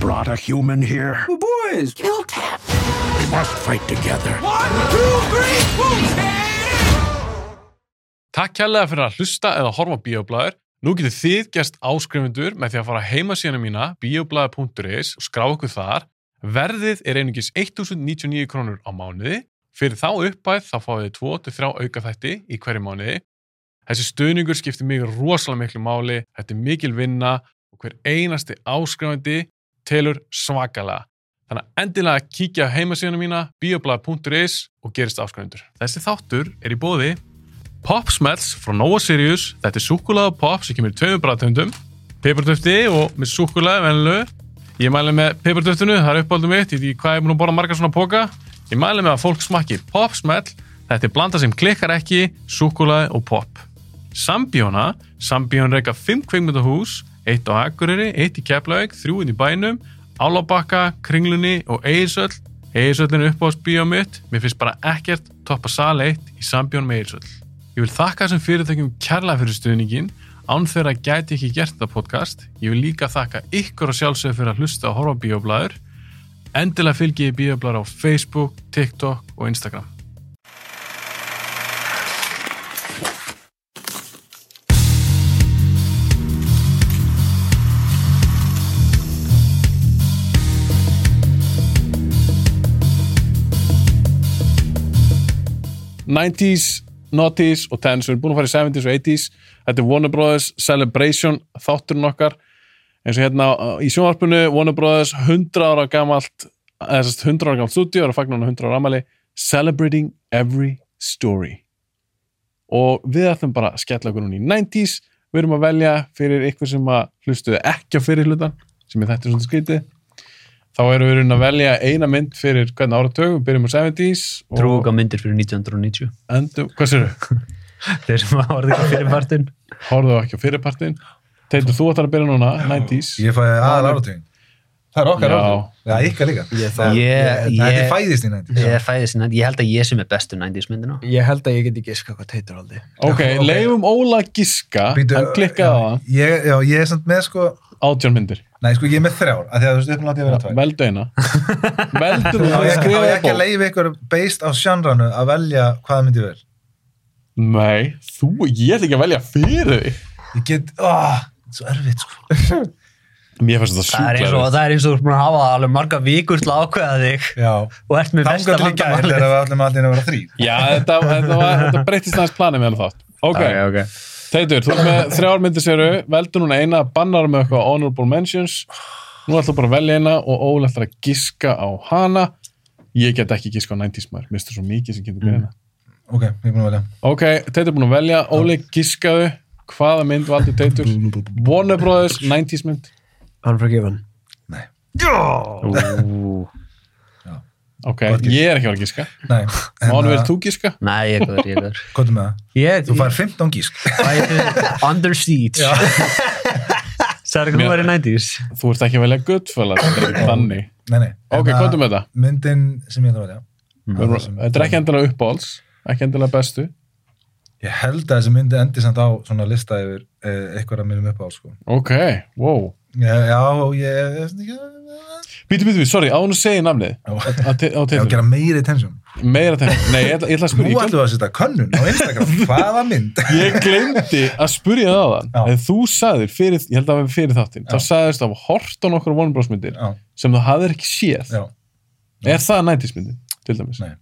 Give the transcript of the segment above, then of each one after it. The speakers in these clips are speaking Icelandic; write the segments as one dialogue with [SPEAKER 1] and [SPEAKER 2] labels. [SPEAKER 1] brought a human here?
[SPEAKER 2] The boys!
[SPEAKER 3] Killed him!
[SPEAKER 1] We must fight together.
[SPEAKER 2] One, two, three, boom! Yeah!
[SPEAKER 4] Takk kærlega fyrir að hlusta eða horfa á Bíoblæður. Nú getur þið gerst áskrifundur með því að fara á heimasíðuna mína bioblæður.is og skrá okkur þar. Verðið er einungis 1099 krónur á mánuði. Fyrir þá uppæð þá fáið þið 2-3 aukaþætti í hverju mánuði. Þessi stuðningur skiptir mig rosalega miklu máli, þetta er mikil vinna og hver einasti áskrifandi telur svakalega. Þannig að endilega kíkja á heimasíðuna mína bioblæður.is og gerist áskrifundur. Þessi þáttur er í bóði Pop Smells frá Nova Sirius Þetta er súkkulaða pop sem kemur í tveimur bræðtöndum Peppartöfti og með súkkulaði venlu Ég mæli með peppartöftinu, það er uppáldum mitt Í því hvað ég er búin að borða margar svona póka Ég mæli með að fólk smakki Pop Smell Þetta er blanda sem klikkar ekki, súkkulaði og pop Sambjóna Sambjón reyka 5 kveikmyndahús Eitt á Akureyri, eitt í Keflavík Þrjúinn í bænum, Álabakka Kringlunni og Eirsöll Eirsöllin er uppáðsbíó mitt Mér finnst bara ekkert toppa sal 1 í Sambjón með Eirsöll Ég vil þakka þessum fyrirtökjum kærlega fyrir stuðningin án þeirra gæti ekki gert þetta podcast. Ég vil líka þakka ykkur og sjálfsögur fyrir að hlusta og horfa á bíoblæður. Endilega fylgi ég bíoblæður á Facebook, TikTok og Instagram. '90s, '90s og 10s, við erum búin að fara í 70s og 80s þetta er Warner Brothers Celebration þátturinn okkar eins og hérna uh, í sjónvarpinu Warner Brothers 100 ára gamalt eða þess að 100 ára gamalt stúdíu er að fagna hún 100 ára amali Celebrating Every Story og við ætlum bara að skella okkur núna í 90s við erum að velja fyrir ykkur sem að hlustuðu ekki á fyrir hlutan sem er þetta svona skrítið þá erum við í raun að velja eina mynd fyrir hvern áratug, við byrjum á 70s og-
[SPEAKER 5] Trúga myndir fyrir 1990
[SPEAKER 4] Endum, hvað sér þau?
[SPEAKER 5] Þeir sem hafa orðið ekki fyrir partinn
[SPEAKER 4] Hórðu ekki á fyrirpartin? Teitur, þú ættar að byrja núna, 90s.
[SPEAKER 6] Ég fæði aðal áratugin. Það er okkar
[SPEAKER 4] Já.
[SPEAKER 6] áratugin. Já, ykkar líka.
[SPEAKER 5] Ég
[SPEAKER 6] Það-
[SPEAKER 5] fæ-
[SPEAKER 6] ég-
[SPEAKER 5] ég-
[SPEAKER 6] Þetta er fæðist í nætti.
[SPEAKER 5] Ég fæði sinna, ég held að ég sem er bestu 90s myndina
[SPEAKER 7] Ég held að ég get ekki iska hvað teitur aldrei.
[SPEAKER 4] Ok,
[SPEAKER 6] ok.
[SPEAKER 4] leifum Óla að giska, hann klikkaði á hann,
[SPEAKER 6] Ég, já, ég er samt með sko,
[SPEAKER 4] átjón myndir.
[SPEAKER 6] nei sko ég er með þrjár, af því að þú veist uppnátt ég að vera tvær.
[SPEAKER 4] Veldu eina.
[SPEAKER 6] Á
[SPEAKER 4] Veldu þú að
[SPEAKER 6] ég á ég
[SPEAKER 4] skrifa í
[SPEAKER 6] ekki að
[SPEAKER 4] bók.
[SPEAKER 6] leifa ykkur based á sjanranu að velja hvaða myndi verð?
[SPEAKER 4] Nei, þú, ég ætla ekki að velja fyrir því.
[SPEAKER 6] Ég get, áh, svo erfitt sko.
[SPEAKER 4] Mér fannst þetta
[SPEAKER 5] Það er eins og,
[SPEAKER 4] sjúklega.
[SPEAKER 5] það er eins og þú ert búin að hafa alveg marga vikur til að ákveða þig
[SPEAKER 6] Já.
[SPEAKER 5] og ert með besta
[SPEAKER 6] Þangar til í gær þegar
[SPEAKER 5] vandamálið
[SPEAKER 6] við ætlum allir að vera þrý.
[SPEAKER 4] Já, þetta, þetta, var, þetta breytist næst planið með hann þátt. Ok,
[SPEAKER 5] ok
[SPEAKER 4] Teitur, þú er með þrjár myndir séru, veldu núna eina, bannar með eitthvað honorable mentions. Nú ætla bara að velja eina og Óla ætlar að giska á hana. Ég get ekki giska á 90s maður, mistur svo mikið
[SPEAKER 6] Mm.
[SPEAKER 4] sem getur byrjað.
[SPEAKER 6] Ok, ég er búin að velja.
[SPEAKER 4] Ok, Teitur er búinn að velja, Óli giskaðu hvaða mynd valdi Teitur Warner Brothers, 90s mynd
[SPEAKER 7] Unforgiven.
[SPEAKER 4] Ok, ég er ekki að vera að giska
[SPEAKER 6] Nei.
[SPEAKER 4] Mánu verið þú giska?
[SPEAKER 5] Nei, ég er góður, ég er góður
[SPEAKER 6] Kvotum með það.
[SPEAKER 5] Ég,
[SPEAKER 6] Þú fær 15 gísk.
[SPEAKER 5] fæði Under Siege Særi,
[SPEAKER 4] Mér-
[SPEAKER 5] hvað var í 90s?
[SPEAKER 4] Þú ert ekki að velja Goodfellas þetta er ekki þannig
[SPEAKER 6] Nei, nei.
[SPEAKER 4] Ok,
[SPEAKER 6] Hérna,
[SPEAKER 4] hvað er þetta?
[SPEAKER 6] Myndin sem ég ætla að velja.
[SPEAKER 4] Við erum- Þetta er ekki endilega uppáhalds ekki endilega bestu
[SPEAKER 6] Ég held að þessi myndi endi samt á svona lista yfir eh, eitthvað að minnum upp á sko.
[SPEAKER 4] Ok, wow
[SPEAKER 6] Já, já, ég ég veist ekki að
[SPEAKER 4] Bíti, bíti, bíti, sorry, án að segja namnið
[SPEAKER 6] Já.
[SPEAKER 4] á Te- á
[SPEAKER 6] Ég á að
[SPEAKER 4] Teitur
[SPEAKER 6] gera meiri tensjón.
[SPEAKER 4] Meira Teitur, nei, ég ætla, ég ætla að
[SPEAKER 6] Nú ætlum
[SPEAKER 4] spyrja ég gleymdi-
[SPEAKER 6] við að setja könnun á Instagram. Hvaða mynd?
[SPEAKER 4] Ég glemdi að spyrja það á
[SPEAKER 6] Já.
[SPEAKER 4] þann En þú sagðir, fyrir, ég held að það var fyrir þáttinn þá sagðist að hort á nokkur Warner Bros myndir
[SPEAKER 6] Já,
[SPEAKER 4] sem þú hafðir ekki séð
[SPEAKER 6] já.
[SPEAKER 4] Er það nætismyndin, til dæmis?
[SPEAKER 6] Nei.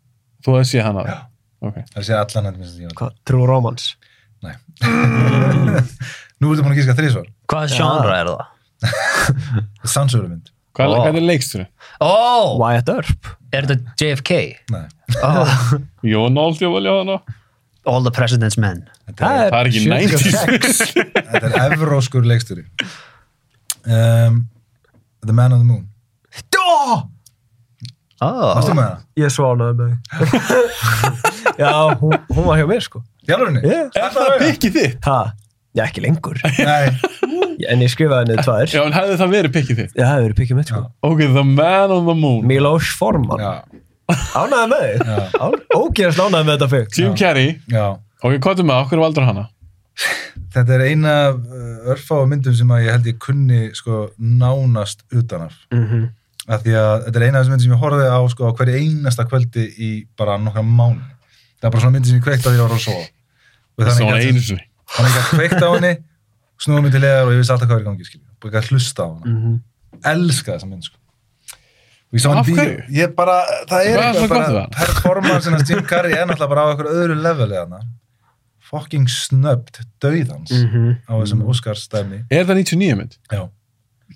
[SPEAKER 4] Þú hefði séð hana?
[SPEAKER 6] Já.
[SPEAKER 4] Ok.
[SPEAKER 6] Það sé allan að minnst ég á.
[SPEAKER 7] Hvað? True Romance.
[SPEAKER 6] Nú ertu búin að gíska þrísvar.
[SPEAKER 5] Hvað sjánra er það?
[SPEAKER 6] Sannsöru mynd.
[SPEAKER 4] Hvað,
[SPEAKER 5] Ó.
[SPEAKER 4] hvað er leiksturinn?
[SPEAKER 5] Ó,
[SPEAKER 7] Wyatt Earp.
[SPEAKER 5] Oh, er þetta JFK?
[SPEAKER 6] Nei.
[SPEAKER 5] Oh,
[SPEAKER 4] Jón Áldi að velja hana.
[SPEAKER 5] all the President's Men
[SPEAKER 6] Þetta er,
[SPEAKER 4] Það er ekki 90s.
[SPEAKER 6] þetta er evróskur leiksturi. Um, the Man on the Moon.
[SPEAKER 5] oh.
[SPEAKER 6] Varstu með það?
[SPEAKER 7] Ég svánaði með þig. Já, hún, hún var hjá mér sko.
[SPEAKER 6] Jálfurinni?
[SPEAKER 7] Yeah.
[SPEAKER 4] er það pikkið þitt?
[SPEAKER 7] Ha? Já, ekki lengur.
[SPEAKER 6] Nei.
[SPEAKER 7] En ég skrifaði henni tvær.
[SPEAKER 4] Já, en hefði það verið pikkið þitt?
[SPEAKER 7] Já, það hefur verið pikið mitt sko.
[SPEAKER 4] Ok, The Man on the Moon.
[SPEAKER 7] Milos Forman.
[SPEAKER 6] Já.
[SPEAKER 7] Ánaði með þig. Ógeðast ánaði með þetta fyrir.
[SPEAKER 4] Jim Carrey.
[SPEAKER 6] Já.
[SPEAKER 4] Ok, hvað er með, okkur valdur hana?
[SPEAKER 6] Þetta er eina örfá myndum sem að ég held ég kunni sko, nánast utanaf.
[SPEAKER 7] Mhm.
[SPEAKER 6] Af því að þetta er eina af þessum myndum sem ég horfði á sko, á hverju einasta kvöldi í bara nokkra mánu. Það er bara svona myndum sem ég kveikt á því að ég var að sofa. Og
[SPEAKER 4] Það
[SPEAKER 6] þannig
[SPEAKER 4] var
[SPEAKER 6] gat-
[SPEAKER 4] einu sinni.
[SPEAKER 6] þannig að ég gat kveikt á henni, snúið mig til leðar og ég vissi alltaf hvað er í gangi, skiljum. Bara ekki að hlusta á henni.
[SPEAKER 7] Mhm.
[SPEAKER 6] Elska þessa mynd, sko. Og ég sá hann
[SPEAKER 4] Af
[SPEAKER 6] í bíó.
[SPEAKER 4] hverju?
[SPEAKER 6] Ég bara, það er
[SPEAKER 4] Hvað er svona gott við hann?
[SPEAKER 6] performance hans Jim Carrey er náttúrulega bara á einhverju öðru leveli hana. Fucking snöbbt, döiðans
[SPEAKER 7] Mhm.
[SPEAKER 6] á þessum Óskars stæmi.
[SPEAKER 4] Er það 99 mynd?
[SPEAKER 6] Já.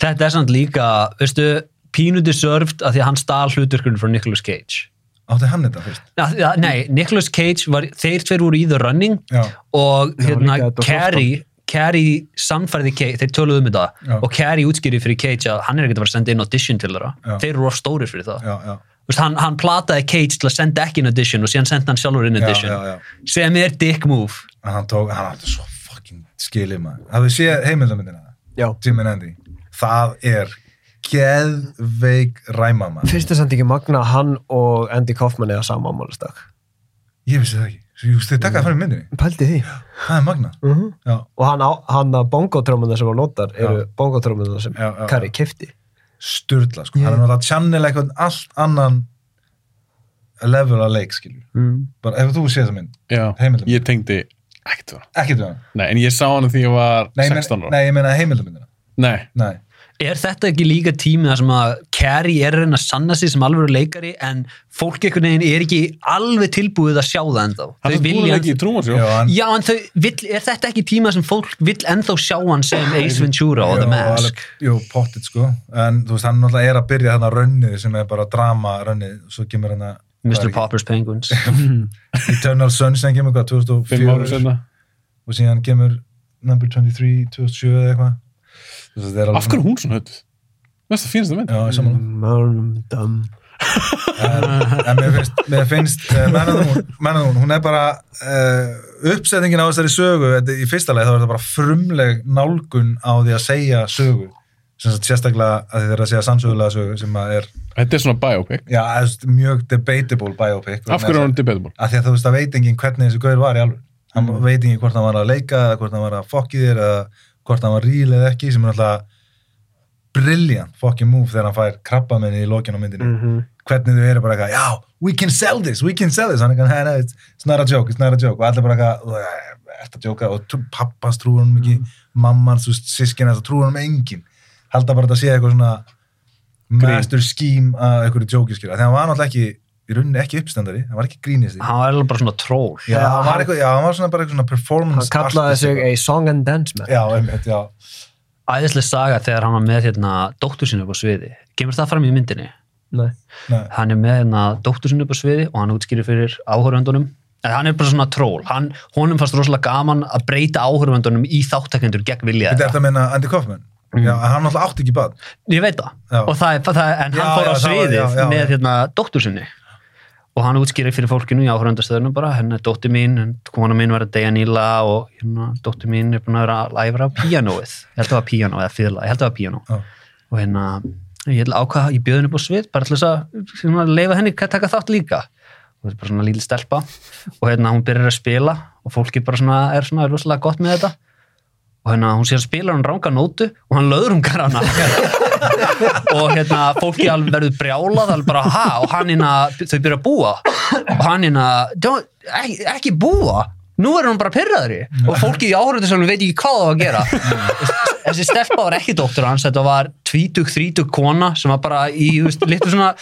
[SPEAKER 5] Þetta er samt líka, veistu, pínu deserved að því að hann stal hluturkurinn frá Nicolas Cage.
[SPEAKER 6] Átti hann þetta fyrst?
[SPEAKER 5] Að- að- Nei, Nicolas Cage, var, þeir tveir voru í The Running
[SPEAKER 6] Já.
[SPEAKER 5] og
[SPEAKER 7] Já,
[SPEAKER 5] hérna
[SPEAKER 7] líka þetta
[SPEAKER 5] Carrie, Carrie samfærði Cage, þeir töluðu um þetta
[SPEAKER 6] Já.
[SPEAKER 5] og Carrie útskýri fyrir Cage að hann er ekkert að fara að senda inn audition til þeirra,
[SPEAKER 6] Já.
[SPEAKER 5] þeir eru of stóri fyrir það
[SPEAKER 6] Já, já.
[SPEAKER 5] Vist, hann, hann plataði Cage til að senda ekki inn audition og síðan senda hann sjálfur inn
[SPEAKER 6] Já,
[SPEAKER 5] audition
[SPEAKER 6] já, já.
[SPEAKER 5] sem er dick move
[SPEAKER 6] En hann tók, hann átti svo fucking skilið maður. Hafðu séð heimildamindina?
[SPEAKER 7] Já.
[SPEAKER 6] Jim and Andy. Það er geðveik ræma maður.
[SPEAKER 7] Fyrst er samt ekki magna að hann og Andy Kaufman eða sama ámálastak.
[SPEAKER 6] Ég vissi það ekki. Svo, jú, þið takkaði fram í myndinni.
[SPEAKER 7] Pældi því.
[SPEAKER 6] Það er magna.
[SPEAKER 7] Mhm.
[SPEAKER 6] Já,
[SPEAKER 7] Og hann, á- hann að bongotrómuna sem hann notar eru bongotrómuna sem
[SPEAKER 6] Já, já, já.
[SPEAKER 7] Kari kefti.
[SPEAKER 6] sturla, sko.
[SPEAKER 7] Já.
[SPEAKER 6] Hann er náttúrulega að channel eitthvað allt annan level að leik, skilju.
[SPEAKER 7] Mm.
[SPEAKER 6] Bara, ef þú séð það mynd,
[SPEAKER 4] Já.
[SPEAKER 6] Heimildamynd.
[SPEAKER 4] Ég tengdi ekkert við hann.
[SPEAKER 6] ekkert við hann.
[SPEAKER 4] Nei, en ég sá hann því ég var
[SPEAKER 6] Nei, ég
[SPEAKER 4] 16
[SPEAKER 6] meina-
[SPEAKER 4] ára.
[SPEAKER 6] nei, ég meina heimildamindina.
[SPEAKER 4] Nei.
[SPEAKER 6] Nei.
[SPEAKER 5] Er þetta ekki líka tími þar sem að Carrie er að reyna að sanna sig sem alveg leikari en fólk einhvern veginn er ekki alveg tilbúið að sjá það ennþá
[SPEAKER 4] Hann er
[SPEAKER 5] Þau
[SPEAKER 4] búin ekki í trúmansjó.
[SPEAKER 6] Já, hann,
[SPEAKER 5] Já, en þau, vill, er þetta ekki tíma sem fólk vill ennþá sjá hann sem Ace Ventura og The
[SPEAKER 6] Jú,
[SPEAKER 5] Mask?
[SPEAKER 6] alveg- Jú, pottit sko en þú veist, hann náttúrulega er að byrja þarna rönnið sem er bara drama rönnið svo kemur hann
[SPEAKER 5] Mr.
[SPEAKER 6] að
[SPEAKER 5] Popper's Penguins.
[SPEAKER 6] Eternal Sun sem kemur hvað,
[SPEAKER 4] Fimm árum
[SPEAKER 6] 2004
[SPEAKER 4] senna.
[SPEAKER 6] og síðan kemur Number 23, 2007 eða eitthvað Þú veist, þetta er alveg
[SPEAKER 4] Af hverju er hún svona höfð? Veist það fínast að mynd?
[SPEAKER 6] Já, ég saman
[SPEAKER 7] Mörnum döm.
[SPEAKER 6] en, en mér finnst, mér finnst uh, mennaðun, hún er bara uh, uppsetningin á þessari sögu þetta, í fyrsta leið þá er þetta bara frumleg nálgun á því að segja sögu sem sagt, sérstaklega að þið er að segja sannsögulega sögu sem að er
[SPEAKER 4] Þetta er svona biopic.
[SPEAKER 6] Já, þú veist, mjög debatable biopic
[SPEAKER 4] Af hverju er hún debatable? Mm.
[SPEAKER 6] Af því að þú veist að veit enginn hvernig þessi gaur var í alveg hann veit enginn hvort hann var að leika eða hvort hann var að fokki þér eða hvort hann var ríl eða ekki sem er alltaf brilliant fucking move þegar hann fær krabbamenni í lokinu á myndinu
[SPEAKER 7] Mhm.
[SPEAKER 6] hvernig þau eru bara eitthvað, já, we can sell this we can sell this, hann er eitthvað, hey, no, it's, it's not a joke it's not a joke, og allir bara eitthvað "Æ, ert að jóka og trú- pappans trúur hann
[SPEAKER 7] Mhm.
[SPEAKER 6] ekki mammans, þú veist, sískina, það trúur hann enginn halda bara að þetta sé eitthvað svona master scheme að einhverju jóki skilja, þegar hann var náttúrulega ekki í rauninni ekki uppstendari, hann var ekki grínisti
[SPEAKER 5] Hann var eiginlega bara svona tról.
[SPEAKER 6] já, hann var eitthvað, já, hann var svona bara eitthvað svona
[SPEAKER 7] Hann
[SPEAKER 6] performance
[SPEAKER 7] kallaði
[SPEAKER 6] artist
[SPEAKER 7] sig
[SPEAKER 6] eitthvað.
[SPEAKER 7] a song and dance man.
[SPEAKER 6] já, einmitt, já,
[SPEAKER 5] Æðislega saga þegar hann var með hérna dóttur sinni upp á sviði. Kemur það fram í myndinni?
[SPEAKER 7] Nei.
[SPEAKER 6] nei,
[SPEAKER 5] Hann er með hérna dóttur sinni upp á sviði og hann útskýrir fyrir áhörvendunum. En hann er bara svona tról. Hann, honum fannst rosalega gaman að breyta áhörvendunum í þáttekendur gegn vilja.
[SPEAKER 6] þetta
[SPEAKER 5] þeirra.
[SPEAKER 6] er þetta að meina Andy Kaufman
[SPEAKER 7] Mm.
[SPEAKER 6] já, hann náttúrulega átti ekki bad
[SPEAKER 5] Ég veit það.
[SPEAKER 6] Já.
[SPEAKER 5] Og það, er- það er- en hann
[SPEAKER 6] Já,
[SPEAKER 5] fór
[SPEAKER 6] já, það
[SPEAKER 5] á
[SPEAKER 6] var-
[SPEAKER 5] sviðið
[SPEAKER 6] já, já,
[SPEAKER 5] með
[SPEAKER 6] já.
[SPEAKER 5] hérna dóttur sinni. Og hann útskýrði fyrir fólkinu í áhöröndastöðunum bara, hérna er dóttir mín, en kona mín var að deyja nýla og hérna dóttir mín er búin að vera að læfra á píanóið. Ég held að það var píanó eða fyrla, ég held að það var píanó.
[SPEAKER 6] Já.
[SPEAKER 5] Og hérna, ég held að ákvaða, ég bjöði henni upp á svið, bara til þess að svona, leifa henni að taka þátt líka. Og þetta er bara svona lítil stelpa. Og hérna hún byrjar að spila og fólki bara svona, er svona rosalega gott með þetta og hérna hún sé að spila hann ranga nótu og hann löður hún hana og hérna fólki alveg verður brjálað alveg bara ha og hann hérna þau byrja að búa og hann hérna "Don't- ekki, ekki búa nú er hún bara pyrraðri og fólki í áhörðinsalunum veit ekki hvað það var að gera þessi stelpa var ekki dóttur hans þetta var tvítug, þrítug kona sem var bara í þú veist, litlu svona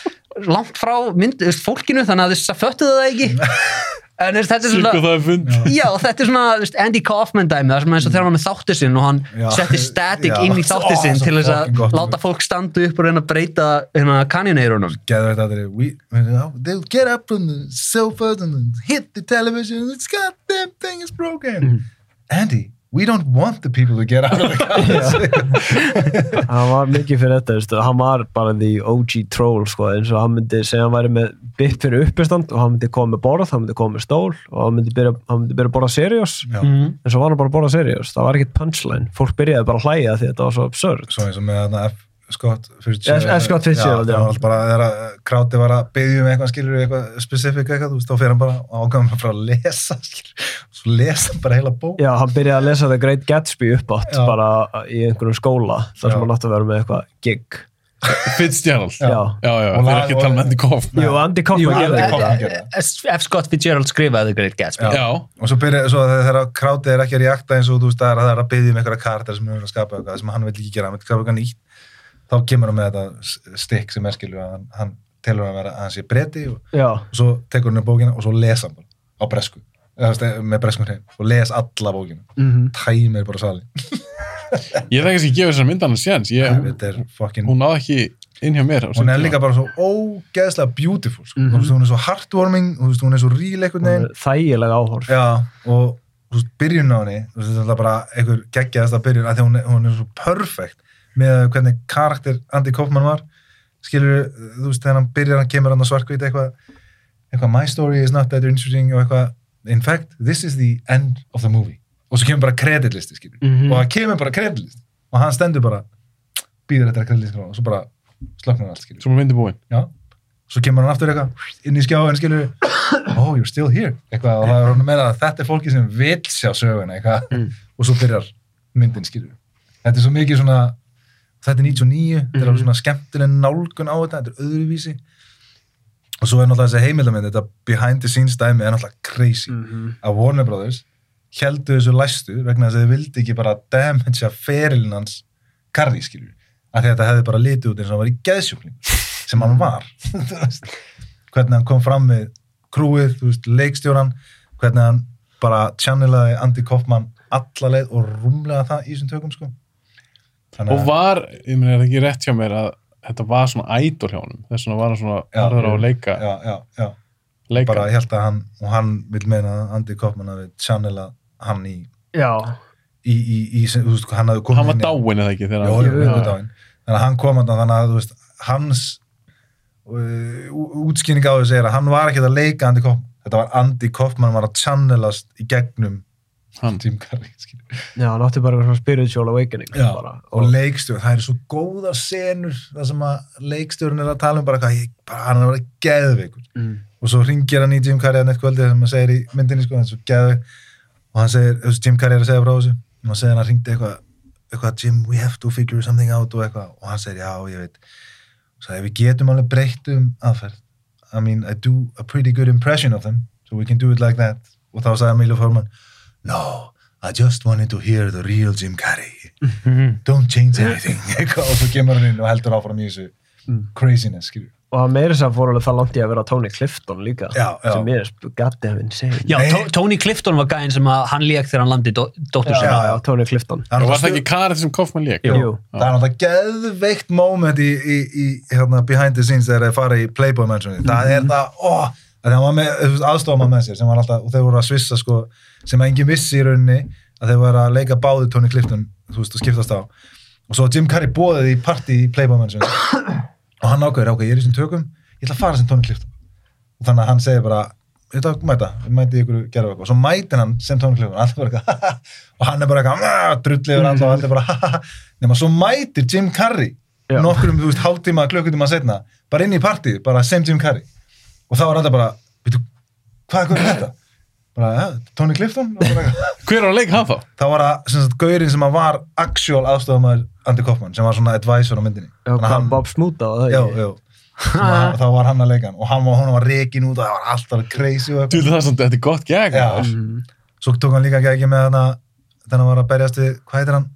[SPEAKER 5] langt frá mynd, þú veist, fólkinu þannig að þess að föttu það ekki en þú veist, þetta er svona
[SPEAKER 4] Sikku það er fund.
[SPEAKER 5] Já, þetta er svona þú veist, Andy Kaufman dæmi, það sem eins og þegar hann var með þáttir sinn og hann
[SPEAKER 6] Já.
[SPEAKER 5] setti static
[SPEAKER 6] Já.
[SPEAKER 5] inn í þáttir
[SPEAKER 6] Ó,
[SPEAKER 5] sinn
[SPEAKER 6] svo
[SPEAKER 5] til þess
[SPEAKER 6] fucking
[SPEAKER 5] að
[SPEAKER 6] gott.
[SPEAKER 5] láta fólk standu upp og reyna að breyta hérna, kanjoneirunum.
[SPEAKER 6] geðu þetta aðri we, they'll get up on the sofa and hit the television it's got them thing is broken Andy, we don't want the people to get out of the couch
[SPEAKER 7] Hann var mikið fyrir þetta, veistu. Hann var bara the OG troll, sko. eins og hann myndi segja hann væri með bit fyrir uppistand og hann myndi koma með borð, hann myndi koma með stól og hann myndi byrja, hann myndi byrja að borða seriós.
[SPEAKER 6] Já.
[SPEAKER 7] En svo var hann bara að borða seriós. Það var ekkit punchline. Fólk byrjaði bara að hlæja því að þetta var svo absurd. sko.
[SPEAKER 6] svo eins og með þarna F Scott
[SPEAKER 7] Eh, eh, Scott Fitzgerald,
[SPEAKER 6] já,
[SPEAKER 7] já.
[SPEAKER 6] það var bara þegar kráti var að byggja um eitthvað skilur eitthvað specifík eitthvað, þú veist, þá fyrir hann bara ágæðum bara frá að lesa skilur, svo lesa hann bara heila bók
[SPEAKER 7] Já, hann byrjaði að lesa The Great Gatsby uppátt
[SPEAKER 6] Já.
[SPEAKER 7] bara í einhverjum skóla þar
[SPEAKER 6] Já.
[SPEAKER 7] sem hann átti að vera með eitthvað gig
[SPEAKER 4] Fitzgerald
[SPEAKER 7] Já,
[SPEAKER 4] já, já, já
[SPEAKER 6] Og
[SPEAKER 4] þeir
[SPEAKER 6] lag-
[SPEAKER 4] eru ekki að tala með Andy Kaufman
[SPEAKER 7] Jú, Andy Kaufman
[SPEAKER 6] Jú,
[SPEAKER 7] gerði
[SPEAKER 6] Andy
[SPEAKER 7] það.
[SPEAKER 6] Kaufman. hann gerði
[SPEAKER 5] Eh, F. Scott Fitzgerald skrifaði The Great Gatsby.
[SPEAKER 4] já,
[SPEAKER 6] og svo byrja, svo þegar þegar krátið er ekki að reakta eins og þú veist, það er- það er að byggja um eitthvað karakter sem hann vil skapa eitthvað, sem hann vil ekki gera, hann vil skapa eitthvað nýtt þá kemur hann með þetta s- stikk sem er skilur, að hann, hann telur hann að vera að hann sé breyti og,
[SPEAKER 7] Já,
[SPEAKER 6] og svo tekur hann upp bókina og svo lesa hann bara á bresku, eða, þú veist, eh, með breskum hreim og les alla bókina,
[SPEAKER 7] Mhm.
[SPEAKER 6] tæmir bara salin
[SPEAKER 4] ég þegar ekki að gefa þessar myndan að séns Ég-
[SPEAKER 6] þetta er fucking
[SPEAKER 4] hún náði ekki inn hjá mér á
[SPEAKER 6] hún
[SPEAKER 4] sínum
[SPEAKER 6] er
[SPEAKER 4] tíma.
[SPEAKER 6] líka bara svo ógeðslega beautiful sko.
[SPEAKER 7] Mhm.
[SPEAKER 6] þú veist, hún er svo heartwarming þú veist, hún er svo real einhvern
[SPEAKER 7] hún
[SPEAKER 6] veginn
[SPEAKER 7] er þægileg áhorf
[SPEAKER 6] já, og þú veist, byrjun á henni þú veist, þetta er bara einhver geggjaðasta byrjun af því að hún er, hún er svo perfect með hvernig karakter Andy Kaufman var skilur, þú veist, þegar hann byrjar hann kemur hann á svarkvít eitthvað eitthvað my story is not that interesting og eitthvað in fact, this is the end of the movie og svo kemur bara kreditlisti skilur
[SPEAKER 7] Mhm.
[SPEAKER 6] og það kemur bara kreditlisti og hann stendur bara býður þetta kreditlisti og svo bara slöknar allt skilur
[SPEAKER 4] sem er myndi búin
[SPEAKER 6] já, svo kemur hann aftur eitthvað inn í skjáin skilur oh, you're still here eitthvað, og það er hann að meina að þetta er fólki sem vil sjá söguna eitthvað, og svo byrjar myndin skilur þetta er svo mikið svona þetta er 99, þetta er alveg svona skemmtileg nálgun á þetta, þetta er öðruvísi og svo er náttúrulega þessi heimildamind þetta behind the scenes dæmi er náttúrulega crazy að Warner Brothers heldu þessu læstu vegna þess að þið vildi ekki bara damagea ferilin hans karri skilur, af því að þetta hefði bara litið út eins og hann var í geðsjúkling sem hann var Þú veist, hvernig hann kom fram með krúið, þú veist, leikstjóran hvernig hann bara channelaði Andy Kaufman alla leið og rúmlega það í þessum tökum sko Þannig
[SPEAKER 4] og var, ég meni er það ekki rétt hjá mér að þetta var svona idol hjá honum þess vegna var hann svona
[SPEAKER 6] Já,
[SPEAKER 4] harður á að
[SPEAKER 6] já.
[SPEAKER 4] leika,
[SPEAKER 6] já, já, já,
[SPEAKER 4] leika.
[SPEAKER 6] bara held að hann og hann vil meina að Andy Kaufman hafi channelað hann í,
[SPEAKER 7] Já,
[SPEAKER 6] í, í, í sem, þú veist, hann hafi komið
[SPEAKER 4] hann var
[SPEAKER 6] inn í-
[SPEAKER 4] dáin eða
[SPEAKER 6] Já,
[SPEAKER 4] ekki þegar
[SPEAKER 6] hann
[SPEAKER 4] hann
[SPEAKER 6] er mjög dáinn. þannig að hann kom þarna, þannig að þú veist, hans uh, útskýning á þessu er að hann var ekki að leika Andy Kaufman þetta var Andy Kaufman var að channelast í gegnum
[SPEAKER 4] Hann.
[SPEAKER 6] Jim Carrey skilur.
[SPEAKER 7] já, hann átti bara eitthvað svona spiritual awakening
[SPEAKER 6] Já,
[SPEAKER 7] bara,
[SPEAKER 6] og leikstjórn, það eru svo góða senur þar sem að leikstjórn er að tala um bara hvað, ég, bara, hann er að vera geðveikur
[SPEAKER 7] Mm.
[SPEAKER 6] og svo ringir hann í Jim Carrey hann eitt kvöldi sem hann segir í myndinni sko, hann er svo geðveik og hann segir, þú veist, Jim Carrey er að segja frá þessu og hann segir hann ringdi eitthvað eitthvað, Jim, we have to figure something out og eitthvað, og hann segir, já, ég veit og sagði, við getum alveg breytt um aðferð I mean, I do a pretty good impression of them so we can do it like that og þá sagði Emilio Forman no, I just wanted to hear the real Jim Carrey don't change anything eitthvað, og svo kemur hann inn og heldur áfram í þessu craziness, skilju
[SPEAKER 7] og hann meiri sér fór alveg það langt í að vera Tony Clifton líka
[SPEAKER 6] Já, já.
[SPEAKER 7] sem ég er gatti af insane
[SPEAKER 5] Já,
[SPEAKER 6] Nei.
[SPEAKER 5] Tó- Tony Clifton var gæðin sem að hann lék þegar hann landi dó- dóttur
[SPEAKER 7] já,
[SPEAKER 5] sinna.
[SPEAKER 7] já, Tony Clifton
[SPEAKER 6] það
[SPEAKER 4] og
[SPEAKER 6] er
[SPEAKER 4] var það ekki karið sem Kaufman leik
[SPEAKER 7] Jú.
[SPEAKER 6] það er náttúrulega geðveikt moment í, í, í hérna, behind the scenes þegar þeir fara í Playboy mansionið það er það, ó, það var með aðstofan með sér sem var alltaf, og þeir voru að svissa sko, sem enginn vissi í rauninni að þeir voru að leika báði Tony Clifton þú veist, og skiptast á og svo Jim Carrey bóðið í partí í Playboy mansionið og hann ákveður, ok, ég er í þessum tökum ég ætla að fara sem Tony Clifton og þannig að hann segir bara ég ætla að mæta, ég mæti ykkur gerðu eitthvað og svo mætir hann sem Tony Clifton allir bara eitthvað, og hann er bara eitthvað drullið yfir alltaf og allir bara nema svo mætir Jim Carrey
[SPEAKER 7] Já.
[SPEAKER 6] nokkrum, þú veist, hálftíma, klukkutíma setna bara inn í partíð, bara sem Jim Carrey og þá er alltaf bara, veitu hvað hvað er þetta? bara, ja, Tony Clifton og bara eitthvað
[SPEAKER 4] hver var að leika hann þá?
[SPEAKER 6] þá var það, sem sagt, gaurinn sem að var actual aðstofamæður Andy Kaufman sem var svona advisor á myndinni
[SPEAKER 7] Já,
[SPEAKER 6] Þannig að
[SPEAKER 7] hvað Bob Smoot á það
[SPEAKER 6] já,
[SPEAKER 7] ekki?
[SPEAKER 6] já og þá var hann að leika hann og hann var, hún var reikin út og það var alltaf crazy og
[SPEAKER 4] Þú
[SPEAKER 6] eitthvað
[SPEAKER 4] veit það samt, þetta er gott gag
[SPEAKER 6] Já.
[SPEAKER 4] maður.
[SPEAKER 6] svo tók hann líka ekki með hann þannig að var að berjast við, hvað heitir hann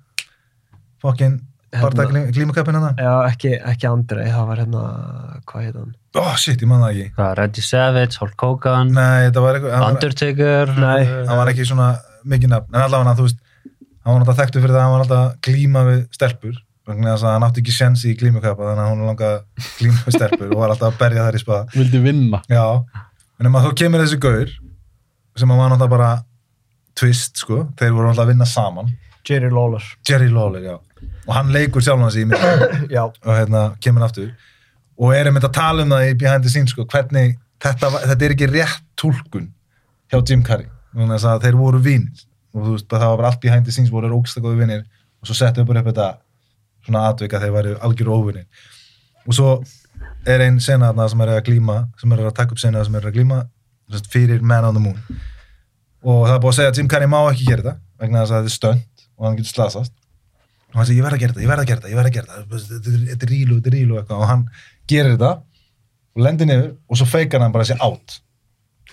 [SPEAKER 6] fokkin barða glímuköpinn hann
[SPEAKER 7] Já, ekki, ekki Andrei, það var hérna, hvað heit hann?
[SPEAKER 6] oh shit, ég man það ekki
[SPEAKER 5] Það var Randy Savage, Hulk Hogan,
[SPEAKER 6] nei, þetta var eitthvað hann var- Mm.
[SPEAKER 5] Undertaker.
[SPEAKER 7] Nei,
[SPEAKER 6] hann var ekki svona mikið nafn en allavega þú veist, hann var alltaf þekktu fyrir það að hann var alltaf að glíma við stelpur vegna þess að hann átti ekki sjens í glímukappa þannig að hún langaði að glíma við stelpur og var alltaf að berja þær í spaða
[SPEAKER 4] vildi vinna
[SPEAKER 6] Já, en um að þú kemur þessi gaur sem að var náttúrulega bara twist, sko, þeir voru náttúrulega að vinna saman
[SPEAKER 7] Jerry Lawler.
[SPEAKER 6] Jerry Lawler, já, og hann leikur sjálf hans í mig og
[SPEAKER 7] Já,
[SPEAKER 6] hérna kemur hann aftur og erum þetta að tala um það í behind the scenes, sko, hvernig þetta, var- þetta er ekki rétt túlkun hjá Jim Carrey, þannig þess að þeir voru vinir og þú veist, bara það var bara allt behind the scenes voru ógsta góðu vinir og svo settum við bara upp þetta svona atvika þegar væri algjör óvinni og svo er ein sena þarna sem er að glíma sem er að taka upp sena sem er að glíma sem sagt, fyrir Man on the Moon og það er búið að segja að Jim Carrey má ekki gera þetta vegna þess að þetta er stönd og hann getur slasast og hann segir ég verð að gera þetta, ég verð að gera þetta, ég verð að gera þetta þetta er- þetta er rílu, þetta er rílu eitthvað og hann gerir þetta og lendir niður og svo feikar hann bara þessi átt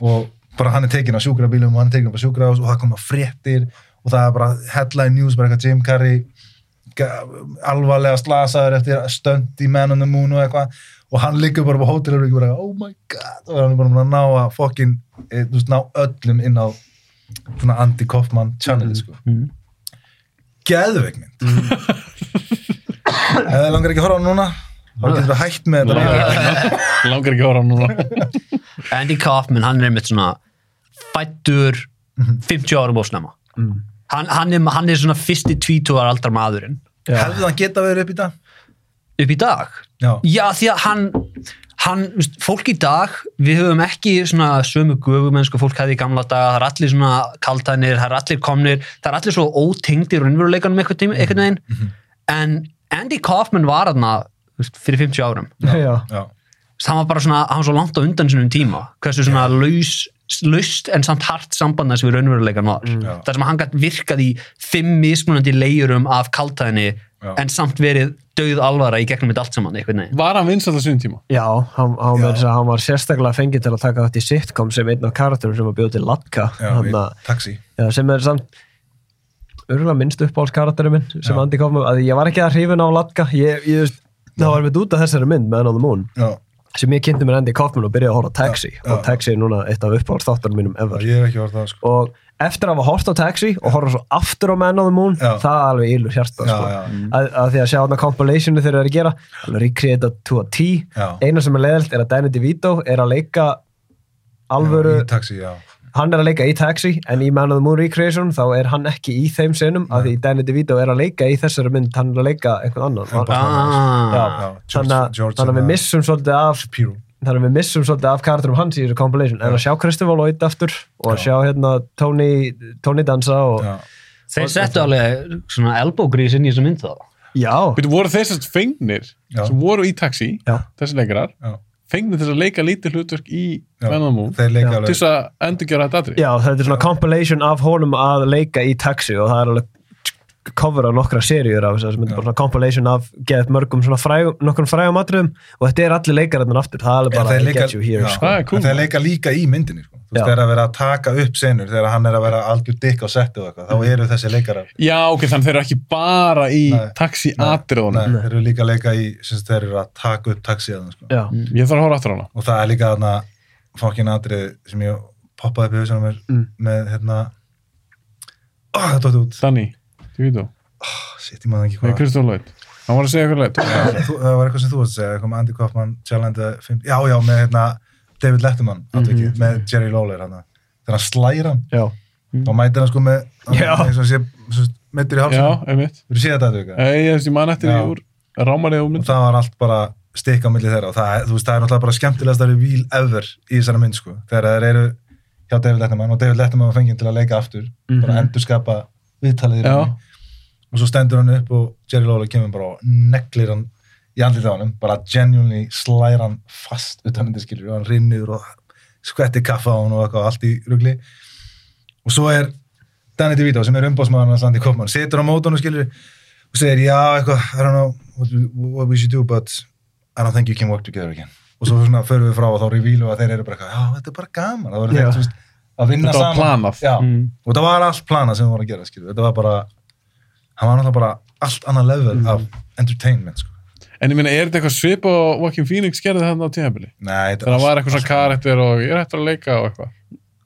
[SPEAKER 6] og bara hann er tekinn á sjúkrabílum og hann er tekinn á sjúkrahús og það koma fréttir og það er bara headline news bara eitthvað Jim Carrey ga- alvarlega slasaður eftir stönd í Man on the Moon og eitthvað og hann liggur bara á hótelur og bara oh my god og hann er bara búinn að ná að fokkin eh, þú veist, ná öllum inn á svona Andy Kaufman channel sko. geðveik mynd ef það langar ekki að horfa á hann núna þá getur það hægt með þetta bara.
[SPEAKER 4] langar ekki að horfa á hann núna
[SPEAKER 5] Andy Kaufman, hann er einmitt svona fættur 50 árum og snemma
[SPEAKER 6] Mm.
[SPEAKER 5] hann, hann, er, hann er svona fyrsti 22 aldar maðurinn
[SPEAKER 6] hefði það geta verið upp í dag
[SPEAKER 5] upp í dag
[SPEAKER 6] já,
[SPEAKER 5] Já, því að hann, hann þú veist, fólk í dag, við höfum ekki svona sömu göfum en sko fólk hefði í gamla daga, það er allir svona kaltanir, það er allir komnir, það er allir svo ótengdir raunveruleikanum einhvern tíma- einhvern veginn,
[SPEAKER 6] Mhm.
[SPEAKER 5] en Andy Kaufman var þarna þú veist, fyrir 50 árum, Þú
[SPEAKER 7] já.
[SPEAKER 6] já,
[SPEAKER 5] veist, hann var bara svona, hann var svo langt á undan sinum tíma, hversu svona laus laust en samt hart samband þess við raunveruleikan var.
[SPEAKER 6] Mm. Já.
[SPEAKER 5] Það sem hann gætt virkað í fimm mismunandi leiðurum af kaltæðinni
[SPEAKER 6] Já.
[SPEAKER 5] en samt verið döð alvara í gegnum þetta allt saman einhvern veginn.
[SPEAKER 4] var hann vinsall á sínum tíma
[SPEAKER 7] Já, hann, hann,
[SPEAKER 6] Já.
[SPEAKER 7] já. hann var sérstaklega fengið til að taka þátt í sitcom sem einn af karakterum sem var bjóð til Latka
[SPEAKER 6] já,
[SPEAKER 7] hann,
[SPEAKER 6] við,
[SPEAKER 7] að-
[SPEAKER 6] taxi
[SPEAKER 7] já, sem er samt örgulega minnst uppáhaldskarakterum minn sem
[SPEAKER 6] Já.
[SPEAKER 7] Andy Kaufman, að ég var ekki að hrifin á Latka ég, ég veist, það var með út af þessari mynd Man on the Moon,
[SPEAKER 6] já,
[SPEAKER 7] sem ég kynnti mér Andy Kaufman og byrjaði að horfa á Taxi
[SPEAKER 6] Já, já.
[SPEAKER 7] og Taxi er núna eitt af uppáhaldstáttunum mínum ever
[SPEAKER 6] ég hef ekki horfað á það sko.
[SPEAKER 7] og eftir að hafa horft á Taxi og horfa svo aftur á Man on the Moon
[SPEAKER 6] Já.
[SPEAKER 7] það er alveg ílur hjarta
[SPEAKER 6] Já,
[SPEAKER 7] sko.
[SPEAKER 6] já.
[SPEAKER 7] að, að því að sjá hann að compilationu þeir eru að gera alveg recreate to a T
[SPEAKER 6] Já.
[SPEAKER 7] eina sem er leðilt er að Danny DeVito er að leika alvöru,
[SPEAKER 6] í taxi, já
[SPEAKER 7] hann er að leika í Taxi en í Man on the Moon recreation þá er hann ekki í þeim senum að því Danny DeVito er að leika í þessari mynd, hann er að leika einhvern annan
[SPEAKER 6] Já, bara-
[SPEAKER 5] Ah,
[SPEAKER 6] Já, George-
[SPEAKER 7] þannig að-
[SPEAKER 6] George
[SPEAKER 7] þannig að
[SPEAKER 6] and,
[SPEAKER 7] við
[SPEAKER 6] uh,
[SPEAKER 7] missum svolítið af
[SPEAKER 6] Shapiro
[SPEAKER 7] þannig að við missum svolítið af karakterum hans í þessu compilation en að sjá Christopher Lloyd aftur og að sjá hérna Tony, Tony dansa og
[SPEAKER 6] já.
[SPEAKER 5] Þeir settu alveg svona elbow grease inn í þessu mynd þá.
[SPEAKER 7] Já,
[SPEAKER 4] Býtu, voru þeir sem sagt fengnir
[SPEAKER 6] Já.
[SPEAKER 4] sem voru í taxi,
[SPEAKER 7] Já.
[SPEAKER 4] þessi leikarar
[SPEAKER 6] Já.
[SPEAKER 4] fengnir þess að leika lítið hlutverk í
[SPEAKER 6] Já,
[SPEAKER 4] Venamú til
[SPEAKER 6] þeir leika alveg
[SPEAKER 4] þess að endurgjöra þetta aðri
[SPEAKER 7] já, þetta er svona compilation af honum að leika í taxi og það er alveg cover á nokkra seríur af þess að þetta er bara svona compilation af geðt mörgum svona frægum, nokkrum frægum atriðum og þetta er allir leikararnir aftur, það er alveg
[SPEAKER 6] En
[SPEAKER 7] bara
[SPEAKER 6] þeir
[SPEAKER 7] I
[SPEAKER 6] leika-
[SPEAKER 7] get you here
[SPEAKER 6] já,
[SPEAKER 7] sko.
[SPEAKER 4] Það er cool.
[SPEAKER 6] en þeir leika líka í myndinni sko. Þú veist,
[SPEAKER 7] Já.
[SPEAKER 6] þeir eru að vera að taka upp senur þegar hann er að vera algjör dikk á settu og
[SPEAKER 7] Mm.
[SPEAKER 6] eitthvað, þá eru þessi leikarar
[SPEAKER 4] Já, ok, þannig þeir eru ekki bara í
[SPEAKER 6] Nei.
[SPEAKER 4] taxi
[SPEAKER 6] Nei. Nei,
[SPEAKER 4] atriðunum
[SPEAKER 6] þeir eru líka að leika í sem sagt, þeir eru að taka upp taxiðan sko.
[SPEAKER 7] Já,
[SPEAKER 4] Ég þarf að horfa aftur á hana
[SPEAKER 6] og það er líka þarna fokkin atrið sem ég poppaði upp í hausinu mér
[SPEAKER 7] Mm.
[SPEAKER 6] með hérna oh, það dótt út,
[SPEAKER 4] Danny, þú veit þú,
[SPEAKER 6] sitt ég maður ekki
[SPEAKER 4] með
[SPEAKER 6] hvað
[SPEAKER 4] Kristján Lloyd Hann var að segja eitthvað leitt
[SPEAKER 6] Þú- það var eitthvað sem þú varst að segja, eitthvað með Andy Kaufman Challenge, the 50 já, já, með hérna David Letterman, atvikið, með Jerry Lawler hann, þegar hann slæra hann
[SPEAKER 7] Mhm. já,
[SPEAKER 6] þá mætir hann sko með
[SPEAKER 7] Já.
[SPEAKER 6] eins og hann sé svo meittur í
[SPEAKER 4] Já,
[SPEAKER 6] hálsum
[SPEAKER 4] einmitt
[SPEAKER 6] þú séð þetta atvika
[SPEAKER 4] Ég ég veist, ég man eftir
[SPEAKER 6] Já.
[SPEAKER 4] því úr rámarið og
[SPEAKER 6] og
[SPEAKER 4] mynd
[SPEAKER 6] það var allt bara stikk á milli þeirra og það, þú veist, það er náttúrulega bara skemmtilegast að reveal ever í þessari mynd sko þegar þeir eru hjá David Letterman og David Letterman var fenginn til að leika aftur bara endurskapa viðtalið í
[SPEAKER 4] Mhm. Já.
[SPEAKER 6] rauninni. og svo stendur hann upp og Jerry Lawler kemur bara og neglir hann í andlið á hann, bara genuinely slæra hann fast utan hindi skilur og hann rinnur og skvetti kaffa á hann og eitthvað allt í rugli og svo er Danny DeVito sem er umbásmaður hans landi komann, situr á mótunum skilur og segir já eitthvað I don't know what, we- what we should do but I don't think you can work together again og svo svona förum við frá og þá revílu að þeir eru bara eitthvað, já þetta er bara gaman það voru
[SPEAKER 7] Já.
[SPEAKER 6] þeir þú veist, að vinna
[SPEAKER 4] Þetta var
[SPEAKER 6] saman
[SPEAKER 4] planað.
[SPEAKER 6] já, og það var allt planað sem við vorum að gera skilur. þetta var bara hann var náttúrulega bara allt annað level af entertainment sko.
[SPEAKER 4] En ég meina, er þetta eitthvað svip og Joaquin Phoenix gerði þetta á tíðanbili?
[SPEAKER 6] nei, þetta
[SPEAKER 4] Þegar hann var eitthvað svona karakter og ég er eftir að leika og eitthvað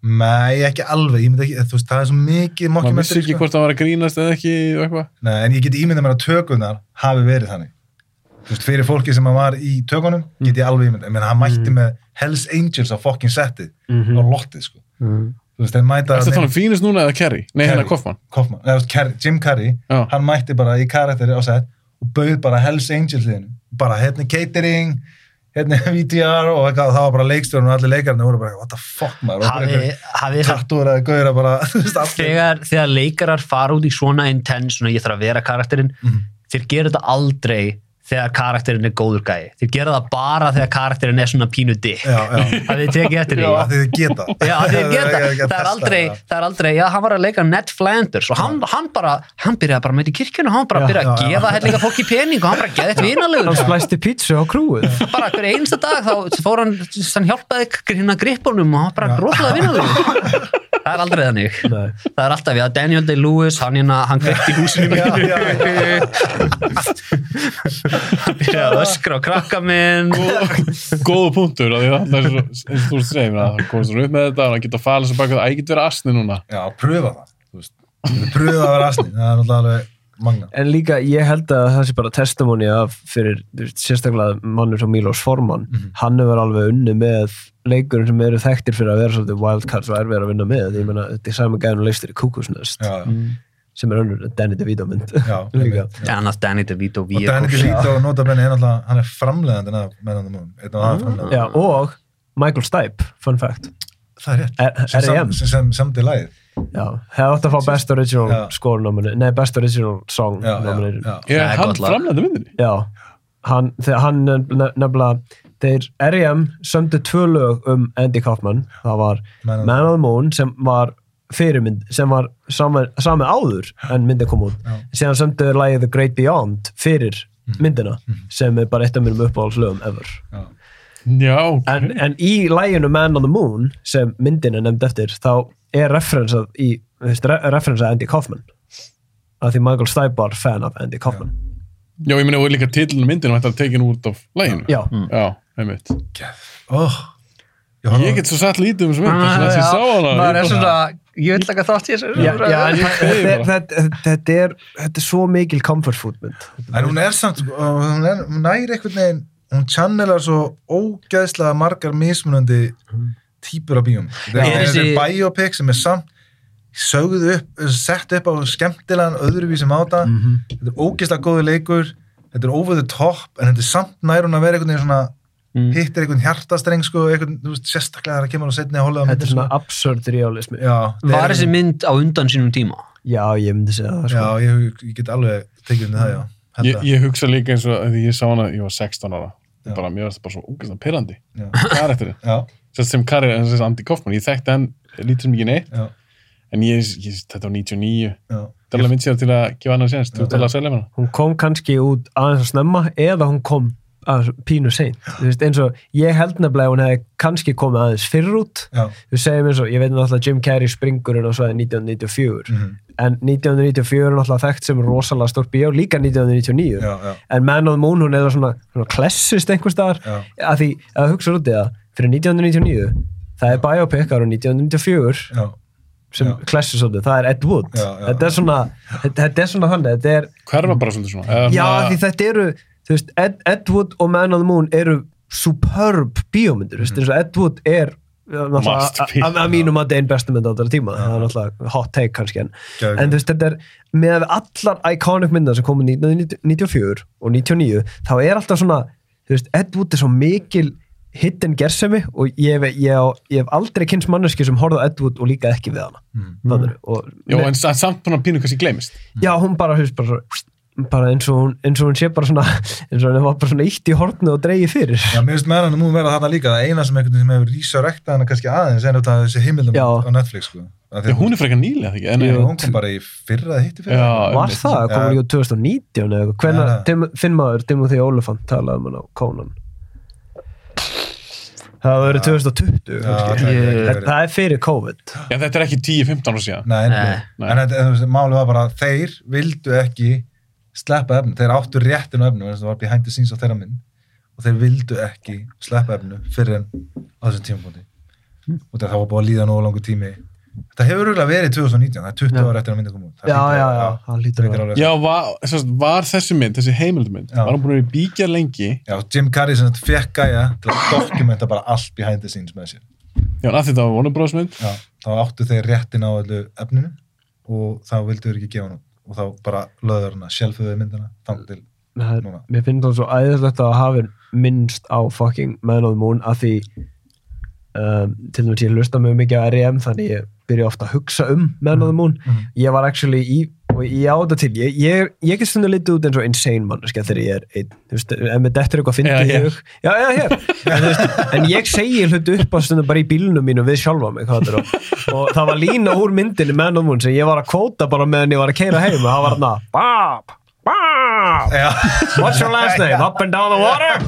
[SPEAKER 6] nei, ekki alveg, ég myndi ekki þú veist, það er svo mikið
[SPEAKER 4] Maður
[SPEAKER 6] mockumentary,
[SPEAKER 4] vissi ekki
[SPEAKER 6] sko.
[SPEAKER 4] hvort hann var að grínast eða ekki og eitthvað
[SPEAKER 6] Nei, en ég get ímyndað mér að tökurnar hafi verið þannig Þú veist, fyrir fólki sem að var í tökunum get ég alveg ímyndað, ég meina hann mætti með Hells Angels á fokkin setti á lottið sko Þú veist, þeir mæta
[SPEAKER 4] Ertu að tala um Fínus núna eða Kerry?
[SPEAKER 6] Carrey.
[SPEAKER 4] Nei, hérna Kaufmann.
[SPEAKER 6] Kaufman, eða, þú veist, Carrey, Jim Carrey,
[SPEAKER 4] Já.
[SPEAKER 6] hann mætti bara í karakteri á sett og bauð bara Hells Angels liðinu bara hérna er catering hérna er VTR og eitthvað, það var bara leikstjórn og allir leikarnir voru bara, what the fuck maður
[SPEAKER 5] Hafi, hafi samt
[SPEAKER 6] tattúraði gauðra bara þú veist, allir Mhm.
[SPEAKER 5] þegar, þegar leikarar fara út í svona intense, svona ég þarf að vera karakterinn, þeir gera þetta aldrei þegar karakterin er góður gæi þeir gera það bara þegar karakterin er svona pínu dick
[SPEAKER 6] Já, já.
[SPEAKER 5] að þið tekið eftir því
[SPEAKER 6] Já, af því þið geta.
[SPEAKER 5] Já, af því þið geta.
[SPEAKER 6] Ég er ekki að
[SPEAKER 5] það er
[SPEAKER 6] testa
[SPEAKER 5] aldrei,
[SPEAKER 6] það.
[SPEAKER 5] það er aldrei, já, hann var að leika Ned Flanders og hann, hann bara, hann byrjaði bara með í kirkjunu, hann bara
[SPEAKER 7] Já,
[SPEAKER 5] byrjaði
[SPEAKER 6] já,
[SPEAKER 5] að
[SPEAKER 6] já.
[SPEAKER 5] gefa hellinga fólki pening og hann bara geði þetta
[SPEAKER 7] hann
[SPEAKER 5] vinalegur
[SPEAKER 7] splæsti pítsu á krúið
[SPEAKER 5] bara hver einsta dag þá fór hann, hann hjálpaði gr- hérna gripunum og hann bara gróðlaði vinalegur það er aldrei þannig
[SPEAKER 7] Nei.
[SPEAKER 5] það er alltaf, já, Daniel Day-Lewis hann hérna, hann kveikt í húsinu
[SPEAKER 6] Já,
[SPEAKER 5] mínu
[SPEAKER 6] já, já, já.
[SPEAKER 5] byrjaði að öskra á krakka minn
[SPEAKER 4] góðu punktur af því að það er svo, eins og þú veist segir það komast hún upp með þetta og hann geta að fala sem baka það, að ég get verið asni núna
[SPEAKER 6] Já, pröfa það. Þú veist, pröfa að vera asni. Það er náttúrulega alveg magna.
[SPEAKER 7] en líka ég held að það sé bara testimony af fyrir þú veist, sérstaklega mannum sem Milos Forman
[SPEAKER 6] Mhm.
[SPEAKER 7] hann hefur alveg unni með leikurinn sem eru þekktir fyrir að vera svolítið wildcards og erfið að vinna með ég meina þetta er saman gæðin leistir í kúkusnest
[SPEAKER 6] Já, já.
[SPEAKER 7] sem er önnur Danny DeVito mynd
[SPEAKER 6] Já,
[SPEAKER 7] líka
[SPEAKER 6] einmitt.
[SPEAKER 5] annars Danny DeVito
[SPEAKER 6] Og Danny
[SPEAKER 5] Vieco-
[SPEAKER 6] DeVito og Nota Bene er náttúrulega, hann er framlegandinn af Men on the Moon. Einn af aðeins framlegandinn.
[SPEAKER 7] Já, og Michael Stipe, fun fact
[SPEAKER 6] Það er rétt.
[SPEAKER 7] Er-
[SPEAKER 6] Sem sam-
[SPEAKER 7] R.E.M..
[SPEAKER 6] Sem, sem samt í lagið.
[SPEAKER 7] Já, hefði átt að fá best original
[SPEAKER 6] Já.
[SPEAKER 7] score nomination, nei best original song
[SPEAKER 6] Já, já,
[SPEAKER 7] nomination
[SPEAKER 6] já.
[SPEAKER 4] ég
[SPEAKER 5] Það er
[SPEAKER 4] er hann
[SPEAKER 5] gott lag.
[SPEAKER 4] framlega myndinni
[SPEAKER 7] Já, hann, þegar hann nefnilega, nefnilega þeir R.E.M. sömdu tvö lög um Andy Kaufman, það var
[SPEAKER 6] Man on the
[SPEAKER 7] Man on the Moon sem var fyrirmynd, sem var saman, saman áður en myndi kom út,
[SPEAKER 6] Já. Mm.
[SPEAKER 7] síðan sömdu þeir lagið The Great Beyond fyrir myndina sem er bara eitt af mínum uppáhaldslögum ever.
[SPEAKER 6] Já.
[SPEAKER 4] já,
[SPEAKER 7] En, en í læginu Man on the Moon sem myndin er nefnd eftir, þá er referensað í, þú veist, re referensað Andy Kaufman af því Michael Stipe var fan af Andy Kaufman.
[SPEAKER 4] já, ég meina og líka titlun myndinu þetta er tekin út af læginu
[SPEAKER 7] Já.
[SPEAKER 4] já einmitt.
[SPEAKER 6] Oh,
[SPEAKER 4] ég get svo satt lítið um þessu mynd þess að ég sá hana
[SPEAKER 5] Ah, maður
[SPEAKER 4] Ég
[SPEAKER 5] er
[SPEAKER 4] bara-
[SPEAKER 5] svona, ég vil taka þátt í þessu
[SPEAKER 7] já, já, en þetta- þetta-
[SPEAKER 4] ég-
[SPEAKER 7] þetta- þetta er þetta er svo mikil comfort food mynd
[SPEAKER 6] En hún er samt, sko, og hún, er, hún næri einhvern veginn, hún channelar svo ógeðslega margar mismunandi típur af bíum. Þetta
[SPEAKER 5] Er
[SPEAKER 6] er þessi
[SPEAKER 5] þessi-
[SPEAKER 6] biopic sem er samt sögð upp, sett upp á skemmtilegan öðruvísi máta.
[SPEAKER 7] Mhm.
[SPEAKER 6] Þetta er ógeðslega góði leikur, þetta er over the top, en þetta er samt nær hún að vera einhvern veginn svona,
[SPEAKER 7] Mm.
[SPEAKER 6] hittir einhvern hjartastreng, sko, einhvern, þú veist, sérstaklega þegar það kemur á setni að hola.
[SPEAKER 7] þetta er svona absurd realismi já,
[SPEAKER 6] Já, þetta
[SPEAKER 5] var
[SPEAKER 6] er-
[SPEAKER 5] þessi mynd á undan sínum tíma
[SPEAKER 7] ég myndi segja það sko.
[SPEAKER 6] Já, ég, ég get alveg tekið um það, já. Held
[SPEAKER 4] ég,
[SPEAKER 6] að-
[SPEAKER 4] ég hugsa líka eins og að því ég sá hana ég var 16 ára
[SPEAKER 6] Já.
[SPEAKER 4] bara, mér var þetta bara svo ungastan pirrandi
[SPEAKER 6] Já.
[SPEAKER 4] karakterinn
[SPEAKER 6] Já,
[SPEAKER 4] sem, sem karir en sem Andy Kaufman ég þekkti hann lítið sem ekki neitt
[SPEAKER 6] já,
[SPEAKER 4] en ég, ég þetta var 99
[SPEAKER 6] já.
[SPEAKER 4] þetta er alveg mynd sér til að gefa hann að sénst þú
[SPEAKER 6] Já.
[SPEAKER 4] ert alveg að selja mér hana
[SPEAKER 7] hún kom kannski út aðeins að snemma eða hún kom aðeins pínu seint Þú veist, eins og ég held nefnilega að hún hefði kannski komið aðeins fyrr út
[SPEAKER 6] Já,
[SPEAKER 7] þú segir mér svo, ég veit náttúrulega að Jim Carrey springur inn á svæði 1994
[SPEAKER 6] Mhm.
[SPEAKER 7] en 1994 er náttúrulega þekkt sem rosalega stórt bíó, líka 1999
[SPEAKER 6] já, já.
[SPEAKER 7] en Man on the Moon hún er það svona, svona klessist einhver staðar
[SPEAKER 6] Já.
[SPEAKER 7] að því að hugsa út í það fyrir 1999 það er biopic ára 1994
[SPEAKER 6] já.
[SPEAKER 7] sem
[SPEAKER 6] Já.
[SPEAKER 7] klessist út það er Ed Wood
[SPEAKER 6] Já, já,
[SPEAKER 7] þetta, er svona, þetta, þetta er svona þannig þetta er,
[SPEAKER 4] hverfa bara svolítið svona Eða
[SPEAKER 7] já
[SPEAKER 4] svona-
[SPEAKER 7] að því þetta eru þú veist, Ed, Ed Wood og Man on the Moon eru superb bíómyndir þú veist, eins og Ed Wood er uh, náttúrulega,
[SPEAKER 4] Masterpiece.
[SPEAKER 7] að- að mínum að einn bestu mynd á þetta tíma það er náttúrulega hot take kannski en,
[SPEAKER 6] Geðveikt.
[SPEAKER 7] en þú veist þetta er með allar iconic myndar sem komu 1994 og 99 þá er alltaf svona þú veist, Ed Wood er svo mikil hidden gersemi og ég hef, ég, á- ég hef aldrei kynst manneski sem horfði á Ed Wood og líka ekki við hana mm. og,
[SPEAKER 4] Jó, en sa- samt svona pínu kannski gleymist
[SPEAKER 7] Já, hún bara, hefst, bara, svo- bara eins, og hún, eins og hún sé bara svona eins og hún var bara svona ítt í hornu og dreigi fyrir
[SPEAKER 6] Já, mér finnst meðan að múin vera þarna líka það eina sem einhvern veginn sem hefur resurrectað hana kannski aðeins en þetta þessi heimildum
[SPEAKER 7] Já.
[SPEAKER 6] á Netflix sko. Af því
[SPEAKER 4] Já,
[SPEAKER 6] að
[SPEAKER 4] hún er frekar nýlega þegar ekki en,
[SPEAKER 6] Jú, hún kom bara í fyrra eða hitti fyrra
[SPEAKER 4] Já,
[SPEAKER 7] Var það? Það kom
[SPEAKER 6] Já.
[SPEAKER 7] líka út 2019 eða hvernig
[SPEAKER 6] Já.
[SPEAKER 7] ja. þinn maður Timothy Olyphant talaði um hann á Conan Það var verið 2020
[SPEAKER 6] Já,
[SPEAKER 7] kannski.
[SPEAKER 6] það er ekki
[SPEAKER 7] Þetta-
[SPEAKER 6] verið.
[SPEAKER 7] Það er fyrir COVID
[SPEAKER 4] Já, þetta er ekki 10-15 ára síðan
[SPEAKER 6] Nei,
[SPEAKER 5] Nei.
[SPEAKER 6] nei. en þetta, þú veist, málið var bara að þeir vildu ekki sleppa efnu, þeir áttu réttin á efnu þess að það var behind the scenes á þeirra minn og þeir vildu ekki sleppa efnu fyrir en á þessum tímapunkti og það var búið að líða nógu langur tími Þetta hefur auðvitað verið 2019, það er 20
[SPEAKER 7] Já.
[SPEAKER 6] ára eftir að mynda koma út Það
[SPEAKER 7] Já,
[SPEAKER 6] hlýtur-
[SPEAKER 7] já, já, það hlýtur að
[SPEAKER 6] frekar
[SPEAKER 7] vera.
[SPEAKER 6] alveg-
[SPEAKER 4] Já, var, sérst, var þessi mynd, þessi heimildmynd
[SPEAKER 6] Já.
[SPEAKER 4] var hún búin að vera í bíkja lengi
[SPEAKER 6] Já, Jim Carrey sem þetta fekk gæja til að dokumenta bara allt behind the scenes með sér.
[SPEAKER 4] Já, en að þetta var vonubróðsmynd
[SPEAKER 6] Já, þá áttu þeir réttin á öllu efninu og þá vildu þeir ekki gefa hann út. og þá bara löður hana, sjelfuðu myndina þangt til.
[SPEAKER 7] Það er,
[SPEAKER 6] Núna.
[SPEAKER 7] Mér finnst það svo æðislegt að hafa minnst á fucking Man on the Moon að því um, til E Mhm. dæmis ég hlusta mjög mikið á R.E.M. þannig ég byrja ofta að hugsa um Man on the Moon ég var actually í og ég á þetta til, ég, ég, ég get stundu litið út eins og insane manneskja þegar ég er einn, þú veist, ef mér dettur eitthvað fyndið
[SPEAKER 4] Eða
[SPEAKER 7] í
[SPEAKER 4] hér.
[SPEAKER 7] hug, já, já, hér en, þú veist, en ég segi hlutu upp á stundu bara í bílunum mínu við sjálfa mig hvað þetta er, og, og það var lína úr myndinni Man of Moon sem ég var að kóta bara meðan ég var að keira heim og það var þarna, bap, bap
[SPEAKER 6] Já,
[SPEAKER 7] what's your last name, up and down the water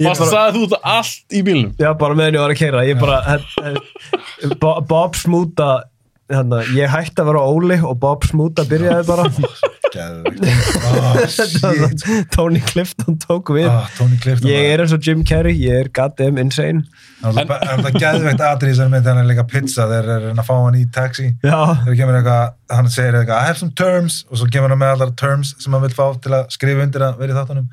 [SPEAKER 7] Ég
[SPEAKER 4] Varst að
[SPEAKER 7] bara-
[SPEAKER 4] sagði þú þetta allt í bílnum?
[SPEAKER 7] já, bara meðan ég var að keira ég bara, he- he- Bo- Bob Smúta Þannig, ég hætti að vera Óli og Bob Smúta byrjaði bara
[SPEAKER 6] geðvikt.
[SPEAKER 7] Tony Clifton tók við
[SPEAKER 6] Ah, Tony Clifton.
[SPEAKER 7] ég er eins og Jim Carrey, ég er goddamn insane
[SPEAKER 6] Það er alltaf geðveikt atrið sem mynd þannig að leika pizza þegar þeir eru að fá hann í taxi.
[SPEAKER 7] já,
[SPEAKER 6] Þegar kemur eitthvað, hann segir eitthvað, I have some terms og svo kemur hann með allar terms sem hann vil fá til að skrifa undir að vera í þáttunum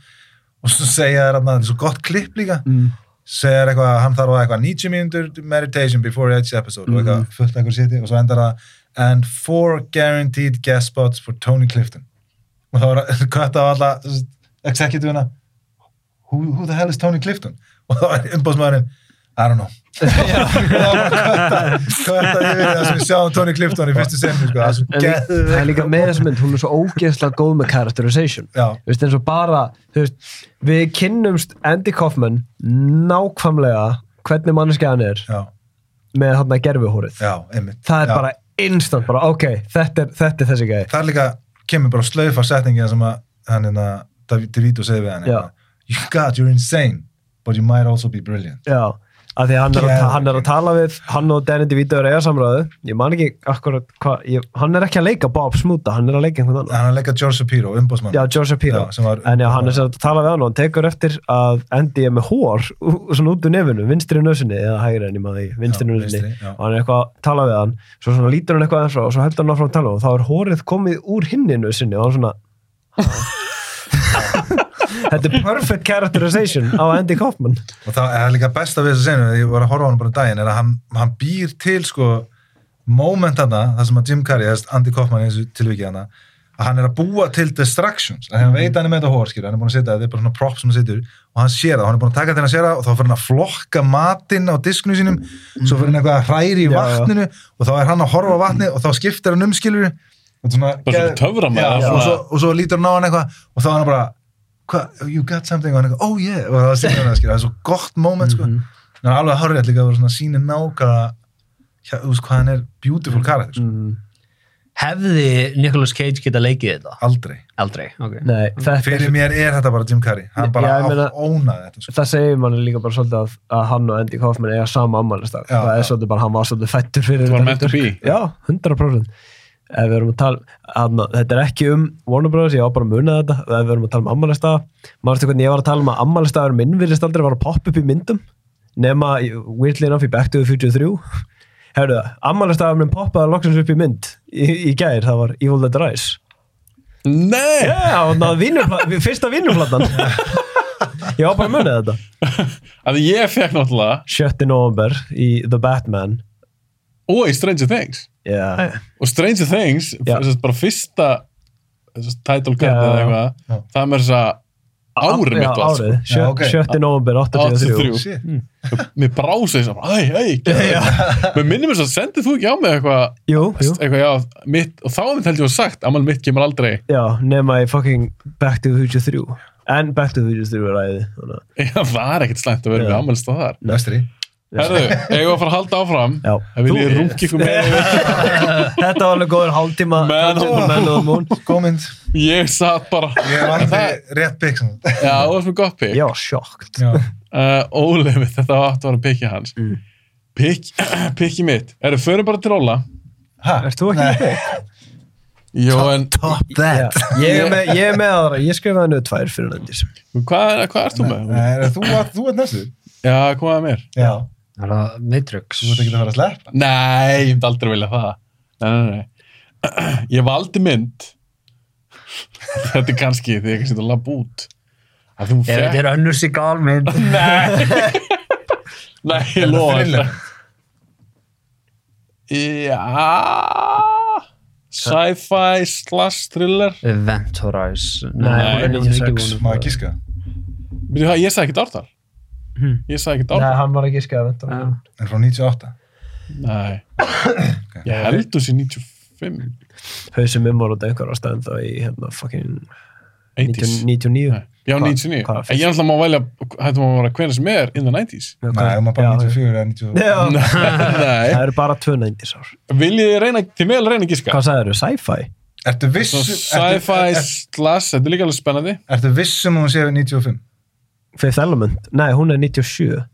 [SPEAKER 6] og svo segja þér hann að þetta er svo gott klipp líka. Mm. Segir eitthvað, að hann þarf að eitthvað 90 mínútur meditation before each episode og eitthvað fullt eitthvað sétti og svo endar það and four guaranteed guest spots for Tony Clifton. Og þá er kött af alla þú veist, executive-una who, who the hell is Tony Clifton? Og þá er umbóðsmaðurinn I don't know Kvöta yfir það sem við sjáum Tony Clifton í fyrstu senni sko. það er svo
[SPEAKER 7] en líka,
[SPEAKER 6] geðveikt.
[SPEAKER 7] það er líka með þessum mynd, hún er svo ógeðslega góð með characterization
[SPEAKER 6] Já.
[SPEAKER 7] Þú veist, eins og bara, þú veist, við kynnumst Andy Kaufman nákvæmlega hvernig manneskja hann er
[SPEAKER 6] Já,
[SPEAKER 7] með þarna gerfihórið
[SPEAKER 6] já, einmitt
[SPEAKER 7] það er
[SPEAKER 6] já.
[SPEAKER 7] bara instant, bara ok þetta er, þetta er þessi gæði
[SPEAKER 6] Það er líka, kemur bara slaufa setningina sem að hann hérna, Dav- DeVito segir við hann
[SPEAKER 7] Já.
[SPEAKER 6] hérna, You God, you're insane but you might also be brilliant
[SPEAKER 7] já, af því að hann er, að,
[SPEAKER 6] Geðveikt.
[SPEAKER 7] hann er að tala við hann og Danny DeVito er að eiga samræðu ég man ekki akkurat hvað, ég- hann er ekki að leika Bob Smuta, hann er að leika einhvern annan
[SPEAKER 6] Hann er að leika George Shapiro, umbóðsmann
[SPEAKER 7] Já, George Shapiro.
[SPEAKER 6] Já, sem var-
[SPEAKER 7] en já, hann er sem sagt að tala við hann og hann tekur eftir að Andy er með hór ú- svona út úr nefinu, vinstri nösinni eða hægri enn ég maður því, vinstri
[SPEAKER 6] Já,
[SPEAKER 7] nösinni
[SPEAKER 6] vinstri, já.
[SPEAKER 7] og hann er eitthvað að tala við hann svo svona lítur hann eitthvað eins og svo heldur hann áfram að tala og þá er hórið komið úr hinni nösinni og hann svona "Ha?" Þetta er perfect characterization á Andy Kaufman
[SPEAKER 6] og það er líka besta við þess að segja ég var að horfa á hann bara um daginn er að hann, hann býr til sko moment hana, það sem að Jim Carrey, þess Andy Kaufman í þessu tilvikið hana, að hann er að búa til distractions, að hann veit að hann er með þetta hórskýr hann er búin að setja, þetta er bara svona prop sem hann setjur og hann sér það, og hann er búin að taka til hann að sér það og þá fyrir hann að flokka matinn á disknu sínum svo fyrir hann eitthvað að hræri í
[SPEAKER 7] Já, já.
[SPEAKER 6] vatninu og þá er hann að horfa á vatni og þá skiptir hann um, umskilur og svona,
[SPEAKER 4] Bara svona
[SPEAKER 6] geð-
[SPEAKER 4] töframaður,
[SPEAKER 6] Já,
[SPEAKER 4] svona-
[SPEAKER 6] og svo, og svo lítur hann á hann eitthvað og þá er hann bara hva, you got something og hann eitthvað, oh yeah og það var sýnir hann að skilja, það er svo gott moment sko.
[SPEAKER 7] Mhm.
[SPEAKER 6] hann er alveg hárið líka að vera svona sýnir nákvæða hjá- þú veist hvað hann er beautiful
[SPEAKER 7] Mhm.
[SPEAKER 6] karakter, sko.
[SPEAKER 5] Hefði Nicolas Cage geta leikið þetta?
[SPEAKER 6] aldrei
[SPEAKER 5] Aldrei, ok.
[SPEAKER 7] Nei, þetta er
[SPEAKER 6] fyrir mér er þetta bara Jim Carrey hann bara
[SPEAKER 7] Já, ég meina-
[SPEAKER 6] ónaði þetta sko.
[SPEAKER 7] það segir manni líka bara svolítið að, að hann og Andy Kaufman eiga sama ammælistag
[SPEAKER 6] Já,
[SPEAKER 7] það er
[SPEAKER 6] já.
[SPEAKER 7] svolítið bara, hann var svolítið fættur fyrir
[SPEAKER 4] Þetta var
[SPEAKER 7] þetta
[SPEAKER 4] meant to
[SPEAKER 7] hlutverk.
[SPEAKER 4] be.
[SPEAKER 7] já, 100% ef við erum að tala, hana, þetta er ekki um Warner Brothers, ég á bara að muna þetta ef við erum að tala um ammælistag, maður stu hvernig ég var að tala um að ammælistagur minn virðist aldrei var að poppa upp í myndum nema, weirdly enough, í Back to the Future 3 herru, ammælistagur minn poppaði loksins upp í mynd í, í gær, það var Evil Dead Rise
[SPEAKER 4] Nei!
[SPEAKER 7] já, og náðu vinurpla- fyrsta vinnuflatan ég á bara að muna þetta
[SPEAKER 4] Að ég fekk náttúrulega,
[SPEAKER 7] 7. november í The Batman
[SPEAKER 4] og í Stranger Things.
[SPEAKER 7] yeah.
[SPEAKER 4] Og Stranger Things,
[SPEAKER 7] Já.
[SPEAKER 4] þess að bara fyrsta þess að title card
[SPEAKER 7] Já.
[SPEAKER 4] eða eitthvað,
[SPEAKER 6] Já.
[SPEAKER 4] það er með þess að árið mitt sko. var.
[SPEAKER 7] árið, sjö,
[SPEAKER 6] Já, ok.
[SPEAKER 7] 7. november 83
[SPEAKER 4] 83.
[SPEAKER 6] Shit.
[SPEAKER 4] Mér brási þess að, æ, æ, geðveikt. mér minnir mér svo að sendið þú ekki á mig eitthvað,
[SPEAKER 7] jú, jú,
[SPEAKER 4] eitthvað, já, mitt, og þá hefði held ég að sagt, amal mitt kemur aldrei.
[SPEAKER 7] já, nema í fucking Back to the Future 3 en Back to the Future 3 er æði þannig að-
[SPEAKER 4] Það var ekkert slæmt að vera
[SPEAKER 7] Já.
[SPEAKER 4] með amalist á þar.
[SPEAKER 6] vestri
[SPEAKER 4] Herðu, eigum við að fara að halda áfram,
[SPEAKER 7] Já.
[SPEAKER 4] að vil ég
[SPEAKER 7] Þú-
[SPEAKER 4] rúki ykkur með
[SPEAKER 7] þetta var alveg góður hálftíma
[SPEAKER 4] Man on the
[SPEAKER 7] Man on the Moon
[SPEAKER 6] komind,
[SPEAKER 4] Ég satt bara
[SPEAKER 6] ég var aldrei rétt bygg sem
[SPEAKER 4] Já, það var sem gott pikk
[SPEAKER 7] ég
[SPEAKER 4] uh,
[SPEAKER 7] var sjokkt
[SPEAKER 6] Já.
[SPEAKER 4] Óli mitt, þetta var aftur að pikki hans mm. pikk, Pikki mitt Erum förum bara til Óla
[SPEAKER 6] Ha?
[SPEAKER 7] Ert þú ekki með
[SPEAKER 6] Nei.
[SPEAKER 4] Jó, en
[SPEAKER 6] top that
[SPEAKER 7] ég er með, ég er með aðra, ég skrifaði hennu tvær fyrir nefndis
[SPEAKER 4] hvað hva ert þú með?
[SPEAKER 6] Nei, er- Eh, þú ert- þú ert næstu
[SPEAKER 4] Já, komaði mér
[SPEAKER 6] já,
[SPEAKER 5] Það er að Matrix.
[SPEAKER 6] þú ert ekki að fara að sleppa
[SPEAKER 4] Nei, ég myndi aldrei vilja það Nei, nei, nei Ég valdi mynd Þetta er kannski því ég kannski að labba út að þú
[SPEAKER 5] Ef þetta
[SPEAKER 4] fekk
[SPEAKER 5] er önnur sigalmynd.
[SPEAKER 4] Nei, ég lofa þetta. Já Sci-fi slash thriller
[SPEAKER 5] Event Horizon.
[SPEAKER 4] Nei,
[SPEAKER 5] hún er
[SPEAKER 7] hún er
[SPEAKER 5] 96.
[SPEAKER 7] ekki búin.
[SPEAKER 6] maður gíska
[SPEAKER 4] Byrju, það, ég sagði ekkert ártal
[SPEAKER 5] Hmm.
[SPEAKER 4] Ég sagði ekkert
[SPEAKER 7] Nei,
[SPEAKER 4] ártal
[SPEAKER 7] hann var ekki skrifað
[SPEAKER 5] Já.
[SPEAKER 6] en frá 98
[SPEAKER 4] Nei Ég held þú sé 94 Fimm?
[SPEAKER 7] hausum um ára út einhver ástæðan þá í hérna fucking
[SPEAKER 4] 80s?
[SPEAKER 7] 99
[SPEAKER 4] Nei. Já,
[SPEAKER 7] Hvað-
[SPEAKER 4] 99.
[SPEAKER 7] hvað
[SPEAKER 4] En
[SPEAKER 7] fyrst?
[SPEAKER 4] ég er alltaf má velja, hættum að vera hvernig sem er in the 90s.
[SPEAKER 7] Já,
[SPEAKER 6] Nei,
[SPEAKER 7] hvað-
[SPEAKER 6] maður bara
[SPEAKER 7] já,
[SPEAKER 6] 94 eða 90
[SPEAKER 7] já.
[SPEAKER 4] Nei.
[SPEAKER 7] það eru bara 290 sár
[SPEAKER 4] Viljið þið reyna, til mig að reyna að gíska?
[SPEAKER 7] hvað sagðið eru, sci-fi?
[SPEAKER 6] Ertu
[SPEAKER 4] Svo
[SPEAKER 6] vissum
[SPEAKER 4] Sci-fi slash, þetta er líka alveg spennandi.
[SPEAKER 6] Ertu vissum að hún sé við 95?
[SPEAKER 7] Fifth Element, nei hún er 97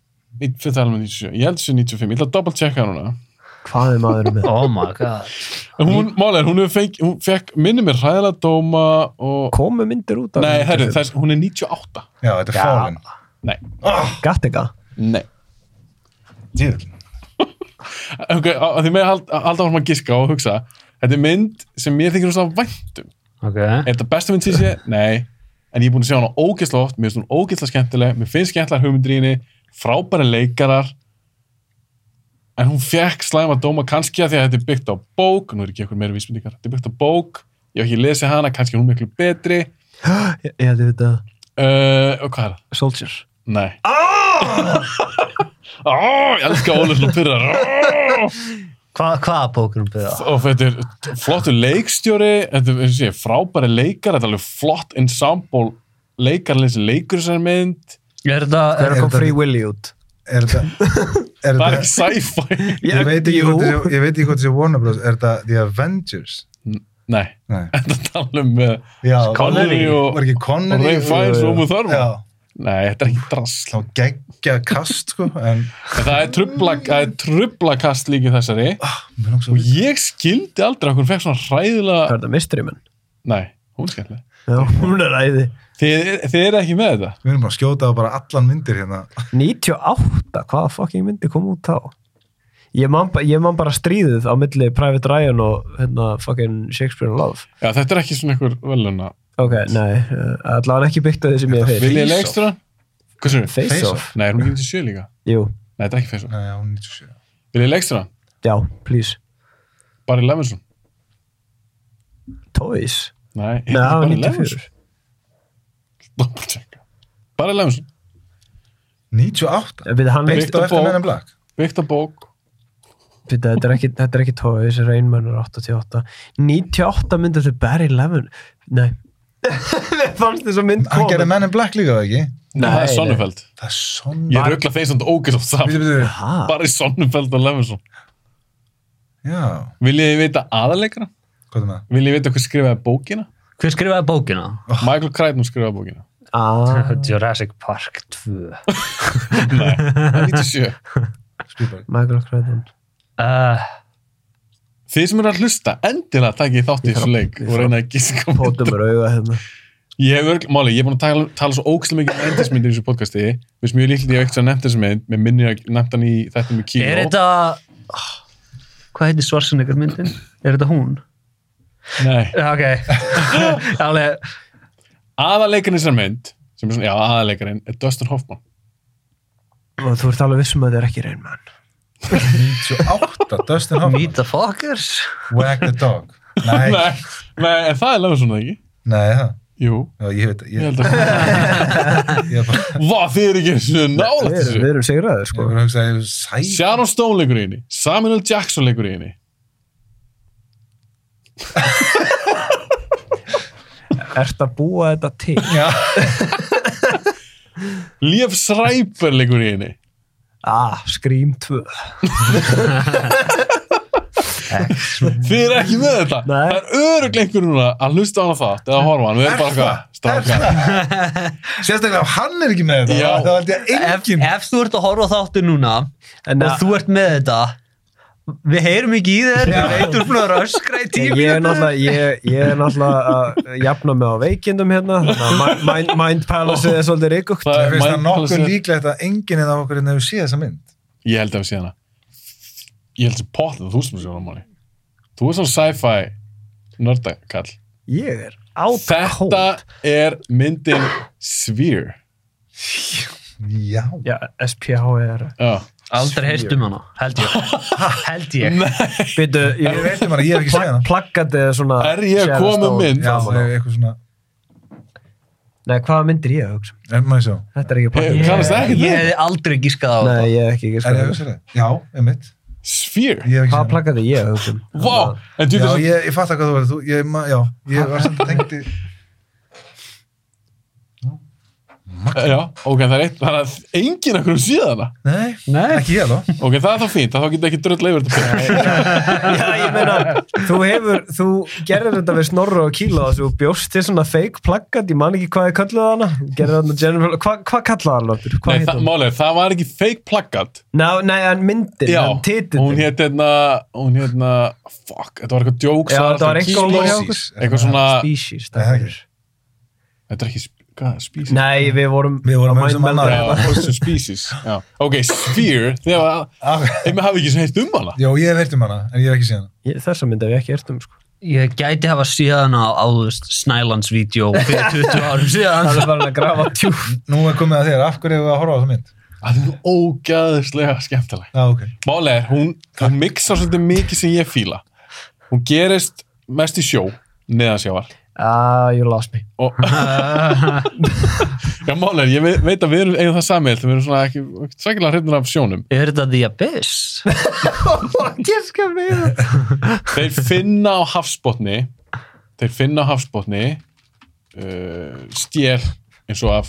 [SPEAKER 4] Í- Fyrir það er alveg 97. Ég held þessu 95. Ég ætla að double checka núna.
[SPEAKER 7] hvað er maðurinn með?
[SPEAKER 5] Oh my god.
[SPEAKER 4] En Hún, málega, hún, hefur fengi- hún fekk, minni mér hræðilega dóma og...
[SPEAKER 7] komu myndir út af
[SPEAKER 4] Nei, herru,
[SPEAKER 7] 95?
[SPEAKER 4] þess, hún er 98.
[SPEAKER 6] Já, þetta er
[SPEAKER 7] Já.
[SPEAKER 6] Fallen.
[SPEAKER 4] Nei.
[SPEAKER 7] Gattaca
[SPEAKER 4] Nei.
[SPEAKER 6] Djöðl.
[SPEAKER 4] Ok, á- á því með hald, halda áfram að giska og hugsa. Þetta er mynd sem mér þykir um. hún svo væntum.
[SPEAKER 5] Ok.
[SPEAKER 4] Er þetta besta mynd sem ég sé? Nei. En ég er búin að sjá hana ógeðslega oft, mér finnst hún ógeðslega skemmtileg, mér finnst skemmtilegar hugmyndir í henni, frábæri leikarar, en hún fekk slæma dóma kannski að því að þetta er byggt á bók, nú er ekki eitthvað meira vísmyndingar, þetta er byggt á bók, ég hef ekki lesið hana, kannski er hún miklu betri,
[SPEAKER 7] ég ég held ég veit að
[SPEAKER 4] uh, og hvað er það?
[SPEAKER 7] Soldier
[SPEAKER 4] Nei. Ah! ég elska Ólið svona pyrrar. Ah!
[SPEAKER 5] Hva, hvaða bókunum byrða?
[SPEAKER 4] og þetta er flottur leikstjóri, þetta er sé, frábæri leikar, þetta er alveg flott ensemble leikarleins leikur sem er mynd,
[SPEAKER 5] Er þetta...
[SPEAKER 7] þegar
[SPEAKER 6] er
[SPEAKER 7] kom
[SPEAKER 6] þetta-
[SPEAKER 7] Free Willy út
[SPEAKER 6] Er þetta... Er
[SPEAKER 4] það er
[SPEAKER 6] þetta...
[SPEAKER 4] ekki sci-fi.
[SPEAKER 6] Ég veit ekki
[SPEAKER 7] Jú.
[SPEAKER 6] hvort þessi- ég veit ekki hvort þessi Warner Bros. Er þetta The Avengers?
[SPEAKER 4] Nei,
[SPEAKER 6] Nei.
[SPEAKER 4] þetta tala um uh,
[SPEAKER 6] Já,
[SPEAKER 4] Connery og,
[SPEAKER 6] Var ekki
[SPEAKER 4] og
[SPEAKER 6] Connery?
[SPEAKER 4] Ray Fiennes og Umu
[SPEAKER 6] Já,
[SPEAKER 4] Þörma. Nei, þetta er ekki drasl.
[SPEAKER 6] þá geggja kast, sko. En...
[SPEAKER 4] En það er trubla, það er trublakast líki þessari
[SPEAKER 6] Mér langs að
[SPEAKER 4] og
[SPEAKER 6] vita.
[SPEAKER 4] ég skildi aldrei að hún fekk svona
[SPEAKER 7] hvað
[SPEAKER 4] hræðilega...
[SPEAKER 7] er það Mystery Man
[SPEAKER 4] Nei, hún er skemmtileg.
[SPEAKER 7] já hún er æði
[SPEAKER 4] Þið, þið eru ekki með þetta.
[SPEAKER 6] Við erum bara að skjóta á bara allan myndir hérna.
[SPEAKER 7] 98 hvaða fucking myndi kom út þá ég man, ba- ég man bara stríðið á milli Private Ryan og hérna fucking Shakespeare in Love
[SPEAKER 4] Já, þetta er ekki svona einhver veluna.
[SPEAKER 7] ok, nei, uh, allavega ekki byggt á því sem ég hef
[SPEAKER 4] Vil
[SPEAKER 7] heyrt
[SPEAKER 4] ég
[SPEAKER 6] Face
[SPEAKER 4] leikstra? Hvað sér?
[SPEAKER 7] Face
[SPEAKER 6] Face
[SPEAKER 7] Off,
[SPEAKER 4] Nei, er hún ekki til sjö líka?
[SPEAKER 7] jú,
[SPEAKER 4] Nei, þetta er ekki feysa.
[SPEAKER 6] Nei, já, 97.
[SPEAKER 4] Vil ég leikstra?
[SPEAKER 7] já, please
[SPEAKER 4] Barry Levinson?
[SPEAKER 7] Toys,
[SPEAKER 4] Nei,
[SPEAKER 7] nei, það
[SPEAKER 4] heitir
[SPEAKER 7] var
[SPEAKER 4] Barry
[SPEAKER 7] 94
[SPEAKER 4] Double checka. Barry Levinson,
[SPEAKER 6] 98?
[SPEAKER 7] Við hann,
[SPEAKER 4] Byggt-
[SPEAKER 6] Byggt á eftir
[SPEAKER 4] bók.
[SPEAKER 6] mennum black.
[SPEAKER 4] byggt á bók.
[SPEAKER 7] við, þetta, er ekki, þetta er ekki Toys, Rainman er 88 98 myndið þau Barry Levin nei Mér fannst þess að mynd
[SPEAKER 6] Hann gerði
[SPEAKER 7] komin
[SPEAKER 6] Men in Black líka, eða ekki?
[SPEAKER 4] Nei, það er
[SPEAKER 7] nei.
[SPEAKER 4] Sonnenfeld.
[SPEAKER 6] Það er sonn...
[SPEAKER 4] Ég ruggla þeim samt ógeðsótt
[SPEAKER 6] Býtu,
[SPEAKER 4] saman.
[SPEAKER 6] býtu,
[SPEAKER 7] Ha?
[SPEAKER 4] Barry Sonnenfeld og Levinson.
[SPEAKER 6] já,
[SPEAKER 4] Viljið þið vita aðalegra?
[SPEAKER 6] hvað er með það?
[SPEAKER 4] Viljið þið vita hver skrifaði bókina?
[SPEAKER 5] Hver skrifaði bókina?
[SPEAKER 4] Michael Crichton skrifaði bókina.
[SPEAKER 7] Ah,
[SPEAKER 5] Jurassic Park 2.
[SPEAKER 4] Nei, það er 97.
[SPEAKER 6] Spielberg.
[SPEAKER 7] Michael Crichton
[SPEAKER 5] Uh,
[SPEAKER 4] Þið sem eru að hlusta, endilega takið þátt í þessu leik og reyna að gíska á
[SPEAKER 7] Pótum
[SPEAKER 4] myndir.
[SPEAKER 7] er auga hérna
[SPEAKER 4] Ég hef örgl, máli, ég er búin að tala, tala svo ógæslega mikið um endismyndir í þessu podcasti. Við sem mjög líklega ég hef ekkert að nefnt þessu mynd, með minni að nefnt hann í þetta með kíló.
[SPEAKER 5] er þetta... Ah, Hvað heitir Svarsenegger myndin? Er þetta hún?
[SPEAKER 4] Nei,
[SPEAKER 5] Já, ok. Alveg,
[SPEAKER 4] aðalegarinn þessar mynd, sem er svona, já, aðalegarinn, er Dustin Hoffman.
[SPEAKER 7] Og þú ert alveg vissum að það er ekki reynmann.
[SPEAKER 6] 98, Dustin Hoffman.
[SPEAKER 5] meet the fuckers.
[SPEAKER 6] Wag the dog. Nei, nei,
[SPEAKER 4] Nei, nei, en það er lögum svona, ekki?
[SPEAKER 6] það.
[SPEAKER 4] Jú,
[SPEAKER 6] Já, ég veit, ég,
[SPEAKER 4] ég
[SPEAKER 6] ég,
[SPEAKER 4] held að...
[SPEAKER 6] ég, bara-
[SPEAKER 4] Vá, þið er ekki þessu nálægt
[SPEAKER 7] Við,
[SPEAKER 4] þessu.
[SPEAKER 7] við erum sigraðið,
[SPEAKER 6] ég
[SPEAKER 7] sko.
[SPEAKER 6] bara hugsa að ég sæ...
[SPEAKER 4] Sharon Stone leikur í henni Samuel L. Jackson leikur í henni
[SPEAKER 7] Ert að búa þetta til?
[SPEAKER 6] Já,
[SPEAKER 4] Liev Schreiber leikur í henni
[SPEAKER 7] Ah, Scream 2.
[SPEAKER 4] Þið eru ekki með þetta
[SPEAKER 7] Nei.
[SPEAKER 4] Það er örugglega einhver núna að hlusta á hana þátt eða horfa á hann, við erum bara hvað strákar.
[SPEAKER 6] sérstaklega ef hann er ekki með þetta.
[SPEAKER 4] Já.
[SPEAKER 6] þá held ég
[SPEAKER 5] Ef,
[SPEAKER 6] enginn.
[SPEAKER 5] ef þú ert að horfa á þáttu núna
[SPEAKER 7] En ah,
[SPEAKER 5] og
[SPEAKER 7] að-
[SPEAKER 5] þú ert með þetta, við heyrum ekki í þér, við veitum fyrir að öskra í tíu
[SPEAKER 7] Ég er náttúrulega, ég, ég er náttúrulega að jafna mig á veikindum hérna. þannig að mi- Mind, mind Palace er svolítið reykugt.
[SPEAKER 4] Það
[SPEAKER 6] Mér
[SPEAKER 4] er
[SPEAKER 6] finnst það
[SPEAKER 4] Mind
[SPEAKER 6] nokkuð
[SPEAKER 4] Palace-
[SPEAKER 6] líklegt að enginn eða okkur hérna hefur séð þessa mynd.
[SPEAKER 4] Ég held að við sé hana Ég held að potla þú sem sé hana Máni. Þú er svona sci-fi nördakall
[SPEAKER 7] Ég er át
[SPEAKER 4] Þetta er myndin Sphere
[SPEAKER 6] Já.
[SPEAKER 7] Já, SPHR.
[SPEAKER 4] Já.
[SPEAKER 5] Aldrei heyrt um hana, held ég. held ég.
[SPEAKER 7] Byttu,
[SPEAKER 6] Ég veit um hana, ég hef ekki séð
[SPEAKER 7] Pla,
[SPEAKER 6] hana.
[SPEAKER 7] plakkatið er svona...
[SPEAKER 4] Er ég að koma með mynd?
[SPEAKER 6] Já, það er eitthvað svona...
[SPEAKER 7] Nei, hvaða myndir ég að hugsa? um?
[SPEAKER 6] Er maður svo?
[SPEAKER 7] Þetta er ekki
[SPEAKER 4] Ég-
[SPEAKER 7] plakkatið.
[SPEAKER 4] kannast það ekkert við.
[SPEAKER 5] Ég hef aldrei gískað á
[SPEAKER 7] Nei,
[SPEAKER 5] þetta.
[SPEAKER 7] ég er ekki, ekki
[SPEAKER 6] Er ég að
[SPEAKER 7] sko.
[SPEAKER 6] hugsa það? Já, einmitt.
[SPEAKER 4] Sphere?
[SPEAKER 6] Ég hef
[SPEAKER 7] Hvað
[SPEAKER 6] ekki séð hana.
[SPEAKER 7] plakaði ég að hugsa um?
[SPEAKER 4] Vá! En þú
[SPEAKER 6] Já,
[SPEAKER 4] veist,
[SPEAKER 6] ég, ég fatt að hvað þú verður, þú, ég, ma- já, ég var samt tengt í,
[SPEAKER 4] já, ok, en það er eitt, það er að enginn akkur síðan hana.
[SPEAKER 6] nei,
[SPEAKER 5] Nei.
[SPEAKER 6] ekki ég alveg.
[SPEAKER 4] Ok, það er þá fínt, að þá geta ekki dröll leifur þetta byrja.
[SPEAKER 7] Já, ég meina, þú hefur, þú gerðir þetta við Snorra og Kíla og þú bjóst til svona fake plakat, ég man ekki hvað þið kalluðu hana, gerðir þarna general, hva, hvað kallaði hann lóttur, hvað
[SPEAKER 4] Nei,
[SPEAKER 7] heit
[SPEAKER 4] það,
[SPEAKER 7] hann?
[SPEAKER 4] málega, það var ekki fake plakat.
[SPEAKER 7] Ná, nei, en myndin,
[SPEAKER 4] Já,
[SPEAKER 7] en
[SPEAKER 4] hún
[SPEAKER 7] titillin,
[SPEAKER 4] hétt hérna, hún hérna, fuck, þetta var eitthvað djóks.
[SPEAKER 7] Já, þetta var eitthvað
[SPEAKER 4] kíló-
[SPEAKER 7] hjá okkur.
[SPEAKER 6] Species.
[SPEAKER 4] Eitthvað svona,
[SPEAKER 7] species,
[SPEAKER 6] Nei, það
[SPEAKER 7] það
[SPEAKER 6] er
[SPEAKER 7] er.
[SPEAKER 6] ekki.
[SPEAKER 4] þetta er ekki, sp- hvað, species?
[SPEAKER 7] Nei, við vorum,
[SPEAKER 6] Við vorum að hugsa um annað.
[SPEAKER 4] Já, host of species. Já. Ok, sphere, þegar
[SPEAKER 6] Ah,
[SPEAKER 4] einhver hafi ekki heilt um hana.
[SPEAKER 6] Já, ég hef heyrt um hana, en ég hef ekki séð hana.
[SPEAKER 7] Ég- þessa mynd hef ég ekki ert um, sko.
[SPEAKER 5] Ég gæti hafa síðan á áðust Snælandsvídeó fyrir 20 árum síðan.
[SPEAKER 7] Það er bara að grafa tjúf.
[SPEAKER 6] Nú er komið að þér, af hverju hefur við að horfa á þessa mynd?
[SPEAKER 4] Það er ógæðislega skemmtileg.
[SPEAKER 6] Já, ok.
[SPEAKER 4] Málega er, hún, hún mixar svolítið mikið sem ég fíla. Hún gerist mest í sjó, neðansjávar.
[SPEAKER 7] Ah, you lost me.
[SPEAKER 4] Og, já, málega er, ég ve- veit að við erum eigin það samið, þegar við erum svona ekki, ekki sækilega hrifnir af sjónum.
[SPEAKER 5] Er þetta The Abyss?
[SPEAKER 7] Ég skal með það.
[SPEAKER 4] Þeir finna á hafsbotni, þeir finna á hafsbotni uh, stjél eins og af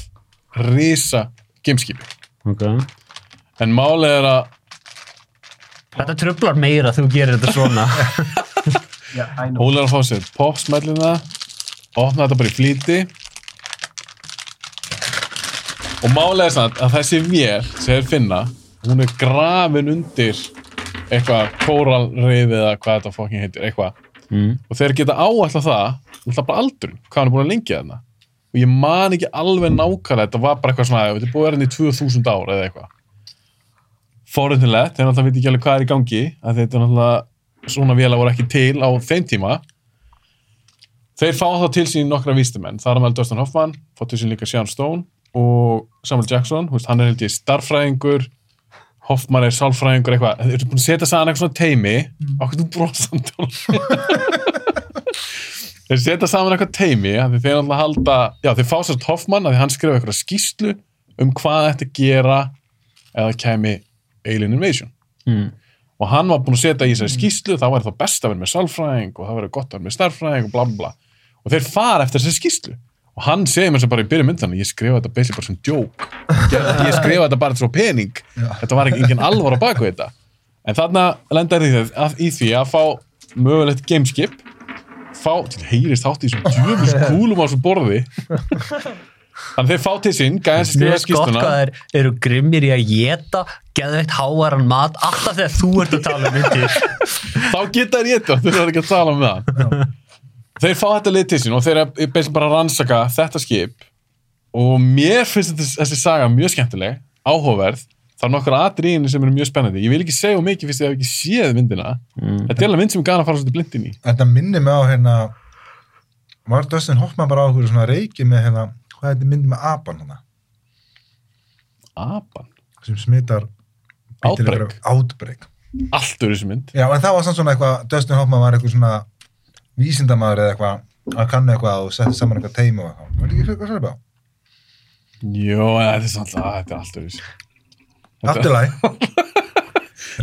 [SPEAKER 4] risa geimskipi.
[SPEAKER 5] Okay.
[SPEAKER 4] En málega er að
[SPEAKER 5] Þetta trublar meira þú gerir þetta svona.
[SPEAKER 4] Óli er að fá sér popsmellina opna þetta bara í flýti og málega er samt að þessi vél sem þeir finna, hún er grafin undir eitthvað kóralreyfi eða hvað þetta fokkin heitir, eitthvað
[SPEAKER 5] Mm.
[SPEAKER 4] og þeir geta áallað það alltaf bara aldurinn, hvað hann er búin að lengja þarna og ég man ekki alveg nákvæmlega þetta var bara eitthvað svona, þetta er búið að vera hann í 2000 ára eða eitthvað forunilegt, þeir náttúrulega veit ekki alveg hvað er í gangi að þetta er náttúrulega svona vélar voru ekki til á þeim tíma þeir fá þá til sín nokkra vístumenn, þar á meðal Dustin Hoffman fá til sín líka Sean Stone og Samuel Jackson, þú veist, hann er held ég starffræðingur Hoffman er sálfræðingur eitthvað, þeir eru búin að setja saman eitthvað svona teimi okkur þú brosandi Óli? þeir setja saman eitthvað teimi af því þeir náttúrulega halda, já þeir fá sér Hoffman af því hann skrifa eitthvað skýslu um hvað þetta gera eða kemi Alien Invasion
[SPEAKER 5] Mm.
[SPEAKER 4] og hann var búinn að setja í þessari skýslu þá væri þá best að vera með salfræðing og þá væri gott að vera með starfræðing og bla bla bla og þeir fara eftir þessari skýslu og hann segir mér sem bara í byrju myndana ég skrifa þetta basically bara sem djók ég ég skrifa þetta bara svo pening þetta var engin alvor á baku þetta en þarna lendar því að, í því að fá mögulegt gameskip fá, til heyrist hátt í þessum djöfus kúlum á þessu borði þannig þeir fá til sinn gæðan sem skrifa
[SPEAKER 5] Mér finnst gott
[SPEAKER 4] skýsluna
[SPEAKER 5] hvað þeir eru grimmir í að geta geðveikt hávaran mat alltaf þegar þú ert að tala um myndir.
[SPEAKER 4] þá geta þær étið, þú verður ekki að tala um það þeir fá þetta lið til sín og þeir er basically bara að rannsaka þetta skip og mér finnst þetta, þessi saga mjög skemmtileg, áhugaverð það er nokkur atriðinni sem eru mjög spennandi ég vil ekki segja of mikið fyrst ég hef ekki séð myndina þetta er alveg mynd sem ég gana að fara svolítið blindin í
[SPEAKER 6] Þetta minnir mig á hérna, var Dustin Hoffman bara á okkur svona reiki með hérna, hvað er þetta myndið með apan hana,
[SPEAKER 4] apan,
[SPEAKER 6] sem smitar bítur
[SPEAKER 4] Outbreak.
[SPEAKER 6] ykkur- Outbreak.
[SPEAKER 4] allt úr þessu mynd
[SPEAKER 6] Já, en það var samt svona eitthvað, Dustin Hoffman var eitthvað svona vísindamaður eða eitthvað, að kannu eitthvað og setti saman eitthvað teimi og eitthvað. Var ekki eitthvað svona bá?
[SPEAKER 4] jú, ja, þetta er samt að þetta er allt úr þessu
[SPEAKER 6] Allt í lagi.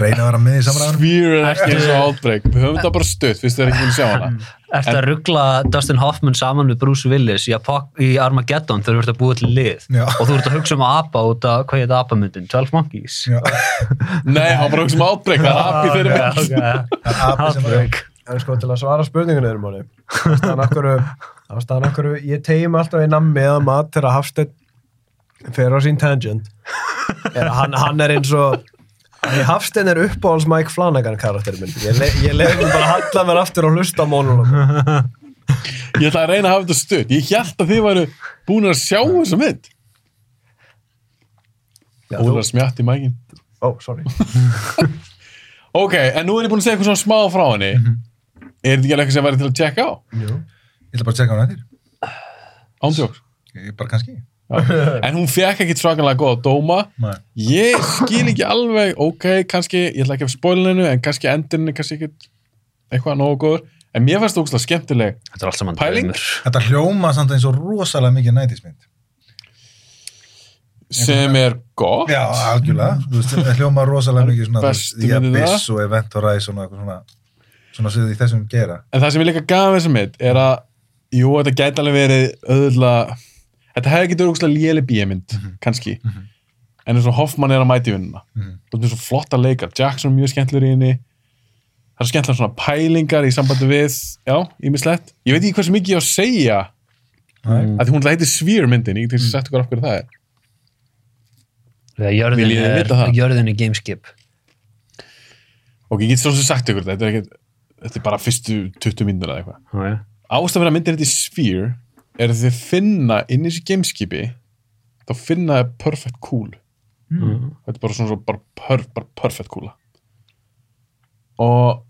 [SPEAKER 6] Reyna að vera með í samræðanum.
[SPEAKER 4] Sphere er ekki eins og Outbreak við höfum þetta bara stutt, fyrst þið er ekki búin að sjá hana
[SPEAKER 5] Ertu að ruggla Dustin Hoffman saman við Bruce Willis í, Apoc- í Armageddon þegar þú ert að búa til lið
[SPEAKER 6] Já.
[SPEAKER 5] og þú ert að hugsa um að apa út af, hvað heit apamyndin? 12 Monkeys?
[SPEAKER 6] Já,
[SPEAKER 4] nei, hann bara hugsa um Outbreak, það er api þeirri mynd
[SPEAKER 5] okay.
[SPEAKER 6] það er api sem var.
[SPEAKER 5] Outbreak.
[SPEAKER 7] En sko til að svara spurningunni erum áni ástæðan akkur ástæðan akkur ég tegi mig alltaf í nammi eða mat til að Hafsteinn fer á sín tangent er, að hann, hann er eins og Því Hafsteinn er uppáhalds Mike Flanagan karakter minn. Ég, le ég leiði bara að halla mér aftur og hlusta á mónunum.
[SPEAKER 4] Ég ætla að reyna að hafa þetta stutt. Ég held að þið væru búin að sjá þessa mynd. Óla
[SPEAKER 7] Ó,
[SPEAKER 4] þú... smjátt í mækin.
[SPEAKER 7] sorry.
[SPEAKER 4] Ok, en nú er ég búin að segja eitthvað svona smá frá henni. Er þetta ekki alveg eitthvað sem væri til að tjekka á?
[SPEAKER 6] Ég ætla bara að checka hún eftir.
[SPEAKER 4] Ándjóks.
[SPEAKER 6] Ég- Bara kannski.
[SPEAKER 4] En hún fekk ekki svakalega góða dóma.
[SPEAKER 6] Nei.
[SPEAKER 4] Ég skil ekki alveg, ok, kannski, ég ætla ekki að spóla hennu, en kannski endurinn er kannski ekkit eitthvað nógu góður. En mér fannst það ógustlega skemmtileg.
[SPEAKER 5] Þetta er allt saman
[SPEAKER 4] Pæling?
[SPEAKER 5] draumur.
[SPEAKER 6] Þetta hljóma samt eins og rosalega mikið nætismynd.
[SPEAKER 4] sem er gott
[SPEAKER 6] Já, algjörlega, þú veist, það hljóma rosalega mikið svona, þú veist,
[SPEAKER 4] Bestu
[SPEAKER 6] í
[SPEAKER 4] myndirnar.
[SPEAKER 6] Abyss og Event Horizon og eitthvað svona, svona sem í þessum gera.
[SPEAKER 4] en það sem er líka gaf þessum mitt er að jú, þetta gæti alveg verið auðvitað þetta hefði getið auðvitað léli bíjamynd kannski, en eins og Hoffmann er að mæti vinnuna,
[SPEAKER 6] Mhm.
[SPEAKER 4] þú veist, svo flotta leikar Jackson er mjög skemmtlur í henni það er skemmtlar svona pælingar í sambandi við já, ímislegt, ég veit ekki hversu mikið ég á að segja
[SPEAKER 6] Nei. Mhm.
[SPEAKER 4] að því hún leiti svír myndin, ég get ekki sagt okkur af hverju það er
[SPEAKER 5] Þegar
[SPEAKER 4] Viljið
[SPEAKER 5] jörðin
[SPEAKER 4] þið
[SPEAKER 5] er,
[SPEAKER 4] vita það?
[SPEAKER 5] jörðin er gameskip.
[SPEAKER 4] og ég get svo sem sagt ykkur þetta, þetta er, ekkert- þetta er bara fyrstu 20 myndur eða eitthvað
[SPEAKER 5] Já, já.
[SPEAKER 4] ástæðan fyrir að myndin þetta Sphere er að þið finna inn í þessu gameskipi þá finna þið perfect cool þetta er bara svona svo bara, per, bara perfect coola og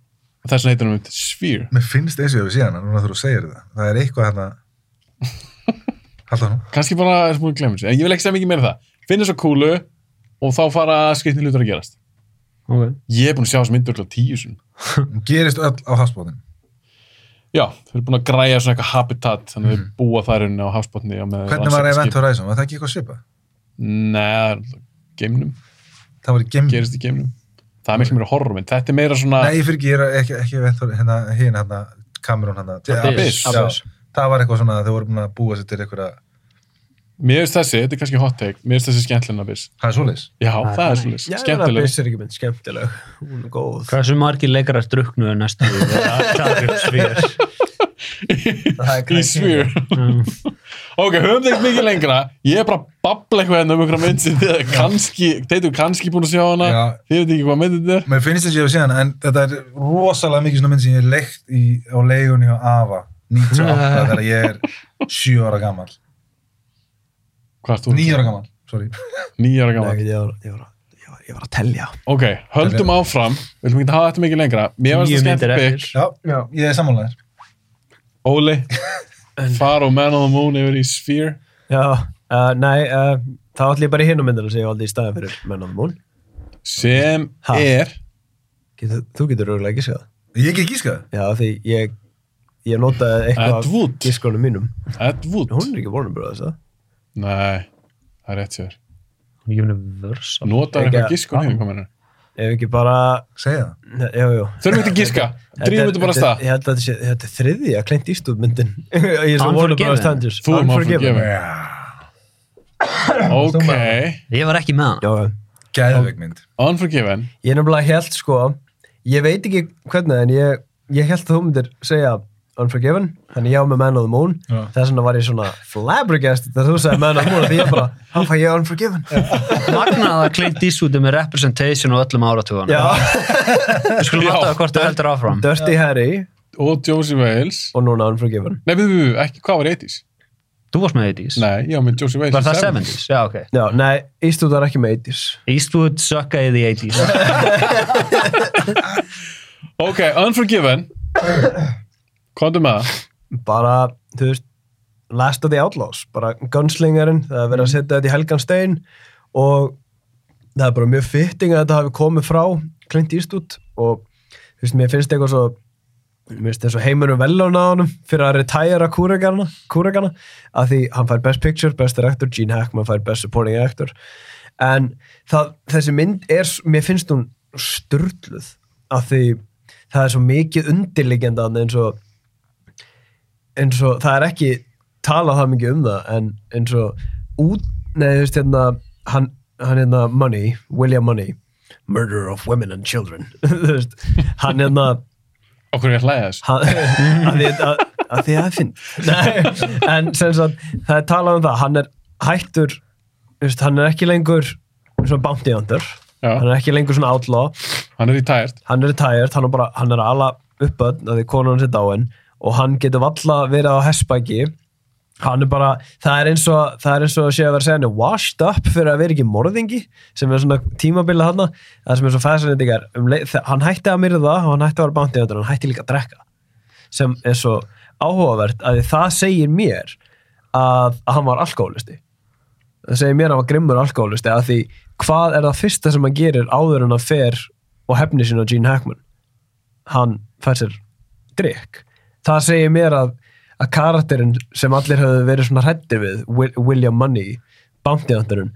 [SPEAKER 4] þess vegna heitir hann mynd Sphere
[SPEAKER 6] Mér finnst eins og ég hefur síðan, núna þú segir það, það er eitthvað hérna, halda nú,
[SPEAKER 4] kannski bara er smúin glemur sig en ég vil ekki segja mikið meira um það finna svo kúlu og þá fara skritni hlutur að gerast
[SPEAKER 5] Ok.
[SPEAKER 4] ég er búin að sjá þessu myndu öll á tíu sinni
[SPEAKER 6] Hún gerist öll á hafsbóðinu.
[SPEAKER 4] já, þau eru búin að græja svona eitthvað habitat þannig að þau búa þar unni á hafsbotni
[SPEAKER 6] Hvernig var Event Horizon, var það ekki eitthvað svipað?
[SPEAKER 4] neða, geimnum,
[SPEAKER 6] Það var í gem...
[SPEAKER 4] gerist í geimnum það er miklu meira horror mynd, þetta er meira svona
[SPEAKER 6] Nei, ég fyrir ekki, ég er ekki, ekki Event Horizon, hérna, hérna, hérna, Cameron hérna,
[SPEAKER 4] Abyss.
[SPEAKER 6] Já, það var eitthvað svona, þau voru búin að búa sér til eitthvað,
[SPEAKER 4] Mér finnst þessi, þetta er kannski hot take, mér finnst þessi skemmtilegna Abyss.
[SPEAKER 6] það er svoleiðis.
[SPEAKER 4] Já, það er
[SPEAKER 7] Já,
[SPEAKER 4] svolítið,
[SPEAKER 7] en að
[SPEAKER 4] skemmtileg.
[SPEAKER 7] Abyss er ekki mynd skemmtileg. Hún er góð.
[SPEAKER 5] Hversu margir leikarar druknuðu næstu við að taka upp svír?
[SPEAKER 7] Það er
[SPEAKER 4] Í
[SPEAKER 7] greið.
[SPEAKER 4] svýr. ok, höfum þeitt mikið lengra, ég er bara að babla eitthvað hérna um einhverja mynd sem þið kannski, þeir eru kannski búin að sjá hana,
[SPEAKER 6] Já.
[SPEAKER 4] þið veit ekki hvað mynd þetta er.
[SPEAKER 6] Mér finnst þess að ég hef síðan, en þetta er rosalega mikið svona mynd sem ég hef leikt í, á leigunni á AFA 98 þegar ég er 7 ára gammal.
[SPEAKER 4] Hvað er þú?
[SPEAKER 6] 9 ára gammal, sorry.
[SPEAKER 4] Níu ára
[SPEAKER 7] Nei,
[SPEAKER 4] gaman.
[SPEAKER 7] Ég var- ég var ég var- ég var að telja.
[SPEAKER 4] Ok, höldum áfram, við viljum ekki hafa þetta mikið lengra. Mér finnst
[SPEAKER 5] Níu
[SPEAKER 4] þetta
[SPEAKER 5] myndir
[SPEAKER 4] skemmtileg.
[SPEAKER 5] eftir.
[SPEAKER 6] Já, já. ég er sammálaðir.
[SPEAKER 4] Óli, far og man on the moon yfir í svýr.
[SPEAKER 7] Já, uh, nei, uh, þá ætlum ég bara í hinum myndina sem ég valdi í staðan fyrir menn á það mún.
[SPEAKER 4] Sem
[SPEAKER 7] Ha.
[SPEAKER 4] er,
[SPEAKER 7] Getur, þú getur auðvitað ekki séð það.
[SPEAKER 6] Ég ekki gíska það.
[SPEAKER 7] Já, því ég, ég notaði eitthvað
[SPEAKER 4] Ed Wood.
[SPEAKER 7] af gískunum mínum.
[SPEAKER 4] Ed Wood.
[SPEAKER 7] Hún er ekki Warner Brothers, það?
[SPEAKER 4] Nei, það er rétt sér.
[SPEAKER 5] Universal.
[SPEAKER 4] Notar
[SPEAKER 7] Ekki-
[SPEAKER 4] eitthvað giskun hérna kominu.
[SPEAKER 7] Ef ekki bara,
[SPEAKER 6] Segja það.
[SPEAKER 7] ne- jú, jú.
[SPEAKER 4] Þurfum ekki að giska, drýjum þetta bara að stað.
[SPEAKER 7] Ég held að þetta sé- þetta er þriðja Clint Eastwood myndin. Ég er svo Warner
[SPEAKER 5] Unforgiven.
[SPEAKER 7] Brothers Tangers.
[SPEAKER 4] Þú erum
[SPEAKER 7] Unforgiven.
[SPEAKER 4] Unforgiven. Ok,
[SPEAKER 5] Ég var ekki með hann.
[SPEAKER 7] Já, já.
[SPEAKER 6] Gæðveik mynd.
[SPEAKER 4] Unforgiven.
[SPEAKER 7] Ég nefnilega held sko, ég veit ekki hvernig en ég, ég held að þú myndir segja Unforgiven, þannig ég á með Man of the Moon
[SPEAKER 6] Já.
[SPEAKER 7] þess vegna var ég svona flabbergast þegar þú sagði Man of the Moon því ég bara, hann fæ ég Unforgiven
[SPEAKER 5] Magnað að Clint Eastwood er með representation og öllum áratugan.
[SPEAKER 7] Já,
[SPEAKER 5] Við skulum
[SPEAKER 4] Já.
[SPEAKER 5] áttaða hvort það heldur áfram.
[SPEAKER 7] Dirty Harry
[SPEAKER 4] og Josie Wales
[SPEAKER 7] og núna Unforgiven
[SPEAKER 4] Nei, við, við, við, ekki, hvað var 80s?
[SPEAKER 5] Þú varst með 80s.
[SPEAKER 4] Nei, já, með Josie Wales
[SPEAKER 5] Var
[SPEAKER 4] í
[SPEAKER 5] það 70s? Já, ok.
[SPEAKER 7] Já, nei, Eastwood var ekki með 80s
[SPEAKER 5] Eastwood sökkaði the 80s.
[SPEAKER 4] Ok, Unforgiven Komdu með það
[SPEAKER 7] bara, þú veist Last of the Outlaws, bara gunslingarinn það er verið að setja þetta í helgan stein og það er bara mjög fitting að þetta hafi komið frá Clint Eastwood og þú veist, mér finnst eitthvað svo mér finnst þessu heimurum velun á honum fyrir að retæra kúregana, kúregana að því hann fær best picture, best director Gene Hackman fær best supporting actor en það, þessi mynd er s- mér finnst hún sturluð að því það er svo mikið undirliggjandi þarna eins og eins og það er ekki talað það mikið um það en eins og út, nei þú veist hérna hann, hann hérna Money, William Money Murder of Women and Children þú veist, hann hérna
[SPEAKER 4] Okkur er ég að hlæða þessu
[SPEAKER 7] hann, að, því, að, að því að það finn nei, en sem sagt það er talað um það, hann er hættur þú veist, hann er ekki lengur svona bounty hunter,
[SPEAKER 4] Já.
[SPEAKER 7] hann er ekki lengur svona outlaw
[SPEAKER 4] Hann er í tært
[SPEAKER 7] hann er tired, hann er bara hann er að ala uppöðn að því konan hans er dáin og hann getur valla verið á hessbæki hann er bara, það er eins og það er eins og sé að vera að segja hann er washed up fyrir að vera ekki morðingi sem er svona tímabilið hann það sem er svo fæsanendingar um leið- þe- hann hætti að myrða og hann hætti að vera bántið hann hætti líka að drekka sem er svo áhugavert að því það segir mér að, að hann var alkoholisti það segir mér að hann var grimmur alkoholisti að því hvað er það fyrsta sem hann gerir áður en hann fer og hefni sín á Gene Hackman hann fær sér drikk það segir mér að, að karakterinn sem allir höfðu verið svona hrættir við Wi- William Money bounty hunterinn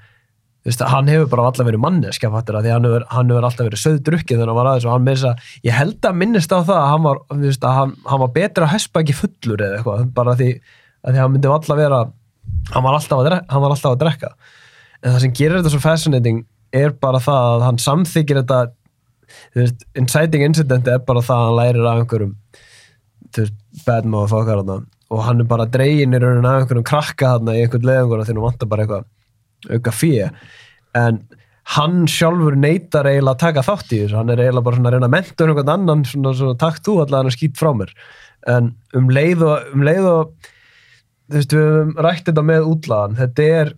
[SPEAKER 7] Þú veist, hann hefur bara alltaf verið manneskja fattur að því hann hefur, hann hefur alltaf verið söðdrukkið þegar hann var aðeins og hann með þess að ég held að minnist á það að hann var, þú veist, að hann, hann var betra hespa ekki fullur eða eitthvað bara því að því hann myndi alltaf vera hann var alltaf, að, drekka- hann var alltaf að drekka en það sem gerir þetta svo fascinating er bara það að hann samþykir þetta þú veist, inciting incident er bara það að hann lærir af einhverjum þú veist, bad motherfucker þarna og hann er bara dregin í rauninu af einhverjum krakka þarna í einhvern leðunguna þegar hann vantar bara eitthvað auka fíja en hann sjálfur neytar eiginlega að taka þátt í þessu, hann er eiginlega bara svona að reyna að menta um einhvern annan, svona, svona takk þú allan að skýt frá mér, en um leið og, um leið og þú veist, við höfum rætt þetta með útlaðan þetta er,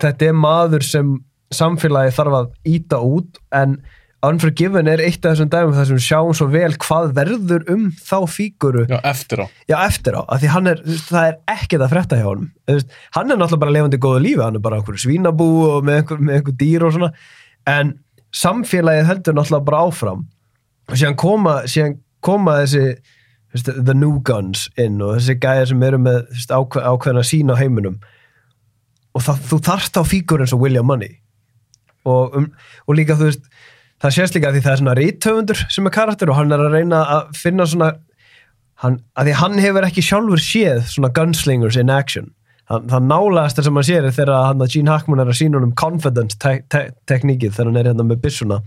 [SPEAKER 7] þetta er maður sem samfélagi þarf að íta út en Unforgiven er eitt af þessum dæmum þar sem við sjáum svo vel hvað verður um þá fíguru
[SPEAKER 4] Já, eftir á.
[SPEAKER 7] Já, eftir á, af því hann er, þú veist, það er ekkert að frétta hjá honum. Þú veist, Hann er náttúrulega bara levandi góðu lífi, hann er bara á einhverju svínabú og með einhver, með einhver dýr og svona, en samfélagið heldur náttúrulega bara áfram og síðan koma, síðan koma þessi þú veist, the new guns inn og þessi gæðir sem eru með þú veist, ákve, ákveðna sín á heiminum og það, þú þarft á fígur eins og William Money og, um, og líka þú veist það sést líka að því það er svona reytöfundur sem er karakter og hann er að reyna að finna svona hann, að því hann hefur ekki sjálfur séð svona gunslingers in action það, það nálaðast sem hann sér er þegar að hann að Gene Hackman er að sína honum confidence te te tekníkið þegar hann er hérna með byssuna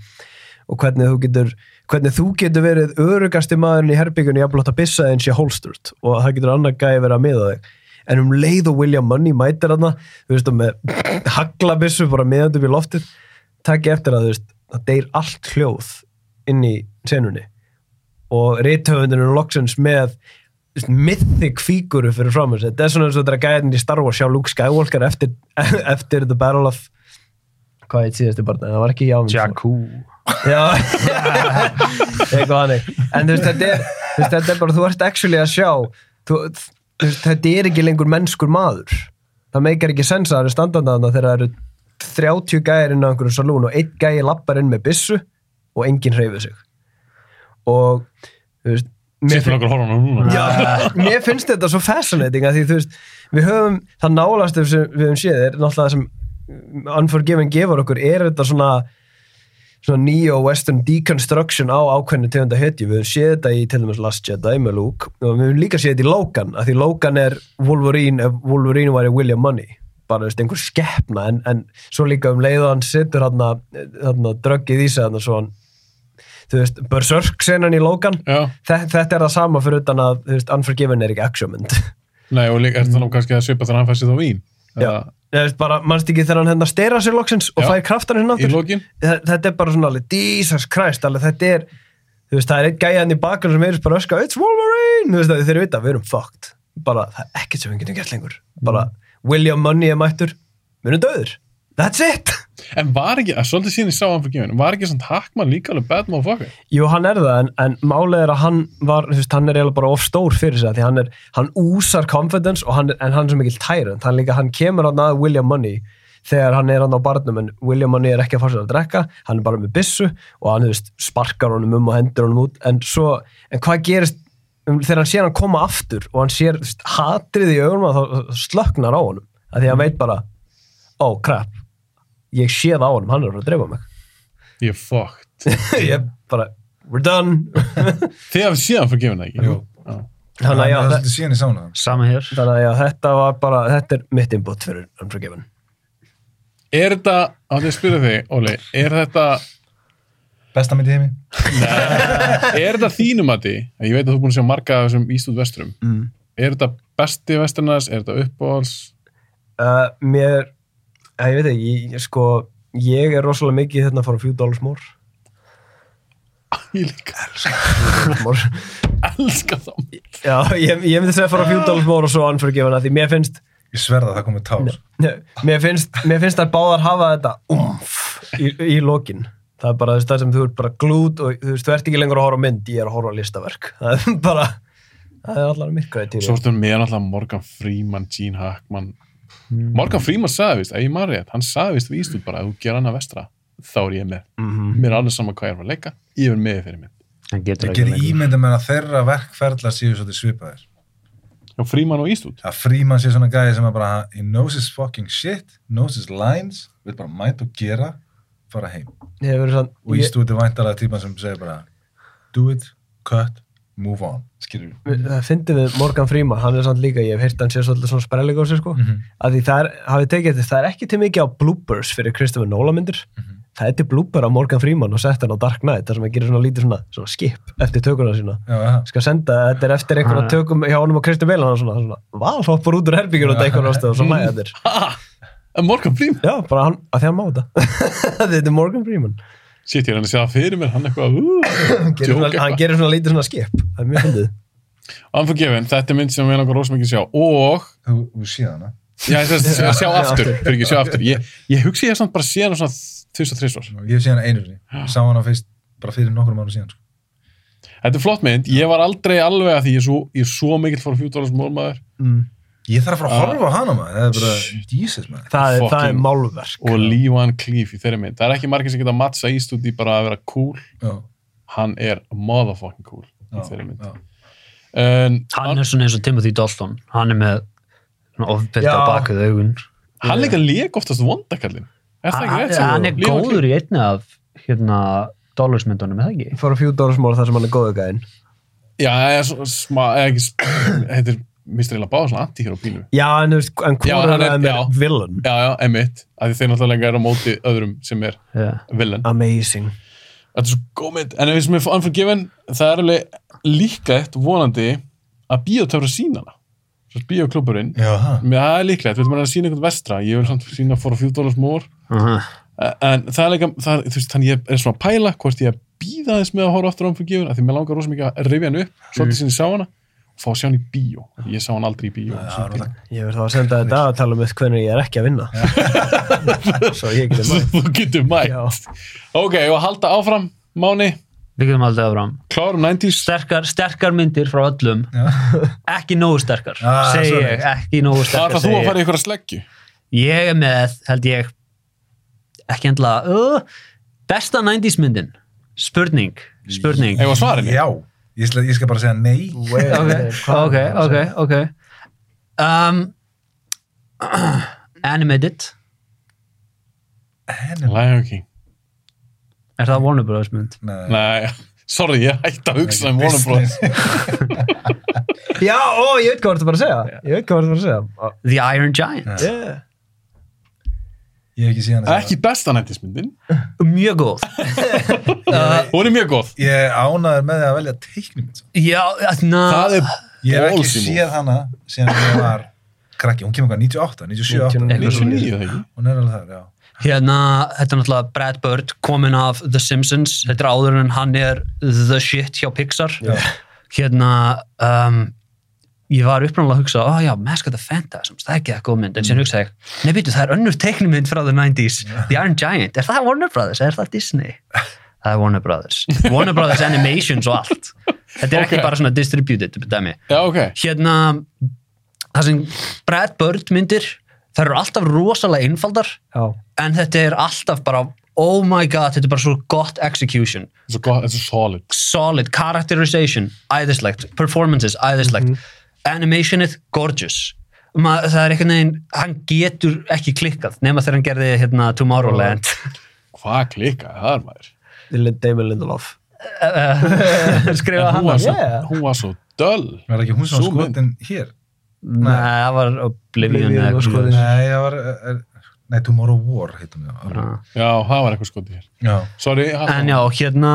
[SPEAKER 7] og hvernig þú getur hvernig þú getur verið örugasti maðurinn í herbyggunni jafnvel þótt að byssa þeim sé holsturt og það getur annar gæði verið að miða þig en um leið og William Money mætir hann þú veist, og með haglabissu bara miðandi upp í loftið takk ég eftir að þú veist, það deyr allt hljóð inn í senunni og rithöfundinu loksins með þú veist, mythic fíguru fyrir framins þetta er svona eins og þetta er að gæðin í Star Wars sjá Luke Skywalker eftir, eftir The Battle of hvað heit síðasti barna, það var ekki jámið Já eitthvað hannig en þú veist þetta er, þú veist, þetta er bara þú ert actually að sjá þú, þú veist, þetta er ekki lengur mennskur maður það meikar ekki sens að það eru standandi þarna þegar það eru 30 gæðir inn á einhverju salún og einn gæði lappar inn með byssu og enginn hreyfið sig og þú veist mér
[SPEAKER 4] Sýttum
[SPEAKER 7] fin-
[SPEAKER 4] okkur horfum á núna.
[SPEAKER 7] Já, mér finnst þetta svo fascinating að því þú veist, við höfum það nálast sem við höfum séð er náttúrulega það sem Unforgiven gefur okkur er þetta svona svona neo-western deconstruction á ákveðinu tegunda hetju, við höfum séð þetta í til dæmis Last Jedi með Luke og við höfum líka séð þetta í Logan, að því Logan er Wolverine, ef Wolverine væri William Money bara þú veist, einhver skeppna en, en svo líka um leið og hann situr hann að dröggið í sig hann svo hann, þú veist, Berserk senan í Logan
[SPEAKER 4] Já,
[SPEAKER 7] Þe- þetta er það sama fyrir utan að þú veist, Unforgiven er ekki actionmynd
[SPEAKER 4] nei, og líka er það nú kannski að svipa þannig að hann fæst sér þá vín. Eða
[SPEAKER 7] Þú veist, bara, mannst ekki þegar hann hérna stera sér loksins og
[SPEAKER 4] Já.
[SPEAKER 7] fær kraftan hérna
[SPEAKER 4] Í
[SPEAKER 7] aftur
[SPEAKER 4] lokin.
[SPEAKER 7] Þe- þetta er bara svona alveg Jesus Christ alveg, þetta er, þú veist, það er einn gæjan í bakgrunn sem er bara að öska, it's Wolverine þú veist, þeir eru vita, við erum fucked bara, það er ekkert sem við getum gert lengur bara,
[SPEAKER 4] Mm.
[SPEAKER 7] William Money er mættur við erum döður, that's it
[SPEAKER 4] En var ekki, að svolítið síðan ég sá hann fyrir gefin, var ekki svona Hackman líka alveg bad motherfucker?
[SPEAKER 7] Jú, hann er það, en, en málið er að hann var, þú veist, hann er eiginlega bara of stór fyrir sig, af því hann er, hann úsar confidence og hann, er- en hann er svo mikill tyrant, hann líka, hann kemur hann að William Money þegar hann er hann á barnum, en William Money er ekki að fara sér að drekka, hann er bara með byssu og hann, þú veist, sparkar honum um og hendur honum út, en svo, en hvað gerist um, þegar hann sér hann koma aftur og hann sér, þú veist, hatrið í augunum að þá þá slöknar á honum, af því hann veit bara, ó, oh, crap, ég séð á honum, hann er að fara að drefa mig.
[SPEAKER 4] Ég er fucked.
[SPEAKER 7] ég bara, we're done,
[SPEAKER 4] Þið hafið síðan fyrir gefin, ekki?
[SPEAKER 6] Jú.
[SPEAKER 4] Já.
[SPEAKER 7] Þannig að já,
[SPEAKER 6] það er
[SPEAKER 7] þe-
[SPEAKER 6] svolítið síðan í sána
[SPEAKER 5] Sama hér.
[SPEAKER 7] þannig að já, þetta var bara, þetta er mitt input fyrir Unforgiven.
[SPEAKER 4] Er þetta, átti ég að spyrja þig, Óli, er þetta,
[SPEAKER 6] besta mynd í heimi
[SPEAKER 4] er þetta þínum að því, ég veit að þú er búin að sjá marga af þessum Ístúð vesturum,
[SPEAKER 7] Mm.
[SPEAKER 4] er þetta besti vesturnas, er þetta uppáhals?
[SPEAKER 7] Uh, mér, að, ég veit ekki, ég- ég, sko, ég er rosalega mikið í þetta að fara few dollars more.
[SPEAKER 4] Ég líka
[SPEAKER 7] more.
[SPEAKER 4] elska þá.
[SPEAKER 7] já, ég, ég myndi segja að fara few dollars more og svo Unforgiven að því mér finnst,
[SPEAKER 6] ég sverða það komið tár
[SPEAKER 7] mér finnst, mér finnst að báðar hafa þetta umf í, í lokin. Það er bara þú veist, það sem þú ert bara glúd og þú veist, þú ert ekki lengur að horfa á mynd, ég er að horfa á listaverk. Það er bara, það er allar myrkraði tíma.
[SPEAKER 4] Svo ertu með náttúrulega Morgan Freeman, Gene Hackman. Morgan Freeman sagði vist, ef ég maður rétt, hann sagði vist við Ístúð bara, ef þú ger hana vestra, þá er ég með. Mér er alveg sama hvað ég er að fara að leika, ég er með þeirri mynd.
[SPEAKER 5] Hann getur
[SPEAKER 6] ég
[SPEAKER 5] ekki
[SPEAKER 6] ger
[SPEAKER 5] lengur.
[SPEAKER 6] ímyndum en að þeirra verkferðla séu svolítið svipaðir
[SPEAKER 4] Já, Freeman og Ístúð.
[SPEAKER 6] að Fríman sé svona gæði sem er bara he knows his fucking shit, knows his lines vil bara mæta og gera fara heim
[SPEAKER 7] Ég hef verið sann,
[SPEAKER 6] og
[SPEAKER 7] ég,
[SPEAKER 6] Eastwood er væntalega típan sem segir bara do it, cut, move on skilur við
[SPEAKER 7] það fyndi við Morgan Freeman, hann er sann líka, ég hef heyrt hann sé svolítið svona sprellig á sig sko, mm
[SPEAKER 6] Mhm.
[SPEAKER 7] að því það er, hafið tekið þetta, það er ekki til mikið á bloopers fyrir Christopher Nolan myndir,
[SPEAKER 4] Mhm.
[SPEAKER 7] það er til blooper á Morgan Freeman og sett hann á Dark Knight, þar sem hann gerir svona lítið svona, svona skip eftir tökuna sína.
[SPEAKER 6] já, aha.
[SPEAKER 7] Skal senda, þetta er eftir
[SPEAKER 4] Ah.
[SPEAKER 7] einhverja tökum hjá honum og Christian Bale, hann er svona, svona, val, hoppar út úr herbyggjur og einhverja ástæðu og svo hlæja þér.
[SPEAKER 4] En Morgan Freeman,
[SPEAKER 7] Já, bara hann, að því hann má þetta. þetta er Morgan Freeman.
[SPEAKER 4] shit, ég er hann að segja það fyrir mér, hann eitthvað, uh,
[SPEAKER 7] Gerir
[SPEAKER 4] djók
[SPEAKER 7] svona, hann
[SPEAKER 4] eitthvað.
[SPEAKER 7] gerir svona lítið svona skip, það er mjög fyndið.
[SPEAKER 4] Unforgiven, þetta er mynd sem við langar rosamikið að sjá og,
[SPEAKER 6] þú, þú sé hana
[SPEAKER 4] já, ég þess að sjá
[SPEAKER 7] Já,
[SPEAKER 4] aftur,
[SPEAKER 7] aftur.
[SPEAKER 4] fyrir ekki sjá aftur. Ég, ég hugsi ég samt bara síðan og svona þvist og þrisvar.
[SPEAKER 6] ég hef sé hana einu sinni, Ég sá hana fyrst bara fyrir nokkrum mánu síðan sko.
[SPEAKER 4] Þetta er flott mynd, ég var aldrei alveg að því ég er svo, ég er svo mikill fór fjúdólas mólmaður
[SPEAKER 6] ég þarf að fara að horfa á hana maður það er bara,
[SPEAKER 4] Shit.
[SPEAKER 6] Jesus maður
[SPEAKER 7] Það er, það er
[SPEAKER 4] Fucking-
[SPEAKER 7] málverk.
[SPEAKER 4] og Lee Van Cleef í þeirri mynd. Það er ekki margir sem geta að mattsa í stúdi bara að vera cool,
[SPEAKER 6] já,
[SPEAKER 4] hann er motherfucking cool í
[SPEAKER 6] já,
[SPEAKER 4] þeirri mynd.
[SPEAKER 6] já.
[SPEAKER 4] En,
[SPEAKER 5] Hann er svona eins og Timothy Dalton. Hann er með svona ofbeldi á
[SPEAKER 7] Já.
[SPEAKER 5] bakið augun.
[SPEAKER 4] hann líka leik oftast vondakallin. Er það ekki
[SPEAKER 5] Hann
[SPEAKER 4] rétt?
[SPEAKER 5] er- hann er
[SPEAKER 4] Lee Van Cleef?
[SPEAKER 5] góður í einni af hérna dollarsmyndunum, eða ekki?
[SPEAKER 7] fór að fjú dólarsmál þar sem hann er góðu gæðin
[SPEAKER 4] Já, eða svo- smá, eða ekki, sm- þetta er mistur eiginlega báða svona anti-hero pílu.
[SPEAKER 7] já, en, þú veist, en
[SPEAKER 4] Já,
[SPEAKER 7] hvað
[SPEAKER 4] hann
[SPEAKER 7] er
[SPEAKER 4] er-
[SPEAKER 7] það
[SPEAKER 4] já.
[SPEAKER 7] með villain
[SPEAKER 4] Já, já, emitt, af því þeir náttúrulega er á móti öðrum sem er
[SPEAKER 5] Yeah.
[SPEAKER 4] villan.
[SPEAKER 7] amazing
[SPEAKER 4] Þetta er svo góð mynd, en eins og mér Unforgiven, það er alveg líklegt vonandi að bíotöfra sína hana. Svo bíoklubburinn,
[SPEAKER 6] já, ha.
[SPEAKER 4] mér það er líklegt, við maður að sína einhvern vestra, ég vil samt sína for a few dollars more, E,
[SPEAKER 5] Uh
[SPEAKER 4] en það er líka, það, er- þú veist, þannig ég er svona að pæla hvort ég býða þess með að horfa aftur á Unforgiven, af því mér langar rosa mikið að rifja hann upp, svolítið sinni sá hana, og fá að sjá hann í bíó, ég sá hann aldrei í
[SPEAKER 6] Já,
[SPEAKER 4] bíó. svo til.
[SPEAKER 6] náttúrulega.
[SPEAKER 7] ég verð þá að senda þetta að tala um hvernig ég er ekki að vinna svo ég geti
[SPEAKER 4] Svo
[SPEAKER 7] mætt
[SPEAKER 4] þú getur
[SPEAKER 7] Já.
[SPEAKER 4] mætt ok, og halda áfram Máni,
[SPEAKER 5] Við getum aldrei áfram.
[SPEAKER 4] klárum 90s
[SPEAKER 5] Sterkar, sterkar myndir frá öllum. Ekki nógu sterkar,
[SPEAKER 6] Ah,
[SPEAKER 5] segi
[SPEAKER 6] svoleiðis.
[SPEAKER 5] ég. Ekki
[SPEAKER 4] það
[SPEAKER 5] nógu
[SPEAKER 4] er
[SPEAKER 5] sterkar,
[SPEAKER 4] það þú
[SPEAKER 5] segi
[SPEAKER 4] að
[SPEAKER 5] ég.
[SPEAKER 4] fara í ykkur að sleggju
[SPEAKER 5] Ég er með, held ég, ekki endla, uh, besta 90s myndin. Spurning, spurning.
[SPEAKER 4] eða svarinu,
[SPEAKER 6] já, ég skal, ég skal bara segja nei
[SPEAKER 5] ok, ok, ok, ok um, Animated
[SPEAKER 6] henni
[SPEAKER 4] Lion King
[SPEAKER 5] Er það Warner Bros. mynd?
[SPEAKER 6] nei,
[SPEAKER 4] nei, sorry, ég hætti að hugsa um Warner Bros
[SPEAKER 6] Disney.
[SPEAKER 7] já, ó, ég veit hvað þú ert að fara að segja ég veit hvað þú ert að fara að
[SPEAKER 5] The Iron Giant
[SPEAKER 6] Já.
[SPEAKER 7] segja yeah.
[SPEAKER 6] ég hef ekki síðan
[SPEAKER 4] ekki besta 90s myndin,
[SPEAKER 5] Mjög góð
[SPEAKER 4] hún er mjög góð
[SPEAKER 6] ég ánaður með því að velja teiknumynd
[SPEAKER 5] Já, na,
[SPEAKER 4] það er
[SPEAKER 6] ég hef ekki
[SPEAKER 4] ballsy move.
[SPEAKER 6] séð hana síðan ég var krakki, hún kemur hvað 98, 97,
[SPEAKER 7] 99.
[SPEAKER 6] 98
[SPEAKER 4] 99 eða ekki?
[SPEAKER 6] hún er alveg þar, já
[SPEAKER 5] hérna Þetta er náttúrulega Brad Bird komin af The Simpsons Þetta er áður en hann er The Shit hjá Pixar Hérna um, Ég var uppræðanlega að hugsa, ó já, Mask of the Phantasms, það er ekki það góð mynd, en síðan hugsaði ég, nei býtu, það er önnur teiknumynd frá the 90s, The Iron Giant, er það Warner Brothers, er það Disney? Það er Warner Brothers. Warner Brothers Animations og allt. Þetta er ekki
[SPEAKER 4] Ok.
[SPEAKER 5] bara svona distributed, dæmi.
[SPEAKER 4] já, ok,
[SPEAKER 5] Hérna, það sem Brad Bird myndir, það eru alltaf rosalega einfaldar,
[SPEAKER 7] já,
[SPEAKER 5] en þetta er alltaf bara, oh my god, þetta er bara svo gott execution
[SPEAKER 4] þetta er svo gott- þetta er svo solid
[SPEAKER 5] solid characterization, æðislegt performances, æðislegt
[SPEAKER 4] Mhm.
[SPEAKER 5] animationið, gorgeous Ma, það er einhvern veginn, hann getur ekki klikkað nema þegar hann gerði hérna Tomorrowland
[SPEAKER 4] hvað klikka, það er maður
[SPEAKER 7] Dylan Damon Lindelof
[SPEAKER 5] skrifa
[SPEAKER 4] En hún
[SPEAKER 5] Eh, hann
[SPEAKER 4] var
[SPEAKER 5] yeah.
[SPEAKER 4] svo,
[SPEAKER 7] yeah.
[SPEAKER 4] hún var svo döll
[SPEAKER 6] var ekki hún sem
[SPEAKER 4] Sú
[SPEAKER 6] var skotin hér
[SPEAKER 5] Nei, það var Oblivion
[SPEAKER 7] Oblivion
[SPEAKER 5] eða
[SPEAKER 7] var
[SPEAKER 5] eitthvað
[SPEAKER 7] skotin.
[SPEAKER 5] svoleiðis.
[SPEAKER 6] nei, það var er, nei, Tomorrow War heitum við það
[SPEAKER 5] Já.
[SPEAKER 4] já, það var eitthvað skotið hér
[SPEAKER 6] já,
[SPEAKER 4] sorry,
[SPEAKER 5] En já, hérna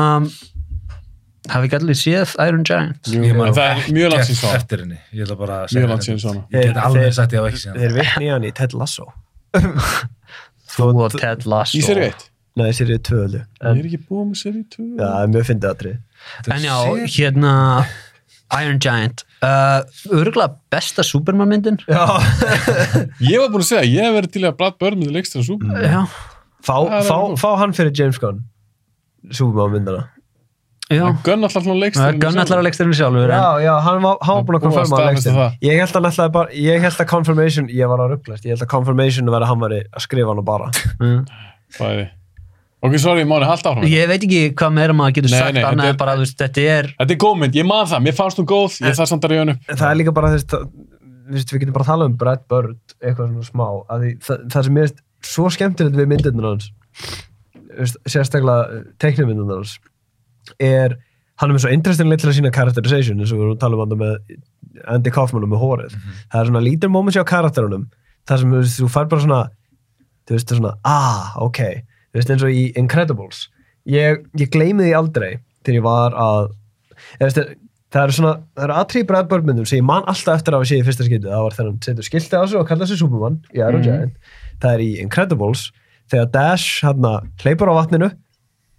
[SPEAKER 5] hafi ekki allir séð Iron Giant
[SPEAKER 4] Jú, en það er mjög langt síðan
[SPEAKER 6] Gert
[SPEAKER 4] svona
[SPEAKER 6] eftir henni, ég ætla bara að
[SPEAKER 4] mjög
[SPEAKER 6] segja
[SPEAKER 4] langt
[SPEAKER 6] þetta.
[SPEAKER 4] síðan svona
[SPEAKER 6] ég
[SPEAKER 7] Þeir-
[SPEAKER 6] get alveg
[SPEAKER 7] þeir-
[SPEAKER 6] sagt ég hafa ekki síðan
[SPEAKER 7] þeir vitni í hann í Ted Lasso
[SPEAKER 5] Þú og Ted Lasso
[SPEAKER 4] í serið 1,
[SPEAKER 7] nei, þessi er tvöðu já,
[SPEAKER 4] ég er ekki búið með serið 2
[SPEAKER 7] það er mjög fyndið aðri
[SPEAKER 5] En já, hérna Iron Giant uh, Örgulega besta Superman myndin
[SPEAKER 7] já,
[SPEAKER 4] ég var búin að segja, ég hef verið til í að Brad Bird myndi leikstra súpa
[SPEAKER 5] Já,
[SPEAKER 7] fá,
[SPEAKER 4] Það er
[SPEAKER 7] fá,
[SPEAKER 4] alveg.
[SPEAKER 7] fá hann fyrir James Gunn Superman myndana
[SPEAKER 5] já
[SPEAKER 4] Gunn alltaf svona leikst
[SPEAKER 5] Gunn allar að leiksturinn sjálfur en
[SPEAKER 7] Já, já, hann var, hann var búin að
[SPEAKER 4] Búið að
[SPEAKER 7] konfirma að
[SPEAKER 4] staðfesta
[SPEAKER 7] leikstinn.
[SPEAKER 4] það.
[SPEAKER 7] Ég held að hann ætlaði bara, ég held að confirmation, ég var að rugglast, ég held að confirmation verið að hann væri að skrifa hann og bara.
[SPEAKER 4] Bæði. Ok, sorry, Máni, halda áfram
[SPEAKER 5] Ég veit ekki hvað meira maður getur
[SPEAKER 4] Nei,
[SPEAKER 5] sagt
[SPEAKER 4] nei, þetta
[SPEAKER 5] annað
[SPEAKER 4] er-
[SPEAKER 5] er... bara, þú veist, þetta er
[SPEAKER 4] Þetta er góð mynd, ég man það, mér fannst hún góð ég þarf samt að reyða hann upp
[SPEAKER 7] En það er líka bara, þú veist, það- þú veist, við getum bara að tala um Brad Bird, eitthvað svona smá, að því, það, það sem mér finnst svo skemmtilegt við myndirnar hans þú veist, sérstaklega teiknumyndirnar hans er hann er með svo interesting til að sína characterization eins og við vorum að tala um hann með Andy Kaufman og með hórið það er svona lítur moments hjá karakterunum þar sem þú veist, þú fær bara svona þú veist það er svona, ah, ok þú veist eins og í Incredibles ég, ég gleymi því aldrei til ég var að eða, veist, það eru svona, það eru aðtrí bræðbörnmyndum sem ég man alltaf eftir að hafa séð í fyrsta skiptið það var þegar hann setur skiltið á sig og kallaði sig Superman í Iron
[SPEAKER 4] Mhm.
[SPEAKER 7] Giant, það er í Incredibles þegar Dash hérna hleypur á vatninu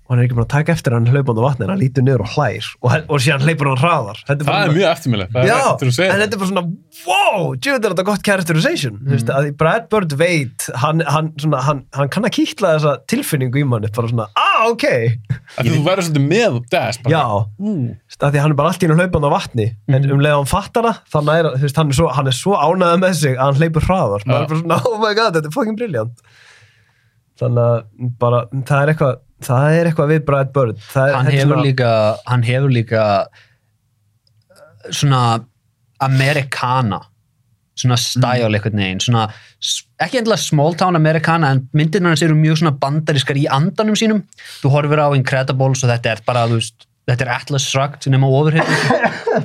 [SPEAKER 7] og hann er ekki búin að taka eftir að hann hlaupandi á vatninu, hann lítur niður og hlær og, hann- og síðan hleypur hann hraðar Þetta bara
[SPEAKER 4] Það
[SPEAKER 7] svona-
[SPEAKER 4] er mjög eftirmileg. Það
[SPEAKER 7] Já,
[SPEAKER 4] er eftir að segja
[SPEAKER 7] en þetta
[SPEAKER 4] það.
[SPEAKER 7] er bara svona wow, djöfnir þetta gott characterization mm. veist, að því Brad Bird veit hann, hann, svona, hann, hann kann að kýtla þessa tilfinningu í manni, bara svona, ah, ok
[SPEAKER 4] Af því Þú verður svolítið með Dash. bara.
[SPEAKER 7] já, Veist, að því hann er bara allt í hennu hlaupandi á vatni en um leið að hann fattar það, þannig er, þú veist, hann, er svo, hann er svo ánæða með sig að hann hleypur hraðar maður
[SPEAKER 4] Já.
[SPEAKER 7] er bara svona, oh my god, þetta er fucking brilliant þannig að bara, það er eitthvað það er eitthvað við Brad Bird það er,
[SPEAKER 5] hann
[SPEAKER 7] þetta er
[SPEAKER 5] hefur
[SPEAKER 7] svona-
[SPEAKER 5] líka hann hefur líka uh, svona amerikana
[SPEAKER 7] Mm.
[SPEAKER 5] svona stæl einhvern veginn svona, s- ekki endilega small town amerikana en myndirna hans eru mjög svona bandarískar í andanum sínum þú horfir á Incredibles og þetta er bara þú veist, þetta er Atlas Shrugged nema overhead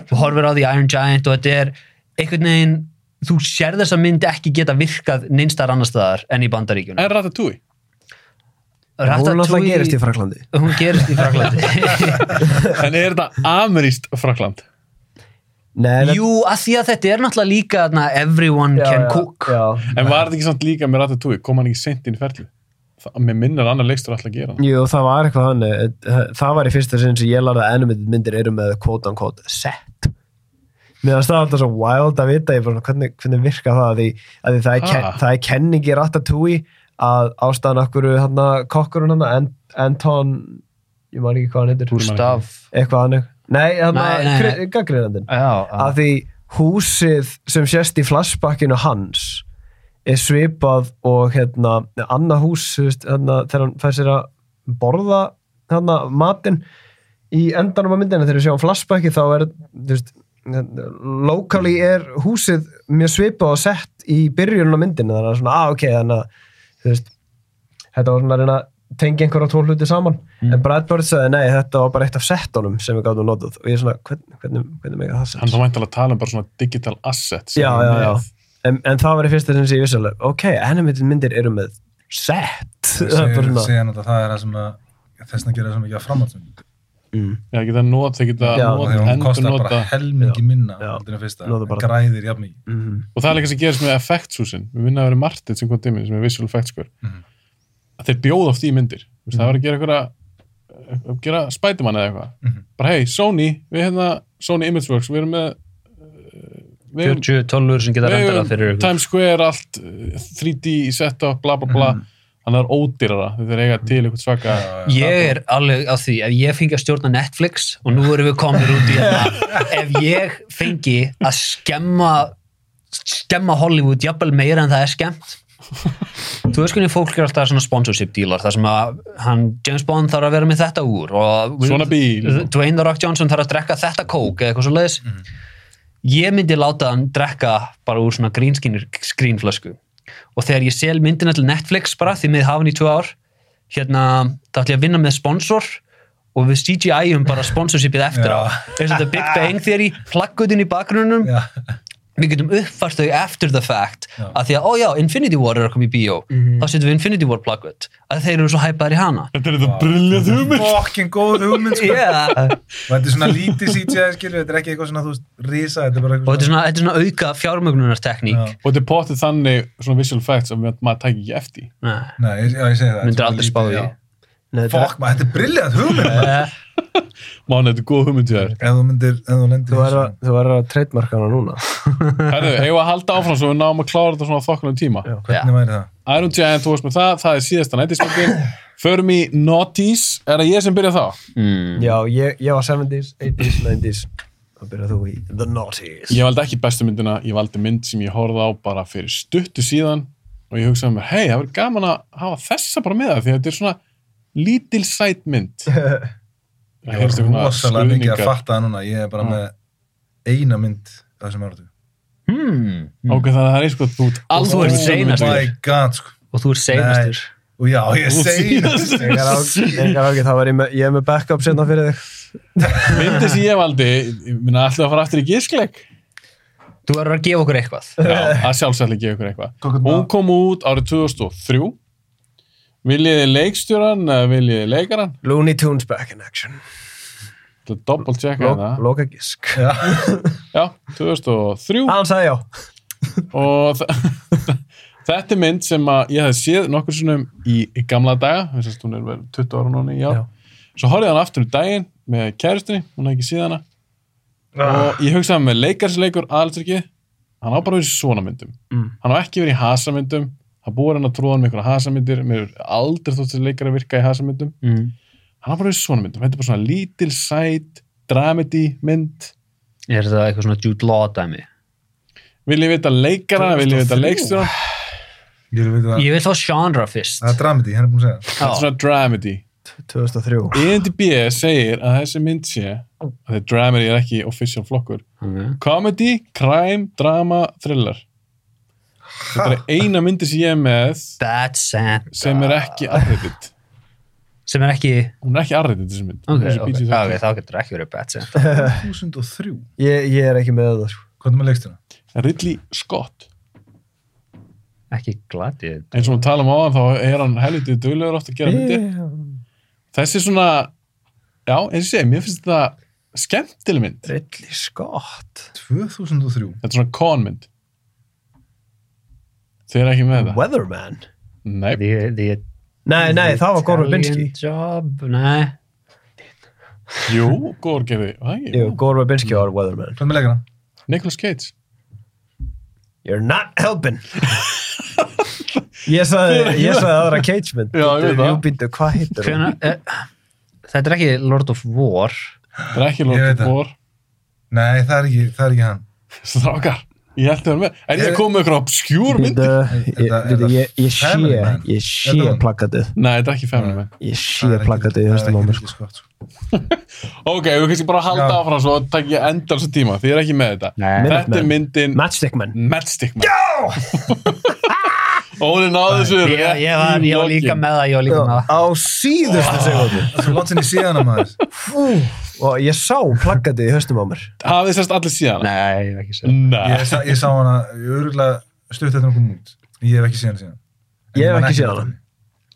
[SPEAKER 5] þú horfir á The Iron Giant og þetta er einhvern veginn þú sér þess að myndi ekki geta virkað neinstar annar staðar enn í bandaríkjunum
[SPEAKER 4] En Ratatouille.
[SPEAKER 7] hún er náttúrulega
[SPEAKER 5] Ratatouille-
[SPEAKER 7] gerist í Fraklandi
[SPEAKER 5] hún gerist í Fraklandi
[SPEAKER 4] En er þetta ameríst Frakland?
[SPEAKER 7] Nei,
[SPEAKER 5] Jú, að því að þetta er náttúrulega líka na, everyone
[SPEAKER 7] þetta-
[SPEAKER 5] can
[SPEAKER 7] já, já,
[SPEAKER 5] cook
[SPEAKER 7] já.
[SPEAKER 4] En var þetta ekki samt líka með Ratatouille? Kom hann ekki seint inn í ferlið? Það- Mér minnir að annar leikstur alltaf að gera það.
[SPEAKER 7] Jú, það var eitthvað hann það var í fyrsta sinn sem ég lærði að animated myndir eru með quote unquote set mér finnst það alltaf svo wild að vita ég bara, svona, hvernig, hvernig virka það að því, að því það, er ken,
[SPEAKER 4] Ah.
[SPEAKER 7] það er kenning í Ratatouille að ástæðan okkur hann kokkurinn hann Ant Anton, ég man ekki hvað hann heitir
[SPEAKER 5] Gustaf
[SPEAKER 7] eitthvað hann nei,
[SPEAKER 5] Nei, nei, nei.
[SPEAKER 7] hann gaggrinandinn
[SPEAKER 5] Já,
[SPEAKER 7] að því húsið sem sést í flashbackinu hans er svipað og hérna, annað hús þú veist, hérna, þegar hann fær sér að borða hérna, matinn í endanum á myndinu þegar við sjáum flashbacki þá er þú veist, hérna, locally er húsið mjög svipað og sett í byrjunum á myndinu þannig að svona, ah, ok, þannig að þú veist, þetta var svona að reyna að tengja einhverja tvo hluti saman en Brad Bird sagði nei, þetta var bara eitt af settunum sem við gáðum notað og ég er svona, hvernig, hvernig, hvernig mega það sens?
[SPEAKER 4] Hann þá væntalega að tala um bara svona digital asset. sem
[SPEAKER 7] já,
[SPEAKER 4] er
[SPEAKER 7] já,
[SPEAKER 4] með.
[SPEAKER 7] já. En, en það var í fyrsta sem ég vissi alveg ok, animated myndir eru með set Það er bara
[SPEAKER 6] segir,
[SPEAKER 7] svona-
[SPEAKER 6] segir hann að það er það sem að þess að gera það sem ekki að framhaldsmynd
[SPEAKER 7] Mm,
[SPEAKER 4] Já, geta not, þeir geta
[SPEAKER 7] Já.
[SPEAKER 6] og
[SPEAKER 4] not,
[SPEAKER 6] þegar hún
[SPEAKER 4] endur
[SPEAKER 6] kostar
[SPEAKER 4] nota.
[SPEAKER 6] bara helmingi minna
[SPEAKER 7] Já.
[SPEAKER 6] heldur en fyrsta,
[SPEAKER 7] Nota bara-
[SPEAKER 6] en græðir jafn mikið
[SPEAKER 7] Mhm.
[SPEAKER 4] Og það er líka sem gerist með effektshúsin. Við minna að vera Martin sem kom til minn, sem er visual effects skur.
[SPEAKER 6] Mhm.
[SPEAKER 4] Að þeir bjóða oft í myndir. Mm. Það var að gera eitthvað að gera Spiderman eða eitthvað.
[SPEAKER 6] Mhm.
[SPEAKER 4] Bara hey, Sony, við hérna Sony Imageworks, við erum með uh, við erum-
[SPEAKER 5] 40 tólur sem geta
[SPEAKER 4] Við
[SPEAKER 5] renderað fyrir
[SPEAKER 4] höfum
[SPEAKER 5] ykkur
[SPEAKER 4] Times Square, allt uh, 3D í setup, bla bla bla þannig að það er ódýrara, þetta er eiga til eitthvað svaka
[SPEAKER 5] Ég er alveg á því, ef ég fengi að stjórna Netflix og nú erum við komin út í þetta ef ég fengi að skemma skemma Hollywood jafnvel meira en það er skemmt Þú veist hvernig fólk er alltaf svona sponsorship dealar þar sem að hann, James Bond þarf að vera með þetta úr og
[SPEAKER 4] Svona bíl. Mhm.
[SPEAKER 5] Dwayne The Rock Johnson þarf að drekka þetta kók eða eitthvað svo leiðis Ég myndi láta hann drekka bara úr svona grínskínir skrínflösku og þegar ég sel myndina til Netflix bara því með hafin í tvö ár hérna, það ætla ég að vinna með sponsor og við CGI-um bara sponsorshipið eftir á eins og þetta Big Bang Theory plaggutin í bakgrunum
[SPEAKER 6] Já.
[SPEAKER 5] við getum uppfært þau after the fact að því að, ó já, Mhm. Infinity War er að koma í bíó þá setjum við Infinity War plaggut að þeir eru svo hæpaðir í hana
[SPEAKER 4] Þetta er þetta briljant hugmynd
[SPEAKER 6] fokkin góð hugmynd sko.
[SPEAKER 5] yeah.
[SPEAKER 6] og þetta er svona lítið CGI skilur þetta er ekki eitthvað svona þú veist risa þetta er bara
[SPEAKER 5] og þetta
[SPEAKER 6] eitthvað
[SPEAKER 5] er svona, þetta er svona auka fjármögnunartekník
[SPEAKER 6] Já.
[SPEAKER 4] og þetta er potið þannig svona visual effects að maður tækir ekki eftir í.
[SPEAKER 5] Nei.
[SPEAKER 6] Nei, ég, já, ég segi það
[SPEAKER 5] Myndir aldrei spá í.
[SPEAKER 7] Nei, þetta- Eh.
[SPEAKER 6] fokk maður, þetta er brilljant hugmynd maður.
[SPEAKER 4] Máni, þetta er góð hugmynd hjá þér
[SPEAKER 6] ef þú myndir, ef þú lendir
[SPEAKER 7] þú
[SPEAKER 6] í
[SPEAKER 7] verður
[SPEAKER 6] þessu.
[SPEAKER 7] að- þú verður að trademarka hana núna
[SPEAKER 4] Herðu, eigum við að halda áfram svo við náum að klára þetta svona á þokkunum tíma
[SPEAKER 6] hvernig væri það?
[SPEAKER 4] Iron Giant, þú veist með það, það er síðasta nættismyndin Förum í Naughties, er það ég sem byrja þá?
[SPEAKER 5] Hmm.
[SPEAKER 7] já, ég, ég var 70s, 80s, 90s þá byrjar þú í The Naughties
[SPEAKER 4] Ég valdi ekki bestu myndina, ég valdi mynd sem ég horfði á bara fyrir stuttu síðan og ég hugsaði mér, hei, það verður gaman að hafa þessa bara með það því að þetta er svona lítil sæt mynd
[SPEAKER 6] ég var rosalega mikið að fatta það núna ég er bara með eina mynd af þessum áratu
[SPEAKER 5] Hmm.
[SPEAKER 4] Ok, þannig að það er eins og þú ert
[SPEAKER 5] Þú ert
[SPEAKER 4] aldrei með sömu
[SPEAKER 5] seinastur.
[SPEAKER 4] mynd.
[SPEAKER 6] my god sko
[SPEAKER 5] og þú er seinastur.
[SPEAKER 6] Og já, ég
[SPEAKER 4] Þú
[SPEAKER 6] segi
[SPEAKER 7] Engar ágjör, engar ágjör, þá var ég með, ég er með backup sérna fyrir þig.
[SPEAKER 4] myndi sem ég valdi, ég minna alltaf að fara aftur í gískleik
[SPEAKER 5] Þú verður að gefa okkur eitthvað.
[SPEAKER 4] Já, að sjálfsætli gefa ykkur eitthvað
[SPEAKER 6] Hvað-
[SPEAKER 4] hún kom út árið 2003 viljiði leikstjóran eða viljiði leikaran
[SPEAKER 7] Looney Tunes back in action.
[SPEAKER 4] til að doppel checka
[SPEAKER 7] Loka,
[SPEAKER 4] það
[SPEAKER 7] loka gísk.
[SPEAKER 4] já, 2003
[SPEAKER 7] Hann sagði já.
[SPEAKER 4] og þa- þetta er mynd sem að ég hef séð nokkur sinnum í, í gamla daga þess að hún er verið 20 ára núna í ár
[SPEAKER 7] Já.
[SPEAKER 4] svo horfði ég á hana aftur um daginn með kærustinni, hún hef ekki séð hana og ég hugsaði með leikarsleikur aðalstrykki, hann á bara verið svona myndum
[SPEAKER 5] Mm.
[SPEAKER 4] hann á ekki verið í hasamyndum það búið hann að tróða hann með einhverja hasamyndir mér er aldrei þótt þessi leikar að virka í hasamyndum
[SPEAKER 5] Mm.
[SPEAKER 4] hann á bara verið svona myndum, þetta er bara svona lítil sæt, dramedy mynd
[SPEAKER 5] Er þetta eitthvað svona Jude Law dæmi?
[SPEAKER 4] vil ég vita leikara, vil ég vita leikstjóra
[SPEAKER 6] Ég vil vita það.
[SPEAKER 5] Ég vil þá genre fyrst.
[SPEAKER 6] Það er dramedy, henni er búin að segja.
[SPEAKER 4] þetta er svona dramedy
[SPEAKER 7] 2003.
[SPEAKER 4] IMDb segir að þessi mynd sé að þetta dramedy er ekki official flokkur
[SPEAKER 5] Ok.
[SPEAKER 4] comedy, crime, drama, thriller þetta er eina myndi sem ég er með
[SPEAKER 5] Bad Santa.
[SPEAKER 4] sem er ekki arreititt
[SPEAKER 5] Sem er ekki...
[SPEAKER 4] hún er ekki arreititt þessi mynd
[SPEAKER 5] Ok,
[SPEAKER 4] Hún er svo
[SPEAKER 5] ok,
[SPEAKER 4] PG-13.
[SPEAKER 5] ok, þá getur það ekki verið Bad Santa.
[SPEAKER 6] 2003.
[SPEAKER 7] Ég, ég er ekki með það, sko.
[SPEAKER 6] Hvað er með leikstuna?
[SPEAKER 4] Ridley Scott
[SPEAKER 5] ekki gladið.
[SPEAKER 4] eins og við talum á hann þá er hann helvitið duglegur oft að gera
[SPEAKER 7] Eh.
[SPEAKER 4] myndir þessi svona, já eins og ég segi mér finnst þetta skemmtileg mynd
[SPEAKER 7] Ridley Scott.
[SPEAKER 6] 2003.
[SPEAKER 4] þetta er svona konmynd þið er ekki með það
[SPEAKER 7] Weatherman.
[SPEAKER 4] nei,
[SPEAKER 5] The, the
[SPEAKER 7] Nei, nei, það var Goran
[SPEAKER 5] Italian
[SPEAKER 7] Binski.
[SPEAKER 5] Job, nei.
[SPEAKER 4] jú, góður gerði var það ekki?
[SPEAKER 7] Jú, Goran Binski var Weatherman.
[SPEAKER 6] Hvað er með leikana?
[SPEAKER 4] Nicolas Cage
[SPEAKER 7] You're not helping. ég sagði, ég sagði aðra Cage mynd.
[SPEAKER 4] Já, ég veit það.
[SPEAKER 7] Jú, býttu, hvað heitir hún?
[SPEAKER 5] Hvena, eh, þetta er ekki Lord of War.
[SPEAKER 4] það er ekki
[SPEAKER 6] Ég veit
[SPEAKER 4] Lord of
[SPEAKER 6] það.
[SPEAKER 4] War
[SPEAKER 6] Nei, það er ekki, það er ekki hann.
[SPEAKER 4] strákar, ég held að vera með en ég
[SPEAKER 6] Ég-
[SPEAKER 4] kom með eitthvað obskjúr
[SPEAKER 7] Bíddu,
[SPEAKER 4] myndi
[SPEAKER 7] ég-
[SPEAKER 6] Þetta-
[SPEAKER 7] bíddu,
[SPEAKER 6] þetta-
[SPEAKER 7] ég- Ég
[SPEAKER 6] Family
[SPEAKER 7] sé,
[SPEAKER 6] Man.
[SPEAKER 7] ég
[SPEAKER 6] Þetta
[SPEAKER 7] sé
[SPEAKER 6] var-
[SPEAKER 7] plakatið.
[SPEAKER 4] nei, þetta er ekki Family Man
[SPEAKER 7] Ég
[SPEAKER 6] Það
[SPEAKER 7] sé
[SPEAKER 6] er ekki-
[SPEAKER 7] plakatið í
[SPEAKER 6] það er
[SPEAKER 7] höstum á
[SPEAKER 6] ekki
[SPEAKER 7] mér.
[SPEAKER 6] Ridley Scott, sko.
[SPEAKER 4] ok, við kannski bara halda
[SPEAKER 6] Já.
[SPEAKER 4] áfram svo takk ég endalsa tíma, þið er ekki með þetta
[SPEAKER 5] Nei.
[SPEAKER 4] þetta er myndin
[SPEAKER 7] Matchstick Man.
[SPEAKER 4] Matchstick Man já Óli náði þessu
[SPEAKER 5] Ég, ég, var, ég var líka með það, ég var líka með það.
[SPEAKER 7] Á síðustu segundu.
[SPEAKER 6] Það er svo langt sinni síðan að maður.
[SPEAKER 7] Og ég sá plakatið í höstum á mér.
[SPEAKER 4] hafið sérst allir síðan
[SPEAKER 5] Nei, ég hef ekki séð.
[SPEAKER 6] Ég,
[SPEAKER 4] nei,
[SPEAKER 6] sa, ég sá hana, ég öruglega stutt eftir hún kom út. Ég hef ekki séð hana síðan. En
[SPEAKER 7] Ég hef
[SPEAKER 6] man
[SPEAKER 7] ekki séð
[SPEAKER 6] eftir
[SPEAKER 7] hana.
[SPEAKER 6] henni.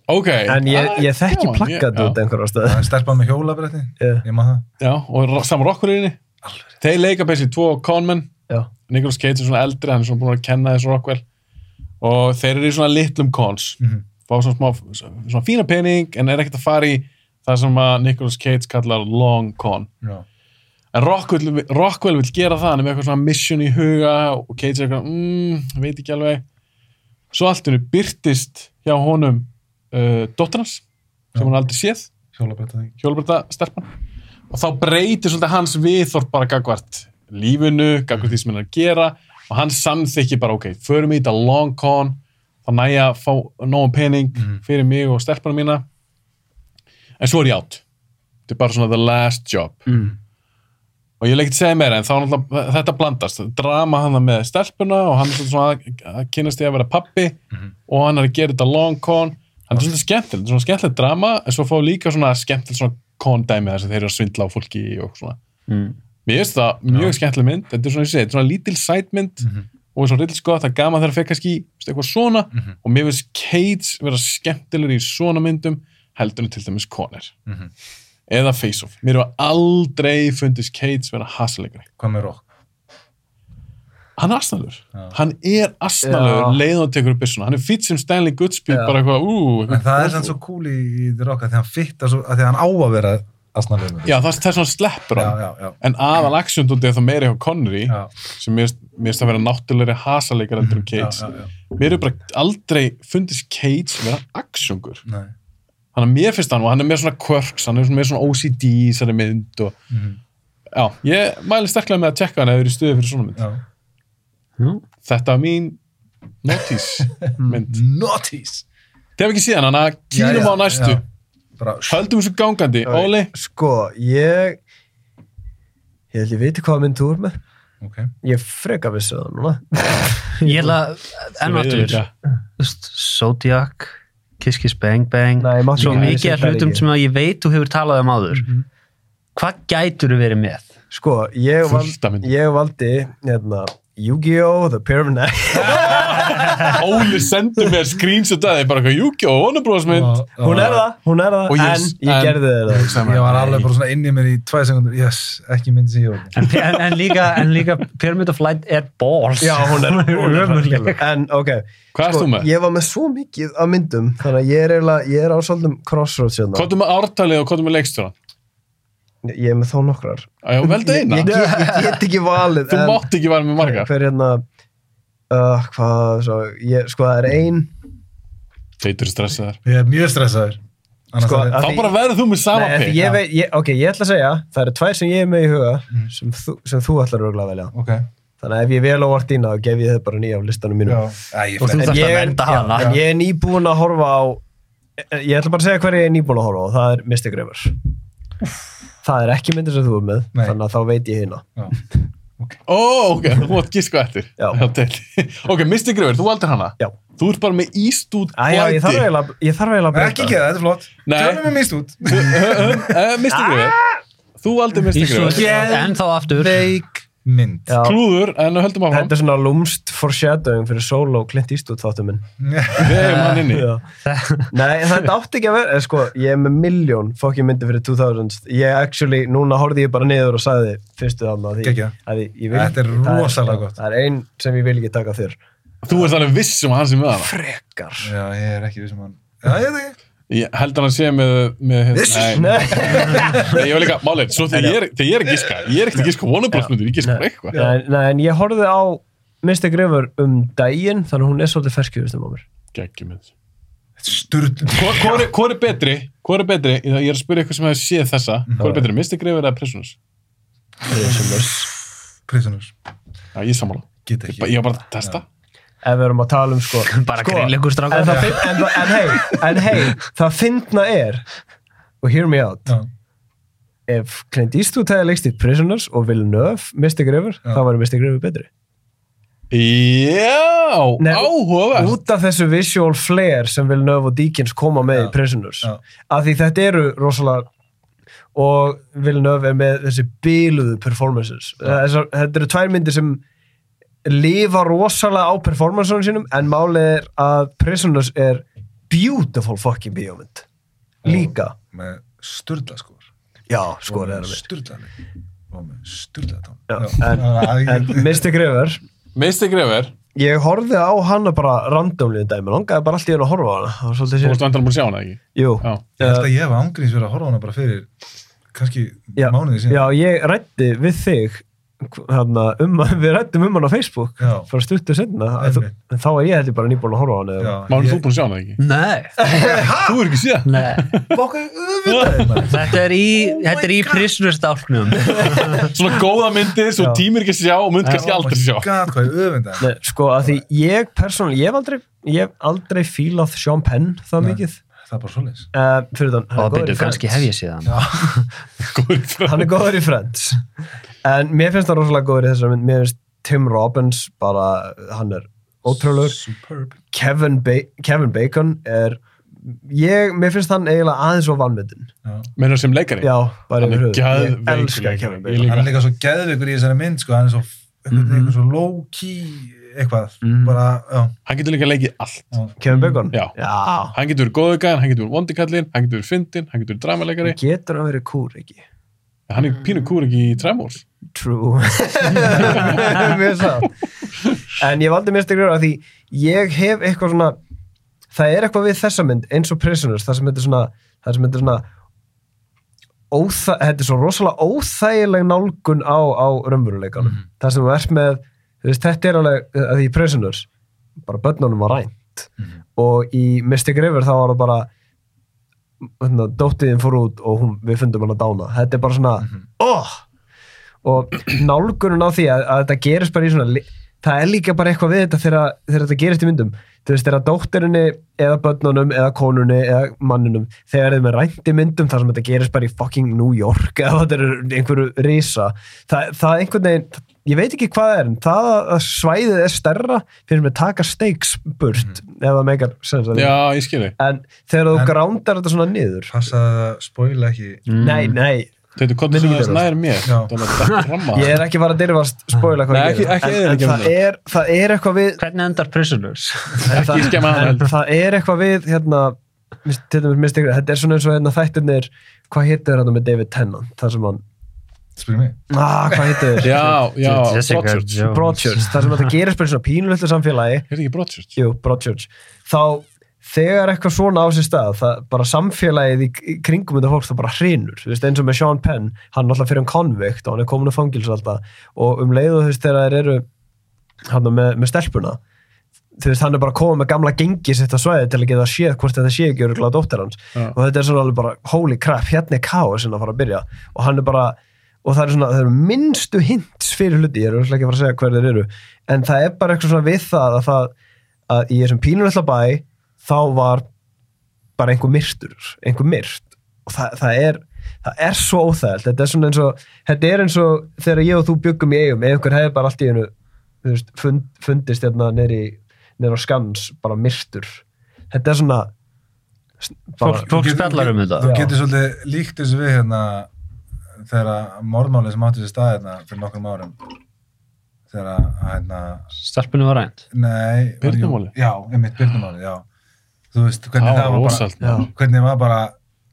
[SPEAKER 4] ok
[SPEAKER 7] En ég, ég þekki
[SPEAKER 4] Gaman, ég-
[SPEAKER 7] plakatið út
[SPEAKER 4] já.
[SPEAKER 7] einhverja
[SPEAKER 6] Það
[SPEAKER 7] stöð.
[SPEAKER 6] er stelpað með hjólabrætti,
[SPEAKER 7] Já.
[SPEAKER 6] ég maður það.
[SPEAKER 4] já, og ro- saman rockurinni þeir leika bæsið tvo conmen
[SPEAKER 7] Já.
[SPEAKER 4] Nicolas Cage er svona eldri, hann er svona búin að kenna þessu Rockwell og þeir eru í svona litlum cons
[SPEAKER 6] Mhm.
[SPEAKER 4] fá svona smá, svona fína pening en er ekkert að fara í það sem að Nicolas Cage kallar long con
[SPEAKER 6] Já.
[SPEAKER 4] en Rockwell, Rockwell vil gera það hann er með eitthvað svona mission í huga og Cage er eitthvað, mm, veit ekki alveg svo allt henni byrtist hjá honum uh, dóttarnas sem
[SPEAKER 6] Já.
[SPEAKER 4] hann aldrei séð
[SPEAKER 6] Hjólabrætti það ekki.
[SPEAKER 4] hjólbreyta stelpan og þá breytir svolítið hans viðþorp bara gagvart lífinu, gagvart því sem hann er að gera og hann samþykki bara ok, förum í þetta long con þá næ ég að fá nógum pening fyrir mig og stelpanum mína en svo er ég átt þetta er bara svona the last job
[SPEAKER 5] Mm.
[SPEAKER 4] og ég leik ekki að segja meira en þá náttúrulega þetta blandast, drama hann með stelpuna og hann er svolítið svona að- að kynast því að vera pappi og hann er að gera þetta long con hann er svolítið skemmtilegt, svona skemmtilegt drama en svo fá líka svona skemmtilegt svona con dæmi þess að þeir eru að svindla á fólki og svona
[SPEAKER 5] Mm.
[SPEAKER 4] mér finnst það mjög skemmtileg mynd þetta er svona, ég segi, þetta er svona lítil sætmynd mm -hmm. og svo rillið sko að það er gaman þegar að fekk kannski þú veist, eitthvað svona og mér finnst Cage vera skemmtilegur í svona myndum heldur en til dæmis konir
[SPEAKER 6] Mhm.
[SPEAKER 4] eða face-off, mér hefur aldrei fundist Cage vera hasleikari
[SPEAKER 6] Hvað með rock?
[SPEAKER 4] hann er asnalur
[SPEAKER 6] Já.
[SPEAKER 4] hann er asnalur
[SPEAKER 7] Já.
[SPEAKER 4] leiðan hann tekur upp byssuna hann er fýtt sem Stanley Goodspeed bara eitthvað, ú,
[SPEAKER 6] En
[SPEAKER 4] eitthvað
[SPEAKER 6] það er sann svo cool í, í The Rock að því hann fittar svo, að því hann á að vera asnalur.
[SPEAKER 4] já, það það er svona sleppur
[SPEAKER 6] já,
[SPEAKER 4] hann
[SPEAKER 6] já, já.
[SPEAKER 4] en aðal aksjóndóti er það meira hjá Connery
[SPEAKER 6] Já.
[SPEAKER 4] sem mér finnst að vera náttúrulega hasaleikar endur um Cage
[SPEAKER 6] Já, já, já.
[SPEAKER 4] mér er bara aldrei fundist Cage vera aksjóngur
[SPEAKER 6] Nei.
[SPEAKER 4] þannig að mér finnst hann og hann er með svona quirks hann er svona með svona OCD í þessari mynd og
[SPEAKER 6] Mhm.
[SPEAKER 4] já, ég mæli sterklega með að tjekka hann ef þið eru í stuði fyrir svona mynd
[SPEAKER 6] Já.
[SPEAKER 4] þetta er mín notís mynd
[SPEAKER 6] Notice!
[SPEAKER 4] þegar ekki síðan, hann að
[SPEAKER 6] Já,
[SPEAKER 4] kýrum
[SPEAKER 6] já,
[SPEAKER 4] á næstu
[SPEAKER 6] já. Bara,
[SPEAKER 4] Höldum þessu gangandi, Óli
[SPEAKER 7] Sko, ég... Ég held ég viti hvað mynd þú er með.
[SPEAKER 6] ok.
[SPEAKER 7] Ég er freka vissu það núna.
[SPEAKER 5] Ég held að, enn
[SPEAKER 4] Ég veit
[SPEAKER 5] aftur,
[SPEAKER 4] ekki.
[SPEAKER 5] þú veist, Zodiac, Kiss Kiss Bang Bang,
[SPEAKER 7] Nei, ég mátti
[SPEAKER 5] svo
[SPEAKER 7] ekki-
[SPEAKER 5] mikið
[SPEAKER 7] ég
[SPEAKER 5] af
[SPEAKER 7] sé það Mhm.
[SPEAKER 5] hlutum
[SPEAKER 7] ekki.
[SPEAKER 5] sem að ég veit þú hefur talað um áður. Hvað gætur þú verið með?
[SPEAKER 7] Sko, ég, val,
[SPEAKER 4] Fullt af myndum.
[SPEAKER 7] ég valdi hérna, Yu-Gi-Oh! The Pyramid Night.
[SPEAKER 4] Óli sendi mér screenshot að þið bara eitthvað Júki og vonubróðsmynd
[SPEAKER 6] Og- og-
[SPEAKER 7] Hún er það, hún er
[SPEAKER 4] Og
[SPEAKER 7] það,
[SPEAKER 4] ég-
[SPEAKER 7] en ég
[SPEAKER 4] en-
[SPEAKER 7] gerði þér það.
[SPEAKER 6] Ég var alveg bara svona inn í mér í tvæ sekundur, yes, ekki mynd sem ég var.
[SPEAKER 5] En, en, en líka, en líka Pyramid of Light er balls.
[SPEAKER 7] Já, hún er, hún er
[SPEAKER 5] ömurleg.
[SPEAKER 7] En, ok. Sko,
[SPEAKER 4] Hvað erst þú með?
[SPEAKER 7] Ég var með svo mikið af myndum, þannig að ég er, eiginlega- ég er á svolítum crossroads hérna.
[SPEAKER 4] Hvað er með ártalið og hvað er með leikstjóran?
[SPEAKER 7] Ég er með þó nokkrar.
[SPEAKER 4] Ég veldi
[SPEAKER 7] Ég,
[SPEAKER 4] eina
[SPEAKER 7] ég, get- ég get ekki valið.
[SPEAKER 4] Þú
[SPEAKER 7] en-
[SPEAKER 4] mátt ekki vera með marga
[SPEAKER 7] Hver hérna, uh, hvað, svo, ég, sko, það er ein.
[SPEAKER 4] Teitur stressaðar
[SPEAKER 6] Ég er mjög stressaður. Annars
[SPEAKER 7] Sko,
[SPEAKER 6] er
[SPEAKER 7] að-
[SPEAKER 6] ég,
[SPEAKER 4] Þá
[SPEAKER 7] því-
[SPEAKER 4] bara verður þú með sama
[SPEAKER 7] Nei,
[SPEAKER 4] pick
[SPEAKER 7] ég veit, ég, ok, ég ætla að segja, það eru tvær sem ég er með í huga sem, þú, sem þú ætlar örugglega að velja.
[SPEAKER 6] ok.
[SPEAKER 7] Þannig að ef ég vel á vart þína, þá gef ég þið bara nýja af listanum
[SPEAKER 6] Já.
[SPEAKER 7] mínum.
[SPEAKER 6] Æ, ég
[SPEAKER 5] Og þú
[SPEAKER 6] flett.
[SPEAKER 5] þarft
[SPEAKER 7] ég,
[SPEAKER 5] að
[SPEAKER 7] er-
[SPEAKER 5] vernda
[SPEAKER 7] já,
[SPEAKER 5] hana.
[SPEAKER 7] en ég er nýbúin að horfa á, ég ætla bara að segja hverju ég er nýbúin að horfa á, það er Mystic River. Það er ekki myndir sem þú er með,
[SPEAKER 6] Nei.
[SPEAKER 7] þannig að þá veit ég hérna.
[SPEAKER 6] Já.
[SPEAKER 4] Ó, ok, þú mátt gíska eftir
[SPEAKER 7] Já.
[SPEAKER 4] Teitur. Ok, Mystic River, þú valdir hana
[SPEAKER 7] Já.
[SPEAKER 4] Þú ert bara með ístút
[SPEAKER 7] Æ, já, ég þarf
[SPEAKER 4] blæti
[SPEAKER 7] eiginlega ég þarf eiginlega að
[SPEAKER 6] Ekki
[SPEAKER 7] breyta.
[SPEAKER 6] ekki það, þetta er flott.
[SPEAKER 4] Nei.
[SPEAKER 6] Tjónum er míst út.
[SPEAKER 4] Eh, Mystic River
[SPEAKER 7] Ah!
[SPEAKER 4] Þú valdir Mystic River
[SPEAKER 5] En þá aftur.
[SPEAKER 6] Veik mynd.
[SPEAKER 7] Já.
[SPEAKER 4] Klúður, en höldum áfram
[SPEAKER 7] Þetta er svona lúmst foreshadowing fyrir solo Clint Eastwood þáttum minn.
[SPEAKER 4] Við hefum hann inni
[SPEAKER 7] Já. Nei, þetta átti ekki að vera eh, sko, ég er með miljón fokkin myndi fyrir 2000 ég actually, núna horfði ég bara niður og sagði fyrstu þarna því,
[SPEAKER 6] Geggjað.
[SPEAKER 7] að því, ég vil,
[SPEAKER 6] Þetta er
[SPEAKER 7] það
[SPEAKER 6] rosalega gott.
[SPEAKER 7] það er ein sem ég vil ekki taka þér
[SPEAKER 4] Þú ert alveg viss um að hann sem með hana
[SPEAKER 7] frekar
[SPEAKER 6] Já, ég er ekki við sem hann. Já, ég veit ekki.
[SPEAKER 4] Ég held hann að sé með, með
[SPEAKER 6] Viss?
[SPEAKER 7] Nei.
[SPEAKER 4] Nei, ég var líka, málið, svo þegar ég er, þegar ég er að giska, ég er ekkert að giska vonubrotsmyndur, ég giska bara eitthvað.
[SPEAKER 7] nei, nei, en ég horfði á Mr. Grefur um daginn þannig að hún er svolítið ferskjöfustum á mér
[SPEAKER 4] Geggjum við.
[SPEAKER 6] Sturd.
[SPEAKER 4] Hvor hvor er betri, hvor er betri, ég ég er að spyrja eitthvað sem hefur séð þessa,
[SPEAKER 7] Mhm.
[SPEAKER 4] hvor er betri, Mr. Grefur eða Prisoners?
[SPEAKER 6] Prisoners.
[SPEAKER 4] Já, ég er sammála.
[SPEAKER 6] Get
[SPEAKER 4] Ég
[SPEAKER 6] ekki.
[SPEAKER 4] ba- ég var bara að testa.
[SPEAKER 7] ef við erum að tala um sko
[SPEAKER 5] Bara
[SPEAKER 7] sko, en,
[SPEAKER 5] greinleikur strákar.
[SPEAKER 7] það, finn- en, það- en hei, en hei það fyndna er og hear me out
[SPEAKER 6] Já.
[SPEAKER 7] ef Clint Eastwood hefði leikst í Prisoners og Villeneuve, Mr. Grefur
[SPEAKER 6] Já.
[SPEAKER 7] þá var Mr. Grefur betri
[SPEAKER 4] Já,
[SPEAKER 7] Nei,
[SPEAKER 4] áhugavert.
[SPEAKER 7] út af þessu visual flair sem Villeneuve og Deakins koma með
[SPEAKER 6] Já.
[SPEAKER 7] í Prisoners
[SPEAKER 6] Já.
[SPEAKER 7] af því þetta eru rosalega og Villeneuve er með þessi bíluðu performances Eh, Þessar, þetta eru tvær myndir sem lifa rosalega á performansunum sínum en málið er að Prisoners er beautiful fucking bíómynd líka,
[SPEAKER 6] Með sturla skor.
[SPEAKER 7] já sko er það
[SPEAKER 6] Sturla leik. Og með sturla tón.
[SPEAKER 7] Já, en- en Mr. Grefur
[SPEAKER 4] Mr. Grefur,
[SPEAKER 7] ég horfið á hana bara randomlið um daginn, mér langaði bara allt í hennu að horfa á hana það var svolítið
[SPEAKER 4] þú
[SPEAKER 7] sér
[SPEAKER 4] ert vantan að búin að sjá hana, ekki?
[SPEAKER 7] Jú,
[SPEAKER 4] Já.
[SPEAKER 6] Ég held að ég hef ángríns verið að horfa á hana bara fyrir kannski
[SPEAKER 7] já,
[SPEAKER 6] mánuði síðan.
[SPEAKER 7] já, ég rætti við þig hana, um, að- við rættum um hana á Facebook
[SPEAKER 6] Já.
[SPEAKER 7] fyrir stuttu sinna
[SPEAKER 6] Einmitt.
[SPEAKER 7] en þá var ég heldur bara nýbúin að horfa á hana
[SPEAKER 6] Já,
[SPEAKER 4] Mánu,
[SPEAKER 6] ég-
[SPEAKER 4] þú er búin að sjá hana, ekki?
[SPEAKER 5] Nei,
[SPEAKER 7] Ah.
[SPEAKER 4] Þú er ekki séð.
[SPEAKER 5] nei. Þetta er í,
[SPEAKER 7] Oh
[SPEAKER 5] þetta er í prisoners-dálknum.
[SPEAKER 4] Svona góða myndi, svo tímir ekki að sjá og mynd kannski
[SPEAKER 6] Oh
[SPEAKER 4] aldrei
[SPEAKER 6] my
[SPEAKER 4] sjá.
[SPEAKER 6] God, hvað ég öfund það.
[SPEAKER 7] Nei, sko að því ég persónulega ég hef aldrei, ég hef aldrei fílað Sean Penn það
[SPEAKER 6] Nei.
[SPEAKER 7] mikið
[SPEAKER 6] Það er bara svoleiðis.
[SPEAKER 7] uh, fyrir þann, hann
[SPEAKER 5] Og
[SPEAKER 7] er góður
[SPEAKER 5] byrju,
[SPEAKER 7] í
[SPEAKER 5] kannski
[SPEAKER 7] Friends.
[SPEAKER 5] hef ég síðan.
[SPEAKER 4] Góður frá-
[SPEAKER 7] hann er góður í Friends en mér finnst hann rosalega góður í þessari mynd mér finnst Tim Robbins bara, hann er ótrúlegur
[SPEAKER 6] Superb.
[SPEAKER 7] Kevin, ba Kevin Bacon er ég, mér finnst hann eiginlega aðeins og vannmyndin
[SPEAKER 6] Já.
[SPEAKER 4] Meinar sem leikari?
[SPEAKER 7] já, bara
[SPEAKER 4] Hann
[SPEAKER 7] yfir
[SPEAKER 4] er
[SPEAKER 7] höfuð, ég
[SPEAKER 4] geðveikur
[SPEAKER 7] elska
[SPEAKER 4] leikari.
[SPEAKER 7] Kevin Bacon
[SPEAKER 4] Ég líka.
[SPEAKER 6] Hann er líka svo geðveikur í þessari mynd, sko. Hann er svo, mm svo low-key eitthvað. Bara, já.
[SPEAKER 4] Hann getur líka leikið allt.
[SPEAKER 7] Kevin Bacon?
[SPEAKER 4] Já.
[SPEAKER 7] já.
[SPEAKER 4] Hann getur verið góðu gæðin, hann getur verið vondikallin, hann getur verið fyndin, hann getur verið dramaleikari.
[SPEAKER 7] getur hann verið kúr ekki
[SPEAKER 4] Hann er pínu kúr ekki í Tremors.
[SPEAKER 7] true mér sá en ég valdi mér stegur að því ég hef eitthvað svona það er eitthvað við þessa mynd eins og Prisoners það sem þetta er svona það sem þetta er svona óþæ, þetta er svo rosalega óþægileg nálgun á, á raunveruleikanum
[SPEAKER 4] Mhm.
[SPEAKER 7] það sem þú ert með þú veist, þetta er alveg að því í Prisoners bara börnunum var rænt
[SPEAKER 4] Mhm.
[SPEAKER 7] og í Mystic River þá var það bara hérna, dóttiðin fór út og hún, við fundum hann að dána þetta er oh! bara svona, mm og nálgunin á því að, að þetta gerist bara í svona li- það er líka bara eitthvað við þetta þegar, þegar þetta gerist í myndum þú veist, þegar dóttirinni eða börnunum eða konunni eða mannunum þegar þeim er rænt í myndum þar sem þetta gerist bara í fucking New York eða þetta er einhverju risa það, það einhvern veginn, ég veit ekki hvað það er en það að svæðið er stærra fyrir með taka steiks burt ef það meikar sens að
[SPEAKER 4] Já, ég skil þig.
[SPEAKER 7] en þegar þú
[SPEAKER 6] En-
[SPEAKER 7] grándar þetta svona niður
[SPEAKER 6] Passaði að spoila ekki
[SPEAKER 7] nei, nei,
[SPEAKER 4] Þetta er komið sem
[SPEAKER 7] Minningar eru.
[SPEAKER 4] þess nær mér.
[SPEAKER 6] Já.
[SPEAKER 4] Það var þetta ramma.
[SPEAKER 7] ég er ekki bara að dyrfast spóila hvað
[SPEAKER 4] Nei,
[SPEAKER 7] ég
[SPEAKER 4] ekki-
[SPEAKER 7] geri.
[SPEAKER 4] ekki
[SPEAKER 7] en, en
[SPEAKER 4] eyðileggja
[SPEAKER 7] það,
[SPEAKER 4] myndina.
[SPEAKER 7] er, það er eitthvað við
[SPEAKER 5] Hvernig endar Prisoners?
[SPEAKER 7] En það-
[SPEAKER 4] Ekki skemma hann
[SPEAKER 7] en
[SPEAKER 4] heldur.
[SPEAKER 7] það er eitthvað við hérna, mis- til dæmis Mr. Grey, þetta er svona eins og hérna þættirnir hvað hittir þetta með David Tennant þar sem hann,
[SPEAKER 6] Spyrir mig
[SPEAKER 7] ah, hvað hittir
[SPEAKER 4] Já, já,
[SPEAKER 5] Jessica
[SPEAKER 4] Broadchurch.
[SPEAKER 5] Jones.
[SPEAKER 7] Broadchurch, þar sem þetta gerist bara í svona pínulöldu samfélagi
[SPEAKER 4] Er þetta ekki Broadchurch?
[SPEAKER 7] jú, Broadchurch, þá þegar eitthvað svona á sér stað það, bara samfélagið í í kringum þetta fólk það bara hrinur, þú veist, eins og með Sean Penn hann er alltaf fyrir um convict og hann er komin að fangils alltaf og um leiðu þú veist þegar þær eru hann með, með stelpuna þú veist, hann er bara komið með gamla gengi sitt á svæði til að geta séð hvort þetta sé ekki öruglega dóttir hans
[SPEAKER 4] Já.
[SPEAKER 7] og þetta er svona alveg bara holy crap, hérna er káa sinna að fara að byrja og hann er bara, og það eru svona það eru minnstu hints fyrir hluti, ég er örugglega ekki að fara að segja hver þeir eru, en það er bara eitthvað svona við það að, það, að í þessum pínulölla bæ þá var bara einhver myrtur, einhver myrt og það, það er það er svo óþægild, þetta er svona eins og þetta er eins og þegar ég og þú byggum í eigum ef einhver hefði bara allt í hennu veist, fund, fundist hérna neri neri á skans, bara myrtur þetta er svona bara,
[SPEAKER 5] Fólk- fólk spjallar um þetta.
[SPEAKER 6] Þú
[SPEAKER 7] Já.
[SPEAKER 6] getur svolítið líkt þessu við hérna þegar að morðmálið sem átti sér stað hérna fyrir nokkrum árum þegar að hérna
[SPEAKER 5] Stelpunni var rænt.
[SPEAKER 6] nei var-
[SPEAKER 4] Birnumálið?
[SPEAKER 6] Já, einmitt byrnumálið, já Þú veist
[SPEAKER 4] Það
[SPEAKER 6] hvernig það
[SPEAKER 4] var
[SPEAKER 6] var
[SPEAKER 4] rosalt.
[SPEAKER 6] bara
[SPEAKER 7] já,
[SPEAKER 6] hvernig var bara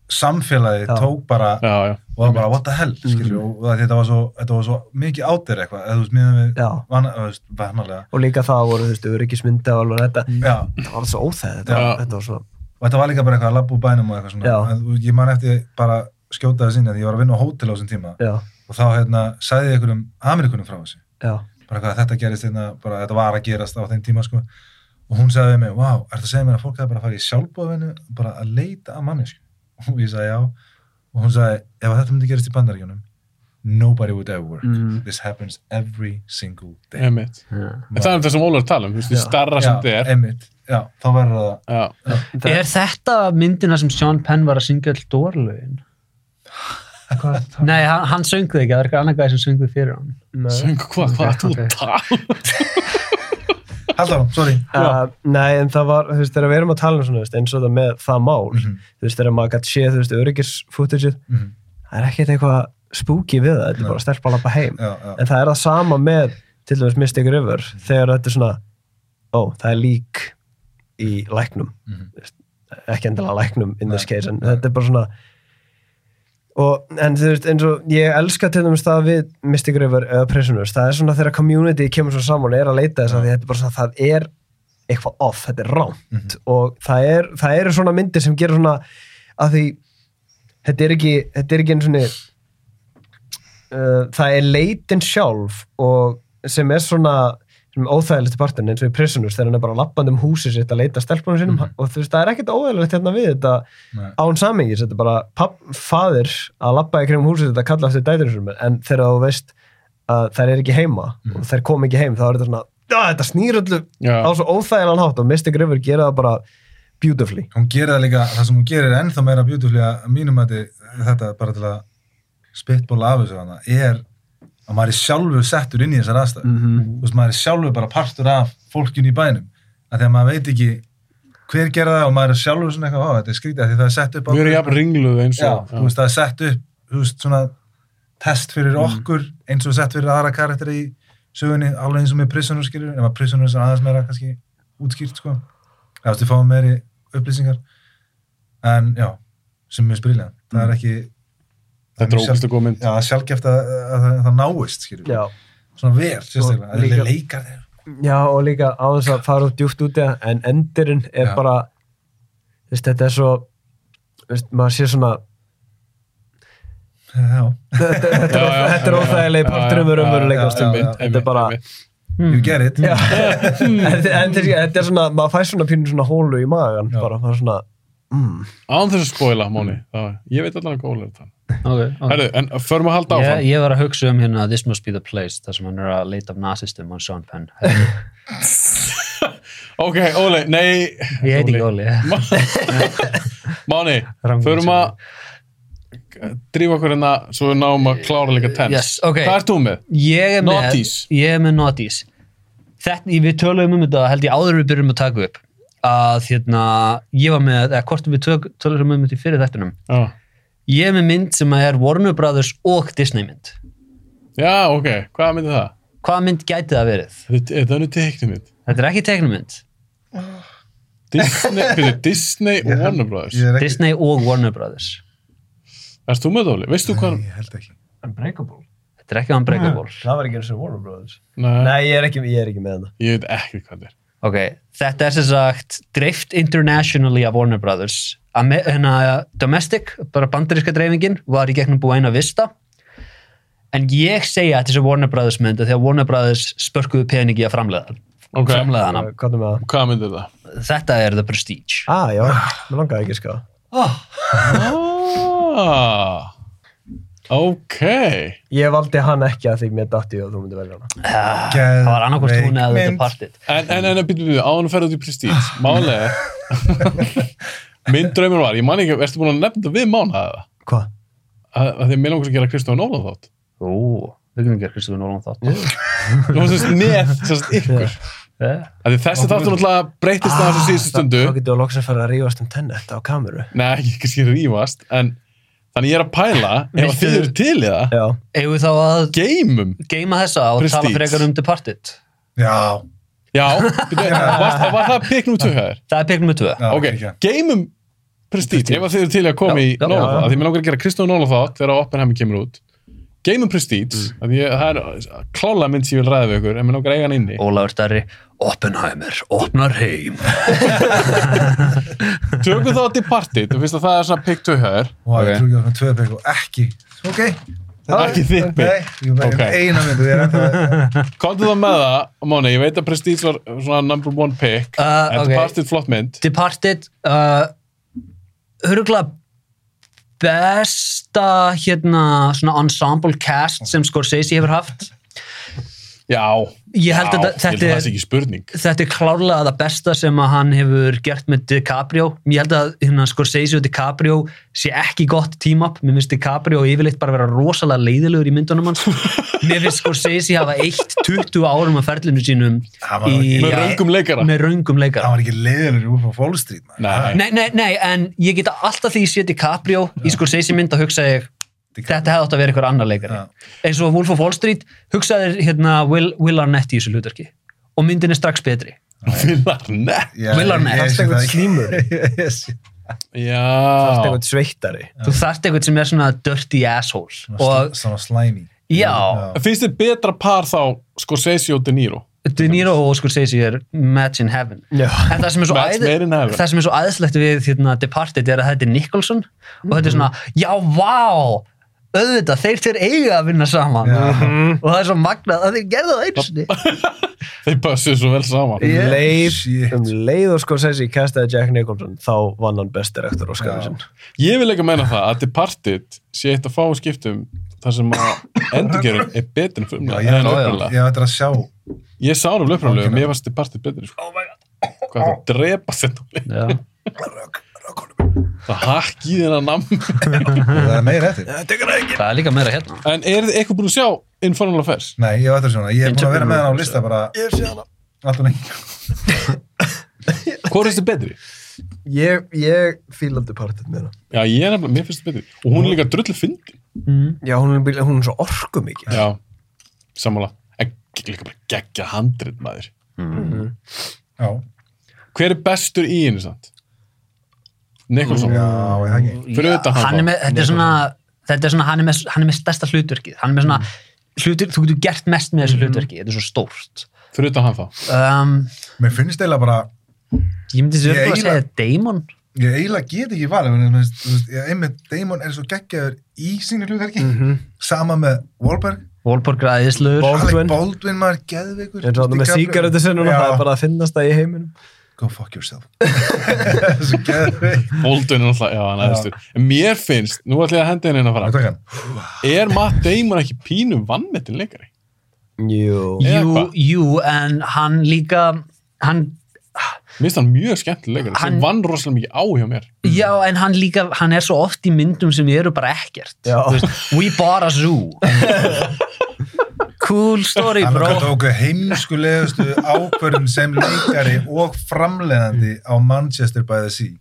[SPEAKER 6] samfélagið
[SPEAKER 7] Já.
[SPEAKER 6] tók bara
[SPEAKER 4] Já, já.
[SPEAKER 6] og það bara what the hell skilur, mm. og það- þetta var, svo, þetta var svo mikið átir eitthvað eða þú veist miðan við
[SPEAKER 7] já,
[SPEAKER 6] vana- þú veist, vanalega
[SPEAKER 7] og líka það voru þú veist, öryggismynda og alveg þetta,
[SPEAKER 6] já,
[SPEAKER 7] það var svo óþægild þetta,
[SPEAKER 4] Já.
[SPEAKER 7] var- þetta var svo,
[SPEAKER 6] og þetta var líka bara eitthvað að labba úr bænum og eitthvað svona
[SPEAKER 7] Já.
[SPEAKER 6] En þú- ég man eftir bara skjóta þess inn að ég var að vinna á hótel á þessum tíma
[SPEAKER 7] já,
[SPEAKER 6] og þá hérna sagði ég einhverjum Amerikunum frá þessu
[SPEAKER 7] já
[SPEAKER 6] bara hvað þetta gerist hérna, bara þetta var að gerast á þeim tíma sko og hún sagði við mig, wow, ertu að segja mér að fólk hefði bara að fara í sjálfbóðvinu bara að leita að mannesku og ég sagði já og hún sagði, ef að þetta myndi gerast í bandaríkjunum nobody would ever work
[SPEAKER 7] Mm.
[SPEAKER 6] this happens every single day
[SPEAKER 4] Einmitt. En það er um það sem Ólar tala um, þú veist, því
[SPEAKER 7] Já.
[SPEAKER 4] starra
[SPEAKER 6] já,
[SPEAKER 4] sem þið er.
[SPEAKER 6] einmitt, já, þá verður það
[SPEAKER 4] Já.
[SPEAKER 5] Er þetta myndina sem Sean Penn var að syngja all dórlögin? Nei, hann, hann söngði ekki, það er eitthvað annar gæði sem söngði fyrir hann.
[SPEAKER 7] nei,
[SPEAKER 4] Söngu hvað, hvað ert þú að
[SPEAKER 5] Ok.
[SPEAKER 4] tala? um?
[SPEAKER 6] Halló, sorry
[SPEAKER 7] uh, nei, en það var, þú veist, þegar við erum að tala um svona, þú veist, eins og það með það mál þú veist, þegar maður gætt séð, þú veist, öryggisfootageið
[SPEAKER 6] Mhm.
[SPEAKER 7] það er ekkert eitthvað spooky við það, þetta er bara stelpa að lappa heim
[SPEAKER 6] já, já,
[SPEAKER 7] en það er það sama með til dæmis Mystic River þegar þetta er svona ó, það er lík í læknum
[SPEAKER 6] Mhm.
[SPEAKER 7] Þú veist, ekki endilega læknum in this
[SPEAKER 6] Nei,
[SPEAKER 7] case, en þetta er bara svona og, en þú veist, eins og ég elska til dæmis það við Mystic River eða Prisoners, það er svona þegar community kemur svo saman og er að leita þess að því þetta er bara svona, það er eitthvað off, þetta er rámt
[SPEAKER 6] mhm,
[SPEAKER 7] og það, er, það eru svona myndir sem gerir svona að því þetta er ekki, þetta er ekki einu svona uh, það er leitin sjálf og sem er svona sem er óþægilegt í partin eins og í Prisoners þegar hann er bara lappandi um húsið sitt að leita stelpunum sínum og þú veist það er ekkert óþægilegt hérna við þetta
[SPEAKER 6] Nei.
[SPEAKER 7] án samengis, þetta er bara papp, faðir að lappa í kringum húsið þetta að kalla eftir dætur sinum en þegar þú veist að þær er ekki heima og þær kom ekki heim þá er þetta svona, "Ah, þetta snýr öllu
[SPEAKER 4] Já.
[SPEAKER 7] á svo óþægilegan hátt og Mystic River gera það bara beautifully
[SPEAKER 6] hún gerir það líka, það sem hún gerir er ennþá meira beautifully að mínum að þetta bara til að spitbóla af þessu hana er að maður er sjálfur settur inn í þessar aðstæður
[SPEAKER 7] -hmm.
[SPEAKER 6] þú veist maður er sjálfur bara partur af fólkinu í bænum að því að maður veit ekki hver gerða það og maður er sjálfur svona eitthvað, ó þetta er skrítið af því það er sett upp á
[SPEAKER 4] Við erum
[SPEAKER 6] okkur."
[SPEAKER 4] jafn ringluð eins
[SPEAKER 6] já,
[SPEAKER 4] og...
[SPEAKER 6] þú veist það er sett upp þú veist svona test fyrir okkur eins og sett fyrir aðra karakter í sögunni alveg eins og með prisoners skilur nema prisoners er aðeins meira kannski útskýrt sko eða þú veist við fáum meiri upplýsingar en já, sem er mjög spriljan það er ekki
[SPEAKER 4] Þetta er ógæst að góð mynd.
[SPEAKER 6] Já, sjálfgeft að, að, að það náist, skilur
[SPEAKER 7] Já.
[SPEAKER 6] Svona vel, sérstaklega, að
[SPEAKER 7] líka-
[SPEAKER 6] þeir leikar þeir
[SPEAKER 7] Já og líka á þess að fara út djúft út í það, en endurinn er
[SPEAKER 6] Já.
[SPEAKER 7] bara þú veist, þetta er svo þú veist, maður sé svona
[SPEAKER 6] Já,
[SPEAKER 7] þetta, þetta,
[SPEAKER 4] Já,
[SPEAKER 7] já,
[SPEAKER 4] já,
[SPEAKER 7] þetta er
[SPEAKER 4] já, já,
[SPEAKER 7] óþægilegi partur um
[SPEAKER 4] já, já,
[SPEAKER 7] raunveruleika
[SPEAKER 6] já,
[SPEAKER 7] á stundum.
[SPEAKER 6] já, já,
[SPEAKER 7] þetta er bara
[SPEAKER 6] you get it
[SPEAKER 7] Já. en, en, þetta er- þetta er svona, maður fær svona pínu svona hólu í magan
[SPEAKER 6] Já.
[SPEAKER 7] bara, maður svona,
[SPEAKER 4] Án þess að spoila, Móni. Mm. Ég veit allavega hvað Óli er að tala.
[SPEAKER 5] okay, okay.
[SPEAKER 4] Herru, en förum að halda
[SPEAKER 5] Ég,
[SPEAKER 4] áfram.
[SPEAKER 5] ég var að hugsa um hérna This Must Be The Place, þar sem hann er að leita af nazistum og Sean Penn.
[SPEAKER 4] Ok, Óli, nei.
[SPEAKER 5] Ég heiti ekki Óli.
[SPEAKER 4] Máni,
[SPEAKER 5] Rangum
[SPEAKER 4] förum að drífa okkur hérna svo við náum að klára líka tens.
[SPEAKER 5] Yes, ok.
[SPEAKER 4] Hvað ert þú með?
[SPEAKER 5] Ég er með,
[SPEAKER 4] Naughties.
[SPEAKER 5] ég er með Naughties. Þetta, við töluðum um þetta, held ég áður en við byrjum að taka upp, að hérna, ég var með, eða hvort við tök- töluðum um þetta í fyrir þættunum,
[SPEAKER 4] Já,
[SPEAKER 5] ég er með mynd sem er Warner Brothers og Disney mynd.
[SPEAKER 4] Já ok, hvað myndi það?
[SPEAKER 5] Hvaða mynd gæti það verið?
[SPEAKER 4] Þetta er þannig teiknum mitt.
[SPEAKER 5] Þetta er ekki teknumynd.
[SPEAKER 4] Disney, byrju, Disney og Warner Brothers.
[SPEAKER 6] Ég er ekki,
[SPEAKER 5] Disney og Warner Brothers.
[SPEAKER 4] Erst þú með það, Óli? Veistu hvað?
[SPEAKER 6] ég held ekki.
[SPEAKER 7] Unbreakable
[SPEAKER 5] Þetta er ekki
[SPEAKER 6] Ah.
[SPEAKER 5] Unbreakable.
[SPEAKER 7] Það var ekki eins og Warner Brothers
[SPEAKER 4] Nei,
[SPEAKER 7] Nei, ég er ekki, ég er ekki með hana
[SPEAKER 4] ég veit ekki hvað það er.
[SPEAKER 5] Ok, þetta er sem sagt dreift internationally af Warner Brothers. Ame hérna, domestic, bara bandaríska dreifingin, var í gegnum Buena Vista. En ég segja að þetta er Warner Brothers mynd af því að Warner Brothers spörkuðu peningi að framlega,
[SPEAKER 4] Ok,
[SPEAKER 5] framlega hana.
[SPEAKER 7] Hvað er með það?
[SPEAKER 4] hvað myndi það?
[SPEAKER 5] Þetta er The Prestige.
[SPEAKER 7] Ah, já, mér langaði ekki sko. að ská
[SPEAKER 4] Ah, ok.
[SPEAKER 7] Ég valdi hann ekki að því mér datti og þú myndi velja hana
[SPEAKER 5] Það var annarkvort hún eða The
[SPEAKER 6] Geðveik
[SPEAKER 5] Departed.
[SPEAKER 4] En, en, en, býttu, býttu, áðan að ferða út í Prestige. Málið er, minn draumur var, ég man ekki, ertu búin að nefna þetta við mána það?
[SPEAKER 7] Hvað?
[SPEAKER 4] Að að því að mér langar svo að gera Kristofan Óla þátt.
[SPEAKER 5] Ú, við kunum ekki að Kristofur Nólan þátt.
[SPEAKER 4] Þú varst þess með sérst ykkur.
[SPEAKER 5] Yeah.
[SPEAKER 4] Af því þessi þáttur náttúrulega breytist það
[SPEAKER 7] Ah,
[SPEAKER 4] þessu síðustu stundu.
[SPEAKER 7] Þá getur við loks að fara að rífast um tennet á kameru
[SPEAKER 4] Nei, ekki kannski rífast, en þannig ég er að pæla, ef
[SPEAKER 5] Viltu-
[SPEAKER 4] þið eru til í það,
[SPEAKER 7] Já,
[SPEAKER 5] Eigum við þá að
[SPEAKER 4] geymum.
[SPEAKER 5] geima þessa og tala
[SPEAKER 4] Prestige.
[SPEAKER 5] frekar um Departed?
[SPEAKER 6] Já,
[SPEAKER 4] Já, býttu, varst, var það pikk nú tökhaður?
[SPEAKER 5] Það er peknum með tvö.
[SPEAKER 6] já,
[SPEAKER 4] Ok,
[SPEAKER 6] ekki.
[SPEAKER 4] geymum Prestige, ef að þið eru til í að koma
[SPEAKER 5] Já,
[SPEAKER 4] í
[SPEAKER 5] já,
[SPEAKER 4] Nóla
[SPEAKER 5] já,
[SPEAKER 4] þátt,
[SPEAKER 5] já.
[SPEAKER 4] af því mér langar að gera Kristofan Óla þátt þegar Oppenheimer kemur út. Geymum Prestige,
[SPEAKER 6] Mm.
[SPEAKER 4] af því ég- það er klála mynd sem ég vil ræða við ykkur, en mér langar að eiga hann inni.
[SPEAKER 5] Ólafur Darri, Oppenheimer, opnar heim.
[SPEAKER 4] Tökum þá Departed, þú finnst að það er svona pikk tökhaður.
[SPEAKER 6] Vá, ég trúi ekki að það er tvö bygg og ekki. Ok.
[SPEAKER 4] Ekki þitt bygg.
[SPEAKER 6] Nei, ég er
[SPEAKER 4] Ok.
[SPEAKER 6] með eina myndu, ég er enda
[SPEAKER 4] Komdu þá með það, Móni, ég veit að Prestige var svona number one pick
[SPEAKER 5] Uh,
[SPEAKER 4] en
[SPEAKER 5] ok.
[SPEAKER 4] okay. Departed flott mynd
[SPEAKER 5] Departed uh, höruglega besta hérna svona ensemble cast sem Scorsese hefur haft
[SPEAKER 4] Já,
[SPEAKER 5] Ég held
[SPEAKER 4] já, ég
[SPEAKER 5] að þetta-
[SPEAKER 4] held
[SPEAKER 5] þetta
[SPEAKER 4] að
[SPEAKER 5] er-
[SPEAKER 4] það sé ekki spurning
[SPEAKER 5] þetta er klárlega það besta sem að hann hefur gert með DiCaprio ég held að hérna, Scorsese og DiCaprio sé ekki gott team-up, mér finnst DiCaprio yfirleitt bara vera rosalega leiðilegur í myndunum hans mér finnst Scorsese hafa eitt 20 árum af ferlinu sínum
[SPEAKER 6] Hann var ekki-
[SPEAKER 4] Með raungum leikara
[SPEAKER 5] með röngum leikara
[SPEAKER 6] Það var ekki leiðilegur í Wolf of Wall Street, maður.
[SPEAKER 4] Nei,
[SPEAKER 5] Nei, nei, nei, en ég geta alltaf því ég sé DiCaprio í Scorsese mynd að hugsa ég þetta hefði átt að vera einhver annar leikari
[SPEAKER 6] Já.
[SPEAKER 5] eins og Wolf of Wall Street hugsaðir hérna Will, Will Arnett í þessu hlutarki og myndin er strax betri
[SPEAKER 4] Villar, nei
[SPEAKER 6] Ég-
[SPEAKER 5] Will
[SPEAKER 6] ég
[SPEAKER 5] Arnett.
[SPEAKER 7] það
[SPEAKER 6] sé
[SPEAKER 7] er
[SPEAKER 6] það
[SPEAKER 7] eitthvað
[SPEAKER 6] ekki.
[SPEAKER 7] slímur Það
[SPEAKER 6] Yes.
[SPEAKER 7] er
[SPEAKER 4] Já,
[SPEAKER 7] eitthvað sveittari
[SPEAKER 5] þú þarft eitthvað sem er svona dirty asshole og
[SPEAKER 6] Svona slæmi.
[SPEAKER 5] já,
[SPEAKER 4] finnst þið betra par þá Scorsese og De Niro
[SPEAKER 5] De Niro og Scorsese er match in heaven
[SPEAKER 7] Já.
[SPEAKER 5] en það sem er svo,
[SPEAKER 4] Match made in heaven.
[SPEAKER 5] það sem er svo æðslegt við hérna, Departed er að þetta er Nicholson og þetta er svona, já, vá auðvitað, þeir tveir eiga að vinna saman
[SPEAKER 6] Mhm.
[SPEAKER 5] og það er svo magnað að þeir gerðu það einu sinni
[SPEAKER 4] Þeir passuðu svo vel saman
[SPEAKER 7] Um
[SPEAKER 6] Yeah.
[SPEAKER 7] leið,
[SPEAKER 6] Shit.
[SPEAKER 7] um leið og sko sessi kastaði Jack Nicholson þá vann hann bestir eftir Óskarinn sinn
[SPEAKER 4] Ég vil ekki meina það að Departed sé eitt að fá skiptum þar sem að endurgerun er betri en
[SPEAKER 6] Já,
[SPEAKER 4] frumlega
[SPEAKER 6] ég
[SPEAKER 4] en
[SPEAKER 5] já, já.
[SPEAKER 4] upprunlega.
[SPEAKER 6] Ég ætla að sjá.
[SPEAKER 4] Ég sá hann um löframlega og mér varst Departed betri sko. Hvað það drepa þetta á leik? Það hakk í þennan namn
[SPEAKER 6] Það er meira eftir.
[SPEAKER 5] það er líka meira hérna
[SPEAKER 4] En er þið eitthvað búin að sjá Infernal Affairs?
[SPEAKER 6] Nei, ég ætla að sjá hana. Ég er búin að vera með hana á lista bara
[SPEAKER 7] Ég sé hana
[SPEAKER 6] alltaf lengi.
[SPEAKER 4] Hvor er þetta betri?
[SPEAKER 7] Ég, ég fílaldi partið með hana
[SPEAKER 4] Já, ég er nefnilega, mér finnst þetta betri Og hún er líka drullu fyndi
[SPEAKER 7] Já, hún er, bíl- hún er svo orku mikið
[SPEAKER 4] Já, sammála En líka bara geggja handrit maður
[SPEAKER 6] Já,
[SPEAKER 4] Hver er bestur í henni samt? Nicholson
[SPEAKER 6] já, ég hekki.
[SPEAKER 4] Fyrir utan hann
[SPEAKER 5] hann
[SPEAKER 4] þá.
[SPEAKER 5] er með, þetta er svona, þetta er svona hann, er með, hann er með stærsta hlutverkið hann er með svona, hlutur, þú getur gert mest með þessu hlutverki þetta er svo stórt
[SPEAKER 4] Fyrir utan hann þá
[SPEAKER 5] um,
[SPEAKER 6] Mér finnst eiginlega bara,
[SPEAKER 5] ég myndi
[SPEAKER 6] Ég
[SPEAKER 5] sér að
[SPEAKER 6] eiginlega-
[SPEAKER 5] segja Damon
[SPEAKER 6] ég eiginlega get ekki valið, en þú veist, þú veist, ég- einmitt Damon er svo geggjaður í sínu hlutverki, sama með Wahlberg,
[SPEAKER 5] Volborg ræðisluður
[SPEAKER 7] Baldwin.
[SPEAKER 6] Alec Baldwin maður geðveikur.
[SPEAKER 7] En svo hann með
[SPEAKER 6] DiCaprio-
[SPEAKER 7] sígarettu sinnuna
[SPEAKER 6] Já.
[SPEAKER 7] það er bara að finnast það í heiminum
[SPEAKER 6] go fuck yourself svo geðveikt.
[SPEAKER 4] Bolton er náttúrulega, já, hann aðeinstur Mér finnst, nú ætlum ég að henda henni inn
[SPEAKER 6] Má
[SPEAKER 4] að
[SPEAKER 6] ég
[SPEAKER 4] fara
[SPEAKER 6] taka hann?
[SPEAKER 4] Er Matt Damon ekki pínu vannmettin leikari?
[SPEAKER 7] Jú.
[SPEAKER 4] Eða
[SPEAKER 5] Jú,
[SPEAKER 4] hvað?
[SPEAKER 5] jú, en hann líka hann,
[SPEAKER 4] Mér finnst hann mjög skemmtileg leikari sem
[SPEAKER 5] Hann-
[SPEAKER 4] vann rosalega mikið á hjá mér
[SPEAKER 5] já, en hann líka hann er svo oft í myndum sem eru bara ekkert
[SPEAKER 7] Já.
[SPEAKER 5] Þú veist, We bought a zoo Cool story,
[SPEAKER 6] hann
[SPEAKER 5] bro
[SPEAKER 6] okkar tók heimskulegustu ákvörðum sem leikari og framleiðandi á Manchester by the Sea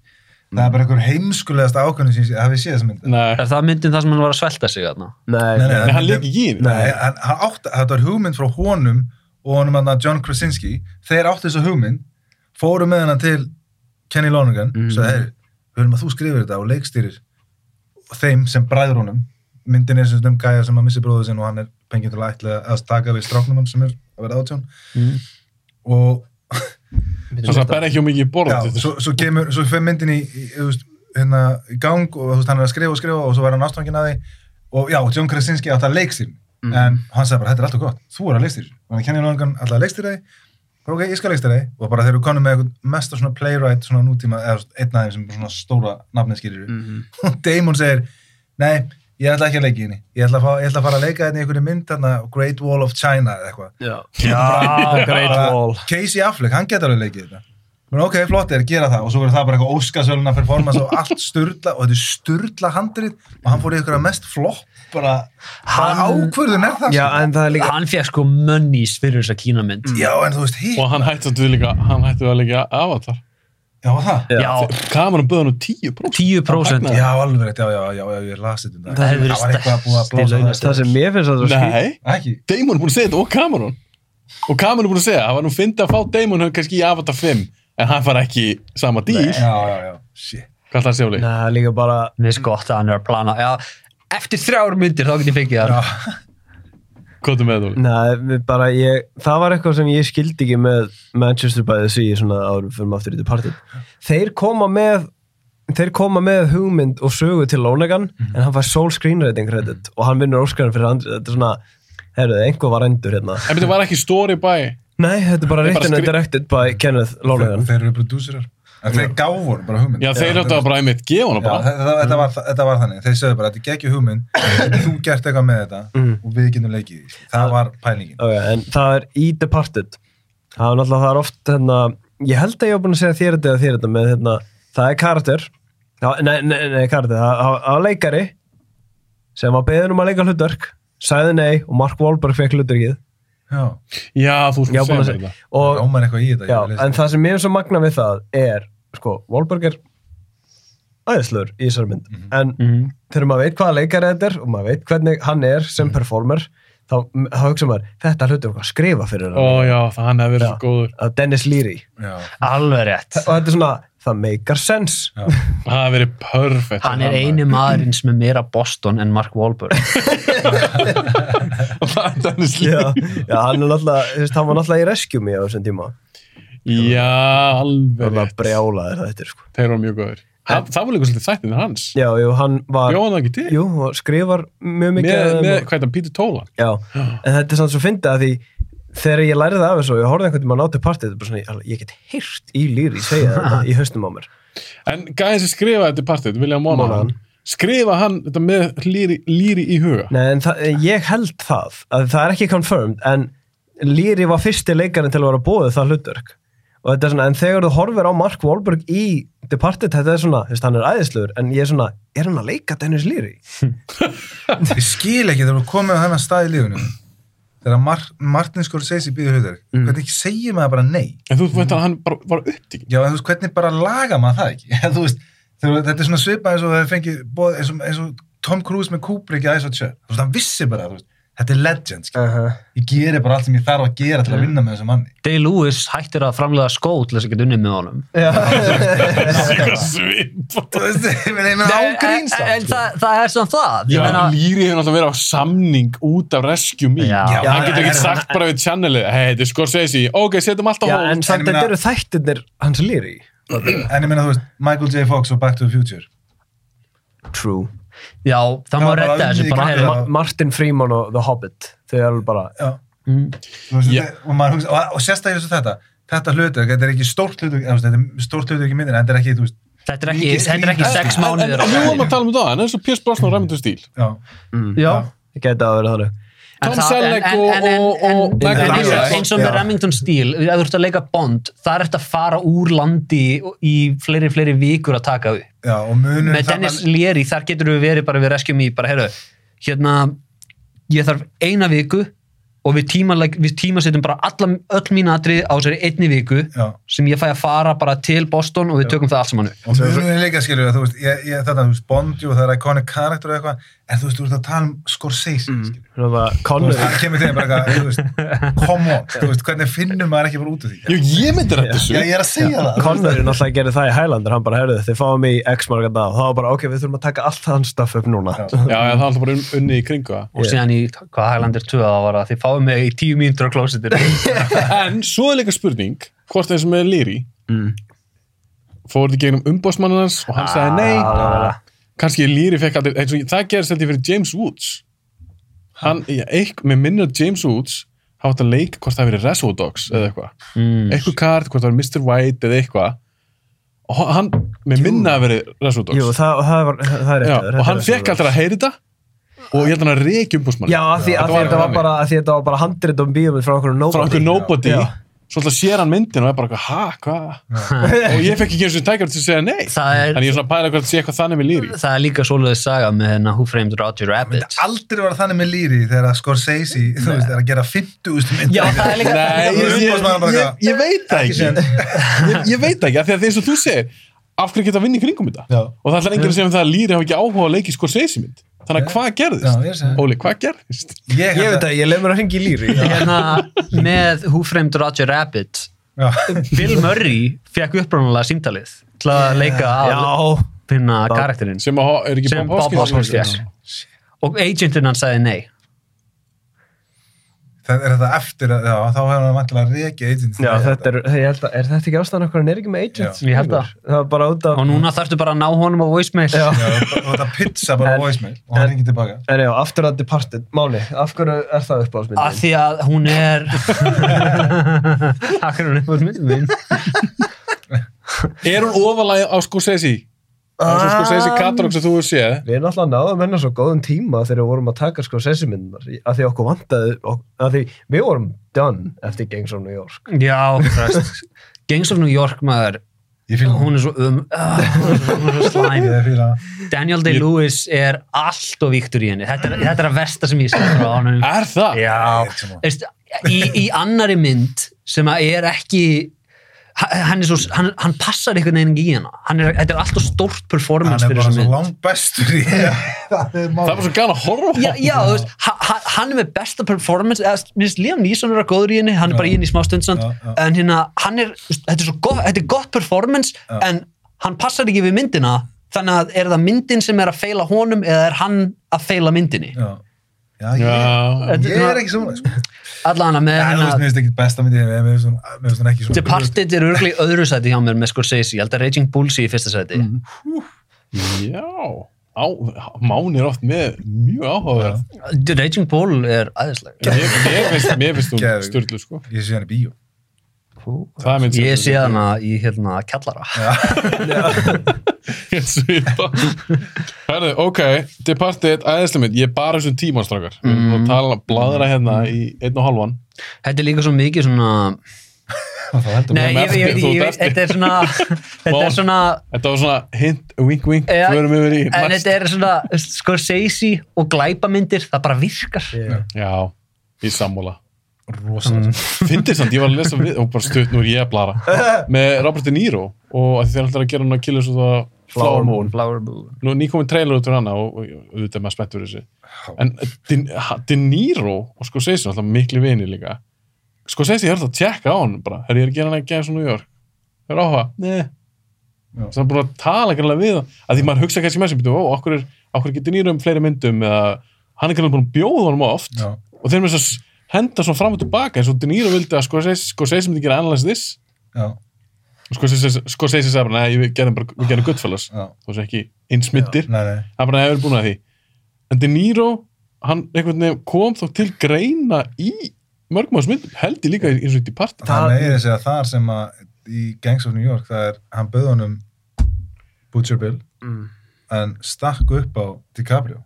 [SPEAKER 6] það er bara einhver heimskulegast ákvörðum sem ég hafi séð þess mynd
[SPEAKER 4] Nei,
[SPEAKER 5] Er það myndin það sem hann var að svelta sig þarna?
[SPEAKER 7] Nei,
[SPEAKER 6] Nei,
[SPEAKER 7] nei,
[SPEAKER 6] nei.
[SPEAKER 4] nei hann leik ekki í henni
[SPEAKER 6] Nei, hann, hann átt, þetta var hugmynd frá honum og honum hann John Krasinski þeir átti þessa hugmynd fóru með hann til Kenny Lonergan mm. svo þeir, við viljum að þú skrifir þetta og leikstýrir þeim sem bræður honum myndin er sem stum gæja sem að missi bróðu sinn og hann er pengið til að ætla að taka við stráknum hann sem er að vera átjón og
[SPEAKER 4] Svo sem hann ber ekki á mikið í
[SPEAKER 6] já,
[SPEAKER 4] borðið
[SPEAKER 6] svo, svo, kemur, svo fer myndin í, í, í, í, hérna, í gang og þú veist, hann er að skrifa og skrifa og svo var hann ástfangin að því og já, John Krasinski átt að leikstýr en hann sagði bara, þetta er alltaf gott, þú er að leikstýr og hann kennir langan alltaf að leikstýr því bara ok, ég skal leikstýr því og bara þeir eru konum með eitthvað mesta svona playwright svona nútíma eða einn af þeim sem er svona stóra nafnið skýrir og Damon segir, nei, ég ætla ekki að leika í henni ég ætla að, fá, ég ætla að fara að leika henni í einhverju mynd þarna, Great Wall of China eða eitthvað
[SPEAKER 7] Já, Great
[SPEAKER 6] Bara
[SPEAKER 7] Wall.
[SPEAKER 6] Casey Affleck, hann getur alveg leikið þetta Men ok, flott er, gera það og svo verður það bara eitthvað óskasöluna performance og allt sturla og þetta er sturla handrið og hann fór í eitthvað mest flott bara, bara
[SPEAKER 5] Hann-
[SPEAKER 6] ákvörðun er Mm. það
[SPEAKER 7] Já,
[SPEAKER 6] sko.
[SPEAKER 7] en það er líka...
[SPEAKER 5] Hann fekk sko mönnís fyrir þessa kínamynd
[SPEAKER 6] já, en þú veist, hí,
[SPEAKER 4] Og hann hætti þetta líka, hann hætti það líka avatar
[SPEAKER 6] já það
[SPEAKER 5] Já,
[SPEAKER 4] Kameran bauð hann um 10%
[SPEAKER 5] 10%
[SPEAKER 6] já, alveg rétt, já, já, já, já, ég lasið þetta um
[SPEAKER 5] Það hefur
[SPEAKER 6] daginn.
[SPEAKER 5] verið
[SPEAKER 6] það var eitthvað að búa að
[SPEAKER 5] stærsti
[SPEAKER 6] blása
[SPEAKER 5] launastig.
[SPEAKER 6] það
[SPEAKER 7] Það sem mér finnst að það skýr...
[SPEAKER 4] Nei,
[SPEAKER 6] ekki,
[SPEAKER 4] Damon er búin að segja þetta og Cameron Og Cameron er búin að segja, það var nú fyndi að fá Damon hann kannski í Avatar 5 En hann far ekki í sama dýr
[SPEAKER 6] já, já, já, shit
[SPEAKER 4] Hvað það séu
[SPEAKER 7] Nei,
[SPEAKER 4] líka?
[SPEAKER 7] það er líka bara...
[SPEAKER 5] Mér finnst gott að hann er að plana já, Eftir þrjár myndir þá get ég fengið það
[SPEAKER 6] já,
[SPEAKER 4] Hvað það með það?
[SPEAKER 7] Nei, við bara ég, það var eitthvað sem ég skildi ekki með Manchester by the Sea svona árum fyrir maður aftur í departið. Þeir koma með þeir koma með hugmynd og sögu til Lonegan en hann fær sole screenwriting credit og hann vinnur Óskarinn fyrir andri þetta er svona, herruðu, einhver var endur hérna
[SPEAKER 4] En þetta var ekki story by
[SPEAKER 7] Nei, þetta er bara
[SPEAKER 4] Þetta er bara
[SPEAKER 7] written and
[SPEAKER 4] skri-
[SPEAKER 7] directed by Kenneth Lonegan
[SPEAKER 6] þeir eru prodúsirar En þeir gáfur bara hugmynd
[SPEAKER 4] Já, þeir
[SPEAKER 6] þú
[SPEAKER 4] áttu
[SPEAKER 6] veist.
[SPEAKER 4] að bara einmitt gefa hana
[SPEAKER 6] Já, Mm.
[SPEAKER 4] bara
[SPEAKER 6] þetta, þetta, var, þetta var þannig, þeir sögðu bara þetta er geggju hugmynd, getur þú gert eitthvað með þetta og við getum leikið í því, það var pælingin
[SPEAKER 7] Ok, en það er í Departed það er náttúrulega, það er oft hérna, ég held að ég var búin að segja þér þetta eða þér þetta með hérna, það er karakter Já, nei, nei, nei, karakter, það það- það var leikari sem var beðin um að leika hlutverk sagði nei og Mark Wahlberg fekk hlutverkið
[SPEAKER 6] Já,
[SPEAKER 4] Já, þú
[SPEAKER 7] ég
[SPEAKER 4] sko
[SPEAKER 7] var búin að
[SPEAKER 4] segja mér
[SPEAKER 7] segja
[SPEAKER 4] þetta
[SPEAKER 7] og,
[SPEAKER 6] rámar eitthvað í þetta
[SPEAKER 7] já,
[SPEAKER 6] ég vil lesa
[SPEAKER 7] en það sem mér er svo magna við það er, sko, Wahlberg er æðislur í þessari mynd en þegar maður veit hvaða leikari þetta er og maður veit hvernig hann er sem performer þá, þá hugsa maður, þetta hlutur að skrifa fyrir hann
[SPEAKER 4] Ó já, það hann hefur verið svo góður
[SPEAKER 7] að Dennis Leary
[SPEAKER 6] Já,
[SPEAKER 5] Alveg rétt
[SPEAKER 7] og þetta er svona, það meikar sens
[SPEAKER 6] já,
[SPEAKER 4] Það hefur verið perfect
[SPEAKER 5] Hann er eini maðurinn sem er meira Boston en Mark Wahlberg
[SPEAKER 4] Það er slík
[SPEAKER 7] já, já, hann er náttúrulega, þú veist, hann var náttúrulega í Rescue Me á þessum tíma,
[SPEAKER 4] Já, alveg
[SPEAKER 7] það var
[SPEAKER 4] rétt.
[SPEAKER 7] brjálaðir þetta er, sko.
[SPEAKER 4] Þeir eru mjög góður Það það var líka svolítið þættin hans
[SPEAKER 7] já, jú, hann var
[SPEAKER 4] Bjóðan það ekki til
[SPEAKER 7] jú, og skrifar mjög mikið
[SPEAKER 4] Með,
[SPEAKER 7] af þeim
[SPEAKER 4] með
[SPEAKER 7] og,
[SPEAKER 4] hvað er það, Peter Tolan
[SPEAKER 7] já, en þetta er samt svo fyndið að því þegar ég læriði af þessu og ég horfði einhvern tímann á til partið, þetta er bara svona, ég, alveg, ég get heyrt í Leary segja þetta í haustum á mér
[SPEAKER 4] En gæðin sem skrifaði þetta partið, William Monahan
[SPEAKER 7] Monahan.
[SPEAKER 4] Skrifa hann þetta með líri, líri í huga
[SPEAKER 7] Nei, en það, ég held það að það er ekki confirmed en Lýri var fyrsti leikarinn til að vera bóðið það hlutverk og þetta er svona, en þegar þú horfir á Mark Wahlberg í Departed, þetta er svona, þú veist, hann er æðisluður en ég er svona, er hann að leika Dennis Lýri?
[SPEAKER 6] ég skil ekki þegar þú komið á þennan stað í lífunum þegar Mar Martin Scorsese býður hlutur hvernig segir maður bara nei
[SPEAKER 4] En þú veit að hann bara var upptíkin
[SPEAKER 6] Já, en þú veist, hvernig bara laga maður það ekki Þú veist, þegar, þetta er svona svipað eins og það fengið boð, eins, og, eins og Tom Cruise með Kubrick í Ice Watch Þú veist, hann vissi bara, þú veist, þetta er legend skil. ég geri bara allt sem ég þarf að gera til að vinna með þessum manni
[SPEAKER 5] Day Lewis hættir að framlega skó til þess að geta unnið með honum
[SPEAKER 6] Þú veist, ég meina, ég meina ágríns
[SPEAKER 5] En- en það, það er samt það
[SPEAKER 4] Já,
[SPEAKER 5] Ég meina,
[SPEAKER 4] Lýri hefur náttúrulega verið á samning út af Rescue Me
[SPEAKER 5] Já.
[SPEAKER 4] Já,
[SPEAKER 5] Já,
[SPEAKER 4] Hann getur
[SPEAKER 6] en-
[SPEAKER 4] ekki sagt bara við channelið Hei, þetta er Scorsese, ok, setjum allt á
[SPEAKER 7] Já,
[SPEAKER 4] hold
[SPEAKER 7] en samt
[SPEAKER 6] En ég meina-
[SPEAKER 7] þetta eru þættirnir hans Lýri
[SPEAKER 6] En ég meina, þú veist, Michael J. Fox og Back to the Future
[SPEAKER 7] True
[SPEAKER 5] já það má
[SPEAKER 6] bara
[SPEAKER 5] redda þessu
[SPEAKER 6] unnið í
[SPEAKER 5] bara,
[SPEAKER 6] gangi.
[SPEAKER 5] heyrðu,
[SPEAKER 6] Já.
[SPEAKER 7] Martin Freeman og The Hobbit, þau eru bara
[SPEAKER 6] Já, Þú veist,
[SPEAKER 5] Mm.
[SPEAKER 4] Já.
[SPEAKER 6] og, maður hugsa, og, og sérstaklega eins og þetta þetta hlutur, þetta er ekki stórt hlutur, þetta er stórt hlutur ekki myndir, þetta er ekki, þú veist,
[SPEAKER 5] Þetta er ekki,
[SPEAKER 6] Mikið
[SPEAKER 5] þetta er ekki
[SPEAKER 6] skrýt-
[SPEAKER 5] sex mánuðir
[SPEAKER 4] En við vorum að tala um það, en eins og Pierce Brosnan og Remington Steel.
[SPEAKER 6] já,
[SPEAKER 5] Já,
[SPEAKER 7] það gæti að vera þannig
[SPEAKER 5] En
[SPEAKER 4] Tom
[SPEAKER 5] það-
[SPEAKER 4] Selleck
[SPEAKER 5] en-
[SPEAKER 4] og-
[SPEAKER 5] en- en-
[SPEAKER 4] og-
[SPEAKER 5] en-
[SPEAKER 4] og-
[SPEAKER 5] en-
[SPEAKER 6] Michael
[SPEAKER 5] en eins og-
[SPEAKER 6] Douglas.
[SPEAKER 5] eins og með
[SPEAKER 6] Já.
[SPEAKER 5] Remington Steel ef þú ert að leika Bond, það er eftir að fara úr landi í fleiri, fleiri vikur að taka upp
[SPEAKER 6] já, og munur
[SPEAKER 5] með Dennis Leary, þar getur við verið bara við reskjum í, bara heyrðu, hérna ég þarf eina viku og við, tíma, við tímasetjum bara alla, öll mín atrið á sér einni viku
[SPEAKER 6] já,
[SPEAKER 5] sem ég fæ að fara bara til Boston og við tökum það allt saman upp
[SPEAKER 6] og munur er líka skilur, þú veist, ég, ég, þetta, þú veist, Bond, jú, það er iconic karakter og eitthvað, en þú veist, þú ert að tala um Scorsese, mm. skilur,
[SPEAKER 7] Svona bara
[SPEAKER 6] þú veist,
[SPEAKER 7] Connery
[SPEAKER 6] hann kemur til þeim bara, eitthvað, þú veist, come on, þú veist, hvernig finnum maður ekki bara út af því,
[SPEAKER 4] Jú, ég myndi rætt þessu.
[SPEAKER 6] já, ég er að segja það,
[SPEAKER 7] Connery náttúrulega gerir það í Highlander hann bara, herðu, þið fáum mig í X marga dag og þá var bara, ok, við þurfum að taka allt hans stuff upp núna
[SPEAKER 6] Já.
[SPEAKER 4] Já, já, það er alltaf bara un- unnið í kringu það.
[SPEAKER 5] og síðan í, hvað Highlander 2 það var að þið fáum mig í tíu mínútur á klósitir
[SPEAKER 4] En svo er líka spurning, hvort eins og með Lýri,
[SPEAKER 3] Mm.
[SPEAKER 4] fór þið gegnum umbósmanninn hans og hann
[SPEAKER 7] Ah,
[SPEAKER 4] sagði nei. Kanski Lýri fekk aldrei, eins og það gerst held ég fyrir James Woods. Hann, já, eik, með minni að James Woods hafa átt að leika hvort það hafi verið Reservoir Dogs eða eitthvað.
[SPEAKER 5] mm.
[SPEAKER 4] Eitthvað kart, hvort það hafi verið Mr. White eða eitthvað. Og hann, með minna að verið Reservoir Dogs.
[SPEAKER 7] Jú, það, það, var, það er
[SPEAKER 4] Já,
[SPEAKER 7] rétt
[SPEAKER 4] og hann fekk aldrei að heyri þetta og ég held hann að reykja umbúsmann
[SPEAKER 7] Já, af því,
[SPEAKER 4] Þetta
[SPEAKER 7] af því,
[SPEAKER 4] var
[SPEAKER 7] þetta var
[SPEAKER 4] þannig.
[SPEAKER 7] bara, af því þetta var bara handrit um bíómið frá okkur nobody.
[SPEAKER 4] frá einhver nobody
[SPEAKER 7] Já.
[SPEAKER 4] svolítið að sér hann myndin og er bara eitthvað, ha, hvað og ég fekk ekki eins og tækjum til að segja nei
[SPEAKER 5] það er
[SPEAKER 4] en ég er svona að pæla hvort það sé eitthvað þannig með lýri
[SPEAKER 5] það er líka svoleiðis saga með hennar Who Framed Roger Rabbit
[SPEAKER 6] aldrei var þannig með Lýri þegar að Scorsese, þú veist, er að gera 50.000 myndir,
[SPEAKER 5] Já, það er líka
[SPEAKER 4] Nei, ég, ég,
[SPEAKER 6] Umboðsmaður bara
[SPEAKER 4] ég, ég veit það ekki ég, ég veit það ekki, af því að eins og þú segir af hverju geta að vinna í kringum þetta
[SPEAKER 6] Já.
[SPEAKER 4] og það ætlar enginn að segja um það að lýri hafa ekki áhuga að leiki Scorsese mynd þannig að hvað
[SPEAKER 6] Já, ég
[SPEAKER 4] gerðist?
[SPEAKER 6] segi það.
[SPEAKER 4] Óli, hvað gerðist?
[SPEAKER 7] Ég veit að ég leið mér að hengi í lýri.
[SPEAKER 5] hérna, með Who Framed Roger Rabbit
[SPEAKER 6] Já,
[SPEAKER 5] Bill Murray fekk upprónulega símtalið til að leika að
[SPEAKER 7] Já,
[SPEAKER 5] finna
[SPEAKER 7] Bob-
[SPEAKER 5] karakterinn
[SPEAKER 4] sem að, er ekki
[SPEAKER 5] sem Bob Hoskins fekk og agentinn hann sagði nei
[SPEAKER 6] það er þetta eftir að, já, þá hefur hann vantilega reikið agent
[SPEAKER 7] já þetta er, ég held að, er þetta ekki ástæðan okkur hann er ekki með agents?
[SPEAKER 5] Ég held það.
[SPEAKER 7] Það var bara út af,
[SPEAKER 5] og núna þarftu bara að ná honum á voicemail
[SPEAKER 7] Já.
[SPEAKER 6] Já, og og þetta pizza bara
[SPEAKER 7] En-
[SPEAKER 6] voicemail og hann ringið tilbaka
[SPEAKER 7] en já, aftur að departed, Máni, af hverju er það
[SPEAKER 5] að
[SPEAKER 7] uppáhaldsmyndin?
[SPEAKER 5] því að hún er Akkur er hún upp á myndum minn
[SPEAKER 4] Er hún ofalæg á Scorsese? Það er
[SPEAKER 6] Ah.
[SPEAKER 4] svo Scorsese katalóg sem þú hefur séð
[SPEAKER 7] Við náttúrulega náðum hennar svo góðum tíma þegar við vorum að taka sko sessimyndunar að því okkur vantaði, ok- að því við vorum done eftir Gangs of New York.
[SPEAKER 5] Já, fræst Gangs of New York maður
[SPEAKER 6] Ég fíla hún
[SPEAKER 5] hún er svo um uh, hún er svo slæm
[SPEAKER 6] Ég fíla
[SPEAKER 5] Daniel Day-Lewis er allt og víktur í henni þetta, er- þetta er að versta sem ég sé frá honum
[SPEAKER 4] Er það?
[SPEAKER 5] Já,
[SPEAKER 6] Ég sem að-
[SPEAKER 5] Veist, í, í annari mynd sem að er ekki h- hann, er svo, hann, hann passar einhvern veginn í hana Hann er, þetta er alltaf stórt
[SPEAKER 6] Hann
[SPEAKER 5] performance
[SPEAKER 6] er
[SPEAKER 5] fyrir
[SPEAKER 6] bara
[SPEAKER 5] þessa
[SPEAKER 6] svo
[SPEAKER 5] mynd
[SPEAKER 6] langt bestur í Það er
[SPEAKER 4] Það var
[SPEAKER 6] mál
[SPEAKER 4] svo gana að horfa á
[SPEAKER 5] Já, já þú veist, ha- ha- hann er með besta performance eða minnst Liam Neeson er að góður í henni hann er bara í henni í smá stund samt
[SPEAKER 6] Já, já.
[SPEAKER 5] en hérna, hann er, þú veist, þetta er, svo gott, þetta er gott performance en hann passar ekki við myndina þannig að er það myndin sem er að feila honum eða er hann að feila myndinni
[SPEAKER 6] Já, já ég,
[SPEAKER 4] Já,
[SPEAKER 6] ég er ekki svona sko.
[SPEAKER 5] allan að með
[SPEAKER 6] En þú veist,
[SPEAKER 5] hérna
[SPEAKER 6] mér finnst ekki besta myndi Mér mér finnst hún mér finnst hún ekki svona
[SPEAKER 5] Departed er örgli öðru sæti hjá mér með Scorsese, ég held að Raging Bull sé í fyrsta sæti
[SPEAKER 7] Mhm.
[SPEAKER 4] já. Á, Máni er oft með mjög áhugaverð
[SPEAKER 5] The Raging Bull er aðeinslega
[SPEAKER 4] Mér, mér, finnst- mér finnst hún
[SPEAKER 6] Geðvig.
[SPEAKER 4] styrlu sko
[SPEAKER 6] Ég sé hann í bíó
[SPEAKER 4] Það er minn
[SPEAKER 5] Ég sé hana í hérna kjallara
[SPEAKER 4] Herðu, ok, Departed, æðislega mynd Ég er bara þessum tíma strákar Við erum búin að tala, bladra hérna í einn og halvan
[SPEAKER 5] Þetta er líka svo mikið svona Nei, ég, ég, ég, ég, þetta er svona Þetta er svona
[SPEAKER 4] Þetta var svona hint, wink, wink
[SPEAKER 5] Já,
[SPEAKER 4] Förum yfir í
[SPEAKER 5] En
[SPEAKER 4] næst
[SPEAKER 5] þetta er svona Scorsese og glæpamyndir það bara virkar
[SPEAKER 4] Já, í sammúla
[SPEAKER 6] Rosalega sko.
[SPEAKER 4] Mm. Fyndið samt, ég var að lesa við og bara stutt nú er ég að blara með Robert De Niro og að þeir ætlar að gera hann að killa svo það Flower Moon
[SPEAKER 5] Flower Moon
[SPEAKER 4] Nú er nýkominn trailer út fyrir hana og og- og auðvitað er maður spennt fyrir þessu en De, ha- De Niro og sko segið alltaf miklu vini líka sko segið ég er alltaf að tjekka á hann bara er ég er að gera hann að gera svo New York það er áhuga, ne það er búin að tala greinlega við hann að því maður hugsa kannski með sem býtu ó, okkur er okkur getur Niro um fleiri myndum eða hann er greinlega búin að bjóða honum oft
[SPEAKER 6] Já.
[SPEAKER 4] og þeir með þess að henda svona fram og tilbaka eins og De Niro vildi að sko segið sko segið sem þið gera analyze this
[SPEAKER 6] Já,
[SPEAKER 4] og sko segið sem bara, nei, við gerðum bara við gerðum Goodfellas
[SPEAKER 6] já
[SPEAKER 4] þú veist ekki einsmittir
[SPEAKER 6] Nei, nei
[SPEAKER 4] það er bara hefur búin að því en De Niro, hann einhvern veginn kom þó til greina í mörgmáðsmyndum held ég líka eins og eitt í part
[SPEAKER 6] það er meira að segja þar sem að í Gangs of New York, það er hann bauð honum Butcher Bill en stakk upp á DiCaprio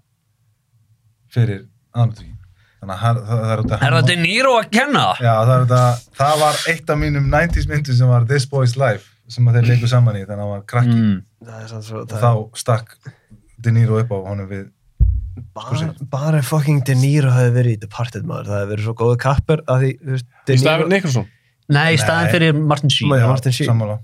[SPEAKER 6] fyrir aðnáttíkin þannig að hann- það, það er út að
[SPEAKER 5] Er það De Niro að kenna?
[SPEAKER 6] já, það, er út að, það var eitt af mínum 90s myndum sem var This Boy's Life sem að þeir leiku saman í, þannig að hann var krakki
[SPEAKER 5] Mm.
[SPEAKER 7] Það er sann svo,
[SPEAKER 6] og þá stakk De Niro upp á honum við
[SPEAKER 7] bara, bara fucking De Niro hefði verið í Departed maður, það hefði verið svo góðu kapper að því, þú veist, De
[SPEAKER 4] í
[SPEAKER 7] Niro
[SPEAKER 4] staðan Nikolson
[SPEAKER 5] Nei, í staðin
[SPEAKER 6] Nei.
[SPEAKER 5] fyrir Martin Sheen.
[SPEAKER 7] Já, Martin Sheen.
[SPEAKER 6] sammála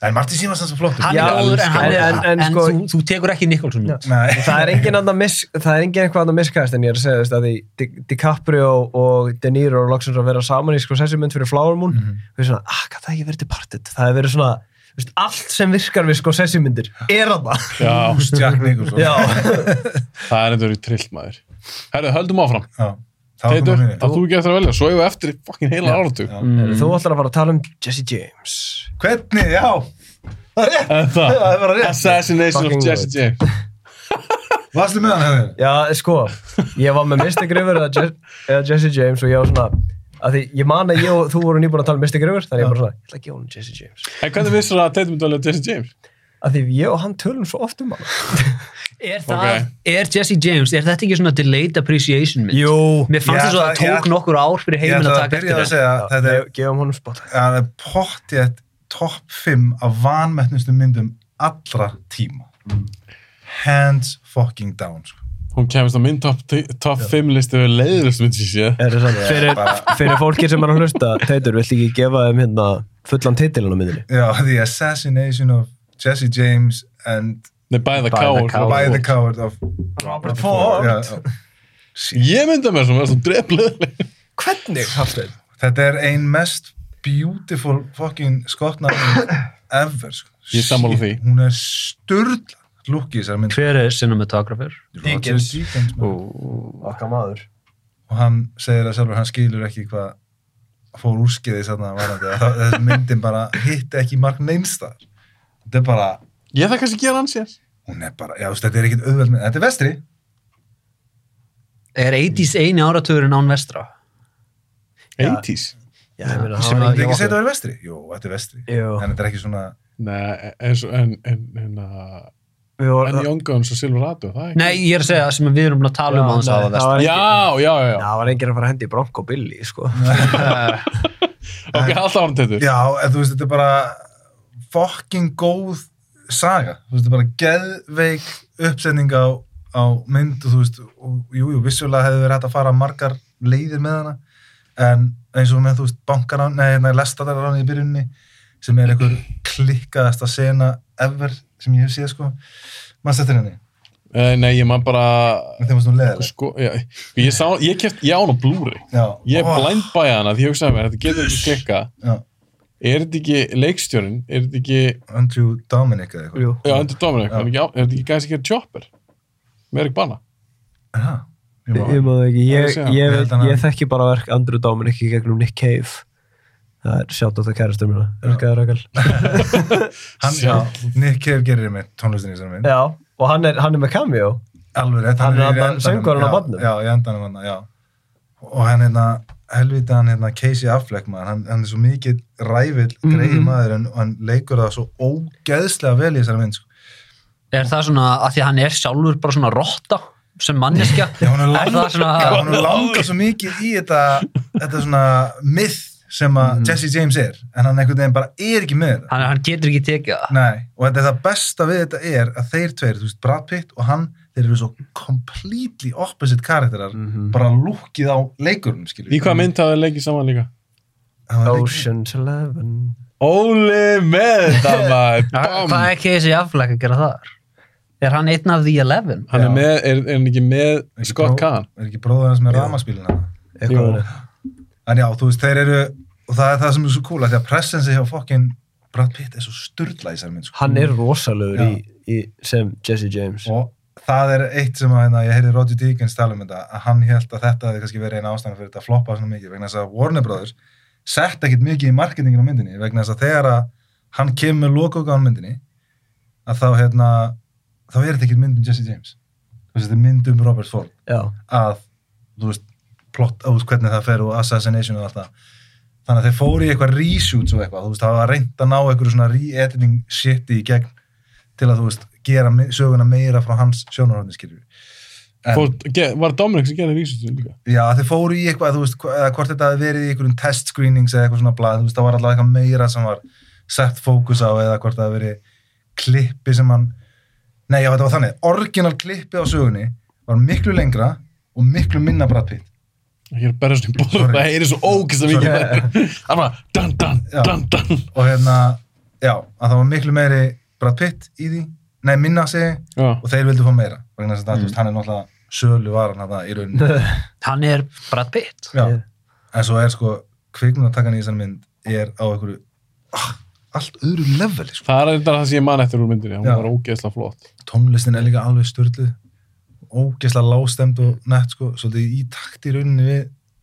[SPEAKER 6] en Martin Sheen var sanns og flottur
[SPEAKER 5] Hann
[SPEAKER 7] Já,
[SPEAKER 5] er góður, en, hann er, en,
[SPEAKER 7] en- en sko-
[SPEAKER 5] þú, þú tekur ekki Nikolson út.
[SPEAKER 6] Nei.
[SPEAKER 7] það er engin andan miss, það er engin eitthvað andan miskast en ég er að segja, þú veist, að því Di- DiCaprio og De Niro og loksins að vera saman í sko sessi mynd fyrir Flower Moon,
[SPEAKER 6] Mhm.
[SPEAKER 7] þú veist svona, ah, hvað það hefur verið Departed, það hefur verið svona, þú veist, allt sem virkar við sko sessi myndir, er það
[SPEAKER 4] já,
[SPEAKER 6] Jack Nicholson
[SPEAKER 7] Já,
[SPEAKER 4] það er endur í trill maður herru, höldum áfram
[SPEAKER 6] Já. Þá er
[SPEAKER 4] Teitur,
[SPEAKER 6] komið
[SPEAKER 4] að þú ekki eftir að velja, svo eigum við eftir fokkin heila áratug
[SPEAKER 6] Já.
[SPEAKER 7] þú ætlar að fara að tala um Jesse James
[SPEAKER 6] Hvernig, já Það er rétt,
[SPEAKER 4] En það,
[SPEAKER 6] það er bara rétt
[SPEAKER 4] Assassination
[SPEAKER 7] Fucking
[SPEAKER 4] of Jesse James
[SPEAKER 6] Varstu með hann hefur?
[SPEAKER 7] Já, sko, ég var með Mr. Grifur eða Je- eða Jesse James og ég var svona að því, ég man að ég og þú voru nýbúin að tala um Mr. Grifur, þannig ég bara svona, ég ætla að gefa hún Jesse James
[SPEAKER 4] En hvernig finnst þér að Teitur myndi velja Jesse James?
[SPEAKER 7] að því ég og hann tölum svo oft um hann
[SPEAKER 5] Er, það, er Jesse James, er þetta ekki svona delayed appreciation mynd?
[SPEAKER 7] Jú,
[SPEAKER 5] Mér fannst
[SPEAKER 6] Ég
[SPEAKER 5] þess að það
[SPEAKER 6] ætla- ég
[SPEAKER 5] tók
[SPEAKER 6] ætla-
[SPEAKER 5] nokkur ár fyrir
[SPEAKER 6] Ég
[SPEAKER 5] heiminn
[SPEAKER 6] ætla að
[SPEAKER 5] að taka
[SPEAKER 6] byrja
[SPEAKER 5] eftir
[SPEAKER 6] að
[SPEAKER 5] það.
[SPEAKER 6] segja að
[SPEAKER 7] þetta
[SPEAKER 6] þetta
[SPEAKER 7] er,
[SPEAKER 6] er-
[SPEAKER 7] gefum honum spot
[SPEAKER 6] það er pottjætt topp 5 af vanmettnustu myndum allra tíma Hands fucking down sko.
[SPEAKER 4] Hún kemist á minn top, top 5 listi við leiðurust myndi ég sé
[SPEAKER 7] er það sann, fyrir,
[SPEAKER 6] bara,
[SPEAKER 7] fyrir fólki sem er að hlusta Teitur, vill ekki gefa þeim hérna fullan titilin á myndinni
[SPEAKER 6] Já, The Assassination of Jesse James and
[SPEAKER 4] Nei, bæða
[SPEAKER 5] the Coward.
[SPEAKER 4] káur
[SPEAKER 6] By the
[SPEAKER 5] Ford.
[SPEAKER 6] Coward of Robert
[SPEAKER 7] Ford.
[SPEAKER 6] Já, já.
[SPEAKER 4] Ég mynda mér svona, svona drefleðileg
[SPEAKER 7] Hvernig, Hafstein?
[SPEAKER 6] Þetta er ein mest beautiful fucking skotnarmynd ever sko.
[SPEAKER 4] Ég er sammála því.
[SPEAKER 6] Shit, Hún er sturdla lúkið þessar mynd sko.
[SPEAKER 5] Hver er cinematographer?
[SPEAKER 7] Dickens.
[SPEAKER 6] Dickens maður.
[SPEAKER 7] Okkar maður
[SPEAKER 6] sko. og hann segir að sjálfur hann skilur ekki hvað fór úrskeiðis þarna varandi að það- þessi myndin bara hitti ekki mark neinstar þetta er bara,
[SPEAKER 4] Ég það kannski gera hans ég
[SPEAKER 6] hún er bara já, þú veist, þetta er ekkit auðveld mynd, þetta er vestri
[SPEAKER 5] Er 80s eini áratugurinn án vestra?
[SPEAKER 4] 80s
[SPEAKER 7] Já, ég meina,
[SPEAKER 5] Sem
[SPEAKER 7] hann var ekki
[SPEAKER 6] þetta er ekki
[SPEAKER 5] að-
[SPEAKER 6] að segja
[SPEAKER 7] okkur
[SPEAKER 6] þetta er vestri, jú, þetta er vestri
[SPEAKER 7] Jú.
[SPEAKER 6] en þetta er ekki svona,
[SPEAKER 4] Nei, eins og en, en, en, uh,
[SPEAKER 7] Við
[SPEAKER 4] en
[SPEAKER 7] vorum-
[SPEAKER 4] Young Guns og Silverado, það er ekki
[SPEAKER 5] Nei, ég er að segja sem við erum búin að tala um á þess
[SPEAKER 7] Já,
[SPEAKER 5] að
[SPEAKER 7] nei,
[SPEAKER 5] vestra.
[SPEAKER 7] það var engin-
[SPEAKER 4] Já, já, já,
[SPEAKER 7] Já,
[SPEAKER 4] já.
[SPEAKER 7] það var enginn að fara að hendi í Bronco Billy, sko
[SPEAKER 4] Ok, alltaf hann Teitur
[SPEAKER 6] já, en þú veist, þetta er bara fucking góð saga, þú veist, þetta er bara geðveik uppsetning á, á mynd og þú veist, og, jú, jú, vissulega hefði verið hægt að fara margar leiðir með hana en eins og með þú veist bankarán, nei, nei lestadararán í byrjunni sem er einhver klikkaðasta sena ever sem ég hef séð sko maður settir henni,
[SPEAKER 4] Eh, Nei, ég man bara
[SPEAKER 6] þeim varst nú leðileg
[SPEAKER 4] sko, já, ég, sá, ég keft, ég án á Blu-ray
[SPEAKER 6] já,
[SPEAKER 4] ég
[SPEAKER 6] Ó,
[SPEAKER 4] blindbæði hana því ég hugsaði mér, þetta getur ekki klikka
[SPEAKER 6] já,
[SPEAKER 4] er þetta ekki leikstjórinn, er þetta ekki
[SPEAKER 6] Andrew Dominic eða eitthvað
[SPEAKER 7] Jú.
[SPEAKER 4] já, Andrew Dominic,
[SPEAKER 6] Já.
[SPEAKER 4] hann er ekki á- er þetta ekki gæðis að gera Chopper með Erik Banna
[SPEAKER 6] já, ég
[SPEAKER 7] Ég
[SPEAKER 6] má
[SPEAKER 7] maður ekki,
[SPEAKER 4] Það er
[SPEAKER 7] ég,
[SPEAKER 4] síðan.
[SPEAKER 7] ég,
[SPEAKER 6] Ég held hann
[SPEAKER 7] ég,
[SPEAKER 6] hafi-
[SPEAKER 7] þekki bara verk Andrew Dominic í gegnum Nick Cave Það er sjátt á það kærastur mína, elskaður Rakel
[SPEAKER 6] hann, já, Nick Cave gerir með tónlistinni sem mynd,
[SPEAKER 7] Já, og hann er, hann er með cameo
[SPEAKER 6] alveg rétt
[SPEAKER 7] Hann er
[SPEAKER 6] í
[SPEAKER 7] þarna
[SPEAKER 6] endanum,
[SPEAKER 7] söngvarinn á
[SPEAKER 6] já,
[SPEAKER 7] barnum.
[SPEAKER 6] já, í endanum hann, já og hann hérna, helvita hann hérna Casey Affleck maður, hann, hann er svo mikið ræfill
[SPEAKER 7] Mhm.
[SPEAKER 6] greið maður en og hann leikur það svo ógeðslega vel í þessari mynd sko.
[SPEAKER 5] Er það svona að því að hann er sjálfur bara svona rotta sem manneskja?
[SPEAKER 6] Já, hún er
[SPEAKER 5] Er það svona
[SPEAKER 6] Já, hún langar svo mikið í þetta, þetta svona myth sem
[SPEAKER 7] Mhm.
[SPEAKER 6] að Jesse James er, en hann einhvern veginn bara er ekki með þetta.
[SPEAKER 5] hann, hann getur ekki tekið það?
[SPEAKER 6] Nei, og þetta er það besta við þetta er að þeir tveir, þú veist, Brad Pitt og hann, þeir eru svo completely opposite karakterar,
[SPEAKER 7] Mhm.
[SPEAKER 6] bara lúkið á leikurum, skilur.
[SPEAKER 4] í hvað mynd hafði leikið saman líka
[SPEAKER 7] Oh, Ocean's Eleven
[SPEAKER 4] Óli með þetta maður
[SPEAKER 5] Hvað
[SPEAKER 4] bam.
[SPEAKER 5] er ekki þessi aflæk að gera þar? Er hann einn af The Eleven?
[SPEAKER 4] hann er
[SPEAKER 6] Já.
[SPEAKER 4] með, er, er hann ekki með
[SPEAKER 6] Ekki
[SPEAKER 4] Scott
[SPEAKER 6] bró-
[SPEAKER 4] Kahn
[SPEAKER 6] Er ekki bróður hans með ramaspílina það?
[SPEAKER 7] Eitthvað
[SPEAKER 4] Jú.
[SPEAKER 7] þannig.
[SPEAKER 6] En já, þú veist, þeir eru og það er það sem er svo cool, af því að presensi hjá fokkin Brad Pitt er svo sturla í sér minn sko.
[SPEAKER 7] Hann er rosalögur
[SPEAKER 6] Já.
[SPEAKER 7] í, í, sem Jesse James
[SPEAKER 6] og það er eitt sem að hérna, ég heyri Roger Deakins tala um þetta, að hann held að þetta hefði kannski verið eina ástæðan fyrir þetta að floppa svona mikið vegna þess að Warner Brothers sett ekkit mikið í marketingin á myndinni, vegna þess að þegar að hann kemur með lokaukað á myndinni að þá hérna þá er þetta ekkit mynd um Jesse James Þú veist, þetta er mynd um Robert Ford
[SPEAKER 7] Já,
[SPEAKER 6] að, þú veist, plott, þú veist, hvernig það fer og assassination og allt það þannig að þeir fóru í eitthvað reshoots og eitthvað, þú veist, það var reynd að ná eitthvað svona re-editing shiti í gegn til að, þú veist, gera me- söguna meira frá hans sjónarhóðni, skiljum En-
[SPEAKER 4] Fór, ge, var Dominic sem gerði vísustunum líka
[SPEAKER 6] Já, þeir fóru í eitthvað, þú veist, hva- eða hvort þetta hafi verið í einhverjum test screenings eða eitthvað svona blað, þú veist, það var alltaf eitthvað meira sem var sett fókus á eða hvort það hafi verið klippi sem hann, nei, já, þetta var þannig, orginal klippi á sögunni var miklu lengra og miklu minna brattpitt.
[SPEAKER 4] ég er bara svona
[SPEAKER 6] Sorry.
[SPEAKER 4] bóður, það heyri svo ógist að mikið
[SPEAKER 6] Sorry.
[SPEAKER 4] það er bara dan, dan,
[SPEAKER 6] Já.
[SPEAKER 4] dan, dan
[SPEAKER 6] Og hérna, já, að það var miklu meiri brattpitt í því, nei, minna segi,
[SPEAKER 4] já,
[SPEAKER 6] og þeir vildu fá meira, vegna þess að mm. veist, hann er náttúrulega sölu varan hann í rauninni.
[SPEAKER 5] Hann er Brad Pitt.
[SPEAKER 6] Já, en svo er sko kvikmyndatakan í þessari mynd er á einhverju ah, allt öðru level sko.
[SPEAKER 4] það er þetta það sem ég man eftir úr myndinni hún
[SPEAKER 6] Já.
[SPEAKER 4] var ógeðslega flott
[SPEAKER 6] tónlistin er líka alveg störluð ógeðslega lágstemd og nett sko, svolítið í takt í rauninni við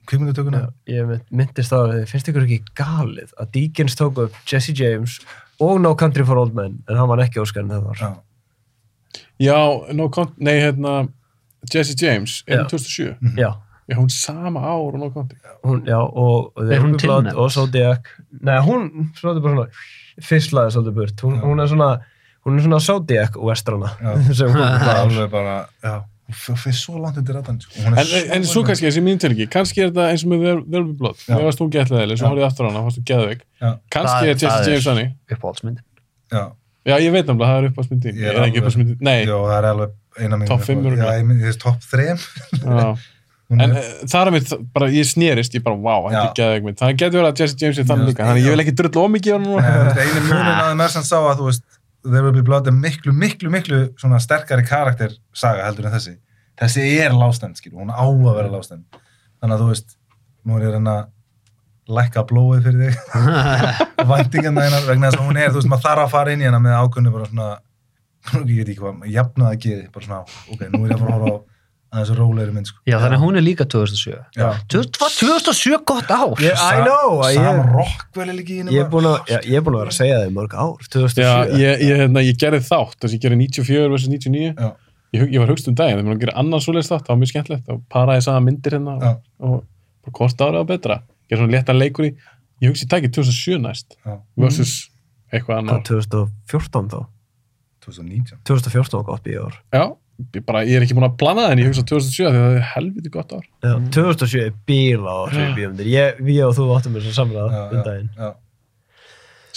[SPEAKER 6] kvikmyndatökuna
[SPEAKER 7] Já, ég mynd- myndist það að þið finnst ykkur ekki galið að Deakins tók upp Jesse James og No Country for Old Men en hann var ekki óskarinn það var
[SPEAKER 6] Já.
[SPEAKER 4] já, no, Count- nei, hérna Jesse James, er hún
[SPEAKER 7] Já.
[SPEAKER 4] 2007
[SPEAKER 7] já,
[SPEAKER 4] er hún sama ár og no country
[SPEAKER 7] hún, já og og The
[SPEAKER 5] Er hún
[SPEAKER 7] Open Blood
[SPEAKER 5] tilnefnd?
[SPEAKER 7] og Zodiac nei, hún svolítið bara svona fislaði svolítið burt hún,
[SPEAKER 6] Já.
[SPEAKER 7] hún er svona hún er svona Zodiac westrana
[SPEAKER 6] Já.
[SPEAKER 7] sem hún
[SPEAKER 6] það er
[SPEAKER 7] var
[SPEAKER 6] alveg bara já, hún fyrir svo langt undir ratan sko. Hún er
[SPEAKER 4] en, en svo kannski, þessi mín tilgi, kannski er þetta eins og með There There Will Be Blood,
[SPEAKER 6] Já.
[SPEAKER 4] mér varst hún gætlaðileg svo
[SPEAKER 6] Já.
[SPEAKER 4] horfði ég aftur á hana, fannst hún geðveik
[SPEAKER 6] Já.
[SPEAKER 4] kannski
[SPEAKER 5] Það-
[SPEAKER 4] er Jesse
[SPEAKER 5] það er-
[SPEAKER 4] James þannig
[SPEAKER 5] Uppáhaldsmyndin.
[SPEAKER 6] já,
[SPEAKER 4] já, ég veit náttúrulega, það er uppáhaldsmyndin
[SPEAKER 6] Ég er
[SPEAKER 4] ég er ekki
[SPEAKER 6] alveg-
[SPEAKER 4] uppáhaldsmyndin, nei
[SPEAKER 6] já, það er alveg eina mín
[SPEAKER 4] Topp fimm örugglega.
[SPEAKER 6] já, ég myndi þessi topp þrem
[SPEAKER 4] já.
[SPEAKER 6] Hún
[SPEAKER 4] en
[SPEAKER 6] er-
[SPEAKER 4] eh, þar að mitt, bara ég snerist ég bara, wow, þetta
[SPEAKER 6] Já.
[SPEAKER 4] er geðveik mynd þannig getur verið að Jesse James er þannig
[SPEAKER 6] Já,
[SPEAKER 4] líka þannig
[SPEAKER 6] já.
[SPEAKER 4] ég vil ekki drulla ómikið á hann núna
[SPEAKER 6] Nei, þú veist, einu munin að Mersan sá að þú veist There Will Be Blood er miklu, miklu, miklu svona sterkari karakter saga heldur en þessi þessi er lástend, skilur, hún á að vera lástend þannig að þú veist, nú er ég að reyna að lækka blóið fyrir þig væntingan hennar vegna þess að hún er, þú veist, maður þarf að fara inn í hennar með ákunni bara svona, ég veit ekki hvað jafnað að geði, bara svona, ok, nú er ég að fara að horfa á aðeins rólegri mynd, sko
[SPEAKER 5] Já, þannig að hún er líka 2007.
[SPEAKER 6] Já.
[SPEAKER 5] 2000 var 2007 gott ár?
[SPEAKER 7] Ég- I know, að ég-
[SPEAKER 6] Sam Rockwell er líka í henni
[SPEAKER 7] ég er búin að já, ég er búin að vera að segja það í mörg ár
[SPEAKER 4] já,
[SPEAKER 7] 2007
[SPEAKER 4] ég, ég, hérna, ég gerði þátt þess að ég gerði 94 versus 99
[SPEAKER 6] Já.
[SPEAKER 4] ég, hug- ég var hugst um daginn, þegar maður gerir annan svoleiðis þátt það var mjög skemmtilegt, þá paraði saman myndir hérna
[SPEAKER 6] Já.
[SPEAKER 4] og, og, og hvort árið á betra gerði svona léttan leikur í, ég hugsi takk 2007 næst,
[SPEAKER 6] Já.
[SPEAKER 4] versus eitthvað
[SPEAKER 7] Hvað,
[SPEAKER 4] annar,
[SPEAKER 7] 2014 þá
[SPEAKER 6] 2019
[SPEAKER 7] 2014 var gott bíór
[SPEAKER 4] já, ég, bara, ég er ekki búin að plana það en ég hugsa 2007 af því að það er helviti gott ár
[SPEAKER 7] Já, 2007 er bíla og því bíómyndir ég, við og þú áttum þess að samlað
[SPEAKER 6] Já,
[SPEAKER 7] um
[SPEAKER 6] já,
[SPEAKER 7] daginn
[SPEAKER 6] já.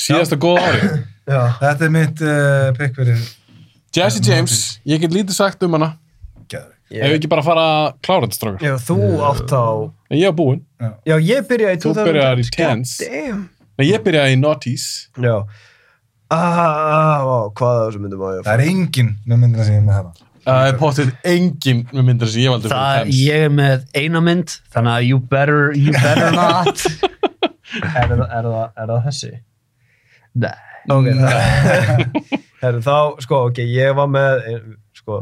[SPEAKER 4] síðasta góða árið
[SPEAKER 7] já.
[SPEAKER 6] Þetta er mitt uh, pick fyrir
[SPEAKER 4] Jesse James, ég get lítið sagt um hana
[SPEAKER 6] Geðvig.
[SPEAKER 7] Ég-
[SPEAKER 4] ef við ekki bara fara að klára þetta strákar
[SPEAKER 7] Já, þú átt á
[SPEAKER 4] en ég var búinn,
[SPEAKER 7] Já, ég byrjaði í
[SPEAKER 4] þú
[SPEAKER 7] 2000
[SPEAKER 4] byrjar í Tens
[SPEAKER 7] Damn
[SPEAKER 4] nei, ég byrjaði í Naughties
[SPEAKER 7] Já Ah, vá, hvað af þessum myndum á ég að
[SPEAKER 6] Það er enginn með myndina sem ég er með hérna.
[SPEAKER 4] það er potið engin með myndir sem ég valdi fyrir
[SPEAKER 5] Það,
[SPEAKER 4] Tens
[SPEAKER 5] ég er með eina mynd, þannig að you better, you better not.
[SPEAKER 7] er, það- er, það- er það þessi?
[SPEAKER 5] Nei.
[SPEAKER 7] Ok, það Herru, þá, sko, ok, ég var með ein- Sko,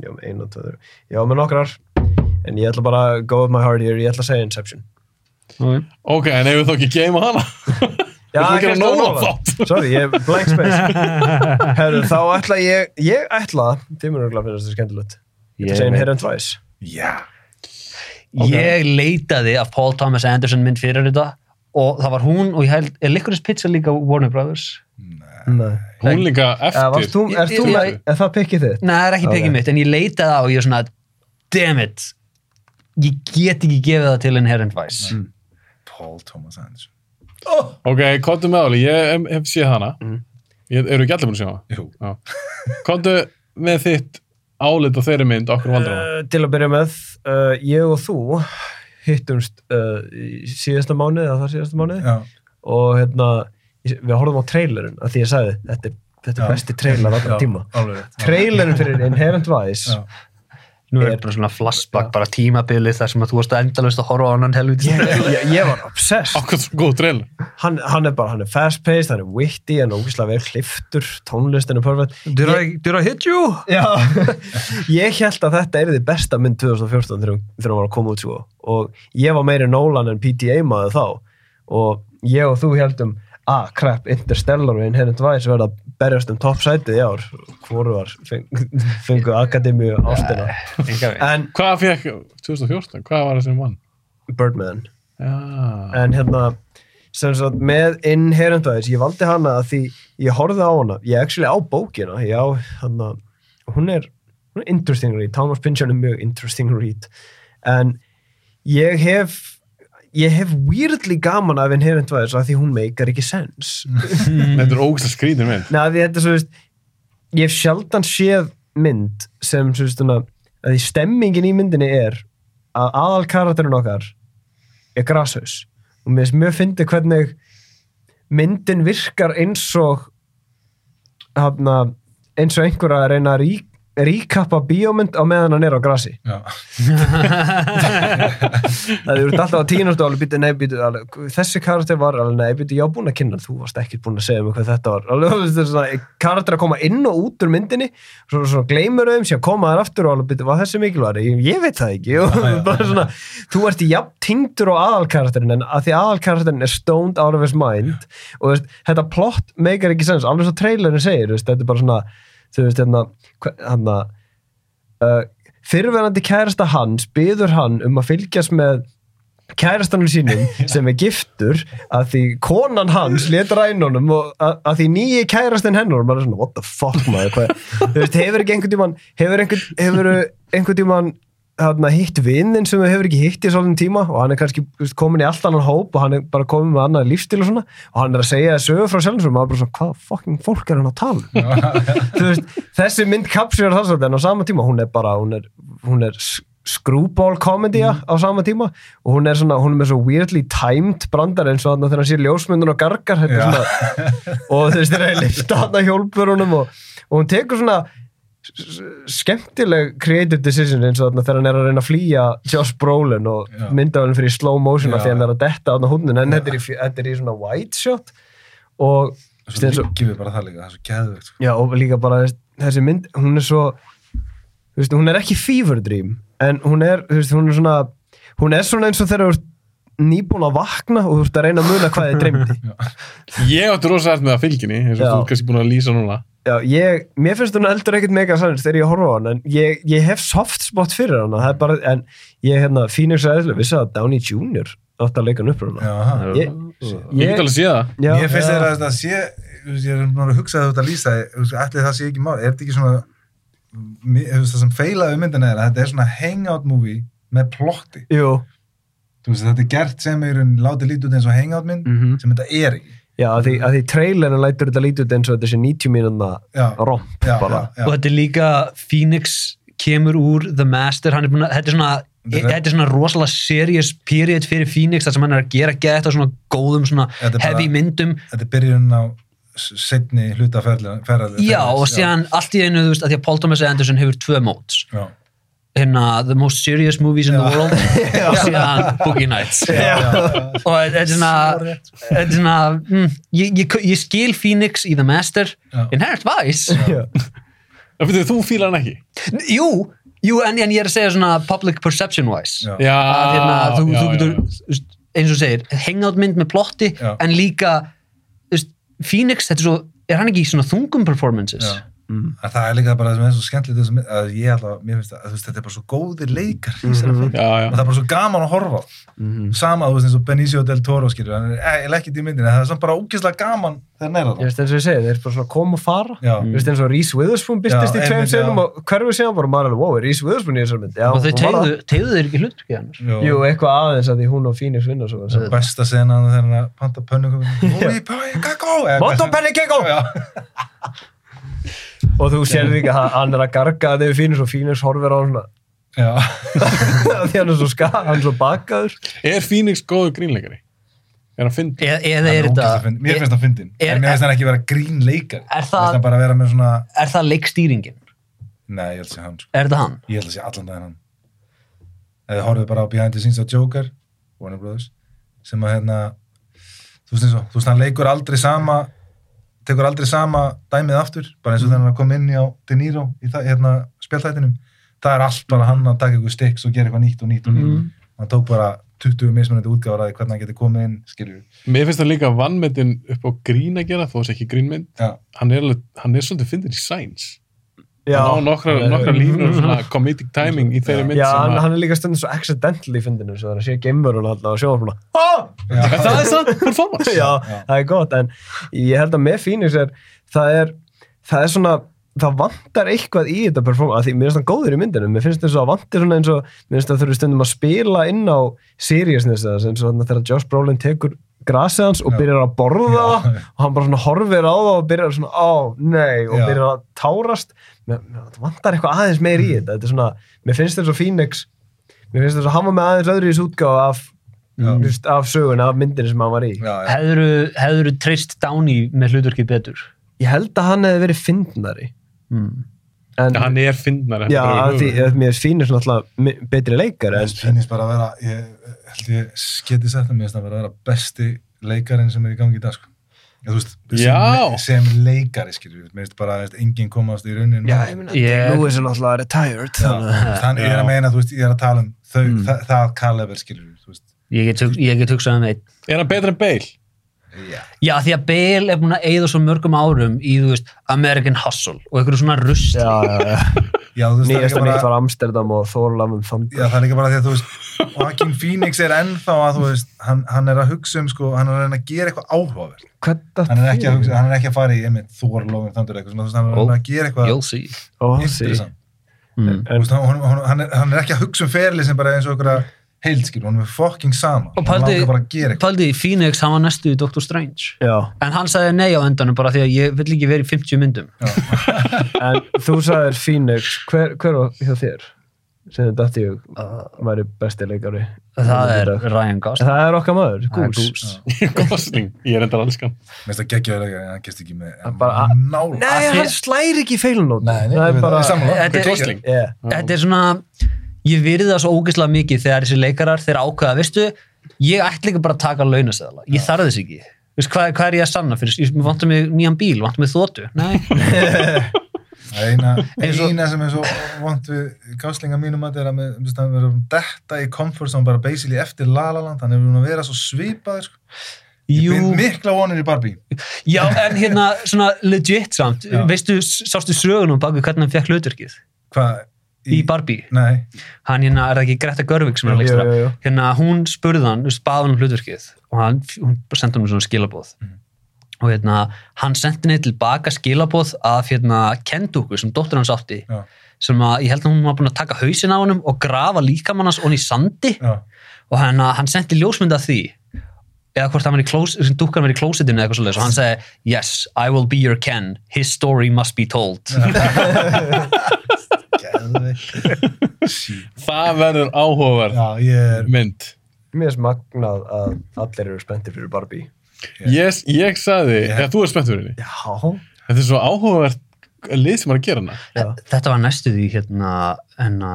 [SPEAKER 7] ég var með einu og tveður Ég var með nokkrar En ég ætla bara að go with my heart here Ég ætla að segja Inception
[SPEAKER 4] ok, en ef við þó ekki geima hana
[SPEAKER 7] Já,
[SPEAKER 4] ætlum að gera
[SPEAKER 7] Kristján
[SPEAKER 4] Nolan
[SPEAKER 7] Nolan.
[SPEAKER 4] þátt.
[SPEAKER 7] Sorry, ég er blank space Herru, þá ætla ég Ég ætla, þið mér örgulega finnast þetta skemmtilegt Ég ætla að segja Inherent Vice
[SPEAKER 6] Já.
[SPEAKER 5] Ég leitaði af Paul Thomas Anderson mynd fyrir þetta og það var hún og ég held, er Licorice Pizza líka Warner Brothers?
[SPEAKER 7] Nei
[SPEAKER 4] hún líka
[SPEAKER 7] Eða,
[SPEAKER 4] eftir
[SPEAKER 7] varst þú, er, þú,
[SPEAKER 5] Ég-
[SPEAKER 7] með, er það pikkið þitt?
[SPEAKER 5] Nei, það er ekki
[SPEAKER 7] Ok.
[SPEAKER 5] okay. mitt, en ég leitaði á og ég er svona, damn it, ég get ekki gefið það til Inherent Vice.
[SPEAKER 6] Paul Thomas Anderson.
[SPEAKER 4] ok, kontu með áli, ég hef- hef séð hana
[SPEAKER 7] Mm.
[SPEAKER 4] ég, eru ekki allir búin að sjá hana
[SPEAKER 6] Jú.
[SPEAKER 4] kontu með þitt álit á þeirri mynd okkur vandur hana
[SPEAKER 7] Uh, til að byrja með, uh, ég og þú hittumst uh, í síðasta mánuði, eða þar síðasta mánuði
[SPEAKER 6] Já.
[SPEAKER 7] og hérna, ég- við horfum á trailerinn að því ég sagði, þetta er, þetta er
[SPEAKER 6] Já.
[SPEAKER 7] besti trailer allra
[SPEAKER 6] Já,
[SPEAKER 7] tíma.
[SPEAKER 6] Alveg rétt.
[SPEAKER 7] Trailerinn fyrir Inherent Vice,
[SPEAKER 6] Já.
[SPEAKER 5] Nú er bara svona flashback, bara tímabilið þar sem að þú varst endalaust að horfa á annan helviti.
[SPEAKER 7] ég, ég, ég var obsessed.
[SPEAKER 4] okkur svo góð trail
[SPEAKER 7] Hann, hann er bara, hann er fast-paced, hann er witty, hann er ógislega vel kliftur, tónlistin er perfect.
[SPEAKER 5] Did I, did I hit you?
[SPEAKER 7] Já, ég held að þetta er þið besta mynd 2014 þegar hún- þegar hún var að koma út sko og ég var meiri Nolan en PTA maður þá og ég og þú heldum ah, crap, Interstellar og Inherent Vice verða að berjast um toppsætið í ár hvoru var feng, fengu Akademíu ástina
[SPEAKER 5] Enga við.
[SPEAKER 7] en
[SPEAKER 4] hvað fekk 2014, hvað var það sem vann
[SPEAKER 7] Birdman
[SPEAKER 3] Já.
[SPEAKER 7] en hérna sem sagt með Inherent Vice ég valdi hana að því ég horfði á hana ég actually á bókina ég á hana hún er, hún er interesting read Thomas Pynchon er mjög interesting read en ég hef ég hef weirdly gaman af Inherent Vice að því hún meikar ekki sens Mm.
[SPEAKER 3] Þetta er ógæslega skrýnir minn.
[SPEAKER 7] Nei, af því þetta er svo veist ég hef sjaldan séð mynd sem svo veist svona að því stemmingin í myndinni er að aðal karakterinn okkar er grashaus og mér finnst mjög fyndi hvernig myndin virkar eins og hafna, eins og einhver að reyna að rík, ríkappa bíómynd á meðan hann er á grasi
[SPEAKER 6] Já.
[SPEAKER 7] það eru alltaf að tínast og alveg býtu, nei, býtu, alveg, þessi karakter var alveg, nei, býtu, já, búin að kynna hann, þú varst ekki búin að segja mér hvað þetta var alveg, þú veist, þetta er svona, karakter að koma inn og út úr myndinni, svo, svo gleymur þeim sem koma þær aftur og alveg, býtu, var þessi mikilværi ég, ég veit það ekki, og bara svona þú ert jafn tíndur á aðalkarakterin en að því aðalkarakterin er stoned out of his mind og þú veist, þetta plott meikar ekki sens, alveg svo trailerin segir, þú veist, þetta er bara svona, þú veist, hérna, hva- hérna uh, fyrirverandi kærasta hans byður hann um að fylgjast með kærastanum sínum sem er giftur að því konan hans leta rænunum og að, að því nýji kærastin hennar og maður er svona what the fuck maður hvað, þú veist, hefur ekki einhvern tímann hefur einhvern, hefur einhvern tímann hana, hitt vinnin sem þú hefur ekki hitt í svolítið tíma og hann er kannski þú veist, komin í allt annan hóp og hann er bara komin með annað lífstil og svona og hann er að segja sögur frá sjálfum sem maður er bara svona hvað fucking fólk er hann að tala um Þú veist, þessi mynd kapsjóður þar svolítið en á sama tíma hún er bara hún er, hún er s- screwball komedía
[SPEAKER 6] Mm.
[SPEAKER 7] á sama tíma og hún er svona hún er með svo weirdly timed brandar eins og þarna þegar hann sé ljósmyndun og gargar þetta er
[SPEAKER 6] Já.
[SPEAKER 7] svona, og þú veist þegar hann lifta hann að hjólpurunum og, og hún tekur svona s- skemmtileg creative decision eins og þarna þegar hann er að reyna að flýja Josh Brolin og
[SPEAKER 6] Já.
[SPEAKER 7] mynda hann fyrir í slow motion af
[SPEAKER 6] Já.
[SPEAKER 7] því hann er að detta hann á hundin en þetta er, í, fjö- þetta er í svona white shot og
[SPEAKER 6] Svo líkjum við bara það líka, það er svo geðvegt sko.
[SPEAKER 7] Já, og líka bara þess- þessi mynd, hún er svo þú veist, hún er ekki fever dream en hún er, þú veist, hún er svona hún er svona eins og þegar þú ert nýbúin að vakna og þú ert að reyna að muna hvað þið dreymdi
[SPEAKER 3] Ég átti rosa hægt með það fylginni, eins og
[SPEAKER 7] Já.
[SPEAKER 3] þú ert kannski búin að lýsa núna.
[SPEAKER 7] Já, ég, mér finnst hún eldur ekkert mega sannins þegar ég horfa á hann, en ég, ég hef soft spot fyrir hann, það er bara, en ég hérna, Phoenix Ræðislega vissi að Downey Jr. átti að leika hann upp frá hann
[SPEAKER 6] Já, ha.
[SPEAKER 7] Ég-
[SPEAKER 3] Ég get alveg séð það.
[SPEAKER 7] já,
[SPEAKER 6] Mér finnst
[SPEAKER 7] já.
[SPEAKER 6] þeirra að það sé, þú veist, ég er bara að hugsa að þetta lýsa, þú veist, ætli það sé ekki mál, er þetta ekki svona, mér- þú veist, það sem feilaði um myndina er að þetta er svona hangout movie með plotti.
[SPEAKER 7] Jú,
[SPEAKER 6] Þú veist, þetta er gert sem er hún látið lítið út eins og hangout mynd,
[SPEAKER 7] Mhm.
[SPEAKER 6] sem þetta er ekki.
[SPEAKER 7] já, að því, að því trailerin lætur þetta lítið út eins og þetta sé 90 mínúna
[SPEAKER 6] Já.
[SPEAKER 7] romp
[SPEAKER 6] Já,
[SPEAKER 7] bara.
[SPEAKER 6] já,
[SPEAKER 5] og
[SPEAKER 6] já.
[SPEAKER 5] þetta er líka Phoenix kemur úr The Master hann er búin að, þetta er svona
[SPEAKER 6] Þetta er-
[SPEAKER 5] þetta er svona rosalega serious period fyrir Phoenix þar sem hann er að gera gett á svona góðum svona
[SPEAKER 6] Þetta er bara-
[SPEAKER 5] heavy myndum
[SPEAKER 6] Þetta er byrjun á setni hluta ferðalið.
[SPEAKER 5] já og síðan allt í einu þú veist að því að Paul Thomas Anderson hefur tvö móts
[SPEAKER 6] Já,
[SPEAKER 5] hérna The Most Serious Movies in the World og síðan Boogie Nights
[SPEAKER 6] já, já.
[SPEAKER 5] og þetta er svona þetta er svona mm, ég, ég, ég skil Phoenix í The Master
[SPEAKER 6] Já.
[SPEAKER 5] Inherent Vice
[SPEAKER 7] Já.
[SPEAKER 3] En fyrir þú fílar hann ekki.
[SPEAKER 5] jú, jú en, en ég er að segja svona public perception wise
[SPEAKER 6] Já.
[SPEAKER 3] Já,
[SPEAKER 5] að hérna,
[SPEAKER 3] já,
[SPEAKER 5] þú, þú
[SPEAKER 3] já,
[SPEAKER 5] getur
[SPEAKER 3] já.
[SPEAKER 5] þú veist, eins og þú segir, hangout mynd með plotti
[SPEAKER 6] Já.
[SPEAKER 5] en líka þú veist, Phoenix, þetta er svo er hann ekki í svona þungum performances
[SPEAKER 6] Já. Að það er líka bara það sem er svo skemmtilegt í þessu mynd, að ég alltaf, mér finnst það, að þú veist, þetta er bara svo góðir leikar mm -hmm.
[SPEAKER 3] Já, já.
[SPEAKER 6] og það er bara svo gaman að horfa á. sama, þú veist, eins og Benicio del Toro skilur, hann er eh, ekkert í myndinni það er samt bara ógeðslega gaman þegar næra
[SPEAKER 7] Ég
[SPEAKER 6] það
[SPEAKER 7] veist eins og ég segi, þeir eru bara svona kom og fara
[SPEAKER 6] Já.
[SPEAKER 7] Ég veist eins og Reese Witherspoon byrtist
[SPEAKER 6] Já,
[SPEAKER 7] í tveim
[SPEAKER 6] einmitt,
[SPEAKER 7] senum
[SPEAKER 6] já.
[SPEAKER 7] og hverfi síðan bara maður er alveg, wow, er Reese Witherspoon í þessar mynd já,
[SPEAKER 5] og þau
[SPEAKER 7] hún var
[SPEAKER 5] tegðu, tegðu þeir ekki hlutur ekki annars
[SPEAKER 7] það. Jú, eitthvað aðeins að því hún og Phoenix vinna svo vel saman.
[SPEAKER 6] besta senan þegar hann er að panta pönnukum Mói, pæ, kakó eða
[SPEAKER 7] Motto
[SPEAKER 6] hvað-
[SPEAKER 7] penny kekko!
[SPEAKER 6] Já.
[SPEAKER 7] Og þú sér líka að hann er að garga þegar Phoenix og Phoenix horfir á hann svona
[SPEAKER 6] Já.
[SPEAKER 7] því hann er svo ska, hann er svo bakaður
[SPEAKER 3] Er Phoenix góður grínleikari? Er hann fyndið?
[SPEAKER 5] E- eða,
[SPEAKER 6] Hann
[SPEAKER 5] eða
[SPEAKER 6] er
[SPEAKER 5] er
[SPEAKER 6] ógeðslega
[SPEAKER 5] þetta e-
[SPEAKER 6] fyndinn. mér
[SPEAKER 5] er,
[SPEAKER 6] finnst það fyndin
[SPEAKER 5] er-
[SPEAKER 6] en mér finnst það ekki vera grín leikar
[SPEAKER 5] Er
[SPEAKER 6] mér finnst
[SPEAKER 5] það-
[SPEAKER 6] það bara vera með svona
[SPEAKER 5] er það leikstýringin?
[SPEAKER 6] nei, ég held að sé hann sko.
[SPEAKER 5] Er það hann?
[SPEAKER 6] ég held að sé allan daginn hann eða horfðu bara á behind the scenes á Joker Warner Brothers sem að hérna þú veist eins og, þú veist hann leikur aldrei sama tekur aldrei sama dæmið aftur bara eins og þegar hann kom inn í á De Niro í það, hérna spjálþættinum það er allt bara hann að taka ykkur stikks og gera eitthvað nýtt og nýtt og nýtt hann tók bara 20 mismunandi útgáður að því hvernig hann geti komið inn skilur
[SPEAKER 3] Mér finnst það líka vannmyndin upp á grín að gera, þó þess ekki grínmynd.
[SPEAKER 6] já,
[SPEAKER 3] Hann er, alveg, hann er svolítið fyndin í Sainz.
[SPEAKER 7] Já.
[SPEAKER 3] hann á nokkra, nokkra línur svona comedic timing í þeirri mynd
[SPEAKER 7] Já,
[SPEAKER 3] sem
[SPEAKER 7] hann,
[SPEAKER 3] að
[SPEAKER 7] hann er líka stundum svo accidental í fyndinu svo það sé geimverun alltaf og sjóðum svona
[SPEAKER 6] Já.
[SPEAKER 3] það er það performance
[SPEAKER 7] já, það er gott en ég held að með Phoenix er það er, það er svona það vantar eitthvað í þetta performance af því mér finnst það góður í myndinu, mér finnst það svo að vantir svona eins og, mér finnst það þurfi stundum að spila inn á seriousness þess eins og þannig þegar Josh Brolin tekur grasið hans og
[SPEAKER 6] Já.
[SPEAKER 7] byrjar að borða
[SPEAKER 6] Já.
[SPEAKER 7] það og hann bara svona horfir á það og byrjar svona á, nei, og
[SPEAKER 6] Já.
[SPEAKER 7] byrjar að tárast mér, mér það vantar eitthvað aðeins meir í þetta þetta er svona, mér finnst þetta svo Phoenix mér finnst þetta svo, hann var með aðeins öðru í útgáfa af,
[SPEAKER 6] Já.
[SPEAKER 7] þú veist, af sögun af myndinu sem hann var í
[SPEAKER 6] Já, já.
[SPEAKER 5] Hefðurðu hefðurðu treyst Downey með hluturki betur?
[SPEAKER 7] Ég held að hann hefði verið fyndnari
[SPEAKER 5] Mm.
[SPEAKER 7] en,
[SPEAKER 3] Já, hann er fyndnar
[SPEAKER 7] já, að því að mér finnst Fínir svona alltaf mi- betri leikari
[SPEAKER 6] Mér
[SPEAKER 7] en,
[SPEAKER 6] finnst bara að vera, ég held ég geti sagt það, mér finnst að vera að vera besti leikarinn sem er í gangi í dag, sko. Ég, þú veist,
[SPEAKER 3] Já.
[SPEAKER 6] sem, sem leikari, skilur við, mér finnst bara að enginn komast í rauninu.
[SPEAKER 7] Já, ég meina,
[SPEAKER 5] Ég-
[SPEAKER 7] Lewis er náttúrulega retired þannig að-
[SPEAKER 6] Þannig ég er
[SPEAKER 3] Já.
[SPEAKER 6] að meina, þú veist, ég er að tala um þau,
[SPEAKER 5] Mm.
[SPEAKER 6] það, það kalever, skilur við, þú veist.
[SPEAKER 5] Ég get, hug- ég get hugsað um einn.
[SPEAKER 3] er hann betur en Bale?
[SPEAKER 6] Já.
[SPEAKER 5] Já, því að Bale er búin að eigða svo mörgum árum í, þú veist, American Hustle og einhverju svona rusli.
[SPEAKER 7] Já, já, já.
[SPEAKER 6] Já, þú veist, það er
[SPEAKER 7] nýjasta
[SPEAKER 6] líka
[SPEAKER 7] nýtt
[SPEAKER 6] bara,
[SPEAKER 7] var Amsterdam og Thorlafum
[SPEAKER 6] já,
[SPEAKER 7] Thunder
[SPEAKER 6] það er líka bara því að, þú veist, Joaquin Phoenix er ennþá að, þú veist, hann, hann er að hugsa um, sko, hann er að reyna að gera eitthvað áhugaverð.
[SPEAKER 7] Hvernig
[SPEAKER 6] Hann er ekki að, hugsa, hann er ekki að fara í, einmitt, Thor, Lófin, Thunder, eitthvað, svona, þú veist, hann er að reyna að gera eitthvað
[SPEAKER 5] You'll see.
[SPEAKER 7] oh, sí.
[SPEAKER 6] interessant.
[SPEAKER 5] Mm.
[SPEAKER 6] Þú veist, hann, hann, hann, er, hann er ekki að hugsa um ferli sem bara eins og einhverja heildskil, hann er fucking sama hann
[SPEAKER 5] Og pældi,
[SPEAKER 6] langar bara að gera eitthvað
[SPEAKER 5] pældi, Phoenix, hann var næstu í Doctor Strange.
[SPEAKER 7] Já,
[SPEAKER 5] En hann sagði nei á endanum bara því að ég vill ekki verið í 50 myndum.
[SPEAKER 7] en þú sagðir Phoenix hver, hver var hjá þér? sem þið dætti ég væri besti leikari
[SPEAKER 5] Það er
[SPEAKER 7] En
[SPEAKER 5] Ryan Gosling.
[SPEAKER 7] það er okkar maður,
[SPEAKER 5] Það er
[SPEAKER 7] Goose
[SPEAKER 5] Goose.
[SPEAKER 3] Gosling, ég er endar allskan
[SPEAKER 6] mér finnst það geggjaður ekki, en hann gæst ekki með
[SPEAKER 7] Það bara-
[SPEAKER 6] nála
[SPEAKER 7] Nei,
[SPEAKER 5] Að
[SPEAKER 7] hann
[SPEAKER 5] þið-
[SPEAKER 7] slæri ekki í feilunót
[SPEAKER 6] það er bara sammála
[SPEAKER 5] Þetta er-
[SPEAKER 3] Gosling,
[SPEAKER 7] yeah.
[SPEAKER 5] þetta er svona ég virði það svo ógeðslega mikið þegar þessi leikarar þeir ákveða, veistu, ég ætla ekki bara að taka launaseðala, ég þarf þess ekki Veistu, hvað, hvað er ég að sanna fyrir, ég mér vantar mig nýjan bíl, vantar mig þóttu nei,
[SPEAKER 6] Það er eina,
[SPEAKER 5] Eins og-
[SPEAKER 6] eina sem er svo vant við gáslinga mínum að er að með- þú veist, hann verður detta í comfort zone bara basically eftir La La Land hann er verið að vera svo svipaður sko.
[SPEAKER 5] jú,
[SPEAKER 6] Bind mikla vonir í Barbie
[SPEAKER 5] já, en hérna svona legit samt,
[SPEAKER 6] Já.
[SPEAKER 5] veistu sástu sögunum baku hvernig hann fekk hlutverkið
[SPEAKER 6] hvað
[SPEAKER 5] í Barbie,
[SPEAKER 6] nei,
[SPEAKER 5] hann hérna, er það ekki Greta Görvig sem er að
[SPEAKER 7] Jú,
[SPEAKER 5] leikstara,
[SPEAKER 7] jú, jú.
[SPEAKER 5] hérna hún spurði hann, þú veist, bað hann um hlutverkið og hann, hún bara sendi hann svona skilabóð
[SPEAKER 6] Mhm.
[SPEAKER 5] og hérna, hann sendi henni tilbaka skilabóð af hérna Kenduku sem dóttur hans átti
[SPEAKER 6] Já.
[SPEAKER 5] sem að ég held að hún var búin að taka hausinn á hannum og grafa líkamann hans onni í sandi
[SPEAKER 6] já,
[SPEAKER 5] og hann, hann sendi ljósmynd af því eða hvort hann var í klós, dukkan var í klósitinu eða eitthvað svolítið og hann segi yes, I will be your Ken, his story must be told
[SPEAKER 6] geðveikt. Sí.
[SPEAKER 3] það verður áhugaverð
[SPEAKER 6] já, ég er
[SPEAKER 3] mynd
[SPEAKER 7] Mér finnst magnað að allir eru spenntir fyrir Barbie
[SPEAKER 3] yes, ég sagði,
[SPEAKER 6] Já.
[SPEAKER 3] yeah. þú er spennt fyrir henni
[SPEAKER 7] Já,
[SPEAKER 3] þetta er svo áhugavert lið sem er að gera hana
[SPEAKER 7] Já.
[SPEAKER 5] þetta var næstu því hérna hérna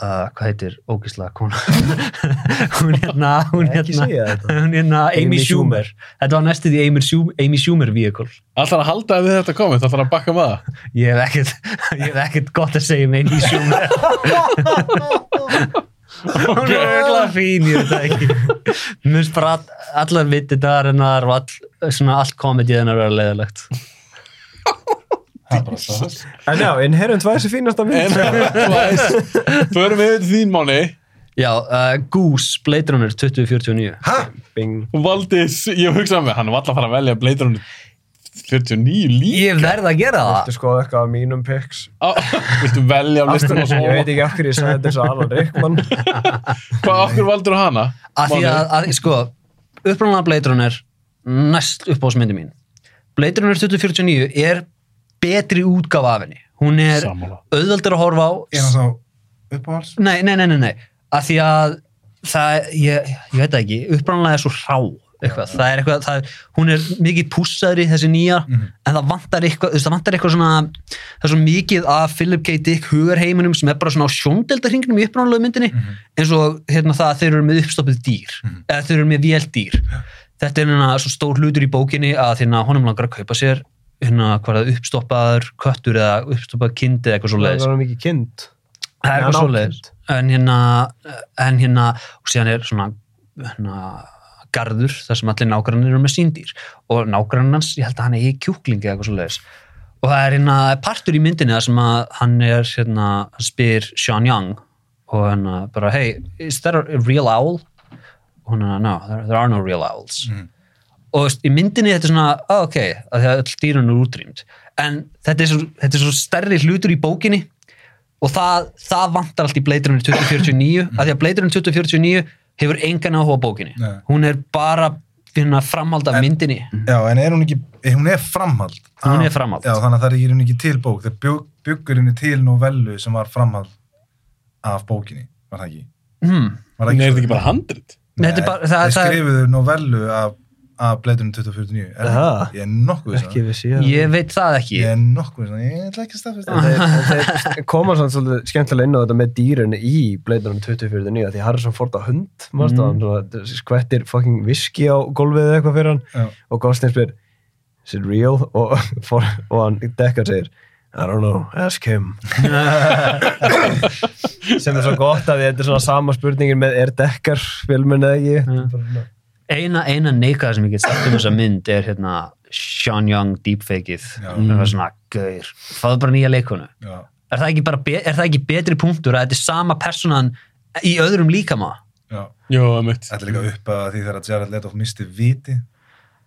[SPEAKER 5] uh, hvað heitir ógislega kona hún hérna hún
[SPEAKER 7] Nei, ekki
[SPEAKER 5] hérna,
[SPEAKER 7] segja þetta.
[SPEAKER 5] hún hérna Amy
[SPEAKER 7] Amy
[SPEAKER 5] Schumer þetta var næstu því Amy Schumer, Amy Schumer vehicle
[SPEAKER 3] alltaf að halda við þetta komið, það þarf að bakka með það
[SPEAKER 5] ég hef ekkert ég hef ekkert gott að segja um Amy Schumer hún er auðvitað fín ég veit það ekki mér finnst bara all, allar vitið þar hennar og all, svona allt komedið hennar vera leiðilegt
[SPEAKER 6] það er bara það
[SPEAKER 7] En já, Inherent Vice er fínasta mynd
[SPEAKER 3] en förum við til þín mánu
[SPEAKER 5] já, uh, Goose Blade Runner 2049
[SPEAKER 7] Bing
[SPEAKER 3] Valdís, ég hugsaði með, hann var alltaf að fara að velja Blade Runner 49 líka
[SPEAKER 5] ég verð að gera það
[SPEAKER 7] Þú skoðu sko eitthvað af mínum picks
[SPEAKER 3] Á, viltu velja af listan og svo
[SPEAKER 7] Ég veit ekki af hverju ég sagði þetta svo Alan Rickman
[SPEAKER 3] hvað okkur valdur hana
[SPEAKER 5] að því
[SPEAKER 3] Máni?
[SPEAKER 5] að, að sko, upprunalega Blade Runner næst uppáhaldsmyndi mín Blade Runner 2049 er betri útgáfa af henni hún er
[SPEAKER 3] Sammála.
[SPEAKER 5] auðveldur að horfa á
[SPEAKER 6] er hann þá uppáhalds
[SPEAKER 5] nei, nei, nei, nei, nei að því að það, ég, ég veit það ekki upprunalega er svo hrá eitthvað, það er eitthvað, það er, hún er mikið pússaðri þessi nýja, en það vantar eitthvað, þú veist, það vantar eitthvað svona það er svo mikið af Philip K. Dick hugarheiminum sem er bara svona á sjóndeldarhringnum í upprunalega myndinni, eins og hérna það að þeir eru með uppstoppið dýr eða þeir eru með véldýr þetta er hérna svo stór hlutur í bókinni að hérna honum langar að kaupa sér hérna hvað er það uppstoppaður köttur eða uppstoppaður kind eða eitthvað svo
[SPEAKER 7] Það
[SPEAKER 5] leiðis
[SPEAKER 7] var mikið kind
[SPEAKER 5] það er
[SPEAKER 7] Hann
[SPEAKER 5] eitthvað
[SPEAKER 7] á
[SPEAKER 5] svoleiðis en hérna, en hérna og síðan er svona hérna, garður þar sem allir nágrannir eru með síndýr og nágrannans, ég held að hann eigi kjúklingi eða eitthvað svoleiðis og það er hérna partur í myndinni þar sem að hann er hérna, hann spyr Sean Young og hann uh, bara, hey, is there a real owl? og hann, no, there, there are no real owls og þú veist, í myndinni þetta er svona, oh, ok að það öll dýrun eru útrýmt en þetta er, svo, þetta er svo stærri hlutur í bókinni og það, það vantar allt í Blade Runner 2049 af því að Blade Runner 2049 hefur engan áhuga á bókinni
[SPEAKER 6] Nei.
[SPEAKER 5] hún er bara hérna, framhald af myndinni
[SPEAKER 6] Já, en er hún ekki, eh, hún er framhald.
[SPEAKER 5] Hún er
[SPEAKER 6] Ah,
[SPEAKER 5] framhald.
[SPEAKER 6] Já, þannig að það er í rauninni ekki til bók. Þeir bjó- bjuggur henni til novellu sem var framhald af bókinni, var það ekki?
[SPEAKER 5] hmm.
[SPEAKER 3] Nei,
[SPEAKER 6] Var
[SPEAKER 3] er þetta
[SPEAKER 6] svo?
[SPEAKER 3] ekki bara handrit?
[SPEAKER 5] Nei, þetta er bara- það-
[SPEAKER 6] þeir
[SPEAKER 5] það er-
[SPEAKER 6] skrifuðu novellu af, af Bleitunum 2049. Er
[SPEAKER 7] Aha.
[SPEAKER 6] Ég er nokkuð viss um
[SPEAKER 7] ekki
[SPEAKER 6] það.
[SPEAKER 7] við síðan
[SPEAKER 5] ég veit það ekki
[SPEAKER 6] Ég er nokkuð svona, ég ætla ekki að staðfesta það.
[SPEAKER 7] þeir, en þeir koma svona svolítið skemmtilega inn á þetta með dýrun í Bleitunum 2049 af því Harrison Ford á hund mm. hann svona skvettir fucking viski á gólfið eða eitthvað fyrir hann
[SPEAKER 6] Já.
[SPEAKER 7] og Gosling spyr is it real? og, for, og hann dekkar segir I don't know, ask him sem er svo gott að þetta er svona sama spurningin með er dekkar filmin eða ekki Þetta er bara svona-
[SPEAKER 5] eina, eina neikað sem ég get sagt um þessa mynd er hérna Sean Young deepfakeið það var svona gaur, fáðu bara nýja leikonu
[SPEAKER 6] Já.
[SPEAKER 5] er það, ekki bara be- er það ekki betri punktur að þetta er sama personan í öðrum líkama
[SPEAKER 6] Já.
[SPEAKER 3] Jó, emitt.
[SPEAKER 6] Þetta er líka upp að því þegar Jared Leto misti viti,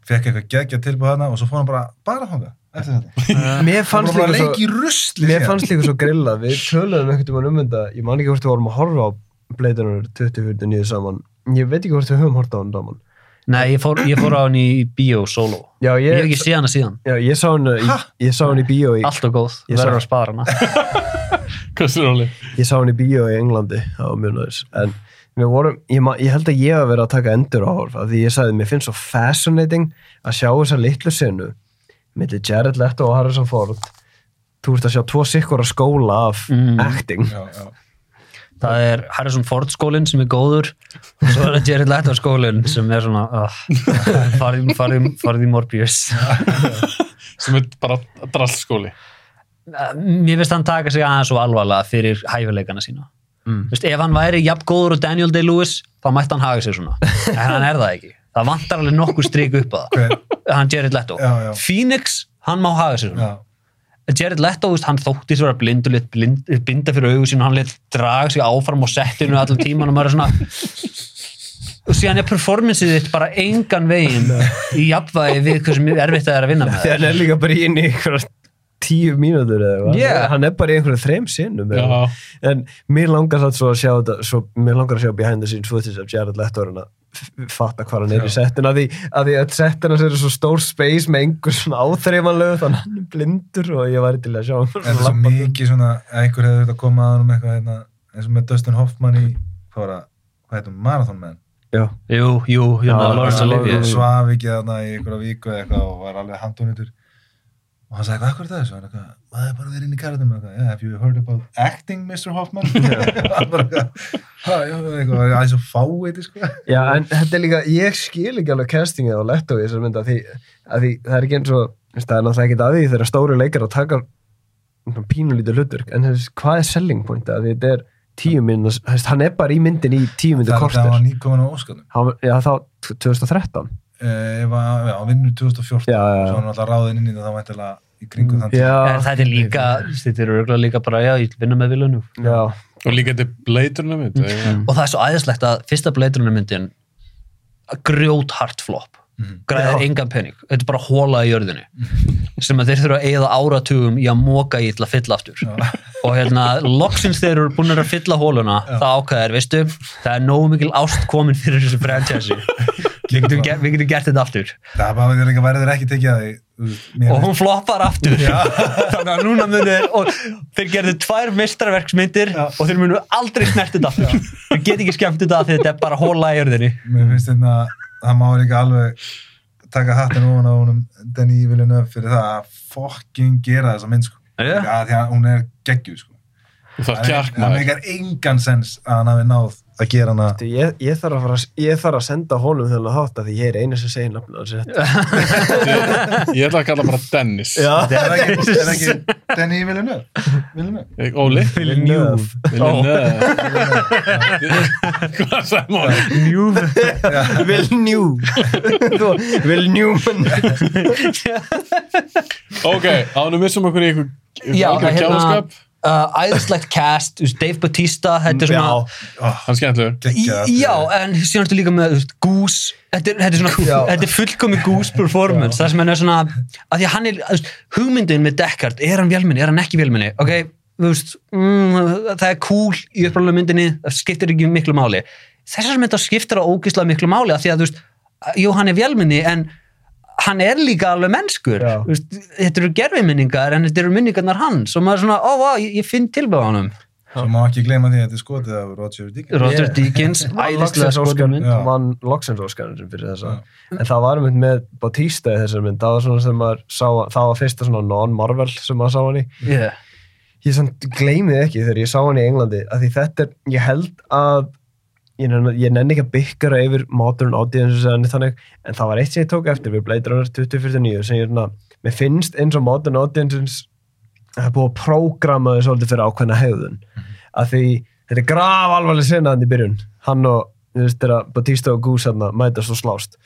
[SPEAKER 6] fekk eitthvað geggja tilbúið hana og svo fór hann bara, bara þangað eftir þetta.
[SPEAKER 7] mér
[SPEAKER 6] Hann
[SPEAKER 7] fannst
[SPEAKER 6] fór bara
[SPEAKER 7] líka
[SPEAKER 6] að
[SPEAKER 7] svo
[SPEAKER 6] leika í rusli
[SPEAKER 7] Mér fannst líka svo grilla, við töluðum einhvern tímann um þetta, ég man ekki hvort við vorum að horfa á Bleitunar 2049 saman, ég veit ekki hvort við höfum horfað á hann saman.
[SPEAKER 5] nei, ég fór, ég fór á hann í bíó solo
[SPEAKER 7] Já,
[SPEAKER 5] ég,
[SPEAKER 7] ég,
[SPEAKER 5] hef ekki séð hana síðan,
[SPEAKER 7] já, ég sá hann, í, ég sá hann í bíó í,
[SPEAKER 5] allt og góð
[SPEAKER 7] Ég sá-
[SPEAKER 5] verður að spara hana
[SPEAKER 3] Hversu ráli?
[SPEAKER 7] ég sá hann í bíó í Englandi, það var mjög næðis, en við vorum, ég, ma- ég held að ég hafa verið að taka endur á horfa, því ég sagði, mér finnst svo fascinating að sjá þessa litlu senu, milli Jared Leto og Harrison Ford, þú ert að sjá tvo sikkur að skóla af acting,
[SPEAKER 6] Já, já.
[SPEAKER 5] það er Harrison Ford skólinn sem er góður og svo er það Jared Leto skólinn sem er svona uh, farði, farði, farði Morbius
[SPEAKER 3] Sem er bara drallskóli.
[SPEAKER 5] mér finnst hann taka sig aðeins og alvarlega fyrir hæfileikana sína mm. Vist, ef hann væri jafn góður og Daniel Day-Lewis þá mætti hann haga sig svona en hann er það ekki, það vantar alveg nokkur strik upp að
[SPEAKER 6] Hver-
[SPEAKER 5] það hann Jared Leto
[SPEAKER 6] Já, já.
[SPEAKER 5] Phoenix, hann má haga sig svona
[SPEAKER 6] Já.
[SPEAKER 5] Jared Leto, veist, hann þótti svo að blind og lit blind, binda fyrir augu sín og hann lit draga sig áfram á settinu allan tíman og maður er svona og síðan er performanceið þitt bara engan veginn í jafnvægi við hversu mjög erfitt það er að vinna með
[SPEAKER 7] Þegar hann er líka bara inn í einhverja tíu mínútur eða eitthvað.
[SPEAKER 5] Yeah.
[SPEAKER 7] Hann- hann er bara í einhverju þreim sinnum eða
[SPEAKER 3] Já.
[SPEAKER 7] eitthvað. en mér langar satt svo að sjá þetta svo, mér langar að sjá behind the scenes footage af Jared Leto er hann að f- fatta hvað hann er í settin að því að, því að settina sér er svo stór space með einhver svona áþreifanlegu þannig að hann er blindur og ég væri til að sjá hann
[SPEAKER 6] En það er svo mikið svona, að einhver hefði þetta komað að honum eitthvað hérna, eins og með Dustin Hoffman í, hvað var það, hvað heitum, Marathon Man?
[SPEAKER 7] já,
[SPEAKER 5] Jú, jú,
[SPEAKER 7] Já,
[SPEAKER 5] jú,
[SPEAKER 7] Lawrence
[SPEAKER 5] Lawrence Olivier.
[SPEAKER 7] Olivier.
[SPEAKER 6] Svaf ekki þarna í einhverja viku eða eitthvað og var alveg handónitur. Og hann sagði, hvað akkur er það þessu? Hann eitthvað, það er bara verið inn í karatum með eitthvað. Yeah, have you heard about acting, Mr. Hoffman? Hann bara eitthvað, "Ha, já, eitthvað, var aðeins að fá eitthvað, sko.
[SPEAKER 7] já, en þetta er líka ég skil ekki alveg castingið á Leto í þessar mynd að því, að því það er ekki eins og þú veist, það er náttúrulega ekkert að því þegar stóru leikar að taka pínulítið hlutur en þú veist, hvað er selling point að því þetta er tíu minn, hann er bara í myndin í tíu myndu
[SPEAKER 6] Það er það
[SPEAKER 7] kortir
[SPEAKER 6] var nýkomin á Óskarnum.
[SPEAKER 7] Hann- já, þá 2013
[SPEAKER 6] Eh, Ég var, já, hann vinnur 2014,
[SPEAKER 7] Já, já, já.
[SPEAKER 6] svo hann var alltaf ráðinn inn í þetta, þá væntanlega í kringum þann tíma.
[SPEAKER 7] Já,
[SPEAKER 5] En þetta er líka, þetta er örgulega líka bara, já, ég vil vinna með vilunum.
[SPEAKER 7] já,
[SPEAKER 3] Og líka þetta er bleiturna mitt.
[SPEAKER 5] Og það er svo æðislegt að fyrsta bleitrunarmyndin grjót hart flop. Græðir engan pening. Þetta er bara hóla í jörðinu. Sem að þeir þurfa að eigða áratugum í að móka í til að fylla aftur. Og hérna, loksins þeir eru búin að fylla hóluna, það ákvæðir, veistu, það er nógu mikil ást komin fyrir þessu franchise. Við getum, ger- við getum gert þetta aftur.
[SPEAKER 6] Það er bara líka verður ekki tekið að því. þú veist, mér
[SPEAKER 5] og
[SPEAKER 6] finnst-
[SPEAKER 5] hún floppar aftur þannig að núna munu þeir og þeir gerðu tvær mestrarverksmyndir og þeir munu aldrei snert þetta aftur þeir get ekki skemmt þetta af því þetta er bara hóla í örðinni
[SPEAKER 6] Mér finnst þetta að það má líka alveg taka hattin ofan á honum Denny Villeneuve fyrir það að fokking gera þessa mynd sko.
[SPEAKER 5] Já.
[SPEAKER 6] Líka að Því að hún er geggju sko.
[SPEAKER 3] Það er kjark maður.
[SPEAKER 6] meikar engan sens að hann hafi náð að gera hana
[SPEAKER 7] Þú, Ég, ég, þarf að fara, ég þarf að senda honum þennan þátt af því ég er einu sem segir nafn hans rétt.
[SPEAKER 3] Ég ætla að kalla bara Dennis.
[SPEAKER 6] Þetta er ekki, er ekki Denny Villeneuve Villeneuve
[SPEAKER 3] Ég- Óli?
[SPEAKER 7] Villeneuve.
[SPEAKER 3] Villeneuve. Hvað sagði maður?
[SPEAKER 5] Njúf.
[SPEAKER 7] Vilnjú Vilnjú
[SPEAKER 3] Ok, ánum missum okkur í ykkur
[SPEAKER 5] Já,
[SPEAKER 3] ykkur
[SPEAKER 5] hérna,
[SPEAKER 3] kjáðskap.
[SPEAKER 5] uh, æðislegt cast, þú veist, Dave Bautista, þetta er
[SPEAKER 7] Já,
[SPEAKER 5] svona,
[SPEAKER 3] Hann er skemmtilegur.
[SPEAKER 5] Í-
[SPEAKER 6] Geggjað.
[SPEAKER 5] Já, en síðan ertu líka með þú veist, Goose, þetta er, þetta er, svona, þetta er fullkomi Goose performance, það sem hann er svona að því að hann er, þú veist, hugmyndin með Deckard, er hann vélminni, er hann ekki vélminni ok, þú veist, mm, það er cool í uppræðlega myndinni, það skiptir ekki miklu máli, þessar mynda skiptir á ógislega miklu máli að því að þú veist jú, hann er vélminni, en hann er líka alveg mennskur
[SPEAKER 7] Já.
[SPEAKER 5] Þú veist, þetta eru gerfiminningar, en þetta eru minningarnar hans og maður er svona, ó, vá, ég, ég finn tilbæð á honum
[SPEAKER 6] Svo má ekki gleyma því að þetta er skotið af Roger Dickens
[SPEAKER 5] Roger
[SPEAKER 7] Yeah.
[SPEAKER 5] Deakins, æðislega
[SPEAKER 7] Loksins Óskar-
[SPEAKER 5] skoðum mynd
[SPEAKER 6] Já.
[SPEAKER 7] vann Loksins Óskarinn fyrir þessa en það var einmitt með Bautista í þessari mynd það var svona sem maður sá það var fyrsta svona non-Marvel sem maður sá hann í
[SPEAKER 5] yeah.
[SPEAKER 7] ég samt gleymið ekki þegar ég sá hann í Englandi að því þetta er, ég held að ég nenni, ég nenni ekki að byggara yfir modern audiences eða neitt þannig en það var eitt sem ég tók eftir við Blade Runner 2049 sem ég er svona, mér finnst eins og modern audiences það er búið að prógrama þau svolítið fyrir ákveðna hegðun að því þetta er graf alvarleg sinna hann í byrjun hann og, þú veist, þegar Batista og Goose hann mætast og slást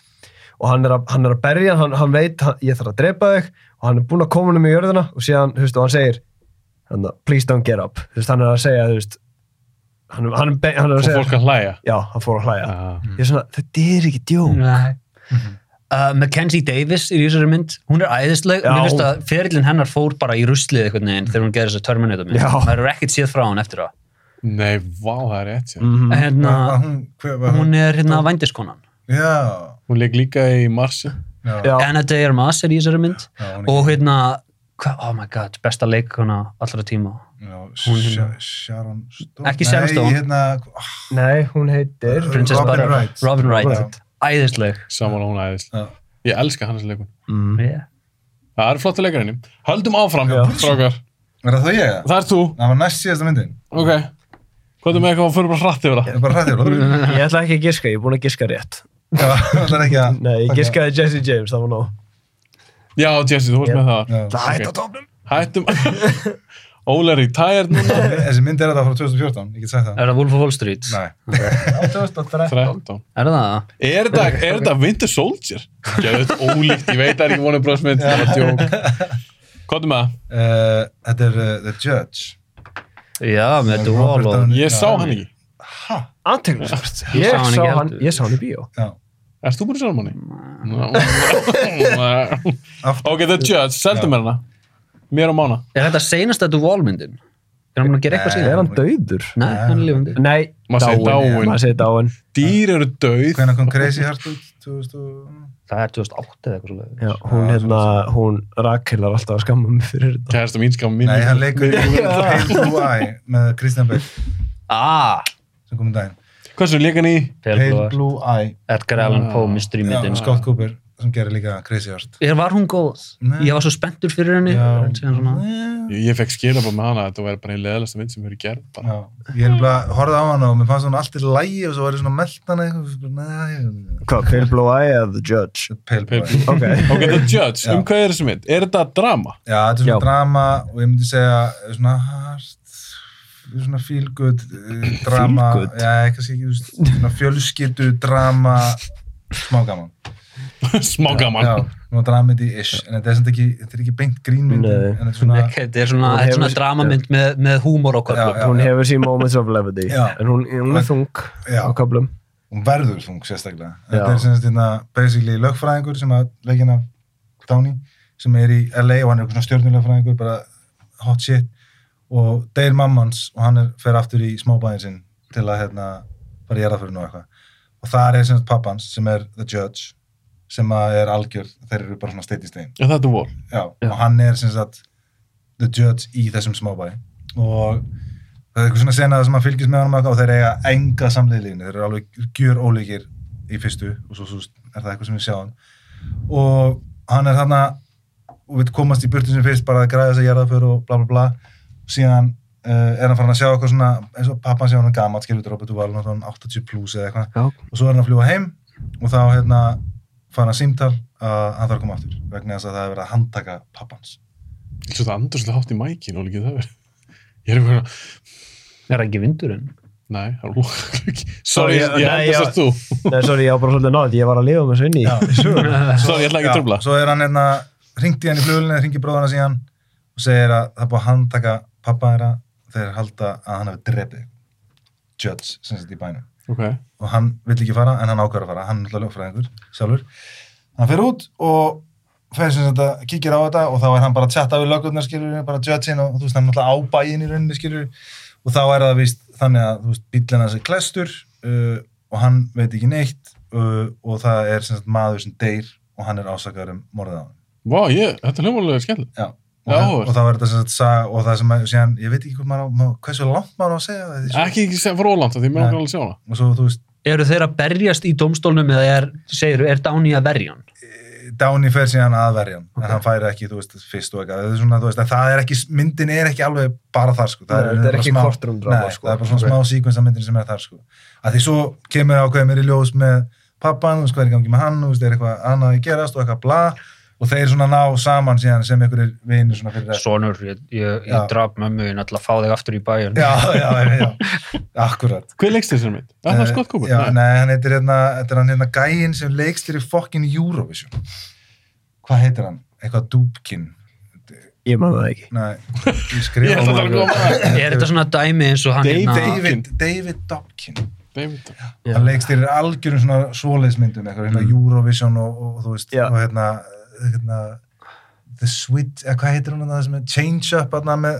[SPEAKER 7] og hann er að, hann er að berja, hann, hann veit hann, ég þarf að drepa þig og hann er búinn að koma um í jörðina og síðan, þú veist, og hann segir hann, please don't get up, þú veist, hann er að segja þú veist, hann, hann, er be- hann er
[SPEAKER 3] Og
[SPEAKER 7] að segja
[SPEAKER 3] fólk að hlæja.
[SPEAKER 7] já, hann fór að hlæja
[SPEAKER 3] Ah.
[SPEAKER 7] ég er svona, þetta er ekki djók
[SPEAKER 5] Nei.
[SPEAKER 6] Mhm.
[SPEAKER 5] Uh, Mackenzie Davis í þessari mynd, hún er æðisleg
[SPEAKER 7] Já.
[SPEAKER 5] og mér finnst að ferilinn hennar fór bara í ruslið einhvern veginn þegar hún gerði þess að Terminator mynd
[SPEAKER 7] Já.
[SPEAKER 5] maður er ekkert séð frá hún eftir það
[SPEAKER 3] Nei, vá, það er rétt sér.
[SPEAKER 7] mm
[SPEAKER 5] mm. hérna,
[SPEAKER 6] Var- var hún, hver var
[SPEAKER 5] hún er hérna vændiskonan
[SPEAKER 6] Já,
[SPEAKER 3] Hún leik líka í Marsi.
[SPEAKER 6] já,
[SPEAKER 7] já,
[SPEAKER 5] Anna De Armas er í þessari mynd
[SPEAKER 6] Já, hún er-
[SPEAKER 5] og hérna, hva, oh my god besta leikona allra tíma
[SPEAKER 6] já
[SPEAKER 5] Hún-
[SPEAKER 6] Sha- Sharon Stone
[SPEAKER 5] Ekki Sharon Stone.
[SPEAKER 6] Nei, hérna, ah,
[SPEAKER 7] nei, hún heitir
[SPEAKER 5] Princess
[SPEAKER 6] Robin
[SPEAKER 5] Butter-
[SPEAKER 6] Wright.
[SPEAKER 5] Robin Wright,
[SPEAKER 6] Robin Wright.
[SPEAKER 5] æðisleg
[SPEAKER 3] Saman hún aðeins.
[SPEAKER 6] já.
[SPEAKER 3] Ég elska hans leikun.
[SPEAKER 5] mm. yeah.
[SPEAKER 3] Það er flottu leikarinn. Höldum áfram, strákar.
[SPEAKER 6] Er það þá ég?
[SPEAKER 3] Það er þú.
[SPEAKER 6] Það var næst síðasta myndin
[SPEAKER 3] Ok. Hvað er með eitthvað að fyrir bara hratt yfir það?
[SPEAKER 6] Ég er bara hrættur Það
[SPEAKER 7] ég ætla ekki að giska, ég er búinn að giska rétt
[SPEAKER 6] er ekki að
[SPEAKER 7] nei, ég giskaði Jesse James, það var nóg
[SPEAKER 3] Já, Jesse, þú varst
[SPEAKER 7] Já.
[SPEAKER 3] með það.
[SPEAKER 6] Já.
[SPEAKER 7] það
[SPEAKER 3] hætti
[SPEAKER 7] hætti
[SPEAKER 3] á
[SPEAKER 7] á topnum
[SPEAKER 3] Hættum. Óli er í tæjar núna.
[SPEAKER 6] Þessi mynd er þetta frá 2014, ég get sagt það
[SPEAKER 5] er það Wolf of Wall Street?
[SPEAKER 6] Nei,
[SPEAKER 7] 2013
[SPEAKER 3] 13.
[SPEAKER 5] er það?
[SPEAKER 3] Er þetta, er þetta Winter Soldier? Gjöðu þetta ólíkt, ég veit það er ekki vonið bröðsmynd, það var djók. Hvað er með það?
[SPEAKER 6] uh, þetta er uh, The Judge
[SPEAKER 5] já, með
[SPEAKER 6] Robert
[SPEAKER 5] Duval og
[SPEAKER 6] Downey-
[SPEAKER 3] Ég
[SPEAKER 6] Já.
[SPEAKER 3] sá hann ekki.
[SPEAKER 6] Ha?
[SPEAKER 7] aðteglisvart,
[SPEAKER 5] Ég sá
[SPEAKER 7] ég
[SPEAKER 5] hann
[SPEAKER 7] sá
[SPEAKER 5] ekki
[SPEAKER 7] hann
[SPEAKER 5] heldur.
[SPEAKER 7] ég sá hann í bíó
[SPEAKER 6] Já,
[SPEAKER 3] Erst þú búin að sjá hann manni?
[SPEAKER 4] Oh,
[SPEAKER 6] aftur
[SPEAKER 3] Ok, The Judge, seldu
[SPEAKER 6] Já.
[SPEAKER 3] mér hana. Mér og mána.
[SPEAKER 5] er þetta seinasta Duval myndin? er hann búin að gera eitthvað
[SPEAKER 6] Nei.
[SPEAKER 5] síðan?
[SPEAKER 7] er hann dauður?
[SPEAKER 5] Nei, hann er lifandi
[SPEAKER 7] nei,
[SPEAKER 3] Maður segir dáinn.
[SPEAKER 7] maður segir dáin
[SPEAKER 3] Dýr eru dauð.
[SPEAKER 6] Hvenær kom Crazy Heart út? 2000 og-
[SPEAKER 5] það er 2008 eða eitthvað svolítið
[SPEAKER 7] Já, hún,
[SPEAKER 6] Já,
[SPEAKER 7] hérna, hún rakilar alltaf að skamma mig fyrir þetta.
[SPEAKER 3] Kærasta mín skam mín.
[SPEAKER 6] Nei, hann leikur í
[SPEAKER 3] Hvað
[SPEAKER 6] Hail Blue Eye með Christian Bale
[SPEAKER 5] Ah,
[SPEAKER 6] sem kom í daginn
[SPEAKER 3] sem leik hann í?
[SPEAKER 6] Hail
[SPEAKER 5] Pelgóðar,
[SPEAKER 6] Blue Eye
[SPEAKER 5] Edgar Allan
[SPEAKER 3] Ah.
[SPEAKER 5] Poe sko. mystery
[SPEAKER 6] Já,
[SPEAKER 5] myndin
[SPEAKER 6] Scott Cooper sem gerir líka Crazy Heart
[SPEAKER 5] er, var hún góð?
[SPEAKER 6] Nei.
[SPEAKER 5] ég var svo spenntur fyrir henni
[SPEAKER 6] Já.
[SPEAKER 5] en síðan svona,
[SPEAKER 6] Já,
[SPEAKER 3] Ég, ég fekk skilabóð með hana að þetta væri bara einn leðalasta mynd sem hefur gerð. Bara.
[SPEAKER 6] ég er bara horfði á hana og mér fannst hún allt í lægi og svo var ég svona meldan eitthvað Nei,
[SPEAKER 7] Hvað, Pale Blue Eye eða The Judge?
[SPEAKER 6] Pale
[SPEAKER 3] Pale
[SPEAKER 6] Blue
[SPEAKER 3] Blue
[SPEAKER 6] Eye
[SPEAKER 7] Ok,
[SPEAKER 3] Ok, The Judge,
[SPEAKER 6] Já.
[SPEAKER 3] um hvað er þessi mynd? Er þetta drama?
[SPEAKER 6] Já, þetta er svona
[SPEAKER 7] Já.
[SPEAKER 6] drama og ég myndi segja eh, svona hart svona feel good eh,
[SPEAKER 7] Feel
[SPEAKER 6] drama,
[SPEAKER 7] good?
[SPEAKER 6] já, ég kannski ekki þú veist, svona fjölskyldu drama smá gaman
[SPEAKER 3] Smá gaman.
[SPEAKER 6] já, svona dramedy-ish, en þetta er samt ekki þetta er ekki beint grínmynd
[SPEAKER 7] Nei.
[SPEAKER 6] en þetta er svona,
[SPEAKER 5] þetta er svona,
[SPEAKER 7] Hún
[SPEAKER 5] þetta er svona
[SPEAKER 7] hefur-
[SPEAKER 5] dramamynd með, með húmor og
[SPEAKER 6] Já,
[SPEAKER 5] köflum
[SPEAKER 6] já.
[SPEAKER 7] hún hefur sín moments of levity,
[SPEAKER 6] Já.
[SPEAKER 7] en hún, hún er þung
[SPEAKER 6] Já.
[SPEAKER 7] á kaplum.
[SPEAKER 6] hún verður þung sérstaklega
[SPEAKER 7] Já.
[SPEAKER 6] þetta er sem sagt hérna basically lögfræðingur sem að leggin af Downey sem er í LA og hann er eitthvað svona stjórnulegfræðingur bara hot shit og deyr mammans og hann er, fer aftur í smábæðin sinn til að hérna bara gera fyrir nú eitthvað og þar er sem sagt pappans sem er the judge sem að er algjör, þeir eru bara svona steinn í stein
[SPEAKER 3] Já, þetta er vor.
[SPEAKER 6] já, og hann er sem sagt the judge í þessum smábæ og það er eitthvað svona sena sem hann fylgist með honum og eitthvað og þeir eiga enga samleilíðinu, þeir eru alveg gjör ólíkir í fyrstu og svo, svo er það eitthvað sem við sjáum og hann er þarna og vil komast í burtu sem fyrst bara að græða þess að gera það fyrir og bla bla bla og síðan uh, er hann farin að sjá eitthvað svona eins og pappan sé hann gamall, skilur Robert Duvall hann er orðinn 80 plus eða eitthvað
[SPEAKER 5] Já.
[SPEAKER 6] og svo er hann að fljúa heim og þá hérna fara hann símtal að hann þarf að koma aftur vegna þess að það er verið að handtaka pappans
[SPEAKER 3] Svo það andur svolítið hátt í mækin og líka það verið. Ég er einhvern veginn,
[SPEAKER 5] Er það ekki vindurinn?
[SPEAKER 3] nei, halló, sorry, ég
[SPEAKER 7] Sorry,
[SPEAKER 3] ég
[SPEAKER 7] nei,
[SPEAKER 3] held að
[SPEAKER 7] já.
[SPEAKER 3] það þú.
[SPEAKER 7] Nei, sorry, ég var bara svolítið nátt, ég var að lifa með svo inn í.
[SPEAKER 3] Sorry, ég ætla ekki að tröfla.
[SPEAKER 6] svo er hann hérna, ringt í hann í flugulina ringi bróðana síðan og segir að það er búið að handtaka pappa þeirra þeir halda að hann hafi drepið einhvern. judge sem sett í bænum
[SPEAKER 3] Ok,
[SPEAKER 6] og hann vill ekki fara en hann ákveður að fara hann er alltaf lögfræðingur sjálfur hann fer út og fer sem þetta kíkir á þetta og þá er hann bara að chatta við lögurnar skilur bara judgein og þú veist hann er alltaf á bæinn í rauninni skilur og þá er það víst þannig að þú veist bíllinn hans er klestur uh, og hann veit ekki neitt uh, og það er sem sagt maður sem deyr og hann er ásakaður um morðið á hann
[SPEAKER 3] vá, ég, þetta er hljómalega skemmtilegt.
[SPEAKER 6] Já. Og,
[SPEAKER 3] Já,
[SPEAKER 6] hann,
[SPEAKER 3] áhugavert.
[SPEAKER 6] og það var þetta sem sagt saga og það sem að, síðan, ég veit ekki hvað maður á, maður- hversu langt maður á að segja það, því-
[SPEAKER 3] Ekki ekki sem fróland, því mér
[SPEAKER 6] Nei.
[SPEAKER 3] langar alveg að sjá hana.
[SPEAKER 6] og svo þú veist
[SPEAKER 5] Eru þeir að berjast í domstólnum eða er, segir, er Downey að verja hann?
[SPEAKER 6] Downey fer síðan aðverjan okay. en hann fær ekki, þú veist, fyrst og eitthvað það er svona, þú veist, að það er ekki, myndin er ekki alveg bara þar, sko, það
[SPEAKER 7] Nei, þetta er
[SPEAKER 6] bara
[SPEAKER 7] ekki
[SPEAKER 6] smá-
[SPEAKER 7] courtroom drama,
[SPEAKER 6] nei,
[SPEAKER 7] sko.
[SPEAKER 6] það er bara svona
[SPEAKER 7] Ok.
[SPEAKER 6] smá síkvens af myndin sem er þar, sko að því svo kemur ákveðið mér í ljós með pappan, þú veist, hvað er í gangi með hann, þú veist, er eitthvað annað að gerast og eitthvað bla og þeir svona ná saman síðan sem einhverjir vinir svona fyrir eftir.
[SPEAKER 5] Sonur, ég, ég,
[SPEAKER 6] Já.
[SPEAKER 5] ég draf mömmu en ætla að fá þig aftur í bæjun.
[SPEAKER 6] já, já, já, já, akkurat
[SPEAKER 3] Hver leikst þessar mynd? Er það
[SPEAKER 6] Eh,
[SPEAKER 3] Scott Cooper?
[SPEAKER 6] Já, nei, hann heitir hérna, þetta er hann hérna gæinn sem leikst í fokkin Eurovision hvað heitir hann? Eitthvað Dúbkin
[SPEAKER 7] Ég man það ekki.
[SPEAKER 6] Nei, ég skrifa
[SPEAKER 5] Oh
[SPEAKER 3] Ég ætla að tala um það.
[SPEAKER 5] Er þetta svona dæmi eins og hann
[SPEAKER 3] Dave-
[SPEAKER 5] hérna,
[SPEAKER 6] David, David Dobkin
[SPEAKER 3] David.
[SPEAKER 5] Já.
[SPEAKER 6] hann leikstýrir algjörum svona svoleiðsmyndum eitthvað, hérna Eurovision og, og þú veist
[SPEAKER 7] Mm. Já.
[SPEAKER 6] og hérna, hérna The Switch, eða hvað heitir hún þarna, það sem er Change Up hérna með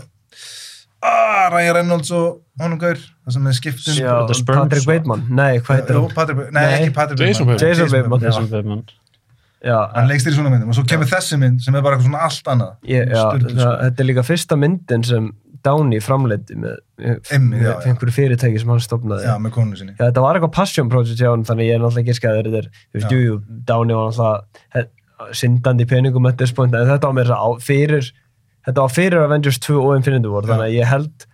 [SPEAKER 6] ah, Ryan Reynolds og honum gaur það sem er skiptum
[SPEAKER 7] Já,
[SPEAKER 5] The Spurns.
[SPEAKER 7] Patrick Bateman. Nei, hvað heitir
[SPEAKER 6] Jó,
[SPEAKER 7] hann?
[SPEAKER 6] Patrick, nei,
[SPEAKER 7] Nei.
[SPEAKER 6] ekki Patrick
[SPEAKER 3] Jason
[SPEAKER 6] Bateman.
[SPEAKER 3] Bateman.
[SPEAKER 7] Jason Bateman.
[SPEAKER 5] Jason Bateman.
[SPEAKER 7] Já,
[SPEAKER 6] hann leikstýrir svona myndum og svo kemur þessi mynd sem er bara eitthvað svona allt annað
[SPEAKER 7] ég, já það,
[SPEAKER 6] Sturlu, sko.
[SPEAKER 7] þetta er líka fyrsta myndin sem Downey framleiti með,
[SPEAKER 6] Einmitt,
[SPEAKER 7] með
[SPEAKER 6] já, já.
[SPEAKER 7] einhverju fyrirtæki sem hann stopnaði.
[SPEAKER 6] já, með konu sinni
[SPEAKER 7] Já, þetta var eitthvað passion project hjá hann, þannig ég er náttúrulega ekki skæður þetta er, þú veist,
[SPEAKER 6] Já.
[SPEAKER 7] jú, jú, Downey var náttúrulega he- syndandi í peningum at this point, en þetta var mér á, fyrir þetta var fyrir Avengers 2 og Infinity War,
[SPEAKER 6] Já.
[SPEAKER 7] þannig að ég held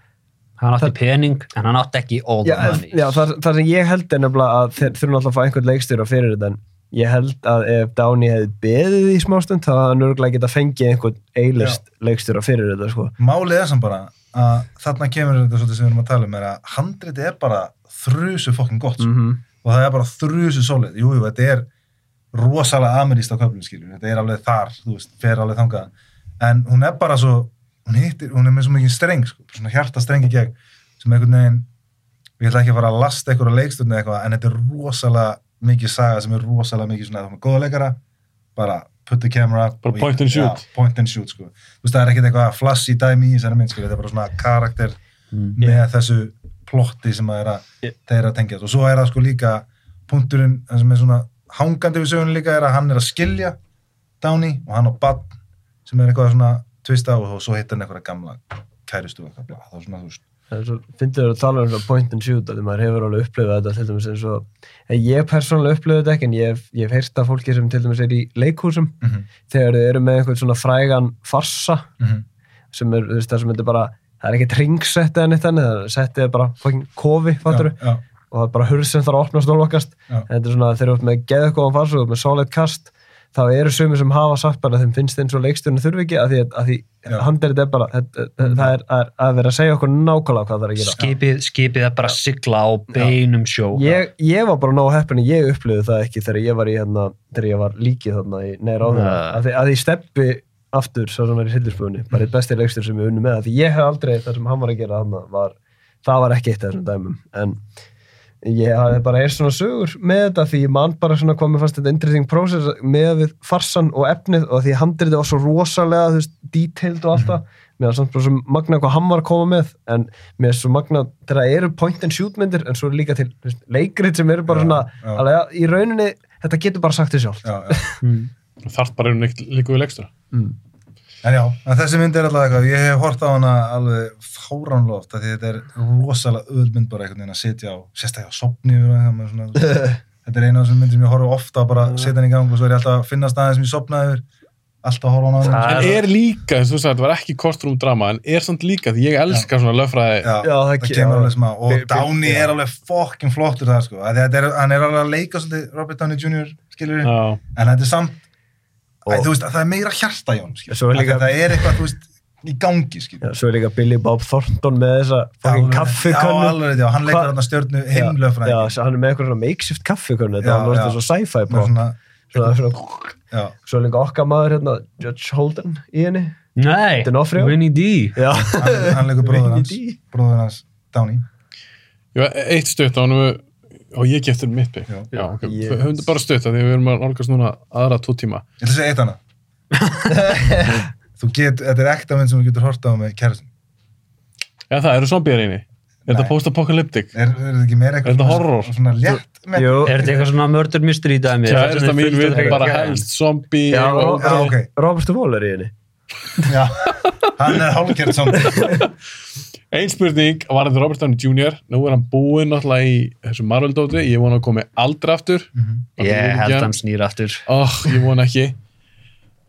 [SPEAKER 5] Hann átti pening en hann átti ekki all
[SPEAKER 7] já,
[SPEAKER 5] the money.
[SPEAKER 7] já, þar, þar sem ég held er nefnilega að þeir þurfum alltaf að fá einhvern leikstjóra fyrir þetta en ég held að ef Downey hefði beðið í smástund þá hefði hann örgulega geta fengið einhvern eilist leikstjóra fyrir þetta sko.
[SPEAKER 6] Málið er sem bara að þarna kemur þetta svolítið sem við erum að tala um er að handriti er bara þrusu fokkin gott mm
[SPEAKER 7] Mhm.
[SPEAKER 6] og það er bara þrusu sólið, jú, jú, þetta er rosalega ameríst á köflum, skiljum þetta er alveg þar, þú veist, fer alveg þangað en hún er bara svo hún hittir, hún er með svo mikið streng, sko, svona hjarta strengi gegn, sem einhvern veginn við ætla ekki að fara að lasta einhverja leikstunni eitthvað, en þetta er rosalega mikið saga sem er rosalega mikið svona, þú með góða leikara bara put the camera up
[SPEAKER 3] Bara
[SPEAKER 6] og-
[SPEAKER 3] point and
[SPEAKER 6] Já,
[SPEAKER 3] shoot.
[SPEAKER 6] point and shoot, sko þú veist, það er ekkert eitthvað flashy dæmi í þessari mynd, skilja, þetta er bara svona karakter með þessu plotti sem að er að þeir eru að tengja og svo er það sko líka punkturinn það sem er svona hangandi við sögunni líka er að hann er að skilja Downey og hann á badn sem er eitthvað svona tvista og svo hittar hann eitthvað gamla kæristu og eitthvað bla, það er svona þú veist
[SPEAKER 7] Það er svo, finnst þér að tala um svona point and shoot að maður hefur alveg upplifað þetta til dæmis eins og en ég persónulega upplifað þetta ekki en ég hef, ég hef heyrt af fólki sem til dæmis er í leikhúsum
[SPEAKER 6] Mhm.
[SPEAKER 7] þegar þau eru með einhvern svona frægan farsa
[SPEAKER 6] mm -hmm.
[SPEAKER 7] sem er þú veist, það sem þetta er bara það er ekkert ringsett eða neitt þannig það er settið er bara fucking kofi fattur
[SPEAKER 6] já, já,
[SPEAKER 7] og það er bara hurð sem þarf að opnast og lokast
[SPEAKER 6] Já.
[SPEAKER 7] en þetta er svona þegar þú ert með geðkóðan farsa og þú ert með solid kast þá eru sumir sem hafa sagt bara þeim finnst eins og leikstjórnir þurfi ekki að því, að því
[SPEAKER 6] Já. Mm.
[SPEAKER 7] handrið er bara það, það er að, að vera að segja okkur nákvæmlega hvað það er að gera
[SPEAKER 5] Skipið, skipið er bara að sigla á beinum sjó.
[SPEAKER 7] ég, ég var bara nóg heppin að ég upplifði það ekki þegar ég var í hérna þegar ég var líkið þarna í neira áður
[SPEAKER 5] Nei.
[SPEAKER 7] að, því- að ég steppi aftur svo sem er í sildirspunni, bara eitt besti leikstur sem ég unni með af því ég hef aldrei það sem hann var að gera þarna var, það var ekki eitt af þessum dæmum en ég hafði bara eins svona sögur með þetta því ég man bara svona hvað mér fannst þetta interesting process með við farsan og efnið og því handrið var svo rosalega þú veist, detailed og allt það mér var samt bara svo magna hvað hann var að koma með en mér er svo magna þegar það eru point and shoot myndir en svo er líka til þú veist, leikrit sem eru bara
[SPEAKER 6] Já,
[SPEAKER 7] svona
[SPEAKER 6] já.
[SPEAKER 7] Alveg, ja, í rauninni þetta getur bara sagt þér sjálf
[SPEAKER 6] já, já.
[SPEAKER 3] Þart bara einu líka við leikstur.
[SPEAKER 6] en já, en þessi mynd er alltaf eitthvað ég hef hort á hana alveg fáránlóft af því þetta er rosalega öðmynd bara einhvern veginn að sitja á, sérstaklega á sopni þetta er eina af þessum myndir sem ég horfa ofta bara setja hann í gang og svo er ég alltaf að finna staðin sem ég sopnaði yfir alltaf horfa á hana
[SPEAKER 5] Það
[SPEAKER 4] En er líka, eins og þú sagði, þetta var ekki kortrúm drama en er samt líka, því ég elska svona löffræði
[SPEAKER 6] Já,
[SPEAKER 7] Já, það
[SPEAKER 6] það,
[SPEAKER 7] ge-
[SPEAKER 6] kemur
[SPEAKER 7] já.
[SPEAKER 6] alveg smá og
[SPEAKER 7] Bi- bi-
[SPEAKER 6] Downey
[SPEAKER 7] já.
[SPEAKER 6] er alveg fokkin flottur það sko Af því að þetta er, hann er alveg að leika svolítið Robert Downey Jr. skilur
[SPEAKER 4] Já,
[SPEAKER 6] en þetta er samt Æ,
[SPEAKER 7] Og-
[SPEAKER 6] þú veist, að það er meira hjarta í honum skilur.
[SPEAKER 7] Svo er
[SPEAKER 6] Af því
[SPEAKER 7] líka-
[SPEAKER 6] að það er eitthvað þú veist, í gangi skilur.
[SPEAKER 7] Já, svo er líka Billy Bob Thornton með þessa fucking
[SPEAKER 6] Alveg-
[SPEAKER 7] kaffikönnu.
[SPEAKER 6] Já, alveg, já, hann leikur
[SPEAKER 7] Hva-
[SPEAKER 6] hann að stjörnu
[SPEAKER 7] Já,
[SPEAKER 6] heimlöfræðing
[SPEAKER 7] já, hann er með eitthvað svona makeshift kaffekönnu.
[SPEAKER 6] Já,
[SPEAKER 7] Þetta var
[SPEAKER 6] já.
[SPEAKER 7] náttúrulega svo sci-fi
[SPEAKER 6] með
[SPEAKER 7] prop.
[SPEAKER 6] svona,
[SPEAKER 7] Svona, svona,
[SPEAKER 6] já,
[SPEAKER 7] svo er líka okkar maður hérna, Judge Holden í henni.
[SPEAKER 5] Nei,
[SPEAKER 7] D'Onofrio?
[SPEAKER 5] Winnie D.
[SPEAKER 7] Já,
[SPEAKER 6] hann, hann leikur bróður hans
[SPEAKER 7] Vinny D.
[SPEAKER 6] bróður hans Downey
[SPEAKER 4] Ég var eitt stutt á hann og ég geftur mitt bygg
[SPEAKER 6] Já.
[SPEAKER 4] Já, ok,
[SPEAKER 7] Yes.
[SPEAKER 4] yes. höfum þetta bara stutt af því að við erum að nálgast núna aðra tvo tíma
[SPEAKER 6] ég ætla að segja eitt annað þú get, þetta er ekta mynd sem þú getur horta á með kærastin
[SPEAKER 4] Já, það eru zombiðar eini Er þetta
[SPEAKER 6] Nei.
[SPEAKER 4] post-apocalyptic?
[SPEAKER 6] er, er þetta ekki meira
[SPEAKER 4] Er
[SPEAKER 6] eitthvað
[SPEAKER 4] þetta horror?
[SPEAKER 6] svona létt með
[SPEAKER 7] Jú,
[SPEAKER 5] Er þetta eitthvað svona murder mystery dæmi?
[SPEAKER 4] Kærasta mín vil bara
[SPEAKER 5] Já.
[SPEAKER 4] helst zombi
[SPEAKER 7] Já,
[SPEAKER 4] og-
[SPEAKER 7] og-
[SPEAKER 6] já, ok,
[SPEAKER 7] Robert Waller í henni.
[SPEAKER 6] já hann er hálfkjært samt
[SPEAKER 4] Einn spurning var þetta Robert Downey Jr. Nú er hann búinn náttúrulega í þessu Marvel-dóti Ég vona að komi aldrei aftur
[SPEAKER 5] Ég held hann snýr aftur.
[SPEAKER 4] oh, Ég vona ekki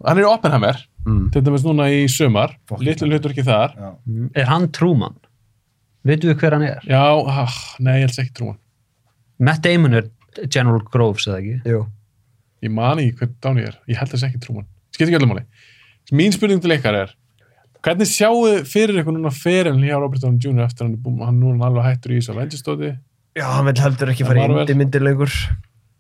[SPEAKER 4] Hann er í Oppenheimer Til dæmis núna í sumar
[SPEAKER 6] Fuck.
[SPEAKER 4] Litlu hlutur ekki þar
[SPEAKER 6] Já.
[SPEAKER 5] Mm. Er hann trúmann? Veitum við hver hann er?
[SPEAKER 4] Já, ah, nei, ég helst ekki trúan
[SPEAKER 5] Matt Damon er General Groves, eða ekki?
[SPEAKER 7] Jú.
[SPEAKER 4] Ég man ekki hvern Downey er Ég held þess ekki trúan Skipt ekki öllum máli Mín spurning til ykkar er Hvernig sjáu þið fyrir ykkur núna ferin hjá Robert Downey Jr. eftir hann er búinn, hann núna alveg hættur í þessu Avengers-dóti?
[SPEAKER 7] Já, hann vil heldur ekki
[SPEAKER 4] En
[SPEAKER 7] fara í
[SPEAKER 4] Marvel?
[SPEAKER 7] indie-myndir lengur.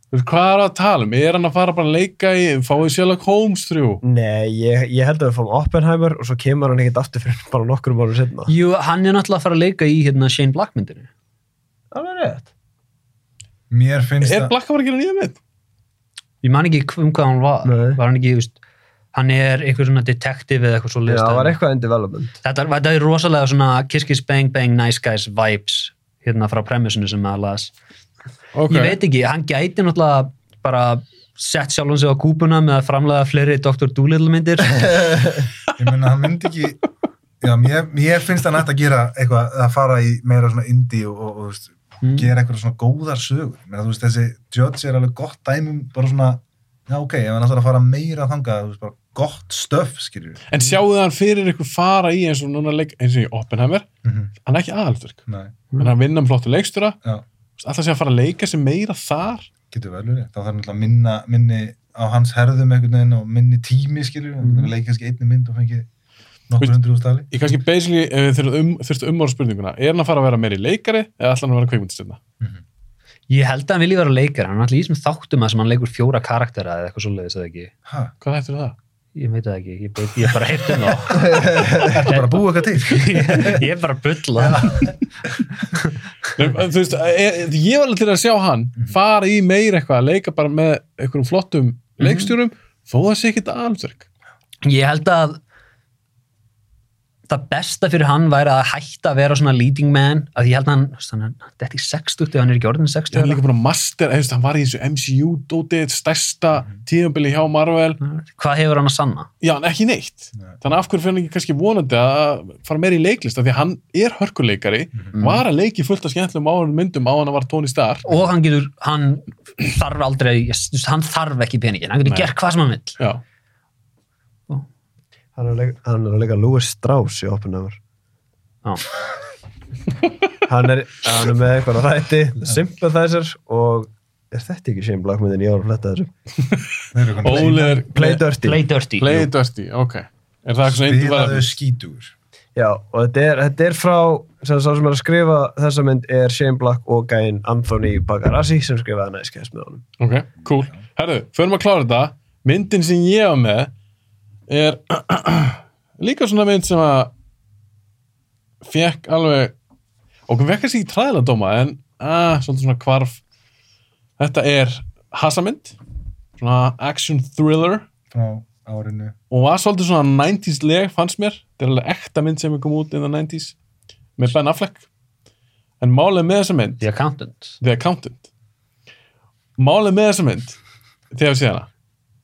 [SPEAKER 4] Þú veist, Hvað er að tala um? Er hann að fara bara að leika í, fáið Sherlock Holmes 3?
[SPEAKER 7] Nei, ég, ég held að við fáum Oppenheimer og svo kemur hann ekkert aftur fyrir bara nokkrum árum setna.
[SPEAKER 5] Jú, hann er náttúrulega að fara að leika í hérna Shane Black myndinu.
[SPEAKER 7] Alveg rétt.
[SPEAKER 6] mér finnst
[SPEAKER 4] Er Black Hammer að gera nýja mynd?
[SPEAKER 5] Ég man ekki um hvað hann var.
[SPEAKER 7] Nei.
[SPEAKER 5] Var hann ekki, þú veist, hann er eitthvað svona detective eða eitthvað svo
[SPEAKER 7] Já,
[SPEAKER 5] liðst.
[SPEAKER 7] það var eitthvað in development.
[SPEAKER 5] Þetta, þetta er rosalega svona kiss kiss bang bang nice guys vibes hérna frá premissinu sem maður las.
[SPEAKER 4] Okay.
[SPEAKER 5] Ég veit ekki, hann gæti náttúrulega bara sett sjálfum sig á kúpuna með að framlega fleiri Dr. Doolittle myndir.
[SPEAKER 6] ég meina hann myndi ekki já, mér, mér finnst hann ætti að gera eitthvað að fara í meira svona indie og, og, og þú veist, gera eitthvað svona góðar sögur Ég meina, þú veist, þessi Judge er alveg gott dæmum bara svona, já ok, ef hann ætlar að fara meira þangað, þú veist, bara gott stöf skilur við,
[SPEAKER 4] En sjáu þið hann fyrir ykkur fara í eins og núna leik, eins og í Oppenheimer,
[SPEAKER 6] Mhm.
[SPEAKER 4] hann er ekki aðalverk.
[SPEAKER 6] nei,
[SPEAKER 4] En hann vinna um flottu leikstjóra,
[SPEAKER 6] já,
[SPEAKER 4] alltaf sé að fara að leika sem meira þar.
[SPEAKER 6] getur vel verið þá þarf náttúrulega að minna, minni á hans herðum einhvern veginn og minni tími skilur við, mm. leik kannski einni mynd og fengi nokkur
[SPEAKER 4] Veist-
[SPEAKER 6] hundru úr stali
[SPEAKER 4] Ég kannski basically, ef við þurfum um, þurftum umvára spurninguna, er hann að fara að vera meiri leikari eða ætla hann að vera kveikmyndstjörna?
[SPEAKER 5] Ég held að hann vilji vera leikar, hann er alltaf í þessum þáttum að sem hann leikur fjóra karaktera eða eitthvað svo leiðis eða ekki.
[SPEAKER 6] ha,
[SPEAKER 4] Hvað hættur það?
[SPEAKER 5] Ég veit það ekki, ég, beit, ég bara heyrti um það.
[SPEAKER 6] bara að búa eitthvað til
[SPEAKER 5] ég er bara að bulla.
[SPEAKER 4] Nei, þú veist, ég, ég var alveg til að sjá hann fara í meira eitthvað, að leika bara með einhverjum flottum leikstjórum, þó að sé ekkit aðalverk.
[SPEAKER 5] Ég held að það besta fyrir hann væri að hætta að vera svona leading man að ég held að hann, þú veist, hann er- þetta er ekki 60 ef hann er ekki orðin 60
[SPEAKER 4] Ég er líka búin að master, eða, þú veist, hann var í þessu MCU-dótið, stærsta tíðanbili hjá Marvel,
[SPEAKER 5] hvað hefur hann að sanna?
[SPEAKER 4] já, en ekki neitt.
[SPEAKER 6] Nei.
[SPEAKER 4] Þannig af hverju fyrir hann ekki kannski vonandi að fara meira í leiklist, af því að hann er hörkuleikari,
[SPEAKER 7] Mhm.
[SPEAKER 4] var að leiki fullt af skemmtlum áhverjum myndum á hann að var Tony Stark.
[SPEAKER 5] og hann getur, hann þarf aldrei, hann þarf ekki peningin hann getur
[SPEAKER 4] Nei.
[SPEAKER 5] gert hvað sem hann vil
[SPEAKER 4] Já,
[SPEAKER 7] Hann er að leika- hann er að leika Louis Strauss í Oppenheimer.
[SPEAKER 5] Já.
[SPEAKER 7] hann, er, hann er með eitthvað á rætti, Sympathizer og er þetta ekki Shane Black myndin ég var að fletta þessu?
[SPEAKER 6] Þeir eru konar-
[SPEAKER 4] Ólegar,
[SPEAKER 7] Play Dirty.
[SPEAKER 5] play dirty
[SPEAKER 4] Play Dirty, ok. Er það eitthvað sem einnig
[SPEAKER 6] spilaðu
[SPEAKER 4] var?
[SPEAKER 6] skítugur
[SPEAKER 7] Já, og þetta er, þetta er frá, sem sá sem er að skrifa þessa mynd er Shane Black og gæinn Anthony Bagarassi sem skrifaði næskæðis með honum.
[SPEAKER 4] Ok, cool. Herðu, förum að klára þetta. Myndin sem ég var með er líka svona mynd sem að fekk alveg og hún vekkast ekki træðilega dóma en að, svolítið svona hvarf þetta er Hassamynd svona action thriller
[SPEAKER 6] frá árinu
[SPEAKER 4] og var svolítið svona 90s leg fannst mér, þetta er alveg ekta mynd sem er kom út in the 90s með Ben Affleck en málið með þessa mynd
[SPEAKER 5] the accountant
[SPEAKER 4] The Accountant málið með þessa mynd þegar við séð hana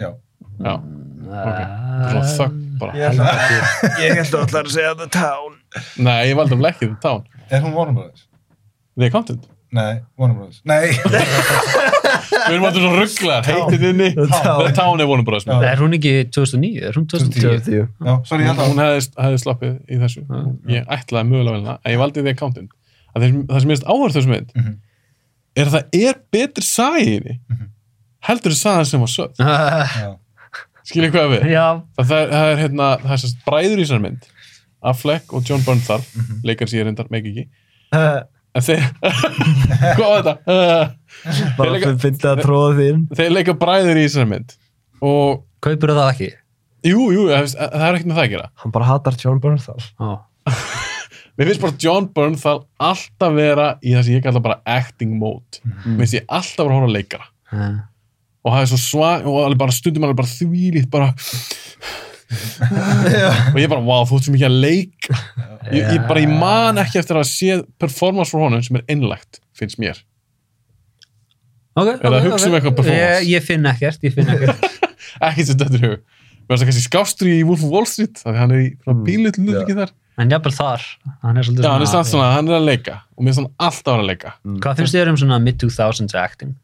[SPEAKER 6] já
[SPEAKER 4] Já, ok.
[SPEAKER 5] Ah.
[SPEAKER 4] Svona þögg bara.
[SPEAKER 7] Ég held að allar að segja The Town.
[SPEAKER 4] Nei, ég valdi um lekkið um tán.
[SPEAKER 6] Er hún Warner Brothers?
[SPEAKER 4] The Accountant.
[SPEAKER 6] Nei, Warner Brothers. Nei,
[SPEAKER 4] Við erum alltaf svo rugglar, heitir inni
[SPEAKER 7] Town.
[SPEAKER 4] The Town er vonum bara
[SPEAKER 6] Já.
[SPEAKER 5] Er hún ekki 2009? Er hún 2010?
[SPEAKER 7] 2010.
[SPEAKER 6] já, sorry, ég held að
[SPEAKER 4] Hún
[SPEAKER 6] Ah.
[SPEAKER 4] hefði, hefði slappið í þessu Ég ætlaði mögulega vel hana, en ég valdi því accountant að þeir, það sem ég veist áhverð þessum mynd
[SPEAKER 6] Mhm.
[SPEAKER 4] er að það er betri sagi í henni heldur þess sagan sem var sögð
[SPEAKER 5] Ah,
[SPEAKER 6] Já.
[SPEAKER 4] skiljið hvað við
[SPEAKER 5] Já,
[SPEAKER 4] það, það, er, það er hérna, það er sérst bræður í þessar mynd Affleck og John Bernthal mm -hmm. leikar sér reyndar, meik ekki
[SPEAKER 7] Eh,
[SPEAKER 4] en þeir, hvað var þetta? Uh,
[SPEAKER 7] bara
[SPEAKER 4] leika-
[SPEAKER 7] fyrir fyndið að tróða þín
[SPEAKER 4] þeir leika bræður í þessar mynd og,
[SPEAKER 5] kaupir það ekki?
[SPEAKER 4] jú, jú, það það er ekkert með það að gera
[SPEAKER 7] hann bara hatar John Bernthal
[SPEAKER 5] Já.
[SPEAKER 4] Mér finnst bara John Bernthal alltaf vera í það sem ég kalla bara acting mode. Mér finnst ég alltaf vera að horfa á leikara.
[SPEAKER 5] Eh,
[SPEAKER 4] Og það er svo svag, og alveg bara stundum alveg bara þvílít, bara... og ég bara, wow, þú ert svo mikið að leik. Ég, ég bara, ég man ekki eftir að sé performance frá honum sem er innlagt, finnst mér.
[SPEAKER 5] Ok,
[SPEAKER 4] Er það að hugsa um eitthvað performance?
[SPEAKER 5] Ég, ég finn ekkert, ég finn ekkert.
[SPEAKER 4] Ekki sem þetta er hug. Mér finnst það kannski skástri í Wolf of Wall Street, það er hann er í mm, bílut lúðvikið þar.
[SPEAKER 5] en jafnvel þar, hann er svolítið
[SPEAKER 4] Já, Mm. hann er samt svona, hann er að leika. Og mér finnst hann alltaf vera að leika.
[SPEAKER 7] Mm.
[SPEAKER 5] Hvað finnst þér um svona mid-2000s acting?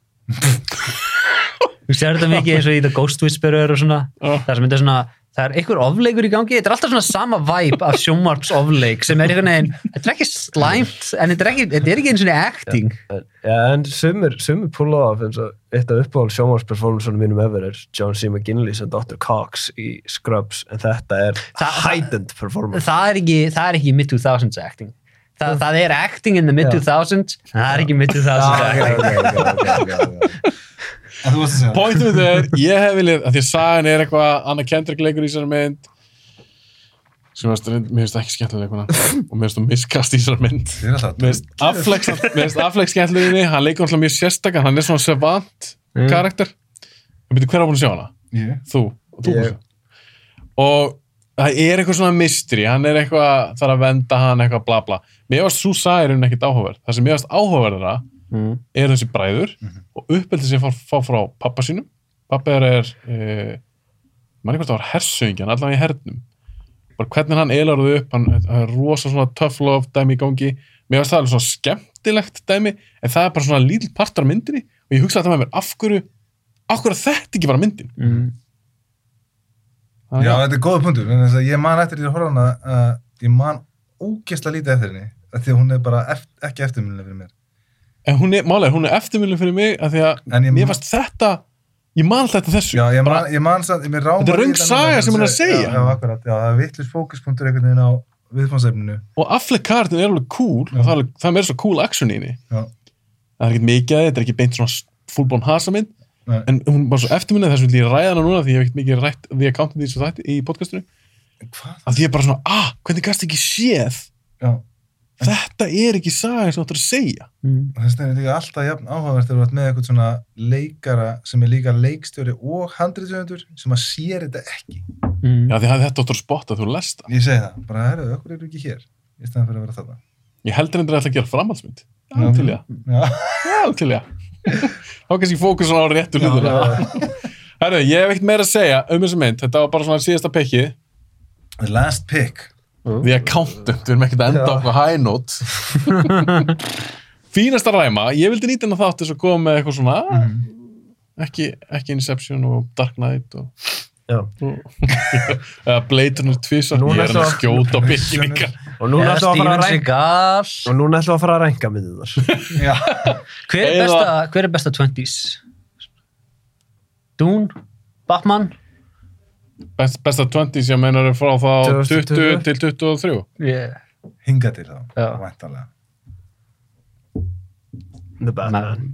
[SPEAKER 5] Þú sér þetta mikið eins og í The Ghost Whisperer og svona,
[SPEAKER 4] Já.
[SPEAKER 5] það sem þetta er svona það er einhver ofleikur í gangi, þetta er alltaf svona sama væp af sjónvarps ofleik sem er einhvern veginn, þetta er ekki slæmt en þetta er ekki, þetta er ekki eins og acting
[SPEAKER 7] Já, en sumir, sumir pulla af eins og eitt af uppáhald sjónvarsperformansunum mínum ever er John C. McGinley sem Dr. Cox í Scrubs en þetta er
[SPEAKER 5] Það-
[SPEAKER 7] heightened performance
[SPEAKER 5] það er ekki, það er ekki mid-2000s acting Þa, það er acting in the mid-2000s en það er ekki mid-2000s
[SPEAKER 7] Já,
[SPEAKER 5] acting
[SPEAKER 7] ok, ok, ok, ok.
[SPEAKER 6] En þú varst að segja það.
[SPEAKER 4] Pointum þetta er, ég hef viljað, að því að sagan er eitthvað, Anna Kendrick leikur í þessari mynd, sem varst, reynd- mér finnst ekki skemmtileg leikuna, og mér finnst þú miskast í þessari mynd.
[SPEAKER 6] Þið er alltaf
[SPEAKER 4] Mér finnst Affleck, samt- mér finnst Affleck skemmtileg í henni, hann leikur alltaf mjög sérstakar, hann er svona savant karakter. En byrju, hver er búin að sjá hana?
[SPEAKER 6] Ég?
[SPEAKER 4] Þú, og þú
[SPEAKER 7] Ég.
[SPEAKER 4] yeah. Og það er eitthvað svona mystery, hann er eitthvað, þarf að venda hann, eitthvað bla bla. Mér varst svo sagirinn ekkit áhugaverð. Það sem mér varst áhugaverðara
[SPEAKER 5] Mm.
[SPEAKER 4] er þessi bræður
[SPEAKER 6] Mhm.
[SPEAKER 4] og uppeldið sem fá, fá frá pappa sínum pappa er, er e, manni hvort það var hersöngjan, allavega í hernum bara hvernig hann elar þau upp hann hann er rosa svona tough love dæmi í gangi mér varst það alveg svona skemmtilegt dæmi en það er bara svona lítill partur af myndinni og ég hugsa alltaf með mér, af hverju af hverju er þetta ekki bara myndin
[SPEAKER 5] Mm.
[SPEAKER 6] Mhm. Já, þetta er góða punktur. vegna þess að Ég man eftir því að horfa á hana, uh, ég man ógeðslega lítið eftir henni. af Því að hún er bara eft, ekki eftirminnileg fyrir mér.
[SPEAKER 4] en hún er, málega, hún er eftirmjölum fyrir mig af því
[SPEAKER 6] En
[SPEAKER 4] að
[SPEAKER 6] ég
[SPEAKER 4] mér
[SPEAKER 6] man-
[SPEAKER 4] varst þetta ég man alltaf eftir þessu
[SPEAKER 6] Já, ég
[SPEAKER 4] Bara-
[SPEAKER 6] man, ég man samt, ég mér rámar...
[SPEAKER 4] Þetta er röng saga sem hún er að segja.
[SPEAKER 6] Já, já, akkurat. Já, það er vittlust fókuspunktur einhvern veginn á viðfánsefninu.
[SPEAKER 4] og Affleck karakterin er alveg cool og það er, alveg- það er meira svo cool action í henni
[SPEAKER 6] Já.
[SPEAKER 4] það er ekkert mikið að því, þetta er ekki beint svona fullbón hasa mynd
[SPEAKER 6] Nei.
[SPEAKER 4] en hún er bara svo eftirminnið þess að ég ræða hana núna því ég hef ekkert mikið rætt því að kántum því svo þætti í podcastinu
[SPEAKER 6] Hvað?
[SPEAKER 4] að því ég er bara svona, ah, hvernig gæst ekki séð
[SPEAKER 6] Já.
[SPEAKER 4] þetta er ekki saga sem þú ættir að segja
[SPEAKER 6] Og þess vegna er þetta alltaf jafn áhugavert þegar þú ert með eitthvað svona leikara sem er líka leikstjóri og handriðsöndur sem að sér þetta ekki.
[SPEAKER 5] Mm.
[SPEAKER 4] já því að þetta áttur að spotta þú lest það
[SPEAKER 6] Ég segi það, bara herruðu, okkur eru ekki hér í stæðan fyrir að vera þarna.
[SPEAKER 4] ég heldur endur að þetta gera framhaldsmynd já, til ég,
[SPEAKER 6] Já,
[SPEAKER 4] já, til ég þá kannski fókus svona á réttu hlutur herru, ég hef ekkert meira að segja um þessa mynd, þetta var bara svona síðasta pekki
[SPEAKER 6] the last pick.
[SPEAKER 4] The Accountant, við erum ekkert að enda okkur high note fínasta ræma, ég vildi nýta hennar þátt þess að koma með eitthvað svona ekki, ekki Inception og Dark Knight og,
[SPEAKER 7] Já.
[SPEAKER 4] og eða Blade Runner 2 ég
[SPEAKER 7] Núna
[SPEAKER 4] er hann að
[SPEAKER 7] svo-
[SPEAKER 4] skjóta á byggingar
[SPEAKER 7] og núna
[SPEAKER 5] Eða
[SPEAKER 7] ætlum við að fara
[SPEAKER 5] Steven
[SPEAKER 7] að rænka
[SPEAKER 5] Seagal
[SPEAKER 7] og núna ætlum við að fara að rænka með þar
[SPEAKER 6] Já,
[SPEAKER 5] Hver er,
[SPEAKER 4] Eða-
[SPEAKER 5] besta, hver er besta 20s? Dune? Batman?
[SPEAKER 4] Best, besta 20s, ég meinar er frá þá 20
[SPEAKER 7] 2020.
[SPEAKER 4] til 23
[SPEAKER 5] Yeah.
[SPEAKER 6] hinga til þá,
[SPEAKER 5] Já.
[SPEAKER 6] væntalega.
[SPEAKER 7] The Batman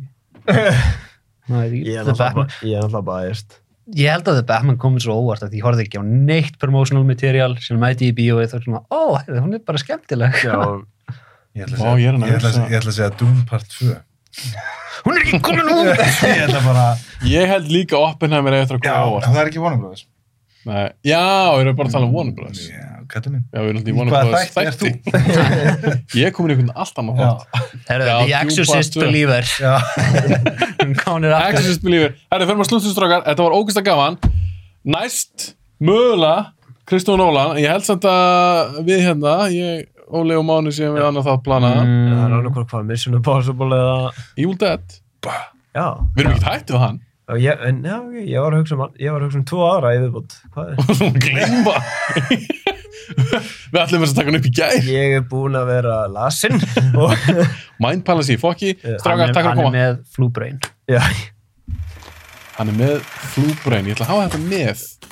[SPEAKER 7] ég er
[SPEAKER 5] The
[SPEAKER 7] náttúrulega
[SPEAKER 5] Batman.
[SPEAKER 7] bara- ég er náttúrulega bæðist
[SPEAKER 5] Ég held að The Batman komið svo óvart að ég horfði ekki á neitt promotional material sem mæti í bíóið og svona, ó, heyrðu, hún er bara skemmtileg
[SPEAKER 6] Ég ætla
[SPEAKER 4] Vá,
[SPEAKER 6] að segja,
[SPEAKER 4] ég er hann að
[SPEAKER 6] ég ætla að
[SPEAKER 4] hugsa.
[SPEAKER 6] segja, ég ætla að segja Doom Part 2.
[SPEAKER 5] hún er ekki komin út
[SPEAKER 6] ég ætla bara,
[SPEAKER 4] ég held líka Oppenheimer eigi eftir að
[SPEAKER 6] já,
[SPEAKER 4] koma á óvart
[SPEAKER 6] það er ekki vonum bróðis.
[SPEAKER 4] Nei, já, við erum bara að tala um Warner Bros
[SPEAKER 6] Já, kallið minn.
[SPEAKER 4] já, við erum alltaf í Warner
[SPEAKER 6] Hvað
[SPEAKER 4] Bros
[SPEAKER 6] þætt er þú?
[SPEAKER 4] þætti ég er komin í einhvern allt annan þátt
[SPEAKER 5] Heyrðu,
[SPEAKER 4] Já,
[SPEAKER 5] The
[SPEAKER 4] Dune
[SPEAKER 5] Exorcist
[SPEAKER 4] Part 2.
[SPEAKER 5] Believer
[SPEAKER 6] Já,
[SPEAKER 5] hún komir aftur
[SPEAKER 4] Exorcist Believer Herri, fyrir maður slúttustrákar, þetta var ógæsta gaman Næst, mögulega Kristján Nólan, ég held samt að við hérna, ég Óli og Máni séum við annað það plana
[SPEAKER 5] Mm.
[SPEAKER 7] það er annað hvort hvað Mission Impossible eða
[SPEAKER 4] Evil Dead,
[SPEAKER 7] já,
[SPEAKER 4] við erum ekkert hættið hann
[SPEAKER 7] Já, ég, en, já, ok, ég var að hugsa um, ég var að hugsa um tvo aðra í viðbútt hvað er?
[SPEAKER 4] glemma við ætlum þess að taka hann upp í gær
[SPEAKER 7] ég er búinn að vera lasin og
[SPEAKER 4] Mind Palace í fokki,
[SPEAKER 5] hann,
[SPEAKER 4] strákar,
[SPEAKER 5] er-
[SPEAKER 4] takk fyrir að
[SPEAKER 5] hann er
[SPEAKER 4] koma
[SPEAKER 5] með flúbrain
[SPEAKER 7] já,
[SPEAKER 4] hann er með flúbrain, ég ætla að hafa þetta með